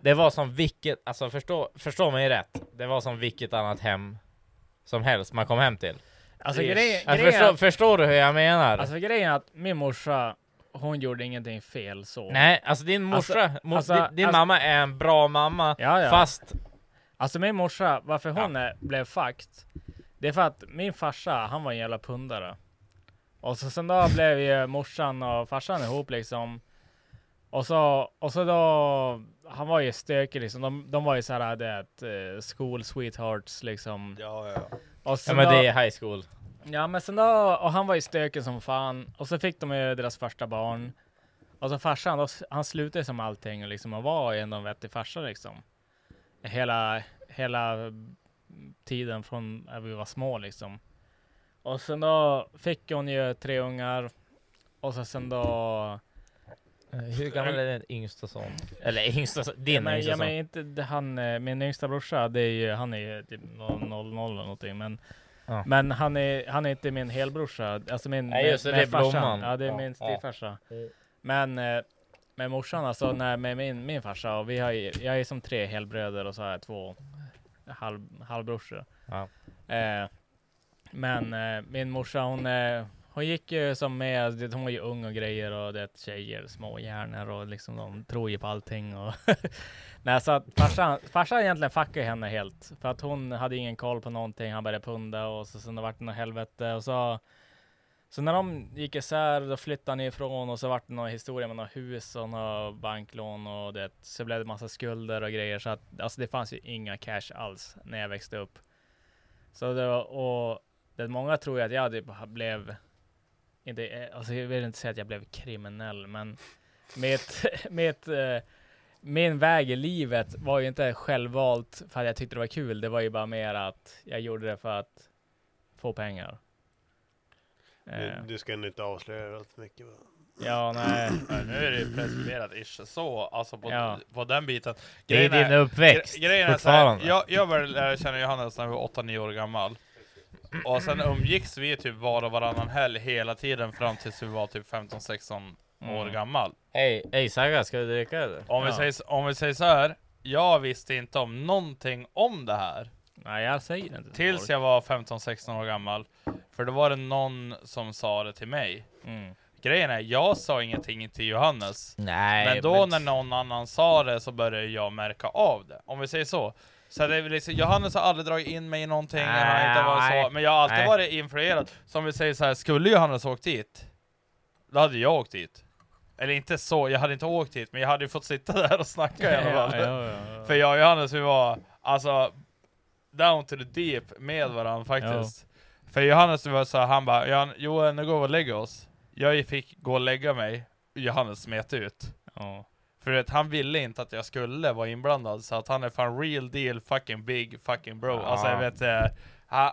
S4: Det var som vilket, alltså förstå, förstå mig rätt Det var som vilket annat hem som helst man kom hem till
S2: Alltså,
S4: Ish.
S2: grej-
S4: alltså,
S2: grejen-
S4: förstå, Förstår du hur jag menar?
S2: Alltså grejen är att min morsa, hon gjorde ingenting fel så.
S4: Nej, alltså din morsa,
S2: Alltså,
S4: mor,
S2: alltså,
S4: din, din
S2: alltså-
S4: mamma är en bra mamma,
S2: Ja, ja.
S4: fast
S2: Alltså min morsa, varför hon är, blev fakt Det är för att min farsa, han var en jävla pundare. Och så sen då blev ju morsan och farsan ihop liksom. Och så, och så då, han var ju stökig liksom. De, de var ju såhär, det att eh, school sweethearts liksom.
S1: Ja, ja.
S2: Och
S4: Ja
S2: sen
S4: men
S2: då-
S4: det är high school
S2: Ja men sen då, och han var ju stökig som fan. Och så fick de ju deras första barn. Och så farsan, då, han slutade som allting och liksom och var ändå en vettig farsa liksom. Hela, hela tiden från när vi var små liksom. Och sen då fick hon ju tre ungar. Och så sen då... eh,
S4: Hur gammal är din yngsta son? Eller yngsta son, din
S2: Ja, men,
S4: yngsta
S2: ja,
S4: son?
S2: men inte det- han, eh, min yngsta brorsa, det är ju, han är ju typ 00 eller någonting. Men,
S4: Ja.
S2: men han, är, han är inte min helbrorsa. Alltså min,
S4: Nej, just det,
S2: med
S4: det är
S2: farsan.
S4: blomman.
S2: Ja, det är
S4: Ja,
S2: min
S4: ja.
S2: styvfarsa. Men eh, med morsan alltså, nej, med min, min farsa, och vi har ju, jag är som tre helbröder och så har jag två halv, halvbrorsor.
S4: Ja.
S2: Eh, men eh, min morsa hon, eh, hon gick ju som med, det, hon var ju ung och grejer och det tjejer, små hjärnor och liksom de tror ju på allting och Nej så att farsan, farsan egentligen fuckade henne helt för att hon hade ingen koll på någonting, han började punda och så sen det vart det något helvete och så Så när de gick isär, då flyttade han ifrån och så vart det någon historia med några hus och några banklån och det. Så blev det massa skulder och grejer så att alltså det fanns ju inga cash alls när jag växte upp. Så det var, och det, många tror ju att jag typ blev, inte, alltså jag vill inte säga att jag blev kriminell, men mitt, mitt, eh, min väg i livet var ju inte självvalt för att jag tyckte det var kul. Det var ju bara mer att jag gjorde det för att få pengar. Eh,
S9: Du, du ska nog inte avslöja allt för mycket va?
S2: Ja, nej.
S1: Nej, nu är det ju preskriberat ish så, alltså på,
S2: Ja.
S1: på den biten.
S4: Det är din uppväxt,
S1: gre- grejen är så här,
S4: fortfarande.
S1: jag, jag började lära känna Johannes när jag var 8-9 år gammal. Och sen umgicks vi typ var och varannan helg hela tiden fram tills vi var typ 15-16 år
S4: Mm.
S1: gammal.
S4: Hej, hej Saga, ska du dricka eller?
S1: Om, vi
S4: Ja.
S1: säger, s- om vi säger så här, jag visste inte om någonting om det här.
S2: Nej, jag säger inte
S1: Tills jag var 15-16 år gammal. För då var det någon som sa det till mig.
S2: Mm.
S1: Grejen är, jag sa ingenting till Johannes.
S4: Nej,
S1: men då
S4: men-
S1: när någon annan sa det så började jag märka av det. Om vi säger så. Så det är väl liksom, Johannes har aldrig dragit in mig i någonting, han har inte varit
S4: Nej.
S1: så, men jag har alltid
S4: Nej.
S1: varit influerad. Som vi säger så här, skulle Johannes åkt dit, då hade jag åkt dit. Eller inte så, jag hade inte åkt dit, men jag hade ju fått sitta där och snacka i alla
S2: Ja,
S1: fall.
S2: ja, ja, ja.
S1: För jag och Johannes, vi var alltså down to the deep med varandra faktiskt. För Johannes var så här, han bara, "Johan- Johan nu går vi och lägger oss. Jag fick gå och lägga mig, Johannes smet ut. För att han ville inte att jag skulle vara inblandad, så att han är fan real deal fucking big fucking bro. Alltså jag
S4: Ja.
S1: vet, eh, han,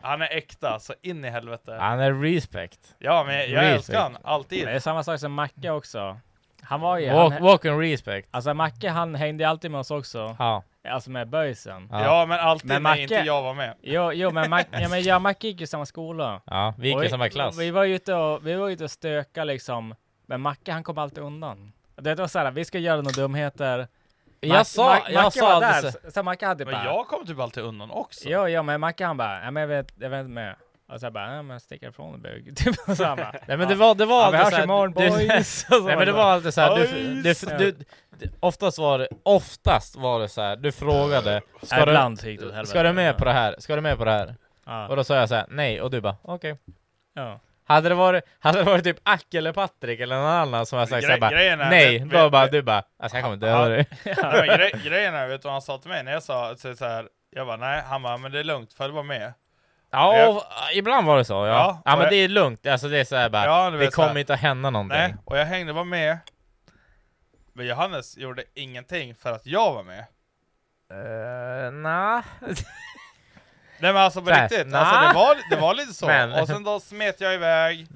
S1: han är äkta så in i helvete.
S4: Han är respect.
S1: Ja, men jag älskar han, alltid. Mm.
S2: Det är samma sak som Macke också. Han var ju...
S4: Walk-
S2: han,
S4: walk and respect.
S2: Alltså Macke han hängde ju alltid med oss också.
S4: Ja.
S2: Alltså med böjsen.
S4: Ja. Ja,
S1: men alltid när inte jag var med.
S2: Jo, jo men Mac, ja, men jag och Macke gick ju i samma skola.
S4: Ja, vi gick
S2: Och
S4: i samma klass.
S2: Vi var ju ute och, vi var ute och stöka liksom. Men Macke han kom alltid undan. Det var såhär, vi ska göra några dumheter.
S4: Jag sa- jag sa aldrig
S2: så, så Macke hade bara...
S1: Men jag kom typ alltid undan också.
S2: Jo, ja, men Macke han bara, nej men jag vet, jag vet inte med. Och så jag bara, nej men stick ifrån dig bög. Typ så han bara,
S4: Nej men det var, det var
S2: ja, vi hörs
S4: såhär-
S2: imorgon
S4: det-
S2: boys.
S4: Nej men det var alltid såhär, du,
S2: Boys.
S4: du, du, du, oftast var det, oftast var det såhär, du frågade
S2: Ja,
S4: ska,
S2: ibland gick det åt
S4: du,
S2: helvete.
S4: ska du med på det här? Ska du med på det här?
S2: Ja.
S4: Och då sa jag såhär, nej, och du bara okej.
S2: Ja.
S4: Hade det varit, hade det varit typ Ack eller Patrik eller någon annan som hade sagt
S1: Gre-
S4: såhär
S1: grejen
S4: bara,
S1: är-
S4: nej,
S1: vet-
S4: då
S1: vet-
S4: bara du bara, alltså jag kommer döda dig.
S1: Nej, men gre grejen är, vet du vad han sa till mig när jag sa så, så här, jag bara nej, han bara men det är lugnt, följ bara med.
S4: Ja,
S1: Och jag-
S4: och, eh, ibland var det så ja.
S1: Ja,
S4: Ja,
S1: och
S4: men
S1: jag-
S4: det är lugnt, alltså det är såhär bara,
S1: Ja, du
S4: det
S1: vet så här.
S4: kommer inte att hända någonting.
S1: Nej, och jag hängde bara med. Men Johannes gjorde ingenting för att jag var med.
S4: Uh, nah.
S1: Nej men alltså på
S4: Så här,
S1: riktigt,
S4: nah.
S1: alltså, det, var, det var lite så.
S4: Men-
S1: Och sen då smet jag iväg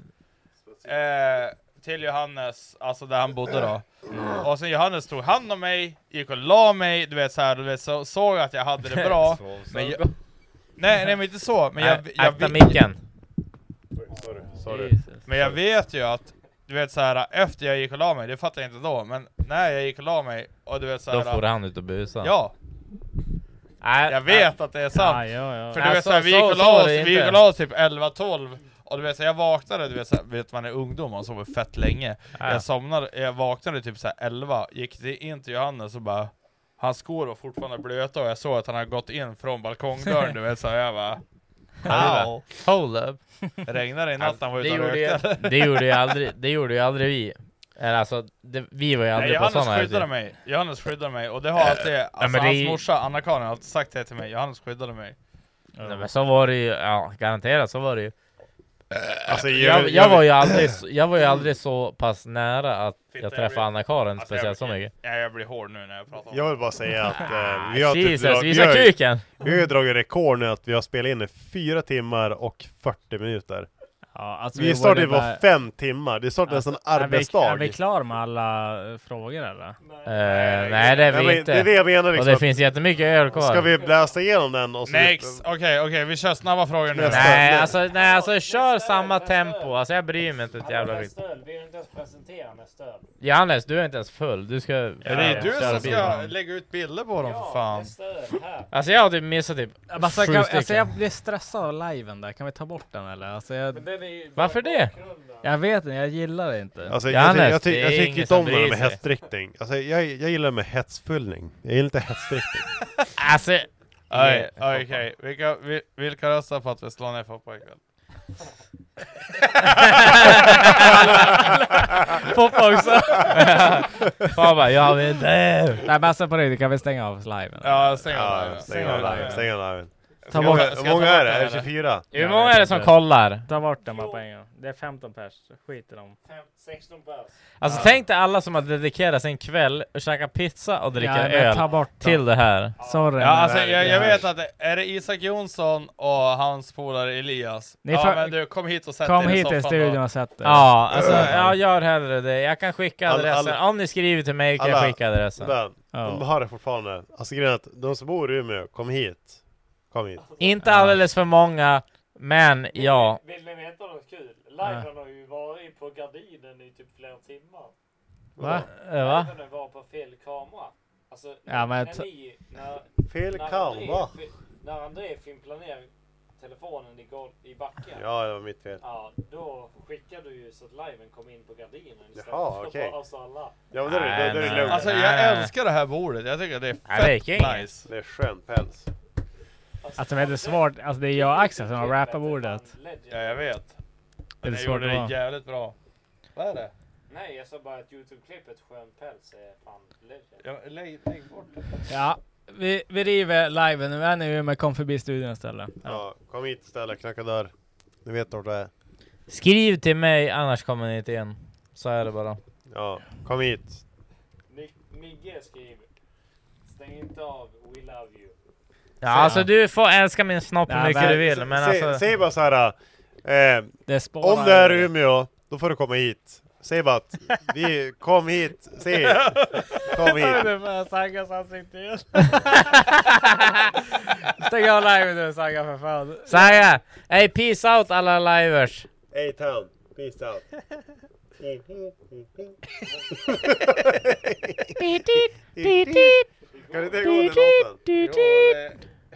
S1: eh, till Johannes, alltså där han bodde då.
S4: Mm.
S1: Och sen Johannes tog hand om mig, gick och la mig, du vet så här, du vet, så, såg att jag hade det bra.
S4: Sov så
S1: men jag,
S4: bra.
S1: nej, nej men inte så, men jag...
S4: Nej,
S1: jag,
S4: akta
S1: vi-
S4: micken.
S3: Sorry,
S1: Men jag vet ju att, du vet så här efter jag gick och la mig, det fattade jag inte då, men när jag gick och la mig och du vet så
S4: Då
S1: här,
S4: får han ut och busa.
S1: Ja! jag vet att det är sant!
S4: Ja, ja, ja.
S1: För du
S4: Nej,
S1: vet
S4: så-
S1: såhär, vi gick
S4: så-
S1: och
S4: så
S1: la
S4: var
S1: oss,
S4: det
S1: vi
S4: inte.
S1: gick och la oss typ 11-12 och du vet så här, jag vaknade, du vet så här, vet man är ungdom, man sover fett länge
S4: Ja.
S1: Jag somnade, jag vaknade typ såhär 11, gick det in till Johannes och bara Hans skor var fortfarande blöta och jag såg att han hade gått in från balkongdörren, du vet så här, jag bara
S4: Ow. Hold up.
S1: Regnade i natt, han var
S4: det,
S1: ute och
S4: gjorde
S1: rökte
S4: ju, det, gjorde ju aldrig, det gjorde ju aldrig vi. Eller alltså, det, vi var ju aldrig
S1: Nej,
S4: på
S1: Johannes
S4: sådana
S1: skyddade mig, Johannes skyddade mig och det har alltid, alltså
S4: men det är
S1: hans
S4: ju-
S1: morsa Anna-Karin har alltid sagt det till mig, Johannes skyddade mig
S4: Nej, men så var det ju, ja garanterat så var det ju.
S1: Alltså, jag-
S4: jag, jag, var ju aldrig, så- jag var ju aldrig så pass nära att jag träffade Anna-Karin
S1: Alltså,
S4: speciellt
S1: jag,
S4: så mycket.
S1: Ja, jag blir hård nu när jag pratar om
S9: Jag vill bara säga att
S2: Ah,
S9: eh, vi har
S4: Jesus,
S9: drag-
S4: visa
S9: vi har ju-
S4: kuken!
S9: Vi har ju dragit rekord nu att vi har spelat in i 4 timmar och 40 minuter.
S2: Ja, alltså,
S9: vi
S2: vi
S9: startade
S2: borde
S9: var
S2: bara- Alltså,
S9: 5 typ timmar, det är snart nästan arbetsdag.
S2: Är vi, är vi klar med alla eh, frågor eller?
S4: Eh, nej det
S9: Nej,
S4: är vi
S9: men
S4: inte.
S9: det är det jag menar,
S4: Och
S9: liksom,
S4: det
S9: att-
S4: finns jättemycket öl kvar.
S9: Ska vi blästa igenom den och så...
S1: Next! Okej, okej, vi kör snabba frågor nu
S4: Nej alltså, nej alltså kör samma tempo, alltså jag bryr mig inte ett jävla skit.
S5: Vi vill inte ens presentera nästa öl.
S4: Johannes, du är inte ens full, du ska...
S1: Ja, det är du
S4: köra
S1: som
S4: bil.
S1: ska lägga ut bilder på dem för fan
S4: Alltså jag har typ missat typ
S2: Alltså,
S4: sju
S2: kan, alltså
S4: stycken.
S2: jag blir stressad av liven där, kan vi ta bort den eller? Alltså, jag...
S4: Varför det?
S2: Jag vet inte, jag gillar det inte.
S9: Alltså, jag, ty- jag, ty- jag tycker inte om det här med hetsdrickning. Alltså, jag, jag gillar med hetsfyllning. Jag gillar inte hetsdrickning.
S4: Alltså...
S1: Oj, Okej, vilka, vil- vilka röstar på att vi slår ner Foppa ikväll?
S4: Poppa också. Fan bara, jag vet inte.
S2: Nej men alltså på riktigt, kan vi stänga av liven?
S1: Ja, stäng av liven.
S3: Stäng av liven, stäng av liven.
S2: Ta
S3: Hur många-
S2: bort-
S3: Hur många är det? Är det 24?
S4: Hur många är det som kollar?
S2: Ta bort den bara på en gång. Det är 15 pers, skit i dem.
S5: 16 bärs.
S4: Alltså tänk dig alla som har dedikerat sin kväll och käkat pizza och dricka
S2: Ja, men
S4: öl
S2: ta bort dem.
S4: till det här.
S2: Sorry.
S1: Ja, alltså, jag, jag vet att det, är det Isak Jonsson och hans polare Elias?
S2: Ni
S1: ja
S2: får-
S1: men du, kom hit och sätt
S2: Kom
S1: dig i
S2: hit till
S1: soffan
S2: studion
S1: då.
S2: och sätt dig.
S4: Ja, alltså jag gör hellre det. Jag kan skicka
S3: Alla-
S4: adressen.
S3: alla-
S4: Om ni skriver till mig kan jag skicka adressen.
S3: Men,
S4: Ja.
S3: De har det fortfarande. Alltså grejen är att de som bor i Umeå, kom hit. Kom hit.
S4: Inte alldeles för många, men ja.
S5: Vill ni veta något kul? Liven har ju varit på gardinen i typ flera timmar.
S2: Va?
S4: Eh, va?
S5: Liven var på fel kamera. Alltså,
S2: Ja, men
S5: när
S2: ta-
S5: ni... När,
S3: Fel
S5: när
S3: kamera.
S5: André, fi- när André fimplade ner telefonen i, golv, i backen.
S3: Ja, det var mitt fel.
S5: Ja, då skickade du ju så att liven kom in på gardinen istället
S3: Jaha,
S5: för
S3: okej.
S5: på oss alla.
S3: Ja, men då är det, då, då är det lugnt.
S1: Alltså jag älskar det här bordet, jag tycker det är
S4: Nej, det
S1: fett
S4: gick inget.
S1: nice.
S3: Det är skön päls.
S2: Alltså men det är svårt, alltså det är jag och Axel som har rappat bordet.
S1: Ja jag vet.
S2: Det är
S1: Men jag
S2: svårt
S1: gjorde
S2: att
S1: det
S2: vara.
S1: jävligt bra. Vad är det?
S5: Nej, jag sa bara att Youtube-klippet Skön päls är fan legend.
S1: Ja, lägg, lägg bort det.
S2: Ja, vi, vi river liven. Nu är ni ju med, kom förbi studion istället.
S3: Ja, kom hit istället, knacka dörr. Ni vet vart det är.
S4: Skriv till mig, annars kommer ni inte in. Så är det bara.
S3: Ja, kom hit.
S5: Nick- Migge skriver. Stäng inte av, we love you.
S4: Ja, alltså du får älska min snopp hur
S2: Nej,
S4: mycket
S2: men-
S4: du vill, men
S3: Säg,
S4: alltså...
S3: säg bara så här. Eh,
S2: Det spårar
S3: om det är
S2: ju.
S3: Umeå, då får du komma hit. Säg bara att vi kom hit, säg. Kom hit.
S2: Ungefär Saggas ansikte igen. Stäng av liven nu Sagga för fan.
S4: Saga! Hey, peace out alla livers!
S3: A-town, peace out. Kan du inte gå den låten?
S1: Jo,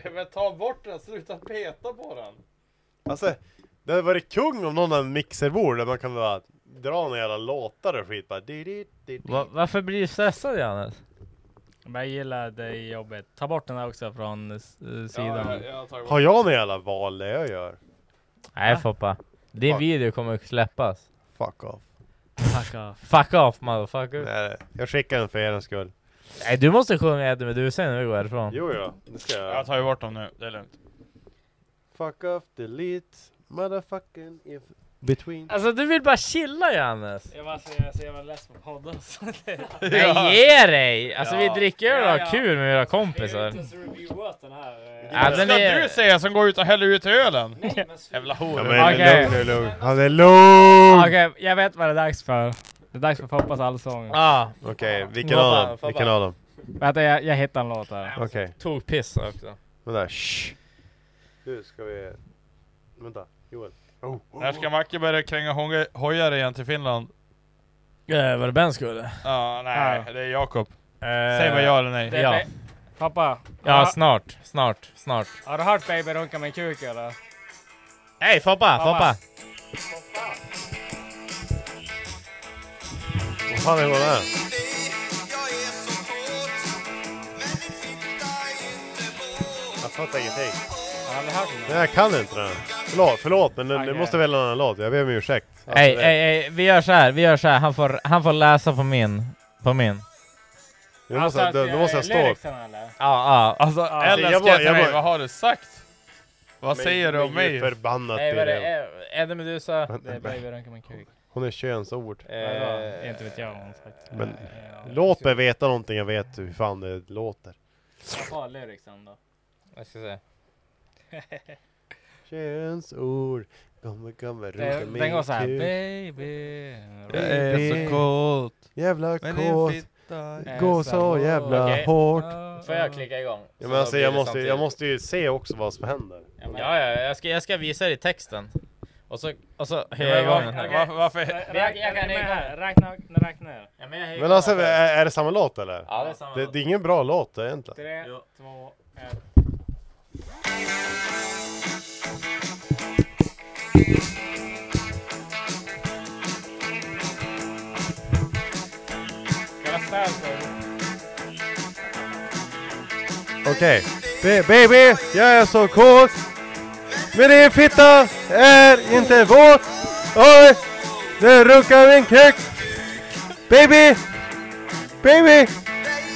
S1: det, men ta bort den, sluta peta på den.
S3: Alltså, det hade varit kung om någon har en mixerbord där man kan bara dra några jävla låtar och skit bara. Di, di, di, di.
S4: Va varför blir du stressad Johannes?
S2: Men jag gillar det jobbet. Ta bort den här också från eh, s- eh, sidan.
S1: Ja, jag, jag tar bort
S3: Har jag några jävla val det jag gör?
S4: Nej Foppa, din video kommer släppas.
S3: Fuck off.
S2: Fuck off.
S4: Fuck off motherfucker! Nej,
S3: Nej, jag skickar den för er skull.
S4: du måste sjunga Eddie Meduza innan vi går härifrån.
S3: Jo, ja, det ska jag
S1: Jag
S3: göra.
S1: tar ju bort dem nu, det är lugnt.
S3: Fuck off, delete, motherfucking if between.
S4: Alltså du vill bara chilla Johannes!
S2: Jag var så, jag är så jävla less på podden.
S4: Nej ge dig! Alltså vi
S1: Ja.
S4: dricker öl och
S2: Ja, ja.
S4: har kul med våra
S5: Det är ju
S4: kompisar.
S5: inte ens reviewat den här. eh.
S4: Ja,
S1: Ska
S4: den är...
S1: du säga som går ut och häller ut ölen?
S5: Nej, men sluta.
S1: Jävla
S3: Ja,
S1: hora.
S3: men det
S2: Okej.
S3: är lugn, det är lugn. Han är lugn!
S2: Okej, jag vet vad det är dags för. Det är dags för Foppas allsång.
S4: Ah,
S3: Okej, vilken av dem?
S4: Foppa.
S3: Vilken av dem?
S2: Vänta, jag, jag hittar en låt här.
S3: Okej,
S4: tog piss också.
S3: vänta. Shh. Nu ska vi... Vänta, Joel. Oh, oh.
S1: När ska Macke börja kränga honge- hojar igen till Finland?
S4: Eh, var det Ben skulle?
S1: Ja, nej,
S2: Ja.
S1: det är Jakob. Säg vad ja eller nej.
S2: Det är
S4: Eh, Ja.
S2: ba- Pappa,
S4: Ja, snart, snart, snart.
S2: har du hört Baby runka med kuk eller?
S4: Hej Foppa,
S2: Foppa.
S4: Foppa!
S3: Vad fan är det här? Jag fattar ingenting.
S2: Har du aldrig hört den?
S3: Nej, jag kan inte den. Förlåt, förlåt men okay.
S2: Okej.
S3: du måste välja en annan låt. Jag ber om ursäkt. Alltså,
S4: Hej,
S3: det-
S4: hej, hej, vi gör så här, vi gör så här. Han får, han får läsa på min. På min. Ja,
S3: Nu måste, jag-
S2: Alltså,
S3: nu måste jag stå upp.
S2: lyricsen, eller?
S4: ja.
S1: Alltså, Ellen
S3: jag
S1: skrev
S3: bara-
S1: till
S3: jag
S1: mig,
S3: bara-
S1: vad har du sagt? Vad säger du om
S3: Men gud
S1: mig?
S3: förbannat
S4: Nej, vad är
S3: Birger.
S4: det? Eddie Meduza?
S2: Det är Baby runka med kuk.
S3: Hon är könsord.
S4: Eh,
S2: Vadå? Inte vet jag vad hon sagt.
S3: Men-
S2: Ja.
S3: Låt mig veta någonting, jag vet hur fan det låter.
S2: Vad var
S4: liksom
S2: lyricsen då?
S4: Jag ska se.
S3: Könsord. Kommer, kommer, runka
S2: Den, den
S3: min
S2: går såhär.
S3: kuk.
S2: Baby.
S3: Det är så
S1: kåt.
S3: Jävla kåt.
S2: är
S3: Går
S2: så
S3: så jävla
S4: Okej.
S3: hårt.
S4: Får jag klicka igång?
S3: Ja,
S4: Så
S3: men alltså,
S4: blir
S3: jag,
S4: det
S3: måste, jag
S4: samtidigt.
S3: måste ju se också vad som händer.
S4: Ja, ja, jag ska, jag ska visa dig texten. Och så, och så höjer jag
S1: Men
S4: igång
S1: var-
S4: den här.
S1: var- Varför?
S4: Jag- jag kan räkna här.
S2: Räkna, räkna ner.
S4: Ja, men jag höjer
S3: Men
S4: igång
S3: alltså,
S4: den här.
S3: är, är det samma låt eller?
S4: Ja, det är samma
S3: Det,
S4: låt.
S3: det är ingen bra låt egentligen.
S2: Tre,
S4: Jo.
S2: två, ett. Ska jag ställa så?
S3: Okej. Ba- Baby, jag är så kåt.
S9: Men din fitta är inte våt! Oj! Du runkar min kuk! Baby! Baby!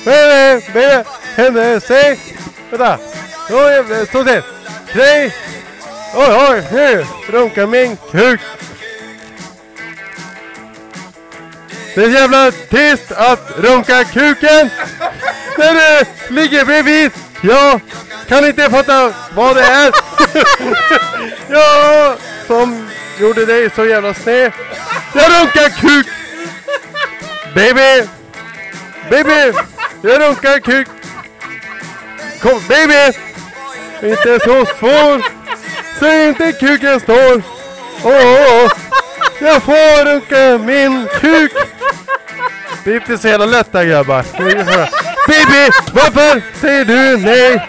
S9: Baby! Baby! Händer sig! Vänta! Oj, stå still! Tre! Oj, oj, nu! Runkar min kuk! Det är jävla trist att runka kuken! När du ligger bredvid! Jag kan inte fatta vad det är! ja, som gjorde dig så jävla sned. Jag runkar kuk! Baby! Baby! Jag runkar kuk! Kom, baby! Inte så svår! Säg inte kuken står! Åh, åh, åh. Jag får runka min kuk! Det är inte så jävla lätt där grabbar. Bibi, varför säger du nej?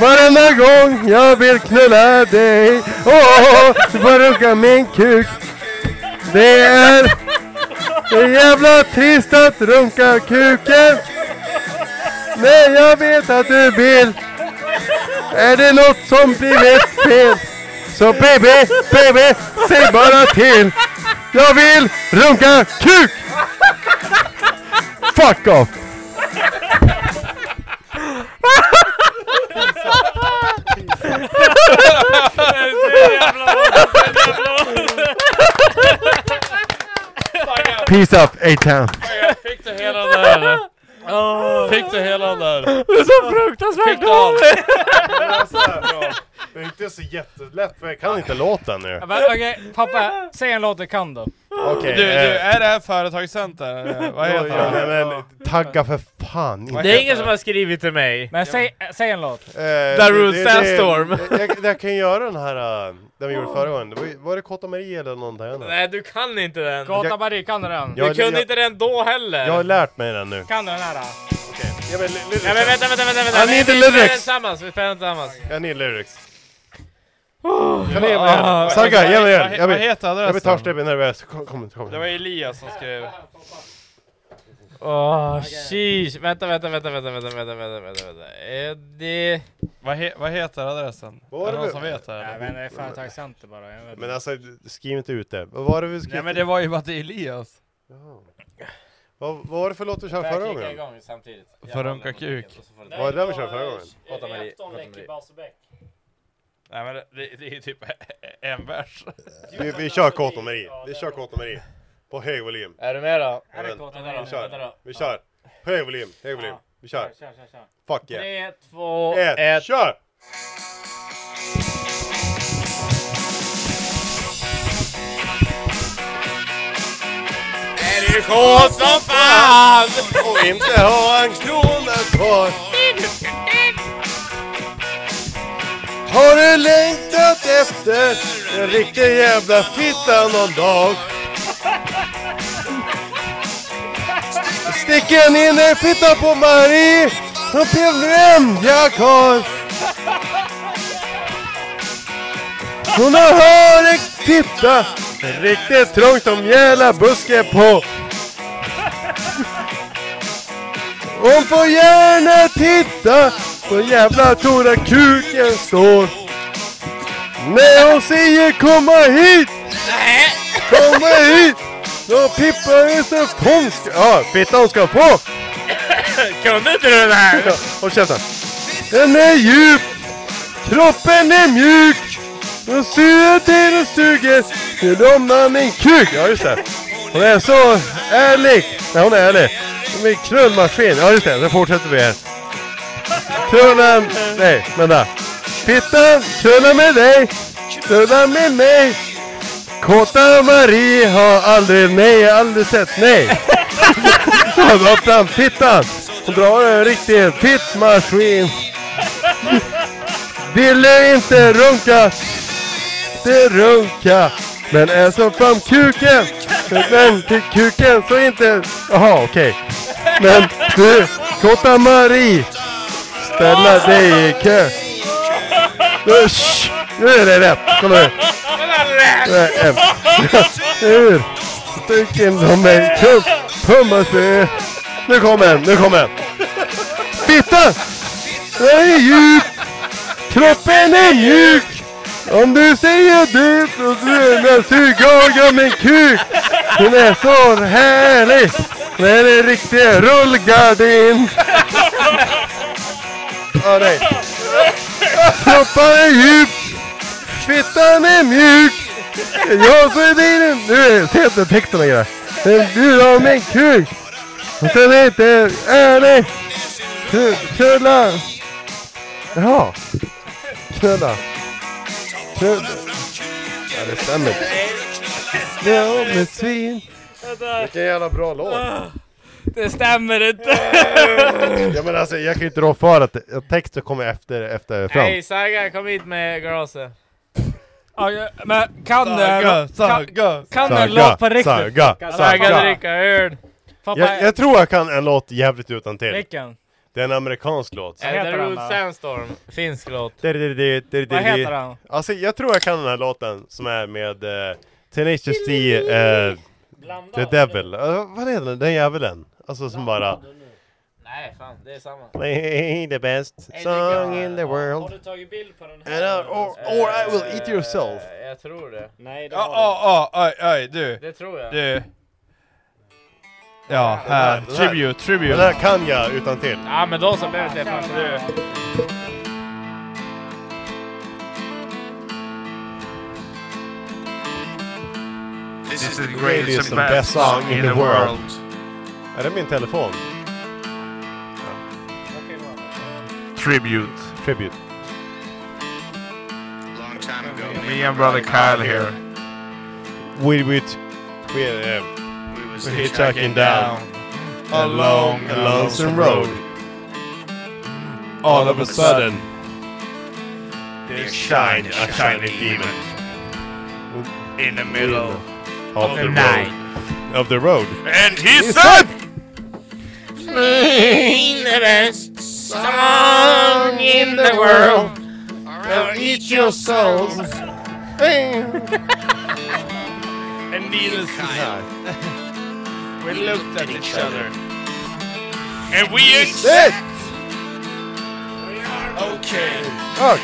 S9: Varenda gång jag vill knulla dig. Åh, åh, åh, du får runka min kuk. Det är... Det är jävla trist att runka kuken. Nej, jag vet att du vill. Är det något som blivit fel? Så baby, baby, säg bara till. Jag vill runka kuk! Fuck off! Peace up, A-Town.
S1: Fick du hela den där? Fick du hela den där?
S9: Det är så fruktansvärt
S1: Fick du allt?
S9: dåligt. Det är inte så jättelätt för jag kan inte låten nu.
S2: Men Okej, pappa, säg en låt du kan då.
S1: Du,
S9: Okej,
S1: du,
S9: eh.
S1: är det här företagscenter? eller? eh, Vad heter
S9: Ja,
S1: det?
S9: nej, men Tagga för fan inte.
S4: Det är ingen som har skrivit till mig.
S2: Men säg, säg en låt.
S3: Eh,
S9: Eh,
S4: Darude Sandstorm.
S9: Jag, jag, jag kan göra den här, uh, den vi gjorde förra gången. Det Var, ju- var det Kotta Marie eller någonting annat?
S4: Nej, du kan inte den.
S2: Gata Marie, kan du den?
S4: Du kunde inte den då heller.
S9: Jag har lärt mig den nu.
S2: Kan du den här? då?
S9: Ja men, li-
S4: Ja, men vänta, vänta, vänta, vänta.
S9: I
S4: Vi-
S9: need the
S4: vi spelar den
S9: lyrics.
S4: tillsammans, vi spelar den tillsammans.
S9: Jag need lyrics. Kan ni ge mig
S1: Ah,
S9: den? Sagga, ge mig den! Jag blir- Jag blir törstig, jag blir nervös. Kom, kom, kom.
S1: Det var Elias som skrev.
S4: Åh, sheesh. Vänta, vänta, vänta, vänta, vänta, vänta, vänta, vänta, vänta. Eddie...
S1: Vad, he, vad heter adressen?
S9: Vad
S1: är det
S9: var
S1: någon
S9: det
S1: som
S9: vi-
S1: vet det?
S2: Nej men det är företagscenter bara. Jag vet
S9: Men
S2: inte.
S9: alltså, skriv inte ut det. Vad var det vi skrev?
S1: Nej men det var ju bara till Elias.
S9: Vad, vad var det för låt vi körde
S4: Får jag
S9: förra
S4: kicka
S9: gången?
S4: igång samtidigt? Jag
S1: För runka
S4: håller
S1: kuk.
S4: micken, så får du-
S9: Var det den vi körde förra gången?
S4: Gata Marie, Gata Marie.
S1: Nej men det, det, det är typ en vers.
S9: Vi, vi kör Kåt och Marie. Vi kör Kåt och Marie. På hög volym.
S4: Är du med då?
S9: Är det Kåt och
S4: Marie?
S9: Vi kör.
S4: Vänta då.
S9: Vi kör. Hög volym, hög volym. Vi kör.
S4: Kör, kör, kör.
S9: Fuck yeah.
S4: Tre, två,
S9: Ett, kör!
S4: Är du kåt som fan?
S9: Och inte ha en krona kvar. Har du längtat efter en riktig jävla fitta någon dag? Sticker in en fitta på Marie och PVM jag har. Hon har en fitta riktigt trång som jävla buske på. Hon får gärna titta på jävla tora kuken står. När hon säger komma hit! Komma hit! Då pippar det så konst... Ja, fittan ska på!
S4: Kunde inte du den här?
S9: Ja, Håll käften! Den är djup! Kroppen är mjuk! Den suger till och suger till domnar min kuk! Ja, just det. Hon är så ärlig! Nej, hon är ärlig. Hon är en krullmaskin. Ja, just det. Sen fortsätter vi här. Krullen... Nej, vänta. Fittan, krulla med dig! Krulla med mig! Kåta Marie har aldrig, nej, aldrig sett nej. Hon drar fram fittan. Hon drar en riktig fittmaskin. Ville inte runka. Inte runka. Men är så fram kuken. Men till kuken så inte... Jaha, okej. Men du, Kåta Marie. Ställa dig i kö. Usch! Nu är det rätt. Kom nu. Ur stycken som en kupp. Pummas det. Nu kommer den, nu kommer den. Titta! Den är djup. Kroppen är mjuk. Om du säger du så bruna suger jag min kuk. Den är så härlig. Den är en riktig rullgardin. Ja, nej. Kroppen är djup. Fittan är mjuk. Jag så är din... Nu ser jag inte texten längre. Den bjuder om en kuk. Och sen är inte ärlig. Ku- Knulla. Jaha. Knulla. Knulla. Ja, det stämmer inte. Ja, men svin.
S3: Vilken jävla bra
S1: Ah.
S3: låt!
S2: Det stämmer inte!
S3: Ja men alltså jag kan ju inte rå för att att texten kommer efter, efter fram.
S4: Hej Saga, kom hit med glaset.
S2: Ja, ja, Men kan du...
S4: Saga,
S2: Kan,
S4: Saga,
S2: kan du en
S3: Saga,
S2: låt på riktigt?
S3: Saga, Saga.
S2: Saga dricka öl. Pappa,
S3: Jag, jag tror jag kan en låt jävligt utan till.
S2: Vilken?
S3: Det är en amerikansk låt.
S4: Är det Rude Sandstorm? Finsk låt.
S3: Vad
S4: Vad heter den?
S3: Alltså jag tror jag kan den här låten som är med eh, Tenacious D, eh, The Devil. Eh, vad heter den? Den jäveln. Alltså som bara...
S4: Nej fan, det är samma.
S3: Play the best song in the world.
S5: du tagit bild på den
S3: And I- or, or I will eat yourself.
S4: Eh, Jag tror det.
S5: Nej, det
S1: Ja,
S5: var det.
S1: ja, ja, oj, oj, du.
S4: Det tror jag.
S1: Du. Ja,
S3: Den här-
S1: här.
S3: den här-
S1: Tribute, tribute.
S3: Den här kan jag utan till.
S4: Ja men de som behöver det, fan du.
S3: This is the greatest and best song in the world. Är det min telefon?
S10: Tribute.
S3: Tribute.
S10: Long time ago. Me and brother Kyle here.
S3: We with we uh, we was hitchhiking down a long and lonesome road. All of a sudden, there shined a shining demon in the middle of the night of the road.
S10: And he
S3: He
S10: said,
S6: Playing the best song in the world. I'll eat your souls.
S10: and needless to say, we looked at each other. And we
S9: Yes!
S10: Okay.
S9: Och oh,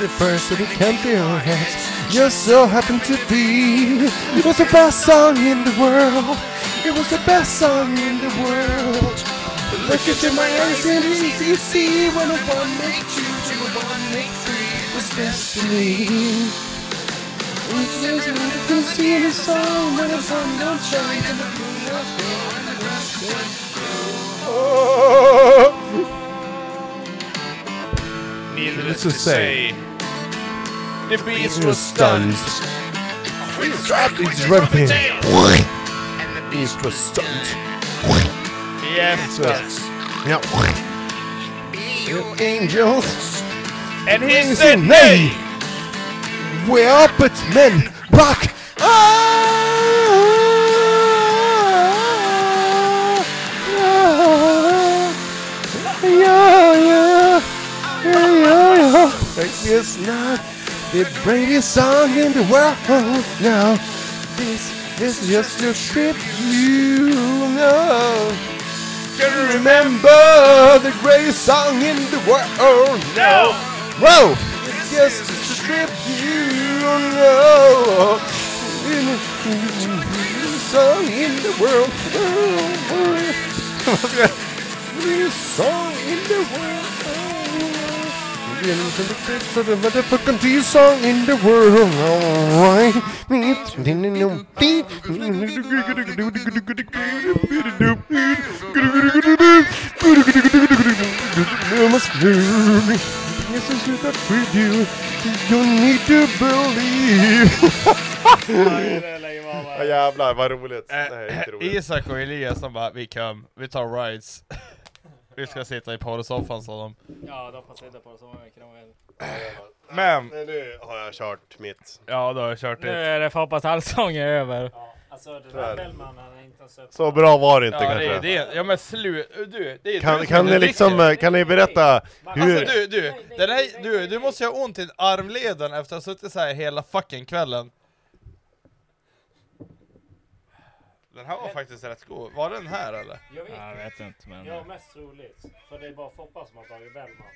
S9: the first that it came to your head Just so happened to be It was the best song in the world It was the best song in the world Look into my eyes and it's easy When I want make two, two I want make three It was destiny I can see the sun when the sun don't shine and the moon don't glow and the grass Oh. don't grow.
S10: Needless
S9: to
S10: to say, the beast was stunned. We trapped
S9: It's
S10: his
S9: everything.
S10: rubber tail.
S9: And the beast was stunned.
S10: He asked us,
S9: Yeah. Angels.
S10: And he
S9: Things
S10: said,
S9: in nay. We're up, but men rock. Ah, yeah, yeah, yeah, yeah. It's not the greatest song in the world. Now, this is just a trip you know. Can remember the greatest song in the world.
S10: No.
S9: Whoa! It's just a trip you know. In the greatest song in the world. Greatest song in the world. Into the depths of the motherfucking greatest song in the world. Alright. You must move. Yes, I should that with you. You need to believe.
S3: Ja, jävlar vad roligt. Nej, inte roligt.
S1: Äh, Isak och Elias de bara, vi kom, vi tar rides. Vi ska sitta i porrsoffan sa de.
S2: Ja, de får sitta på det så många veckor
S1: Men!
S3: Nu har jag kört mitt.
S1: Ja, då har jag kört
S2: Nu är det Foppas allsång är över.
S5: Alltså det där Bellman, han är inte så...
S3: Så bra var det inte
S1: Ja, det
S3: kanske.
S1: är det. Ja men slut. Du, det är du
S3: Kan,
S1: som
S3: kan
S1: inte
S3: ni liksom,
S1: dricker.
S3: eh, kan ni berätta hur...
S1: Alltså du, du, den här, du, du måste ju ha ont i armleden efter att ha suttit så här hela fucking kvällen. Den här var faktiskt rätt god. Var den här eller?
S5: Jag vet
S2: Jag vet inte men...
S5: Ja, mest troligt. För det är bara Foppa som har tagit Bellman.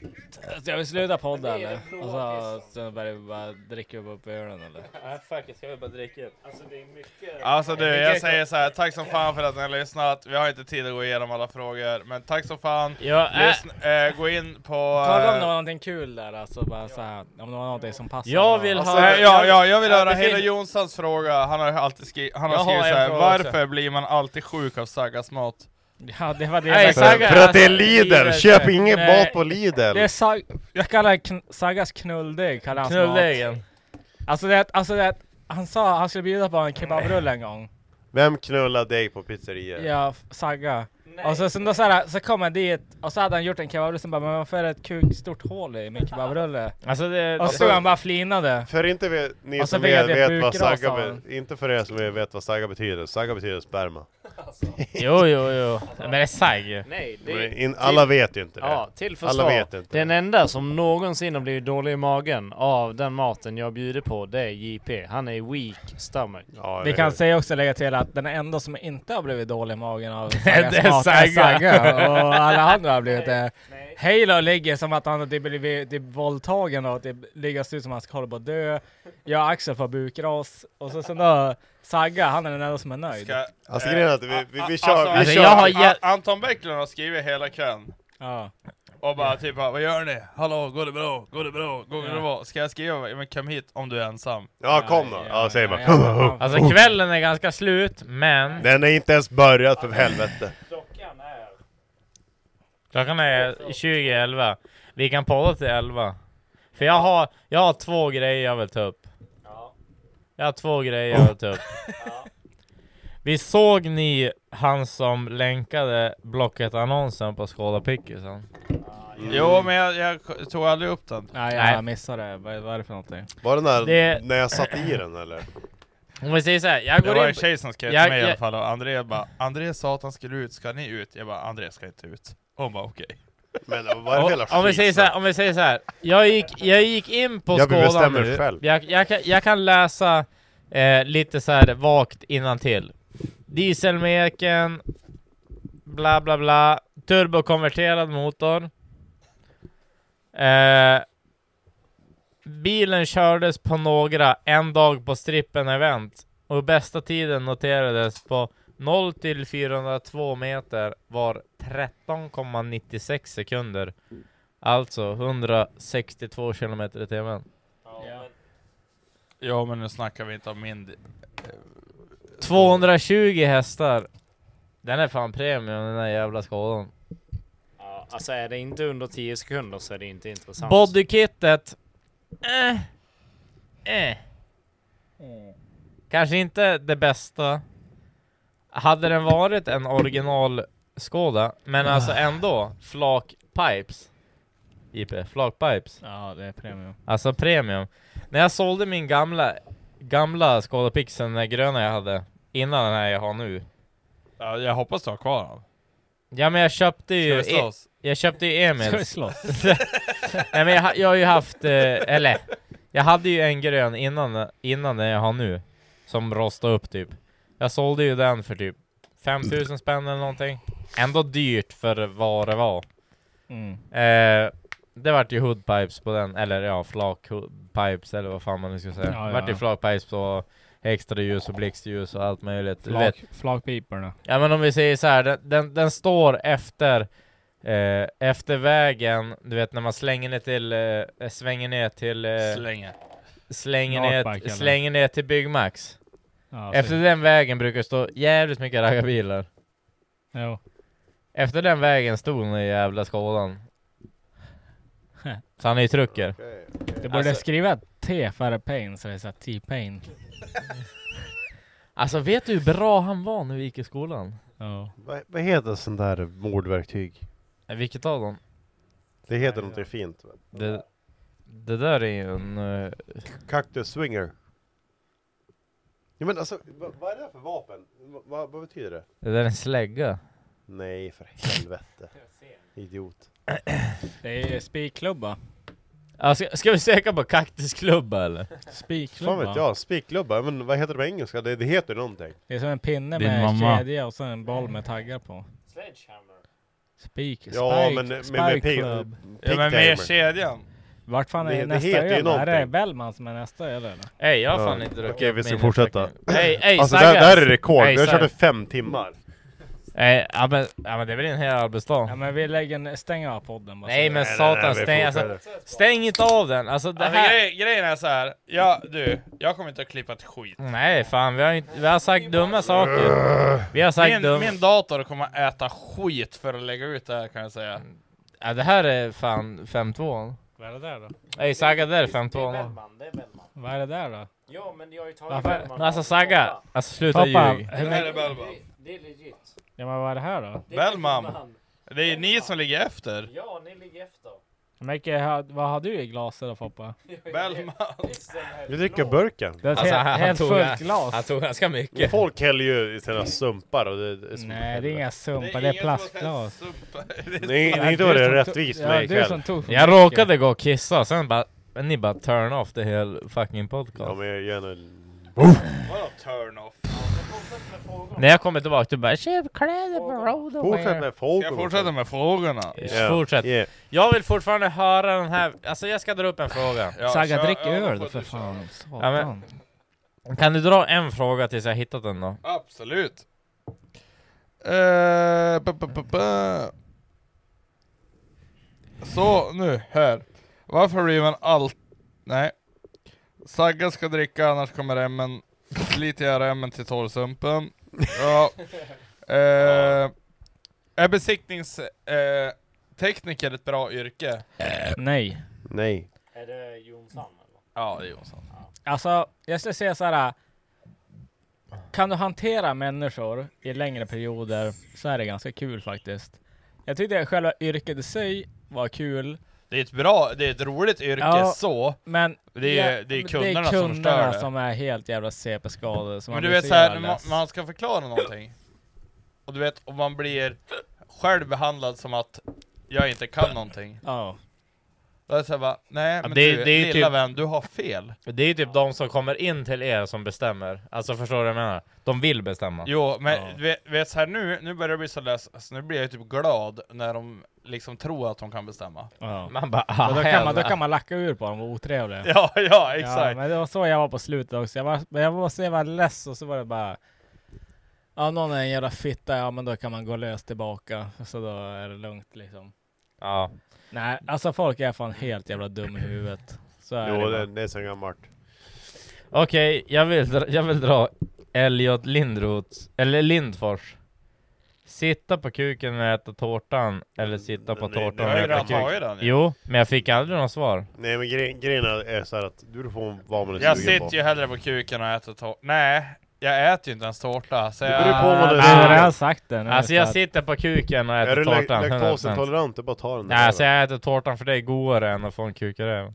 S2: Ska vi sluta podda
S5: Det är
S2: eller?
S5: en
S2: Och så, så börjar vi bara dricka upp ölen eller?
S4: Nej fuck it, ska vi bara dricka upp?
S5: Alltså det är mycket...
S1: Alltså du, jag säger så här. tack som fan för att ni har lyssnat. Vi har inte tid att gå igenom alla frågor, men tack som fan.
S2: Ja, äh.
S1: Lyssn- eh, gå in på...
S2: Kolla om
S1: eh,
S2: det var någonting kul där alltså, bara så här, om det var någonting som passade.
S1: Alltså, Jag
S2: bra.
S1: vill ha... eh, ja, ja, jag vill höra Hela Jonssons fråga, han har alltid skri han har
S2: Jag har
S1: skrivit
S2: en
S1: såhär,
S2: fråga
S1: varför
S2: också.
S1: blir man alltid sjuk av Saggas mat?
S2: Ja, det var det
S1: Nej,
S2: jag
S1: Sagga,
S2: tänkte.
S1: För att det är alltså, Lidl. livet. Köp
S3: ingen
S2: Nej,
S3: mat på Lidl.
S2: Det är sag jag kallar kn Saggas knulldeg, kallar hans
S4: Knulldegen.
S2: mat. Alltså det, är- alltså det, är- han sa att han skulle bjuda på en kebabrulle en gång.
S3: Vem knullar dig på pizzerian?
S2: Ja, f- Sagga. Och så, så, då så, här, så kom han dit och så hade han gjort en kebabrulle, sen bara men varför är det ett kuk stort hål i min kebabrulle?
S4: Alltså det-
S2: och så stod han bara och flinade.
S3: För inte vi, Ni
S2: och så
S3: som
S2: fick jag
S3: vet,
S2: det
S3: vet vad
S2: bukras
S3: sagga
S2: av honom.
S3: be- inte för er som vet vad sagga betyder, sagga betyder sperma.
S4: Jo, jo, jo. Men det är sagg.
S5: Nej, typ-
S3: det är- In- alla vet ju inte det.
S5: Ja, till försvar.
S3: Alla vet inte
S5: Den enda som någonsin har blivit dålig i magen av den maten jag bjuder på, det är JP. Han är weak stomach.
S2: Vi kan säga också lägga till att den enda som inte har blivit dålig i magen av Saggas
S5: Det är
S2: mat är
S5: Sagga.
S2: Sagga. Och alla andra har blivit det. Halo ligger som att han har typ blivit typ våldtagen och typ ligger ut som att han håller på att dö. Jag och Axel får bukras. Och så sen då Sagga, han är den enda som är nöjd.
S1: Ska-
S3: Alltså,
S1: eh,
S3: grejen är att vi- vi- vi kör- vi
S2: Alltså, kör- jag har
S1: An-
S2: hjäl-
S1: Anton Bäcklund har skrivit hela kvällen. Och bara typ, vad gör ni? Hallå, går det bra? Går det bra? Går det
S4: Ja.
S1: bra? Ska jag skriva? "Ja, Men kom hit om du är ensam.
S3: Ja, kom då. Ja, säg bara.
S4: Alltså kvällen är ganska slut, men...
S3: Den är inte ens börjat för helvete.
S4: Klockan är 20.11. Vi kan podda till 11. För jag har, jag har två grejer jag vill ta upp. Jag har två grejer jag vill ta upp. Vi såg ni han som länkade Blocket-annonsen på Skåda Pickisen?
S1: Jo, men jag, jag tog aldrig upp den.
S2: Nej, jag missade det. Vad vad är det för någonting?
S3: Var det när,
S4: Det-
S3: när jag satt i den eller?
S4: Om vi säger såhär, jag
S1: Det
S4: går
S1: var
S4: in
S1: en
S4: på-
S1: tjej som skrev
S4: jag-
S1: till mig i alla
S4: jag-
S1: fall och André bara André sa att han skulle ut, ska ni ut? Jag bara André ska inte ut. Hon bara okej.
S3: Men
S4: Och- om, vi säger så här, om vi säger så här. Jag gick, jag gick in på
S3: Jag bestämmer
S4: nu.
S3: själv.
S4: Jag, jag, kan, jag kan läsa eh, lite så här vagt innantill. Dieselmeken, bla bla bla, turbokonverterad motor. Eh, bilen kördes på några en dag på strippen event och bästa tiden noterades på 0 till 402 meter var 13,96 sekunder. Alltså 162 kilometer i timmen.
S1: Jo, men nu snackar vi inte om min... di- eh,
S4: 220 hästar. Den är fan premium den där jävla skadan.
S5: Ja, Alltså är det inte under 10 sekunder så är det inte intressant.
S4: Bodykittet. Eh. Eh. Kanske inte det bästa. Hade den varit en originalskåda,
S2: Ah.
S4: men alltså ändå flak pipes. IP, flak pipes.
S2: Ja, det är premium.
S4: Alltså premium. När jag sålde min gamla, gamla Skoda Pixen, den här gröna jag hade, innan den här jag har nu.
S1: Ja, jag hoppas du har kvar den.
S4: Ja men jag köpte ju...
S1: Ska vi slåss?
S4: E- jag köpte ju Emils.
S1: Ska vi slåss?
S4: Nej men jag, ha- jag har ju haft, eh, eller, jag hade ju en grön innan, innan den jag har nu. Som rostade upp typ. Jag sålde ju den för typ 5000 spänn eller någonting. Ändå dyrt för vad det var.
S2: Mm.
S4: Eh, det vart ju hoodpipes på den, eller ja, flak hoodpipes eller vad fan man nu ska säga.
S2: Ja, ja,
S4: vart ju
S2: ja.
S4: flakpipes och extra ljus och blixtljus och allt möjligt. Du vet.
S2: Flak, flakpiporna.
S4: Ja men om vi säger så här, den, den, den står efter, eh, efter vägen, du vet när man slänger ner till, eh, svänger ner till... Eh,
S1: Slänger.
S4: Slänger
S2: Nartbike,
S4: ner,
S2: eller?
S4: slänger ner till Byggmax.
S2: Ja,
S4: efter
S2: precis.
S4: den vägen brukar det stå jävligt mycket raggarbilar.
S2: Jo.
S4: Efter den vägen stod den där jävla skådan. Så han är ju trucker.
S2: Du borde skriva T före pain så det är såhär T-pain.
S4: Alltså vet du hur bra han var när vi gick i skolan?
S3: Vad, vad heter sån där mordverktyg?
S4: Eh, Vilket av dem?
S3: Det heter någonting fint.
S4: Det, det där är ju en... eh,
S3: Cactus swinger. Ja, men alltså, vad, vad är det här för vapen? Vad, vad, vad betyder det?
S4: Det där är en slägga.
S3: Nej, för helvete. Idiot.
S2: Det är spikklubba.
S4: Ja, ska, ska vi söka på kaktusklubba eller?
S2: Spikklubba.
S3: Fan vet jag, spikklubba, men vad heter det på engelska? Det, det heter någonting.
S2: Det är som en pinne
S3: Din
S2: med
S3: mamma.
S2: kedja och sen en boll med taggar på. Spik,
S3: Ja,
S2: spike,
S3: men med-
S2: spike
S3: med pig-
S2: club.
S3: Ja, men med pigtamer.
S1: kedjan.
S2: Vart fan är
S1: Det- det
S2: nästa
S1: heter ju
S2: öl? Är det
S1: någonting.
S2: Bellman som är nästa öl eller?
S4: Ey, jag har fan
S3: Ja.
S4: inte druckit
S3: Okej,
S4: upp
S3: vi ska
S4: min
S3: fortsätta.
S4: utveckling. Ey, ey,
S3: alltså det här, det
S4: Saggas!
S3: här är rekord,
S4: Ey,
S3: vi har kört i
S4: Saggas.
S3: fem timmar.
S4: Ey, ja, men, ja men det blir en hel arbetsdag.
S2: Ja men alltså, vi lägger en, stänger av podden bara.
S4: Nej men satan, stäng, alltså, stäng inte av den! Alltså det
S1: Alltså,
S4: här...
S1: grej, grejen är så här. ja du, jag kommer inte att klippa ett skit.
S4: Nej fan, vi har, inte, vi har sagt dumma saker. Vi har sagt
S1: min,
S4: dumma...
S1: min dator kommer äta skit för att lägga ut det här kan jag säga.
S4: Ja, det här är fan 5-2.
S2: Vad är det där då?
S4: Ey Sagga, det är 5-2.
S2: Vad är det där då?
S6: Jo, men jag har ju tagit
S2: Varför?
S6: Bellman.
S4: Alltså Sagga, alltså sluta
S2: Pappa,
S4: ljug.
S2: hur mycket-
S6: Det är legit.
S2: Ja men vad är det här då?
S1: Bellman, det är ni som ligger efter.
S6: Ja, ni ligger efter.
S2: Hur mycket, har- vad har du i glaset då Foppa?
S1: Bellman.
S3: Vi dricker burken.
S2: Det är ett Alltså, helt- han- helt han tog- fullt glas. han
S4: tog ganska mycket.
S3: Folk häller ju i sina sumpar och det, det är som-
S2: Nej det är inga sumpar, det är plastglas.
S3: Nej, nej, då är det rättvist
S2: ja,
S3: med
S2: du
S3: ikväll.
S2: som tog för
S4: Jag
S2: mycket.
S4: råkade gå och kissa, sen bara... Men ni bara turn off the hel fucking podcast.
S3: Ja men jag gör en...
S1: Vadå turn off?
S4: När jag kommer tillbaka, du bara köp kläder på
S1: Fortsätt
S4: Roadaware.
S1: med frågorna. Jag fortsätter med frågorna.
S4: Yeah. Fortsätt. Jag vill fortfarande höra den här, alltså jag ska dra upp en fråga.
S1: Ja,
S2: Saga,
S1: kör
S2: drick
S1: över
S2: öl
S1: på
S2: då för
S1: det, kör.
S2: fan.
S4: Ja, men, kan du dra en fråga tills jag hittat den då?
S1: Absolut. Eh, ba, ba, ba, ba. Så, nu, här. Varför blir man allt... Nej. Sagga ska dricka, annars kommer remmen. Sliter jag remmen till torrsumpen. Ja. Eh, är besiktningstekniker eh, tekniker ett bra yrke?
S2: Nej.
S3: Nej.
S5: Är det Jonsson?
S1: Ja, det är Jonsson.
S2: Alltså, jag skulle säga så här. äh, Kan du hantera människor i längre perioder så är det ganska kul faktiskt. Jag tyckte själva yrket i sig var kul.
S1: Det är ett bra, det är ett roligt yrke
S2: Ja,
S1: så.
S2: Men
S1: det är,
S2: ja,
S1: det är
S2: men
S1: kunderna, som förstör
S2: kunderna
S1: det.
S2: som är helt jävla CP-skadade. som
S1: Men
S2: man
S1: du
S2: blir
S1: vet såhär,
S2: jävla
S1: när man,
S2: less.
S1: man ska förklara någonting Och du vet, om man blir själv behandlad som att jag inte kan någonting
S2: Ja
S1: Då är det såhär bara, nej men
S4: det,
S1: du,
S4: det är ju
S1: lilla
S4: typ,
S1: vän, du har fel
S4: Det är ju typ de som kommer in till er som bestämmer. Alltså förstår du vad jag menar? De vill bestämma.
S1: Jo, men du vet, vet såhär nu, nu börjar jag bli så less, alltså, nu blir jag typ glad när de liksom tror att de kan bestämma
S2: Ja.
S4: Man bara,
S2: och då, kan man, då kan man lacka ur på dem och vara otrevlig.
S1: "Ah, Ja, ja, exakt.
S2: men det var så jag var på slutet också. Jag var, men jag var så jävla less och så var det bara... Ja, någon är en jävla fitta, ja men då kan man gå lös tillbaka. Så då är det lugnt liksom.
S4: Ja.
S2: Nej, alltså folk är fan helt jävla dum i huvudet. Så är
S3: Jo
S2: det
S3: det,
S2: bara.
S3: det är så gammalt.
S4: Okej, jag, vill dra, jag vill dra Elliot Lindroth, eller Lindfors. Sitta på kuken och äta tårtan, eller sitta på
S3: Nej,
S4: tårtan
S3: det har
S4: och
S3: ju
S4: äta
S3: redan tagit
S4: kuken.
S3: den ju.
S4: Jo, men jag fick aldrig något svar.
S3: Nej men gre grejen är såhär att du får vad man är
S1: Jag
S3: sugen på.
S1: sitter ju hellre på kuken och äter tårta, nej jag äter ju inte ens tårta så
S3: Det
S1: jag...
S3: beror på vad du
S4: Ah,
S3: sugen på.
S4: jag har sagt det nu. Alltså, jag sitter på kuken och äter
S3: Är du lak-
S4: tårtan, 100%.
S3: laktosintolerant? Du bara tar den.
S4: Nej, alltså jag äter tårtan för det är godare än att få en kukaröv.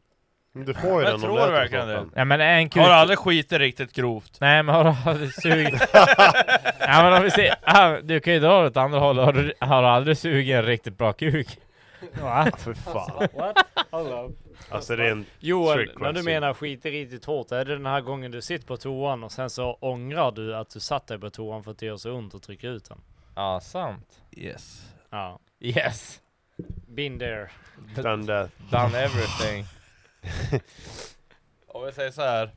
S3: Men Du får ju
S1: Jag
S3: den om
S1: tror
S3: du äter
S1: verkligen
S3: tårtan.
S1: det.
S4: Ja, men en kuk...
S1: Har du aldrig skitit riktigt grovt?
S4: Nej men har du aldrig sugit... ja men om vi ser, ah, du kan ju dra åt andra hållet, har du, har du aldrig sugit en riktigt bra kuk?
S2: What?
S3: För fan.
S5: What? Hello.
S3: Alltså det är en
S5: Joel,
S3: trick
S5: när du
S3: question.
S5: menar skiter riktigt hårt, är det den här gången du sitter på toan och sen så ångrar du att du satt dig på toan för att det gör så ont att trycka ut den?
S4: Ja, sant.
S1: Yes.
S5: Ja.
S4: Yes.
S5: Been there.
S3: Done that.
S4: Done everything.
S1: Om vi säger så här.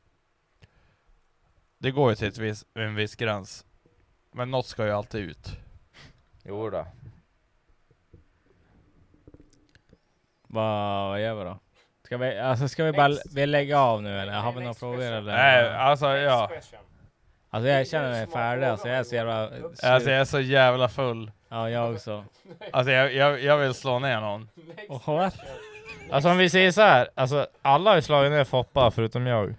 S1: Det går ju till ett vis, en viss gräns. Men något ska ju alltid ut.
S4: Jo då.
S2: Vad vad gör vi då? Ska vi, alltså, ska vi bara vi lägga av nu eller? Har vi några frågor eller?
S1: Nej, alltså ja.
S2: Alltså jag känner mig färdig alltså. Jag är så jävla...
S1: Alltså jag är så jävla full.
S2: Ja, jag också.
S1: Alltså jag, jag, jag vill slå ner någon.
S2: What?
S4: Alltså om vi säger så här, alltså alla har ju slagit ner Foppa förutom jag.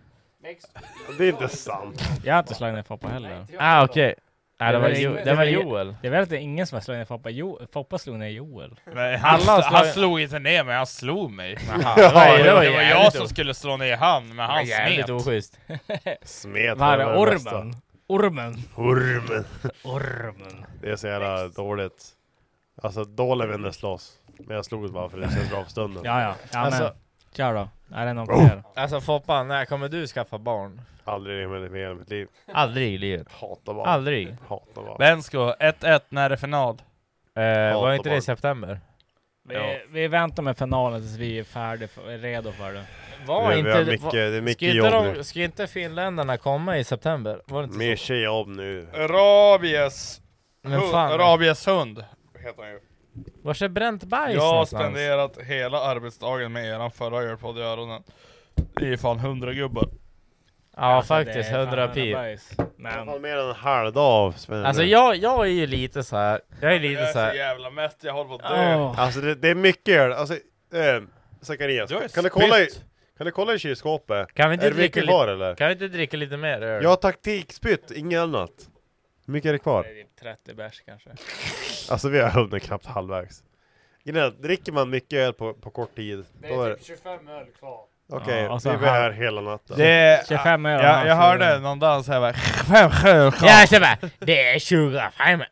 S3: Det är inte sant.
S2: Jag har inte slagit ner Foppa heller.
S4: Ah okej. Nej det var,
S2: väl
S4: jo,
S2: ing-
S4: det var
S2: väl ing-
S4: Joel.
S2: Det är väl att det är ingen som har slagit ner Foppa. Jo, Foppa slog ner Joel.
S1: Nej, han,
S2: Alla har
S1: han
S2: slagit-
S1: slog inte ner mig, han slog mig.
S2: Jaha.
S1: det var,
S2: Ja, det var
S1: det var jag
S2: jävligt
S1: som
S2: o-
S1: skulle slå ner han, men han
S2: Det var jävligt
S1: smet.
S4: oschysst.
S3: Smet
S2: Vad är det?
S3: var det bästa.
S2: Ormen? Ormen?
S3: Ormen.
S2: Ormen.
S3: Det är så jävla dåligt. Alltså dåliga vänner slåss. Men jag slog bara för det känns bra för stunden.
S2: Ja, ja. ja
S4: Alltså-
S2: men. Kör då. Är det någon fler?
S4: Alltså Foppa, när kommer du skaffa barn?
S3: Oh. Aldrig i hela mitt liv.
S4: Aldrig i livet.
S3: Hatar barn.
S4: Aldrig.
S3: Hatar barn.
S1: Bensko, 1-1, när är det final?
S4: Eh, var inte det i september?
S2: Vi, vi väntar med finalen tills vi är färdiga, för, är redo för det.
S4: Var
S3: Vi- vi
S4: inte...
S3: har mycket- det är mycket
S4: ska,
S3: jobb
S4: inte
S3: nu.
S4: de, ska inte finländarna komma i september? Var det inte
S3: Mer tjejer om nu.
S1: Rabies...
S4: Men
S1: hu-
S4: fan.
S1: Rabies hund, heter han ju.
S4: Vars är bränt bajs
S1: Jag har
S4: någonstans?
S1: spenderat hela arbetsdagen med eran förra ölpodd i öronen. Det är ju fan hundra gubbar.
S4: Ja,
S2: Alltså,
S4: faktiskt, 100 pir.
S3: Men... Jag har mer än en halv dag av Sven.
S4: Alltså jag, jag är ju lite så här. jag är
S1: Jag
S4: lite
S1: är
S4: så
S1: så
S4: här.
S1: jävla mätt, jag håller på att dö.
S3: Oh. Alltså det, det är mycket öl. Alltså, eh, Zacharias,
S1: Du har ju
S3: kan du, kolla i,
S1: spytt.
S3: kan du kolla i kylskåpet?
S4: Kan vi inte
S3: är det
S4: dricka
S3: mycket
S4: lite-
S3: kvar eller?
S4: Kan vi inte dricka lite mer öl?
S3: Jag har taktikspytt, inget annat. Hur mycket är det kvar?
S2: Det är typ 30 bärs kanske.
S3: Alltså vi har hunnit knappt halvvägs. Grejen är att dricker man mycket öl på, på kort tid, då är det...
S6: 25 öl kvar.
S3: Okej,
S2: Ja, alltså,
S3: vi var
S2: han-
S3: här hela natten.
S1: Det,
S2: 25 öl,
S1: jag, jag
S2: alltså.
S1: hörde någon dans här bara... Fem sjöar.
S4: Ja, så bara, det är 25.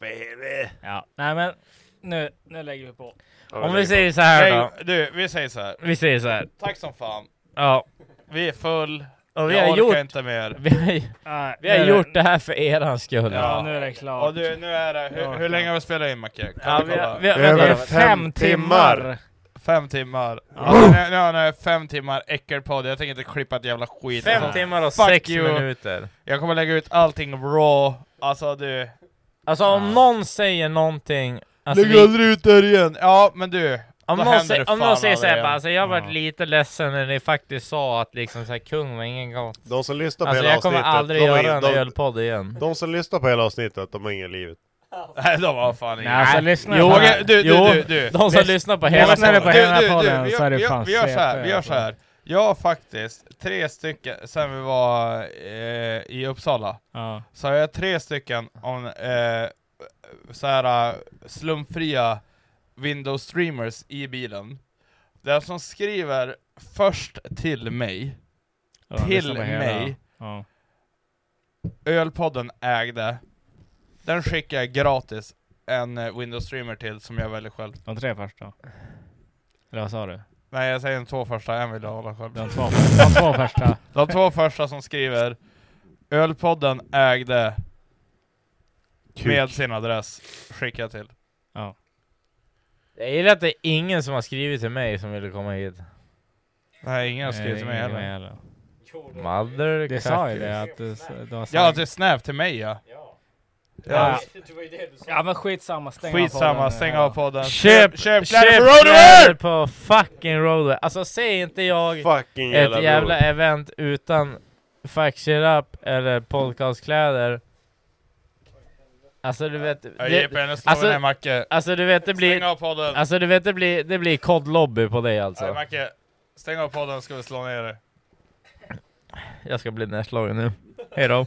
S3: Baby!
S2: Ja, nej men nu, nu lägger vi på.
S4: Om vi säger så här då.
S1: Nej, Du, vi säger så här.
S4: Vi säger så här.
S1: Tack som fan.
S4: Ja.
S1: Vi är full.
S4: Och vi
S1: jag
S4: har
S1: orkar
S4: gjort-
S1: inte mer.
S4: Vi har, ju-
S2: Nej,
S4: vi har
S2: nu är det-
S4: gjort det här för eran skull.
S2: Ja, nu är det klart.
S1: Och du, nu är det... Hur, hur länge har vi spelat in Macke? Kan
S4: Ja,
S1: du
S4: vi har-
S1: kolla?
S4: vi har- Över vänta, fem fem timmar. timmar.
S1: Fem timmar. Alltså, nu, nu har ni fem timmar äckelpodd, jag tänker inte klippa ett jävla skit.
S4: Fem
S1: Alltså,
S4: timmar och
S1: fuck
S4: sex
S1: you.
S4: minuter.
S1: Jag kommer lägga ut allting raw. Alltså du...
S4: Alltså om någon säger någonting... Alltså,
S1: Lägg aldrig ut det här igen! Ja, men du.
S4: Om
S1: då
S4: någon,
S1: händer
S4: säger,
S1: det
S4: om
S1: fan
S4: någon säger
S1: aldrig
S4: såhär
S1: igen.
S4: bara, alltså jag varit lite ledsen när ni faktiskt sa att liksom såhär kung var ingen gång.
S3: De som lyssnar på
S4: Alltså
S3: hela
S4: jag kommer
S3: avsnittet,
S4: aldrig
S3: de har
S4: göra
S3: ingen-
S4: en
S3: de-
S4: ölpodd igen.
S3: De som lyssnar på hela avsnittet, de har ingen livet.
S1: Nej, de har fan
S4: Nej, alltså, lyssna på-
S1: Okej, du, du,
S4: Jo,
S1: du, du.
S4: de som lyssnar på hela
S1: Lyssnar du
S4: podden.
S1: du, du,
S4: podden
S1: vi
S4: så
S1: gör-
S4: är det
S1: vi gör-
S4: fan
S1: Vi gör så här, vi gör
S4: CP.
S1: så här. Jag har faktiskt tre stycken, sen vi var eh, i Uppsala,
S2: Ja.
S1: så har jag tre stycken om eh, så här eh, slumfria Windows streamers i bilen. Den som skriver först till mig,
S2: Ja,
S1: till
S2: lyssna på hela.
S1: mig,
S2: Ja.
S1: Ölpodden ägde, den skickar jag gratis en eh, Windows streamer till som jag väljer själv.
S2: De tre första. Eller vad sa du?
S1: Nej jag säger de två första, en vill jag hålla själv.
S2: De två första- de två första.
S1: De två första som skriver Ölpodden ägde med sin adress, skickar jag till.
S4: Jag gillar att det är ingen som har skrivit till mig som ville komma hit.
S1: Nej, ingen har
S2: Nej,
S1: skrivit till mig
S2: ingen
S1: heller.
S2: med heller.
S4: Mother
S2: Det sa ju
S4: cuckers.
S2: det att du, s- du har sagt.
S1: Ja, till Snap till mig ja. Ja,
S2: Ja. ja men skitsamma, stäng av podden
S1: Skitsamma,
S2: nu.
S1: stäng av podden.
S4: Köp,
S1: köp
S4: köp,
S1: kläder på
S4: kläder
S1: Roadwear!
S4: på fucking Roadwear! Alltså säg inte jag
S3: Fucking
S4: ett
S3: jävla
S4: jävla, event utan fuck shit up eller podcastkläder. Alltså du vet...
S1: Jag ger på henne, slår vi ner Macke.
S4: alltså du vet det blir...
S1: Stäng av podden.
S4: Alltså du vet det blir, det blir kodlobby på dig alltså.
S1: Nej Macke, stäng av podden ska vi slå ner dig.
S4: Jag ska bli nedslagen nu. Hejdå.